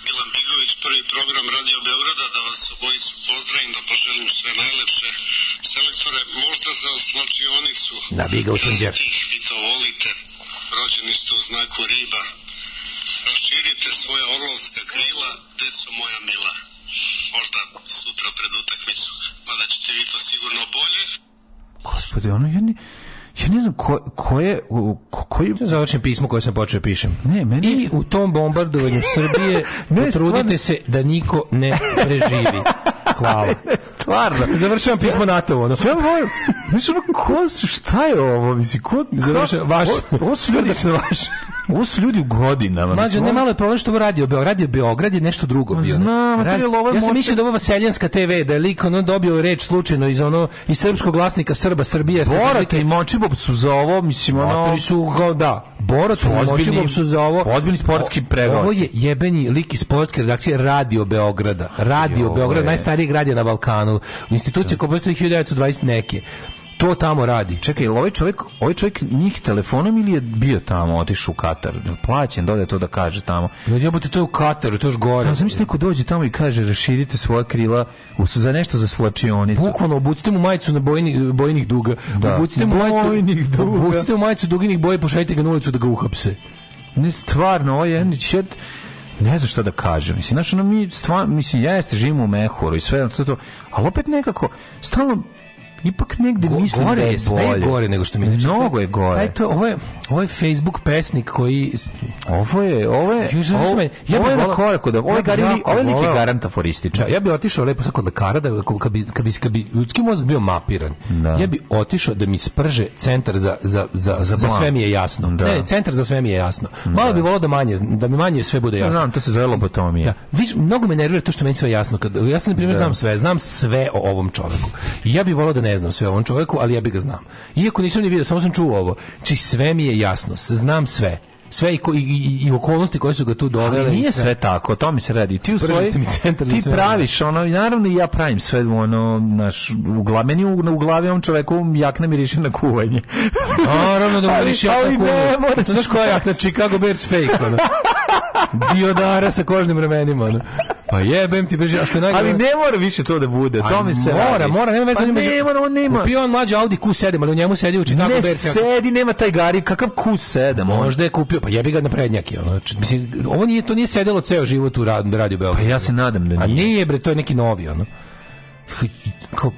[SPEAKER 12] Milan Bigović, prvi program Radio Beograda, da vas obojicu pozdravim, da poželim sve najlepše. Selektore, možda za slačionicu.
[SPEAKER 1] Da, Bigović on djep.
[SPEAKER 12] Stih, vi to volite. Rođeni ste u znaku riba. Raširite svoja orlovska krila, deco moja mila. Možda sutra pred utakmicu. Mada ćete vi to sigurno bolje.
[SPEAKER 5] Gospode, ono, ja ne, ja ne znam ko, ko je, u- ko, koji...
[SPEAKER 1] To je završen pismo koje sam počeo pišem.
[SPEAKER 5] Ne, meni...
[SPEAKER 1] I u tom bombardovanju Srbije
[SPEAKER 5] (laughs) Ne,
[SPEAKER 1] potrudite se da niko ne preživi. Hvala.
[SPEAKER 5] (laughs) Stvarno.
[SPEAKER 1] Završavam pismo NATO, ono.
[SPEAKER 5] Ja volim, mislim, ono, ko su, šta je ovo, mislim, ko...
[SPEAKER 1] Završavam,
[SPEAKER 5] ko-
[SPEAKER 1] vaš,
[SPEAKER 5] o- Ovo su ljudi,
[SPEAKER 1] srdačno vaš.
[SPEAKER 5] ovo su ljudi u godinama.
[SPEAKER 1] Mađo,
[SPEAKER 5] mislim,
[SPEAKER 1] ne
[SPEAKER 5] ono-
[SPEAKER 1] malo je problem što ovo radio Beograd. Radio Beograd je nešto drugo bio.
[SPEAKER 5] znam, a to je
[SPEAKER 1] Radio-
[SPEAKER 5] lovar
[SPEAKER 1] Ja sam
[SPEAKER 5] moće.
[SPEAKER 1] mislio da ovo Vaseljanska TV, da je lik ono dobio reč slučajno iz ono iz srpskog glasnika Srba Srbije. sa
[SPEAKER 5] Borat
[SPEAKER 1] Republike-
[SPEAKER 5] i Močibop su za ovo, mislim, ono...
[SPEAKER 1] Matori su ga, da, borac u
[SPEAKER 5] Ozbiljni-
[SPEAKER 1] Močibom su za ovo.
[SPEAKER 5] ozbiljni sportski pregaoci.
[SPEAKER 1] Ovo je jebeni lik iz sportske redakcije Radio Beograda. Radio
[SPEAKER 5] Joj.
[SPEAKER 1] Beograd, najstariji grad je na Balkanu. Institucija koja postoji 1920 neke. To tamo radi.
[SPEAKER 5] Čekaj, jel ovaj čovjek, ovaj čovjek njih telefonom ili je bio tamo, otišao u Katar? Jel Plaćen, dodaje to da kaže tamo.
[SPEAKER 1] Ljudi, jebote, to je u Kataru, to je još gore.
[SPEAKER 5] Ja sam mislim, neko dođe tamo i kaže, raširite svoja krila u su za nešto za slačionicu.
[SPEAKER 1] Bukvalno obucite mu majicu na bojni, bojnih duga.
[SPEAKER 5] Da.
[SPEAKER 1] Obucite mu majicu,
[SPEAKER 5] Bojnih duga.
[SPEAKER 1] Obucite mu majicu duginih boja i pošaljite ga na ulicu da ga uhapse.
[SPEAKER 5] Ne, stvarno, ovo je jedan čet- ne znam šta da kažem. Mislim, znaš, ono mi stvarno, mislim, ja jeste živim u Mehuru i sve, to, to, ali opet nekako, stalno, ipak negde
[SPEAKER 1] Go-
[SPEAKER 5] mislim
[SPEAKER 1] gore
[SPEAKER 5] da je
[SPEAKER 1] je, sve je
[SPEAKER 5] bolje.
[SPEAKER 1] gore nego što mi inače.
[SPEAKER 5] Mnogo je gore.
[SPEAKER 1] Taj to, ovo, je, ovo je Facebook pesnik koji...
[SPEAKER 5] Ovo je, ovo je,
[SPEAKER 1] Ju, zato što
[SPEAKER 5] ovo,
[SPEAKER 1] me- ja
[SPEAKER 5] ovo
[SPEAKER 1] bih
[SPEAKER 5] je na
[SPEAKER 1] volao-
[SPEAKER 5] koraku da, ovo je,
[SPEAKER 1] ja bih
[SPEAKER 5] garili-
[SPEAKER 1] jako
[SPEAKER 5] ovo je lik je
[SPEAKER 1] volao-
[SPEAKER 5] garant aforističan.
[SPEAKER 1] Da, ja bih otišao lepo sad kod lekara da kad bi, kad bi, kad bi ljudski mozak bio mapiran. Ja bih otišao da mi sprže centar za za za za,
[SPEAKER 5] plan.
[SPEAKER 1] sve mi je jasno.
[SPEAKER 5] Da.
[SPEAKER 1] Ne, ne, centar za sve mi je jasno. Malo bi volao da manje da mi manje sve bude
[SPEAKER 5] Ja
[SPEAKER 1] jasno.
[SPEAKER 5] znam, to se zove lobotomija.
[SPEAKER 1] Da, viš, mnogo me nervira to što meni sve jasno. Kad, ja sam, na primjer, znam sve. Znam sve o ovom čoveku. I ja bih volao da ne znam sve o ovom čoveku, ali ja bih ga znam. Iako nisam ni vidio, samo sam čuo ovo. Či sve mi je jasno. s- Znam sve. Sve i, ko- i, i, i okolnosti koje su ga tu dovele.
[SPEAKER 5] Ali nije
[SPEAKER 1] i
[SPEAKER 5] sve tako, o tome se radi. Ti u
[SPEAKER 1] Spržite
[SPEAKER 5] svojoj,
[SPEAKER 1] mi centar za
[SPEAKER 5] ti
[SPEAKER 1] sve.
[SPEAKER 5] praviš ono, i naravno i ja pravim sve ono, naš, u glavi, meni u, u glavi ovom čoveku jakna miriše na kuvanje.
[SPEAKER 1] Naravno da mu
[SPEAKER 5] Ali-
[SPEAKER 1] vidiš
[SPEAKER 5] ali
[SPEAKER 1] jakna
[SPEAKER 5] ne, moraš-
[SPEAKER 1] kunu. To znaš koja jakna? Chicago Bears fake, ono. Diodara sa kožnim ramenima, ono. Pa jebem ti beži, a što je
[SPEAKER 5] (laughs)
[SPEAKER 1] najgore-
[SPEAKER 5] ali ne mora više to da bude, o
[SPEAKER 1] Ali
[SPEAKER 5] tome se
[SPEAKER 1] mora,
[SPEAKER 5] radi.
[SPEAKER 1] mora, nema veze.
[SPEAKER 5] Pa
[SPEAKER 1] on ima-
[SPEAKER 5] ne mora, on nema.
[SPEAKER 1] Kupio on mlađi Audi Q7, ali u njemu sedi u Chicago
[SPEAKER 5] Ne
[SPEAKER 1] Bears. jakna.
[SPEAKER 5] sedi, nema taj gari, kakav Q7. Možda.
[SPEAKER 1] Možda je kupio, pa jebi ga na prednjaki. Ono. Č- Mislim, ovo nije, to nije sedelo ceo život u rad, radiju
[SPEAKER 5] Pa
[SPEAKER 1] Beogradu.
[SPEAKER 5] ja se nadam da
[SPEAKER 1] A
[SPEAKER 5] nije.
[SPEAKER 1] nije, bre, to je neki novi, ono. H- Kao,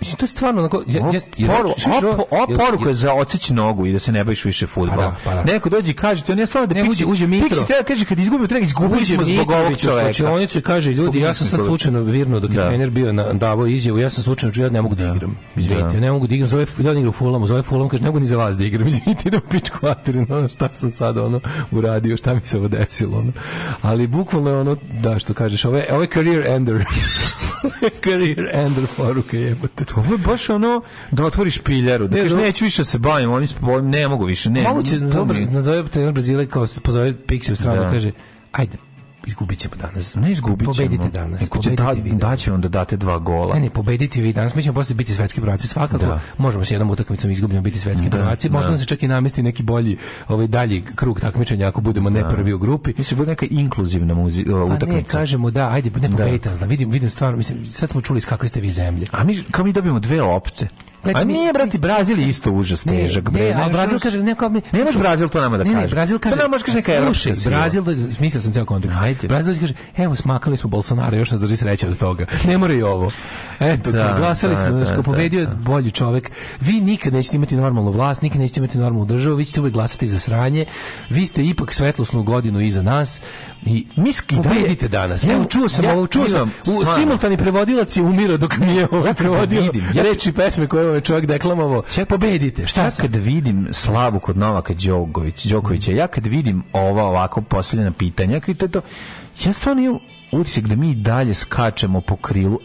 [SPEAKER 1] mislim, to je stvarno onako... Ja, ja,
[SPEAKER 5] Ovo
[SPEAKER 1] ja,
[SPEAKER 5] poru- ovo- ovo poruka je za odseć nogu i da se ne baviš više fudbalom.
[SPEAKER 1] Pa da, pa da.
[SPEAKER 5] Neko dođe i kaže, to nije stvarno da
[SPEAKER 1] Ne, uđe- uđe Mitro.
[SPEAKER 5] Pixi treba kaže, kad izgubimo trening, izgubili
[SPEAKER 1] Uđe znači,
[SPEAKER 5] smo zbog ovog
[SPEAKER 1] Mitrović u
[SPEAKER 5] čoveka.
[SPEAKER 1] slučionicu i kaže, ljudi, ja sam sad
[SPEAKER 5] Mitrovića.
[SPEAKER 1] slučajno virno dok je
[SPEAKER 5] Da.
[SPEAKER 1] trener bio na, davao izjavu, ja sam slučajno čuo, ja ne mogu da igram. Izvinite, ja ne mogu da igram, zove, ja ne igram u Fulamu, zove Fulam, kaže, ne mogu ni za vas da igram, (laughs) izvinite, idem u pičku materinu, ono, šta sam sad ono, uradio, šta mi se ovo desilo, ono. Ali bukvalno je ono, da, što kažeš, ovo je, ovo je career ender. (laughs) career ender poruke jebote.
[SPEAKER 5] Ovo je baš ono da otvoriš piljaru, da
[SPEAKER 1] Ne,
[SPEAKER 5] kažeš
[SPEAKER 1] dobro.
[SPEAKER 5] neću više se bavim, oni spojim, ne mogu više, ne.
[SPEAKER 1] Moguće,
[SPEAKER 5] to
[SPEAKER 1] dobro,
[SPEAKER 5] mi-
[SPEAKER 1] nazove trener Brazile kao se pozove Pixi u stranu,
[SPEAKER 5] Da.
[SPEAKER 1] kaže, ajde, izgubit ćemo danas.
[SPEAKER 5] Ne izgubit ćemo.
[SPEAKER 1] Pobedite danas.
[SPEAKER 5] Neko će da,
[SPEAKER 1] pobedite vi danas.
[SPEAKER 5] daće vam da date dva gola.
[SPEAKER 1] Ne, ne, pobediti vi danas, mi ćemo posle biti svetski prvaci svakako.
[SPEAKER 5] Da.
[SPEAKER 1] Možemo se jednom utakmicom izgubljeno biti svetski prvaci. Možda nam se čak i namesti neki bolji, ovaj dalji krug takmičenja ako budemo ne prvi u grupi.
[SPEAKER 5] Mislim, bude neka inkluzivna muzi, o,
[SPEAKER 1] Pa ne,
[SPEAKER 5] utakmica.
[SPEAKER 1] kažemo da, ajde, ne pobedite nas, da. vidim, vidim stvarno, mislim, sad smo čuli s kakve ste vi zemlje.
[SPEAKER 5] A mi, kao mi dobijemo dve opte.
[SPEAKER 1] Gledajte,
[SPEAKER 5] A
[SPEAKER 1] mi-
[SPEAKER 5] nije, brati, Brazil je isto užas težak.
[SPEAKER 1] ne,
[SPEAKER 5] bre,
[SPEAKER 1] ne, a
[SPEAKER 5] znaš,
[SPEAKER 1] Brazil
[SPEAKER 5] ono-
[SPEAKER 1] kaže, ne, kao mi...
[SPEAKER 5] Ne može Brazil to nama da
[SPEAKER 1] Ne, ne,
[SPEAKER 5] kaže.
[SPEAKER 1] Brazil
[SPEAKER 5] To
[SPEAKER 1] kaže...
[SPEAKER 5] nama može kaže neka
[SPEAKER 1] slušaj,
[SPEAKER 5] evropska sila.
[SPEAKER 1] Brazil, smislio sam ceo kontekst.
[SPEAKER 5] Ajde.
[SPEAKER 1] Brazil kaže, evo, smakali smo Bolsonaro, još nas drži sreća od toga. Ne mora i ovo. Eto,
[SPEAKER 5] Da,
[SPEAKER 1] da, glasali
[SPEAKER 5] da,
[SPEAKER 1] smo,
[SPEAKER 5] da,
[SPEAKER 1] znaš, kao
[SPEAKER 5] da,
[SPEAKER 1] pobedio je
[SPEAKER 5] da.
[SPEAKER 1] bolji čovek. Vi nikad nećete imati normalnu vlast, nikad nećete imati normalnu državu, vi ćete uvek glasati za sranje. Vi ste ipak svetlosnu godinu iza nas i
[SPEAKER 5] Mi sk- i dalje-
[SPEAKER 1] pobedite danas.
[SPEAKER 5] Ja-
[SPEAKER 1] Evo, čuo sam
[SPEAKER 5] ja
[SPEAKER 1] ovo, čuo sam.
[SPEAKER 5] imam,
[SPEAKER 1] U,
[SPEAKER 5] stvarno.
[SPEAKER 1] simultani prevodilac je umirao dok mi je ovo prevodio
[SPEAKER 5] vidim, ja-
[SPEAKER 1] reči i pesme koje je ovaj čovjek deklamovao.
[SPEAKER 5] Ja-
[SPEAKER 1] Pobedite, šta
[SPEAKER 5] Ja
[SPEAKER 1] sam?
[SPEAKER 5] kad vidim slavu kod Novaka Đoković, Đokovića, ja kad vidim ova ovako postavljena pitanja, ja kad to, ja stvarno imam utisak da mi i dalje skačemo po krilu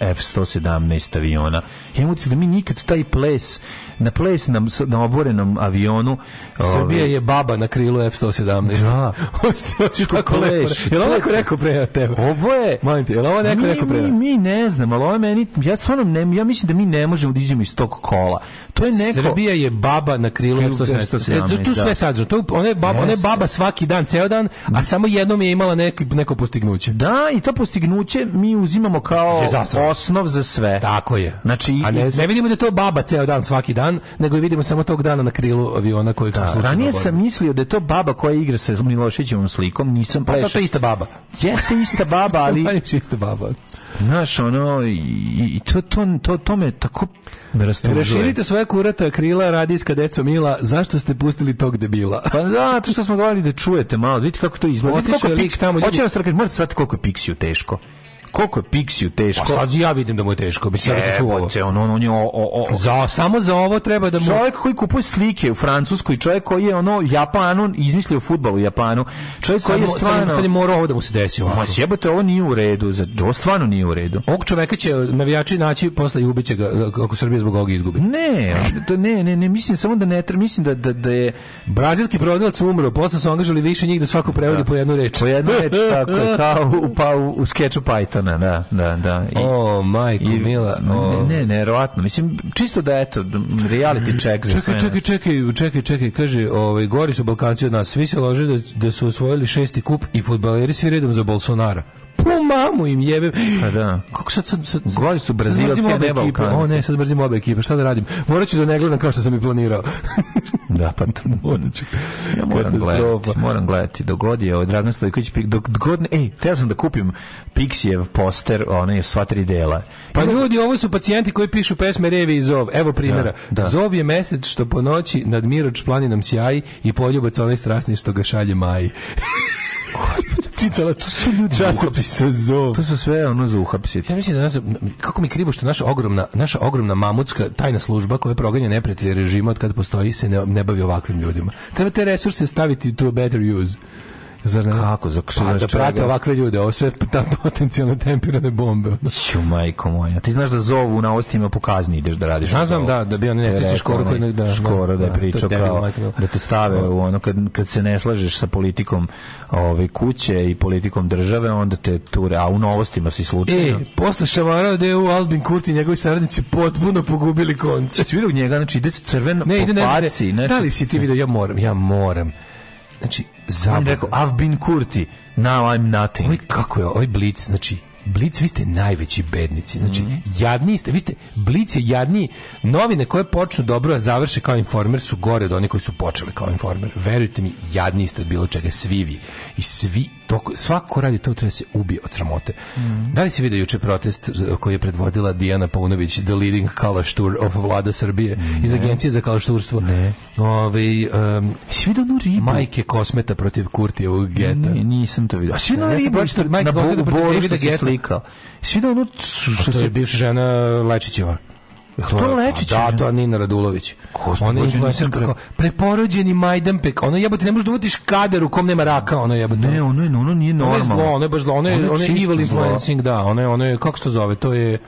[SPEAKER 5] F-117 aviona. Ja imam utisak da mi nikad taj ples, na ples na, na oborenom avionu...
[SPEAKER 1] Srbija je baba na krilu F-117. (laughs)
[SPEAKER 5] Da.
[SPEAKER 1] Hoćeš kako lepo.
[SPEAKER 5] Pleše.
[SPEAKER 1] Je li ovo neko rekao pre od tebe?
[SPEAKER 5] Ovo je...
[SPEAKER 1] Molim te, je li ovo neko
[SPEAKER 5] Mi-
[SPEAKER 1] rekao pre
[SPEAKER 5] mi,
[SPEAKER 1] nas?
[SPEAKER 5] mi ne znam, ali ovo je meni... Ja stvarno ne, ja mislim da mi ne možemo da iđemo iz tog kola. To je neko...
[SPEAKER 1] Srbija je baba na krilu
[SPEAKER 5] Krilu
[SPEAKER 1] F-117. E, tu- Tu
[SPEAKER 5] da.
[SPEAKER 1] sve sađeno. To je- Ona je baba, ona je
[SPEAKER 5] Jeste.
[SPEAKER 1] baba svaki dan, ceo dan, a samo jednom je imala neki- neko postignuće.
[SPEAKER 5] Da, i to postignuće mi uzimamo kao
[SPEAKER 1] Je zasrano.
[SPEAKER 5] osnov za sve.
[SPEAKER 1] Tako je.
[SPEAKER 5] Znači,
[SPEAKER 1] a ne, ne vidimo da je to baba ceo dan, svaki dan, nego je vidimo samo tog dana na krilu aviona kojeg smo slučajno
[SPEAKER 5] Ranije
[SPEAKER 1] oborili.
[SPEAKER 5] sam mislio da je to baba koja igra sa Miloševićevom slikom, nisam
[SPEAKER 1] Pa da,
[SPEAKER 5] prešao.
[SPEAKER 1] to je ista baba.
[SPEAKER 5] (laughs) Jeste ista baba,
[SPEAKER 1] (laughs)
[SPEAKER 5] ali
[SPEAKER 1] Najviše ista baba.
[SPEAKER 5] znaš, ono, i, i to, to, to, to me tako me rastužuje.
[SPEAKER 1] Raširite svoje kurata krila, radijska deco mila, zašto ste pustili tog debila?
[SPEAKER 5] Pa da, to što smo govorili da čujete malo, da vidite kako to izgleda. Vidite
[SPEAKER 1] Otišao
[SPEAKER 5] koliko
[SPEAKER 1] je lik
[SPEAKER 5] Pix-
[SPEAKER 1] tamo, ljudi-
[SPEAKER 5] Hoće nas trkati, morate shvatiti koliko je Pixiju teško. Koliko je Pixiju teško.
[SPEAKER 1] Pa sad ja vidim da mu je teško, bi sad se čuvao.
[SPEAKER 5] Jebote, on, on, on je o, o, o,
[SPEAKER 1] Za, samo za ovo treba da mu...
[SPEAKER 5] Čovjek koji kupuje slike u Francuskoj, čovjek koji je ono Japanu izmislio fudbal u Japanu, čovjek koji je
[SPEAKER 1] Sad, sad,
[SPEAKER 5] stvarno
[SPEAKER 1] sad je morao ovo da mu se desi ovako.
[SPEAKER 5] Ma jebote, ovo nije u redu, za ovo stvarno nije u redu.
[SPEAKER 1] Ovog čoveka će navijači naći posle i ubiće ga ako Srbija zbog ovoga izgubi.
[SPEAKER 5] Ne, to ne, ne, ne, mislim samo da ne, tre- mislim da da da je
[SPEAKER 1] Brazilski prodavac umro, posle su angažali više njih da svako prevodi po jednu reč.
[SPEAKER 5] po jednu reč tako je, kao u pa u, u skeču Pythona, da, da, da. I,
[SPEAKER 1] O, majko,
[SPEAKER 5] i-
[SPEAKER 1] mila. o.
[SPEAKER 5] Ne, ne, nevjerovatno. Mislim, čisto da eto, reality check za sve
[SPEAKER 1] Čekaj,
[SPEAKER 5] nas.
[SPEAKER 1] čekaj, čekaj, čekaj, čekaj, kaže, ovaj, gori su Balkanci od nas, svi se lože da, da su osvojili šesti kup i fudbaleri svi redom za Bolsonara. Pu mamu im jebem.
[SPEAKER 5] Pa da.
[SPEAKER 1] Kako sad sam... Sad,
[SPEAKER 5] Gori su
[SPEAKER 1] sad
[SPEAKER 5] Brazilci,
[SPEAKER 1] mrzim
[SPEAKER 5] a ne
[SPEAKER 1] obe ekipe.
[SPEAKER 5] Balkanci.
[SPEAKER 1] O ne, sad brzim obe ekipe, šta da radim? Morat ću da ne gledam kao što sam i planirao.
[SPEAKER 5] Da, pa
[SPEAKER 1] (laughs)
[SPEAKER 5] to moram. Ja moram
[SPEAKER 1] Katastrofa.
[SPEAKER 5] gledati, moram gledati. Dok god je ovaj Dragan Stojković, pik- dok god, ne- ej, teo sam da kupim Pixijev poster, onaj sva tri dela.
[SPEAKER 1] Pa ljudi, ovo su pacijenti koji pišu pesme Revi i Zov. Evo primjera.
[SPEAKER 5] Da, da.
[SPEAKER 1] Zov je mesec što po noći nad Miroč planinom sjaji i poljubac onaj strasni što ga šalje Maji. (laughs) Čitala su ljudi časopisa Zov.
[SPEAKER 5] To su sve ono za uhapsiti.
[SPEAKER 1] Ja mislim da nas, kako mi je krivo što naša ogromna, naša ogromna mamutska tajna služba koja proganja neprijatelje režima od kad postoji se ne, ne bavi ovakvim ljudima. Treba te resurse staviti to a better use. Zar ne?
[SPEAKER 5] Kako, za
[SPEAKER 1] Pa, da
[SPEAKER 5] čega?
[SPEAKER 1] prate ovakve ljude, ovo sve ta potencijalno tempirane bombe. ono.
[SPEAKER 5] Ću, majko moja. Ti znaš da zovu na ostima po kazni ideš da radiš.
[SPEAKER 1] Ja znam,
[SPEAKER 5] Zovu.
[SPEAKER 1] da, da bi on ne
[SPEAKER 5] Te
[SPEAKER 1] sjeća
[SPEAKER 5] rekao
[SPEAKER 1] škoru
[SPEAKER 5] onaj
[SPEAKER 1] koji ne- da,
[SPEAKER 5] Škoro da je
[SPEAKER 1] da, to je
[SPEAKER 5] pričao
[SPEAKER 1] debil,
[SPEAKER 5] kao
[SPEAKER 1] majko, da.
[SPEAKER 5] da te stave u ono kad, kad se ne slažeš sa politikom ove kuće i politikom države onda te ture, a u novostima si
[SPEAKER 1] E,
[SPEAKER 5] slučajno.
[SPEAKER 1] posle šamara od EU Albin Kurti i njegovi saradnici potpuno pogubili konce.
[SPEAKER 5] Jesi vidio u njega, znači ide se crven
[SPEAKER 1] Ne,
[SPEAKER 5] po
[SPEAKER 1] ide ne, ne,
[SPEAKER 5] faci. znači,
[SPEAKER 1] da li si ti vidio, ja moram, ja moram. Znači,
[SPEAKER 5] On je
[SPEAKER 1] zabavno.
[SPEAKER 5] rekao, I've been Kurti, now I'm nothing.
[SPEAKER 1] Ovo je kako je, ovo je blic, znači, Blic, vi ste najveći bednici. Znači,
[SPEAKER 5] Mhm.
[SPEAKER 1] jadniji ste, vi ste, Blic je jadniji. Novine koje počnu dobro, a završe kao informer su gore od onih koji su počeli kao informer. Verujte mi, jadniji ste od bilo čega, svi vi. I svi, to, svako ko radi to treba da se ubije od sramote.
[SPEAKER 5] Mhm.
[SPEAKER 1] Da li si vidio juče protest eh, koji je predvodila Dijana Paunović, The Leading Kalaštur of Vlada Srbije, iz Agencije za kalašturstvo? Ne.
[SPEAKER 5] Jesi vidio onu ribu?
[SPEAKER 1] majke Kosmeta protiv Kurtijevog geta.
[SPEAKER 5] Ne, nisam to vidio. A svi
[SPEAKER 1] Ja
[SPEAKER 5] na
[SPEAKER 1] sam
[SPEAKER 5] ribu,
[SPEAKER 1] pročitao Mike
[SPEAKER 5] na bo-
[SPEAKER 1] Gossett protiv
[SPEAKER 5] boru
[SPEAKER 1] Davida
[SPEAKER 5] što se
[SPEAKER 1] Geta.
[SPEAKER 5] slikao. Svi da ono
[SPEAKER 1] Što
[SPEAKER 5] što
[SPEAKER 1] Pa to je
[SPEAKER 5] se
[SPEAKER 1] bivša žena Lečićeva.
[SPEAKER 5] to Lečić?
[SPEAKER 1] Da, to je Nina Radulović.
[SPEAKER 5] Gospod
[SPEAKER 1] Ona je
[SPEAKER 5] Bože,
[SPEAKER 1] influencer
[SPEAKER 5] nisam
[SPEAKER 1] kako,
[SPEAKER 5] gledao.
[SPEAKER 1] preporođeni Majdanpek. Ono jebote, ne možeš da uvatiš kader u kom nema raka, ono jebote.
[SPEAKER 5] Ne, ono je, ono nije
[SPEAKER 1] Ono je zlo,
[SPEAKER 5] normalno.
[SPEAKER 1] ono je baš zlo, ono je, ono je
[SPEAKER 5] čisto
[SPEAKER 1] evil
[SPEAKER 5] zlo.
[SPEAKER 1] influencing, da, ono je, ono je, kako se to zove, to je...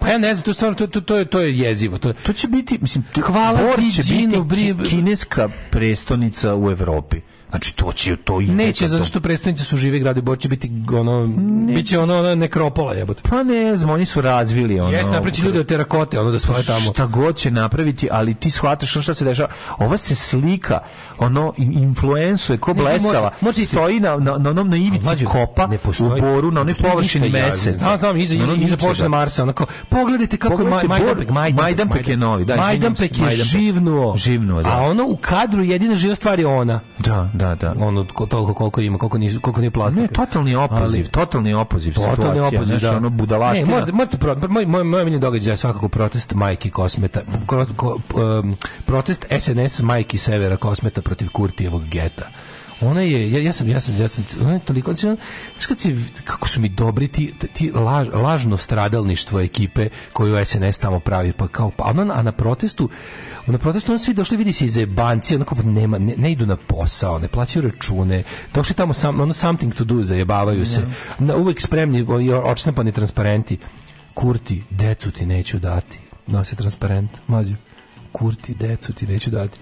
[SPEAKER 1] Pa ja ne znam, to je stvarno, to, to, to, je, to je jezivo. To je,
[SPEAKER 5] To će biti, mislim, to,
[SPEAKER 1] Hvala
[SPEAKER 5] Bor će
[SPEAKER 1] Ziđinu,
[SPEAKER 5] biti
[SPEAKER 1] bri-
[SPEAKER 5] ki- kineska prestonica u Evropi. Znači, to će, to ide.
[SPEAKER 1] neće,
[SPEAKER 5] ka
[SPEAKER 1] zato
[SPEAKER 5] tom.
[SPEAKER 1] što predstavnici su živi grade, Bor će biti ono, biće ono, ono nekropola jebote.
[SPEAKER 5] Pa ne znam, oni su razvili ono...
[SPEAKER 1] Jesi napreći ljude od terakote, ono da stoje tamo.
[SPEAKER 5] Šta god će napraviti, ali ti shvataš ono šta se dešava. Ova se slika, ono, influensuje, ko
[SPEAKER 1] Ne, ne,
[SPEAKER 5] blesava,
[SPEAKER 1] mora- mora biti-
[SPEAKER 5] stoji na, na, na onom na ivici
[SPEAKER 1] Mlađe,
[SPEAKER 5] kopa,
[SPEAKER 1] ne
[SPEAKER 5] u
[SPEAKER 1] postoji-
[SPEAKER 5] boru, na onoj
[SPEAKER 1] ne postoji
[SPEAKER 5] površini
[SPEAKER 1] ništa
[SPEAKER 5] meseca.
[SPEAKER 1] jazda. A, znam, iza,
[SPEAKER 5] Na
[SPEAKER 1] iza,
[SPEAKER 5] ono
[SPEAKER 1] iza
[SPEAKER 5] ničega.
[SPEAKER 1] površine Marsa, onako, pogledajte kako je Maj-
[SPEAKER 5] Pogledajte
[SPEAKER 1] Majdanpek,
[SPEAKER 5] Bor-
[SPEAKER 1] Majdanpek,
[SPEAKER 5] Majdanpek je novi, da,
[SPEAKER 1] Majdanpek je
[SPEAKER 5] izvinjam se, Majdanpek.
[SPEAKER 1] živnuo.
[SPEAKER 5] Živnuo, da.
[SPEAKER 1] A ono u kadru jedina živa stvar je ona.
[SPEAKER 5] Da, da, da.
[SPEAKER 1] Ono ko- toliko koliko ima, koliko nije, koliko nije plastika.
[SPEAKER 5] Ne, totalni opoziv,
[SPEAKER 1] Ali-
[SPEAKER 5] totalni opoziv
[SPEAKER 1] Totalni
[SPEAKER 5] situacija,
[SPEAKER 1] opoziv,
[SPEAKER 5] znaš,
[SPEAKER 1] da.
[SPEAKER 5] ono budalaština.
[SPEAKER 1] Ne, morate, morate, pro- moj, moj, moj omiljeni događaj je svakako protest majki Kosmeta, ko- ko- um, protest SNS majki Severa Kosmeta protiv Kurtijevog geta. Ona je, ja, ja sam, ja sam, ja sam, ona je toliko, znači, ona- znaš kad si, kako su mi dobri ti, ti laž, lažno stradalništvo ekipe koju SNS tamo pravi, pa kao, pa, ona, a na protestu, na protestu oni svi došli, vidi se iz jebanci, onako, pa nema, ne, ne idu na posao, ne plaćaju račune, došli tamo, sam, ono, something to do, zajebavaju se, na, uvek spremni, o- i očnapani transparenti, kurti, decu ti neću dati, nosi transparent, mlađe, kurti, decu ti neću dati.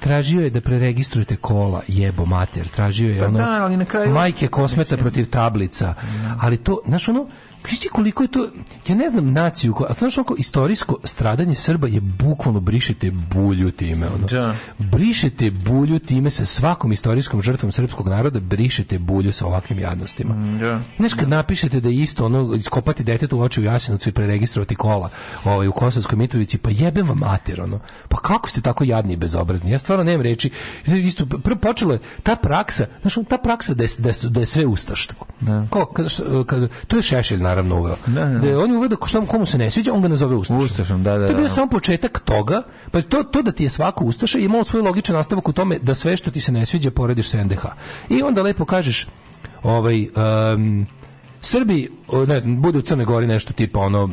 [SPEAKER 1] Tražio je da preregistrujete kola, jebo mater. Tražio je
[SPEAKER 16] Pa
[SPEAKER 1] ono
[SPEAKER 16] da, ali na kraju-
[SPEAKER 1] majke kosmeta protiv tablica. Ali to, znaš ono, Viš ti koliko je to, ja ne znam naciju, koja- a znaš ono, istorijsko stradanje Srba je bukvalno brišete bulju time. Ono. Brišete bulju time sa svakom istorijskom žrtvom srpskog naroda, brišete bulju sa ovakvim jadnostima. Znaš, kad napišete da je isto ono, iskopati detetu u oči u Jasenovcu i preregistrovati kola ovaj, u Kosovskoj Mitrovici, pa jebem vam mater, ono. Pa kako ste tako jadni i bezobrazni? Ja stvarno nemam reći. Isto, prvo počelo je ta praksa, znaš, ono, ta praksa da je, da je, da je sve ustaštvo. Ko, kad, kad, to je Šešelj, naravno, uveo. Da, je on je uveo da ko- šta mu- komu se ne sviđa, on ga nazove ustašom.
[SPEAKER 16] Ustašom, da, da,
[SPEAKER 1] To je bio
[SPEAKER 16] da.
[SPEAKER 1] samo početak toga. Pa to, to da ti je svako ustaša je imalo svoj logičan nastavak u tome da sve što ti se ne sviđa porediš sa NDH. I onda lepo kažeš ovaj, em, Srbi, o, ne znam, bude u Crnoj Gori nešto tipa ono,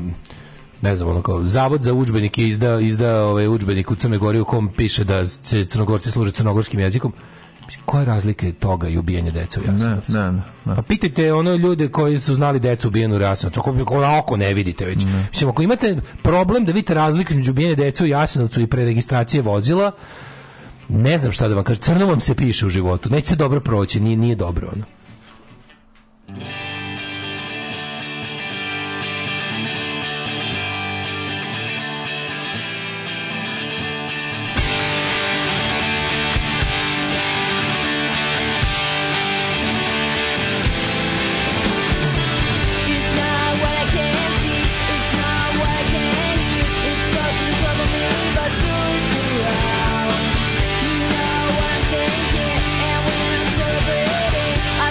[SPEAKER 1] ne znam, ono kao, zavod za udžbenik je izdao, izdao ovaj udžbenik u Crnoj Gori u kom piše da se crnogorci služe crnogorskim jezikom. Mislim, Koja je razlika je toga i ubijanje dece u Jasenovcu?
[SPEAKER 16] Ne, ne, ne.
[SPEAKER 1] Pa pitajte ono ljude koji su znali decu ubijenu u Jasenovcu, ako, ako na oko ne vidite već. Mislim, ako imate problem da vidite razliku između ubijene dece u Jasenovcu i preregistracije vozila, ne znam šta da vam kažem, crno vam se piše u životu, nećete dobro proći, nije, nije dobro ono.
[SPEAKER 2] It's not what I can see, it's not what I can hear. It doesn't trouble me, but it's doing too loud. You know what I'm thinking, and when I'm celebrating, I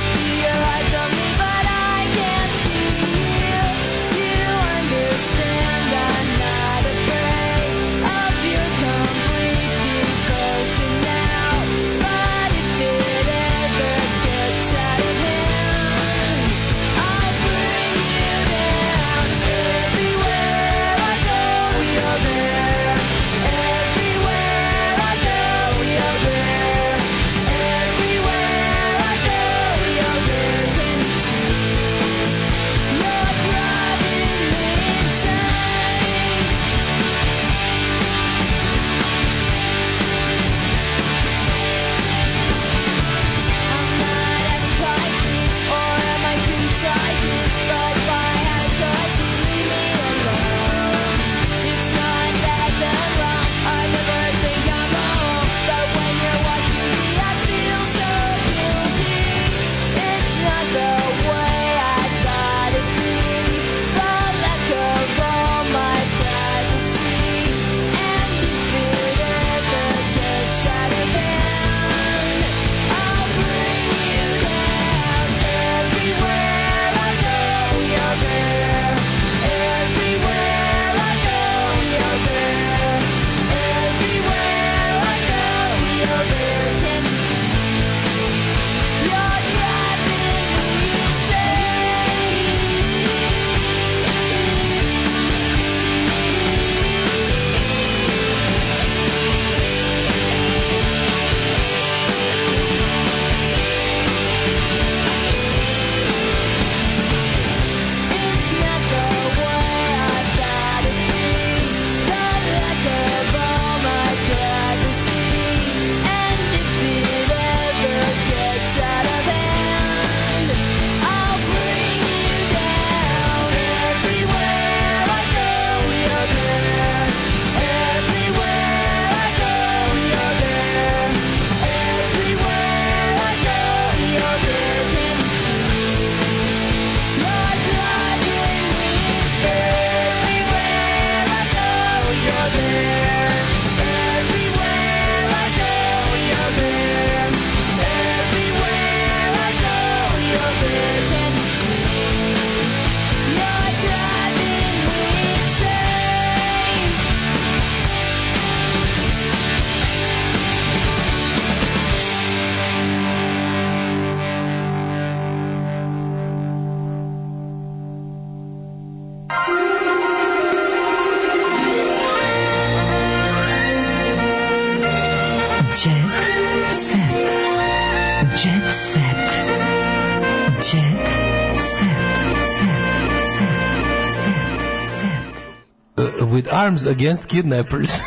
[SPEAKER 1] Uh, with arms against kidnappers.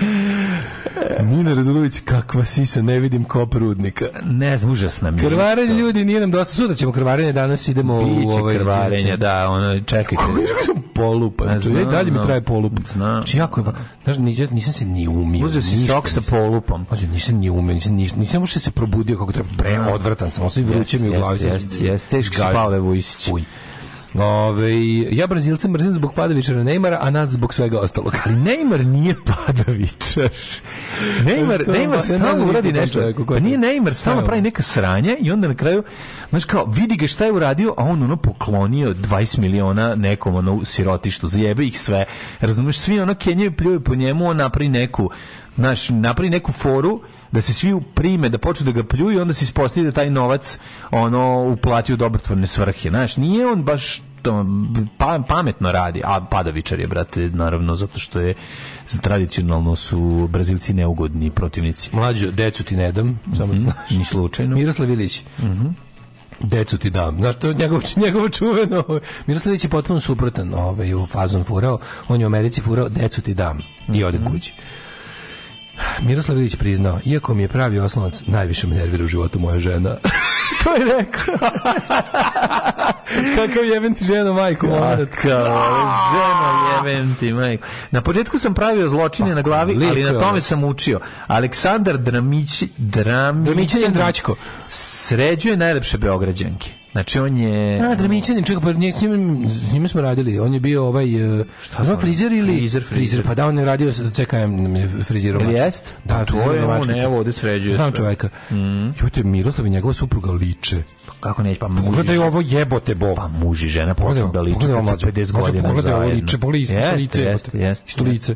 [SPEAKER 1] (laughs) Nina Radulović, kakva sisa, ne vidim kop rudnika.
[SPEAKER 5] Ne, užasna mi je.
[SPEAKER 1] Krvarenje
[SPEAKER 5] isto.
[SPEAKER 1] ljudi, nije nam dosta. Sutra ćemo krvarenje, danas idemo u
[SPEAKER 5] Biće
[SPEAKER 1] ovaj...
[SPEAKER 5] krvarenja, da, ono, čekajte.
[SPEAKER 1] Kako sam polupan?
[SPEAKER 5] Ne znam,
[SPEAKER 1] Znači, dalje mi
[SPEAKER 5] no.
[SPEAKER 1] traje polup. Znači, jako je... va- Znaš, nisam, nisam se ni umio.
[SPEAKER 5] Uzeo si
[SPEAKER 1] ništa
[SPEAKER 5] sok sa
[SPEAKER 1] nisam-
[SPEAKER 5] polupom.
[SPEAKER 1] Znači, nisam ni umio, nisam, nisam, nisam uopšte se probudio kako treba. Pre, odvratan sam, osim vruće mi u
[SPEAKER 5] Jeste,
[SPEAKER 1] glavi.
[SPEAKER 5] jeste, jeste. Teški
[SPEAKER 1] Gađa.
[SPEAKER 5] Pavle Vujsić.
[SPEAKER 1] Uj. Ove, ja Brazilce mrzim zbog pada Vičera Neymara, a nas zbog svega ostalog.
[SPEAKER 5] Ali Neymar
[SPEAKER 1] (laughs)
[SPEAKER 5] nije padavičar. Neymar,
[SPEAKER 1] Što?
[SPEAKER 5] Neymar
[SPEAKER 1] Ja ne
[SPEAKER 5] stalno
[SPEAKER 1] znam
[SPEAKER 5] uradi
[SPEAKER 1] ništa o tom
[SPEAKER 5] nešto.
[SPEAKER 1] čoveku, ko
[SPEAKER 5] Pa
[SPEAKER 1] je to?
[SPEAKER 5] nije Neymar
[SPEAKER 1] Šta je
[SPEAKER 5] stalno
[SPEAKER 1] ovo?
[SPEAKER 5] pravi neka sranja i onda na kraju, znaš kao, vidi ga šta je uradio, a on ono poklonio 20 miliona nekom ono sirotištu, zajebe ih sve. Razumeš, svi ono kenjaju pljuje po njemu, on napravi neku, znaš, napravi neku foru da se svi prime, da počnu da ga pljuju i onda se ispostavi da taj novac ono uplati u dobrotvorne svrhe. Znaš, nije on baš to, pa, pametno radi, a padavičar je, brate, naravno, zato što je tradicionalno su Brazilci neugodni protivnici.
[SPEAKER 1] Mlađo, decu ti ne dam, samo
[SPEAKER 5] Mhm.
[SPEAKER 1] da znaš.
[SPEAKER 5] Ni slučajno.
[SPEAKER 1] Miroslav Ilić. Decu ti dam. Znaš, to je njegovo, (laughs) njegovo čuveno. ovaj, Miroslav Ilić je potpuno suprotan ovaj, u fazon furao. On je u Americi furao, decu ti dam. I ode kući. Miroslav Ilić priznao, iako mi je pravi oslonac, najviše me nervira u životu moja žena. (laughs)
[SPEAKER 5] to je rekao.
[SPEAKER 1] Kakav jebem ti žena, majku, moment.
[SPEAKER 5] Kao, ženo jebem ti, majko. Na početku sam pravio zločine na glavi,
[SPEAKER 1] lik
[SPEAKER 5] ali
[SPEAKER 1] je
[SPEAKER 5] na
[SPEAKER 1] ono.
[SPEAKER 5] tome sam učio. Aleksandar Dramići, Dramićanin
[SPEAKER 1] Dramićanin Dračko.
[SPEAKER 5] Sređuje najlepše Beograđanke. Znači on je...
[SPEAKER 1] A, Dramićanin, čekaj, pa nje- s njim, s njime smo radili. On je bio ovaj... e, zvan frizer ili...
[SPEAKER 5] Frizer, frizer.
[SPEAKER 1] pa da, on je radio sa CKM nam je frizirao.
[SPEAKER 5] Ili
[SPEAKER 1] mačkice.
[SPEAKER 5] jest? Pa
[SPEAKER 1] Da,
[SPEAKER 5] To
[SPEAKER 1] frizirao
[SPEAKER 5] je on,
[SPEAKER 1] mačkice.
[SPEAKER 5] evo, ovde sređuje Mm.
[SPEAKER 1] Znam
[SPEAKER 5] sve.
[SPEAKER 1] čoveka. Jute, Miroslav i njegova supruga liče.
[SPEAKER 5] Kako neće, pa muž i
[SPEAKER 1] Pogledaj
[SPEAKER 5] žena.
[SPEAKER 1] ovo jebote, bo.
[SPEAKER 5] Pa muž i žena počnu da liče kad
[SPEAKER 1] Pogledaj ovo
[SPEAKER 5] su
[SPEAKER 1] mlađe.
[SPEAKER 5] 50
[SPEAKER 1] Mlađe,
[SPEAKER 5] godina
[SPEAKER 1] Pogledaj ovo
[SPEAKER 5] zajedno.
[SPEAKER 1] liče, pogledaj isto
[SPEAKER 5] Jeste,
[SPEAKER 1] lice.
[SPEAKER 5] jeste,
[SPEAKER 1] jebote.
[SPEAKER 5] jeste,
[SPEAKER 1] Isto lice.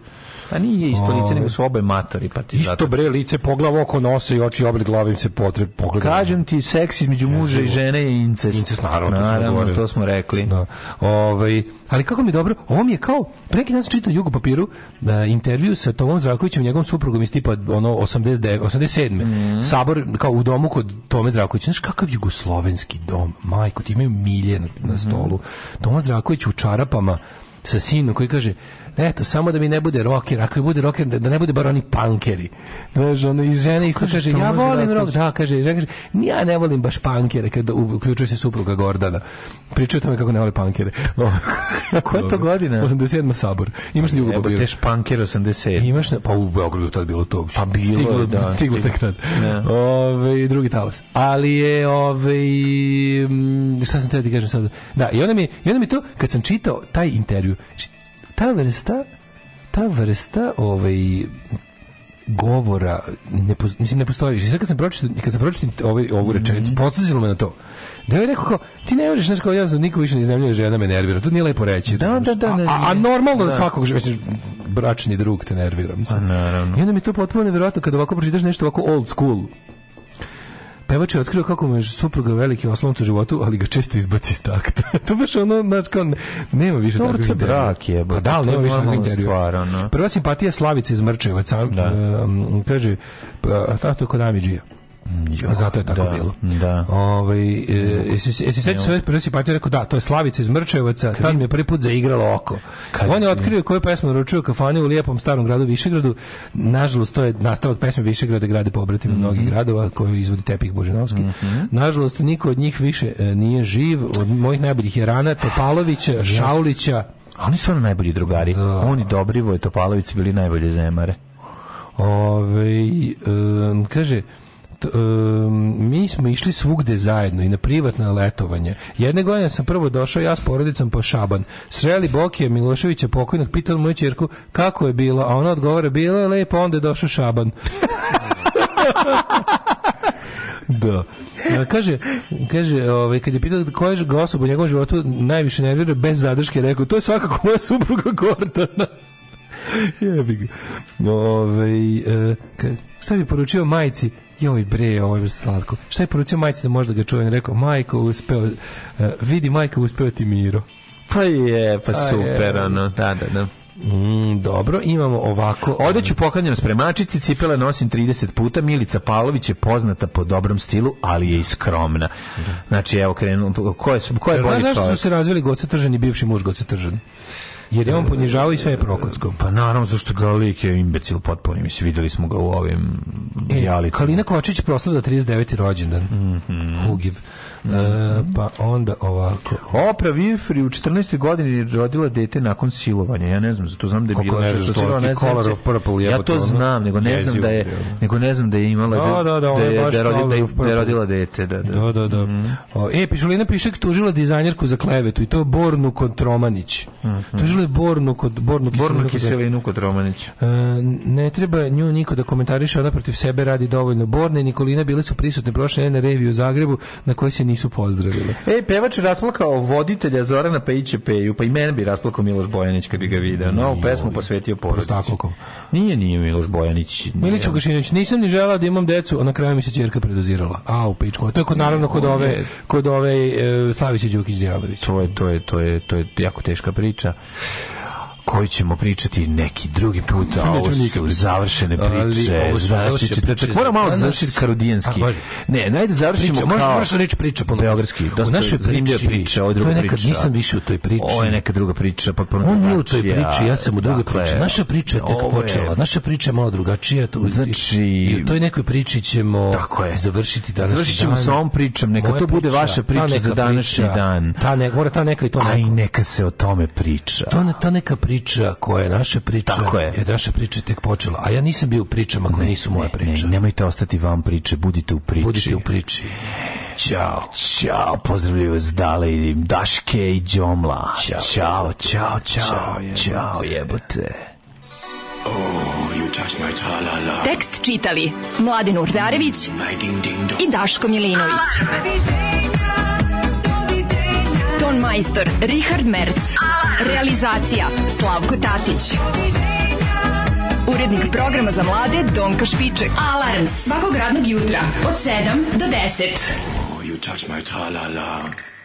[SPEAKER 5] Pa nije isto lice,
[SPEAKER 1] Ove.
[SPEAKER 5] nego su obe matori, pa ti zato-
[SPEAKER 1] Isto bre lice, poglav oko nosa i oči oblik glave im se potreb. Pogledaj.
[SPEAKER 5] Kažem ti, seks između muža i žene je incest.
[SPEAKER 1] Incest, naravno, to smo
[SPEAKER 5] naravno,
[SPEAKER 1] govorili.
[SPEAKER 5] to smo rekli.
[SPEAKER 1] Da. Ovaj, ali kako mi je dobro, ovo mi je kao, pre neki dan sam čitao u Jugu papiru da, intervju sa Tomom Zdravkovićem i njegovom suprugom iz tipa ono, 89, 87. Sabor, kao u domu kod Tome Zdravkovića. Znaš kakav jugoslovenski dom, majko, ti imaju milje na, na stolu. Toma Zdravković u čarapama sa sinom koji kaže Eto, samo da mi ne bude rocker, ako je bude rocker, da, da ne bude bar oni punkeri. Znaš, ono, i žene isto kaže, ja
[SPEAKER 5] Toma
[SPEAKER 1] volim rock,
[SPEAKER 5] Zdravković?
[SPEAKER 1] da, kaže, žena kaže, ja ne volim baš pankere, kada u- uključuje se supruga Gordana. Pričaju o tome kako ne vole (laughs) pankere.
[SPEAKER 5] Koja je to godina?
[SPEAKER 1] 87. sabor. Imaš li
[SPEAKER 5] Evo,
[SPEAKER 1] ljubav
[SPEAKER 5] te španker 87.
[SPEAKER 1] Imaš, na- pa u Beogradu je tad bilo to.
[SPEAKER 5] Pa bilo je,
[SPEAKER 1] stiglo,
[SPEAKER 5] da, stiglo.
[SPEAKER 1] Stiglo tek tad.
[SPEAKER 5] Ne.
[SPEAKER 1] Ovaj, drugi talas. Ali je, ovaj, mm, šta sam teo ti kažem sad? Da, i onda mi, i onda mi to, kad sam čitao taj intervju, š- ta vrsta, ta vrsta, ovaj, govora ne poz- mislim ne postoji više. Sad kad sam pročitao kad sam pročitao ovaj ovu rečenicu,
[SPEAKER 5] Mhm.
[SPEAKER 1] podsjetilo me na to. Da je rekao kao, ti ne možeš znači kao ja sam niko više ne iznajmljuje žena me nervira. To nije lepo reći.
[SPEAKER 5] Da, da, da,
[SPEAKER 1] A-
[SPEAKER 5] ne,
[SPEAKER 1] A, a
[SPEAKER 5] ne.
[SPEAKER 1] normalno da. svakog ž- mislim bračni drug te nervira,
[SPEAKER 5] Pa
[SPEAKER 1] mislim. I onda mi je to potpuno nevjerojatno kad ovako pročitaš nešto ovako old school. Pevač je otkrio kako mu je supruga veliki oslonac u životu, ali ga često izbaci iz takta. (laughs) to baš ono, znači, kao, ne- nema više
[SPEAKER 5] Dobro,
[SPEAKER 1] takvih
[SPEAKER 5] to je
[SPEAKER 1] intervjua.
[SPEAKER 5] brak, jebote.
[SPEAKER 1] Pa da, ali
[SPEAKER 5] To je
[SPEAKER 1] nema više takvih
[SPEAKER 5] normalna
[SPEAKER 1] intervjua.
[SPEAKER 5] stvar, ono.
[SPEAKER 1] Prva simpatija Slavice iz Mrčevaca, um, kaže, pa, a to je kod Amidžija. Zato je tako
[SPEAKER 5] da,
[SPEAKER 1] bilo.
[SPEAKER 5] da.
[SPEAKER 1] Ovaj e, jesi se jesi sećaš svoje prve simpatije rekao da, to je Slavica iz Mrčevaca, tad mi je prvi put zaigralo oko. On je otkrio koju pesmu naručio u kafani u lijepom starom gradu Višegradu. Nažalost to je nastavak pesme Višegrada grade pobratimi
[SPEAKER 5] Mhm.
[SPEAKER 1] mnogih gradova koju izvodi Tepih Božanovski. Nažalost niko od njih više e, nije živ, od mojih najboljih je Rana Topalovića, Šaulića,
[SPEAKER 5] A Oni su stvarno najbolji drugari. Oni Dobrivo i Topalović su bili najbolje zemare.
[SPEAKER 1] Ove, em, kaže, t- em, mi smo išli svugde zajedno i na privatna letovanje. Jedne godine sam prvo došao ja s porodicom po Šaban. Sreli Bokija Miloševića pokojnog, pitali moju čerku kako je bilo, a ona odgovara bilo je lepo, onda je došao Šaban. da. E, Kaže, kaže, ovaj, kad je pitao koja je ga osoba u njegovom životu najviše nervira, bez zadrške rekao, to je svakako moja supruga Gordana. (laughs) Jebi ga. Ovaj, e, ka- šta bi poručio majci? Joj bre, ovo je slatko. Šta je poručio majci da možda ga čuje? On je rekao, majko, uspeo, e, vidi majko, uspeo ti Miro.
[SPEAKER 5] Pa je, pa
[SPEAKER 1] A,
[SPEAKER 5] super,
[SPEAKER 1] je.
[SPEAKER 5] ono, da, da, da.
[SPEAKER 1] Mm, dobro, imamo ovako.
[SPEAKER 5] Odeću poklanjam spremačici, cipele nosim 30 puta, Milica Palović je poznata po dobrom stilu, ali je i skromna. Znači, evo, krenu, ko je, ko je
[SPEAKER 1] Jel
[SPEAKER 5] bolji
[SPEAKER 1] Znaš zašto su
[SPEAKER 5] čovjek?
[SPEAKER 1] se razveli Goce Tržan i bivši muž Goce Tržan? Jer je on ponižavao i sve je prokockom.
[SPEAKER 5] Pa naravno, zašto ga lik je imbecil potpuno, mislim, videli smo ga u ovim
[SPEAKER 1] e,
[SPEAKER 5] reality.
[SPEAKER 1] Kalina Kovačić proslavlja 39. rođendan. Hugiv. E, pa onda ovako.
[SPEAKER 5] Opra Winfrey u 14. godini rodila dete nakon silovanja. Ja ne znam, zato znam da je
[SPEAKER 1] Kako
[SPEAKER 5] bila
[SPEAKER 1] ne znaš,
[SPEAKER 5] žrtva
[SPEAKER 1] to
[SPEAKER 5] silovanja,
[SPEAKER 1] ti
[SPEAKER 5] ne znam
[SPEAKER 1] Color
[SPEAKER 5] se-
[SPEAKER 1] of Purple
[SPEAKER 5] Ja
[SPEAKER 1] jebote,
[SPEAKER 5] to
[SPEAKER 1] ono.
[SPEAKER 5] znam, nego ne znam
[SPEAKER 1] Jezivo
[SPEAKER 5] da je
[SPEAKER 1] bre, ono.
[SPEAKER 5] nego ne znam da je imala
[SPEAKER 1] Da, da, da, ona je
[SPEAKER 5] je-
[SPEAKER 1] baš
[SPEAKER 5] da je rodila,
[SPEAKER 1] Color of
[SPEAKER 5] da je
[SPEAKER 1] Purple.
[SPEAKER 5] rodila dete, da, da.
[SPEAKER 1] Da, da, da.
[SPEAKER 5] Mhm.
[SPEAKER 1] O, E, Pišulina Pišek tužila dizajnerku za klevetu i to Bornu kod Tromanić. Tužila je Bornu kod Bornu Kiselinu
[SPEAKER 5] Mhm. Bornu
[SPEAKER 1] kod-
[SPEAKER 5] kiselinu kod Romanića.
[SPEAKER 1] E, ne treba nju niko da komentariše, ona protiv sebe radi dovoljno. Borna i Nikolina bile su prisutne prošle nedelje na reviju u Zagrebu na kojoj se nisu pozdravile.
[SPEAKER 5] Ej, E, pevač je rasplakao voditelja Zorana Pejića Peju, pa i mene bi rasplakao Miloš Bojanić kad bi ga video. Novu pesmu posvetio porodici.
[SPEAKER 1] Prostaklukom.
[SPEAKER 5] Nije, nije Miloš Bojanić. nije.
[SPEAKER 1] Milić Vukašinović, nisam ni želao da imam decu, a na kraju mi se ćerka predozirala. A, u pičku. To je kod, naravno kod ove, kod ove e, Savića Đukić Dijalović.
[SPEAKER 5] To je, to je, to je, to je jako teška priča koju ćemo pričati neki drugi put, a ovo
[SPEAKER 1] Nećemo nikad
[SPEAKER 5] su završene
[SPEAKER 1] Ali
[SPEAKER 5] priče,
[SPEAKER 1] ovo su završene
[SPEAKER 5] završite,
[SPEAKER 1] priče
[SPEAKER 5] moram malo
[SPEAKER 1] za
[SPEAKER 5] završiti
[SPEAKER 1] danas.
[SPEAKER 5] karudijanski.
[SPEAKER 1] A, može.
[SPEAKER 5] Ne, najde završimo
[SPEAKER 1] Priča, možeš-
[SPEAKER 5] kao...
[SPEAKER 1] moraš reći priča ponovo.
[SPEAKER 5] Beogradski,
[SPEAKER 1] U
[SPEAKER 5] dosta
[SPEAKER 1] našoj
[SPEAKER 5] zanimljiva
[SPEAKER 1] priči-
[SPEAKER 5] priča, ovo je
[SPEAKER 1] to je
[SPEAKER 5] druga
[SPEAKER 1] nekad
[SPEAKER 5] priča.
[SPEAKER 1] nisam više u toj priči.
[SPEAKER 5] Ovo je neka druga priča, potpuno
[SPEAKER 1] On nije u toj
[SPEAKER 5] drugačija.
[SPEAKER 1] priči, ja sam u drugoj
[SPEAKER 5] Dakle,
[SPEAKER 1] priči. Naša priča je tek
[SPEAKER 5] ovo je-
[SPEAKER 1] počela. Naša priča je malo drugačija. Tu,
[SPEAKER 5] Znači-
[SPEAKER 1] I u toj nekoj priči ćemo
[SPEAKER 5] Tako je.
[SPEAKER 1] završiti današnji
[SPEAKER 5] Završit ćemo
[SPEAKER 1] dan.
[SPEAKER 5] sa ovom pričom, neka
[SPEAKER 1] Moja
[SPEAKER 5] to bude
[SPEAKER 1] priča,
[SPEAKER 5] vaša
[SPEAKER 1] ta
[SPEAKER 5] priča
[SPEAKER 1] neka
[SPEAKER 5] za današnji
[SPEAKER 1] priča,
[SPEAKER 5] dan.
[SPEAKER 1] Ta ne, mora ta neka i to
[SPEAKER 5] A i
[SPEAKER 1] neka.
[SPEAKER 5] neka se o tome priča.
[SPEAKER 1] To ne, ta neka priča koja je naša priča,
[SPEAKER 5] Tako je.
[SPEAKER 1] naša priča je tek počela. A ja nisam bio u pričama koje nisu moja priča.
[SPEAKER 5] Ne, nemojte ostati van priče, budite u priči.
[SPEAKER 1] Budite u priči.
[SPEAKER 5] Ćao. Ćao, pozdravljaju vas dale i Daške i Đomla. Ćao, ćao, ćao, ćao, ćao jebote.
[SPEAKER 4] Tekst čitali Mladin Urdarević i Daško Milinović. Ton majstor Richard Merc. Realizacija Slavko Tatić. Urednik programa za mlade Donka Špiček. Alarm svakog radnog jutra od 7 do 10.
[SPEAKER 17] Oh, you touch my tra-la-la.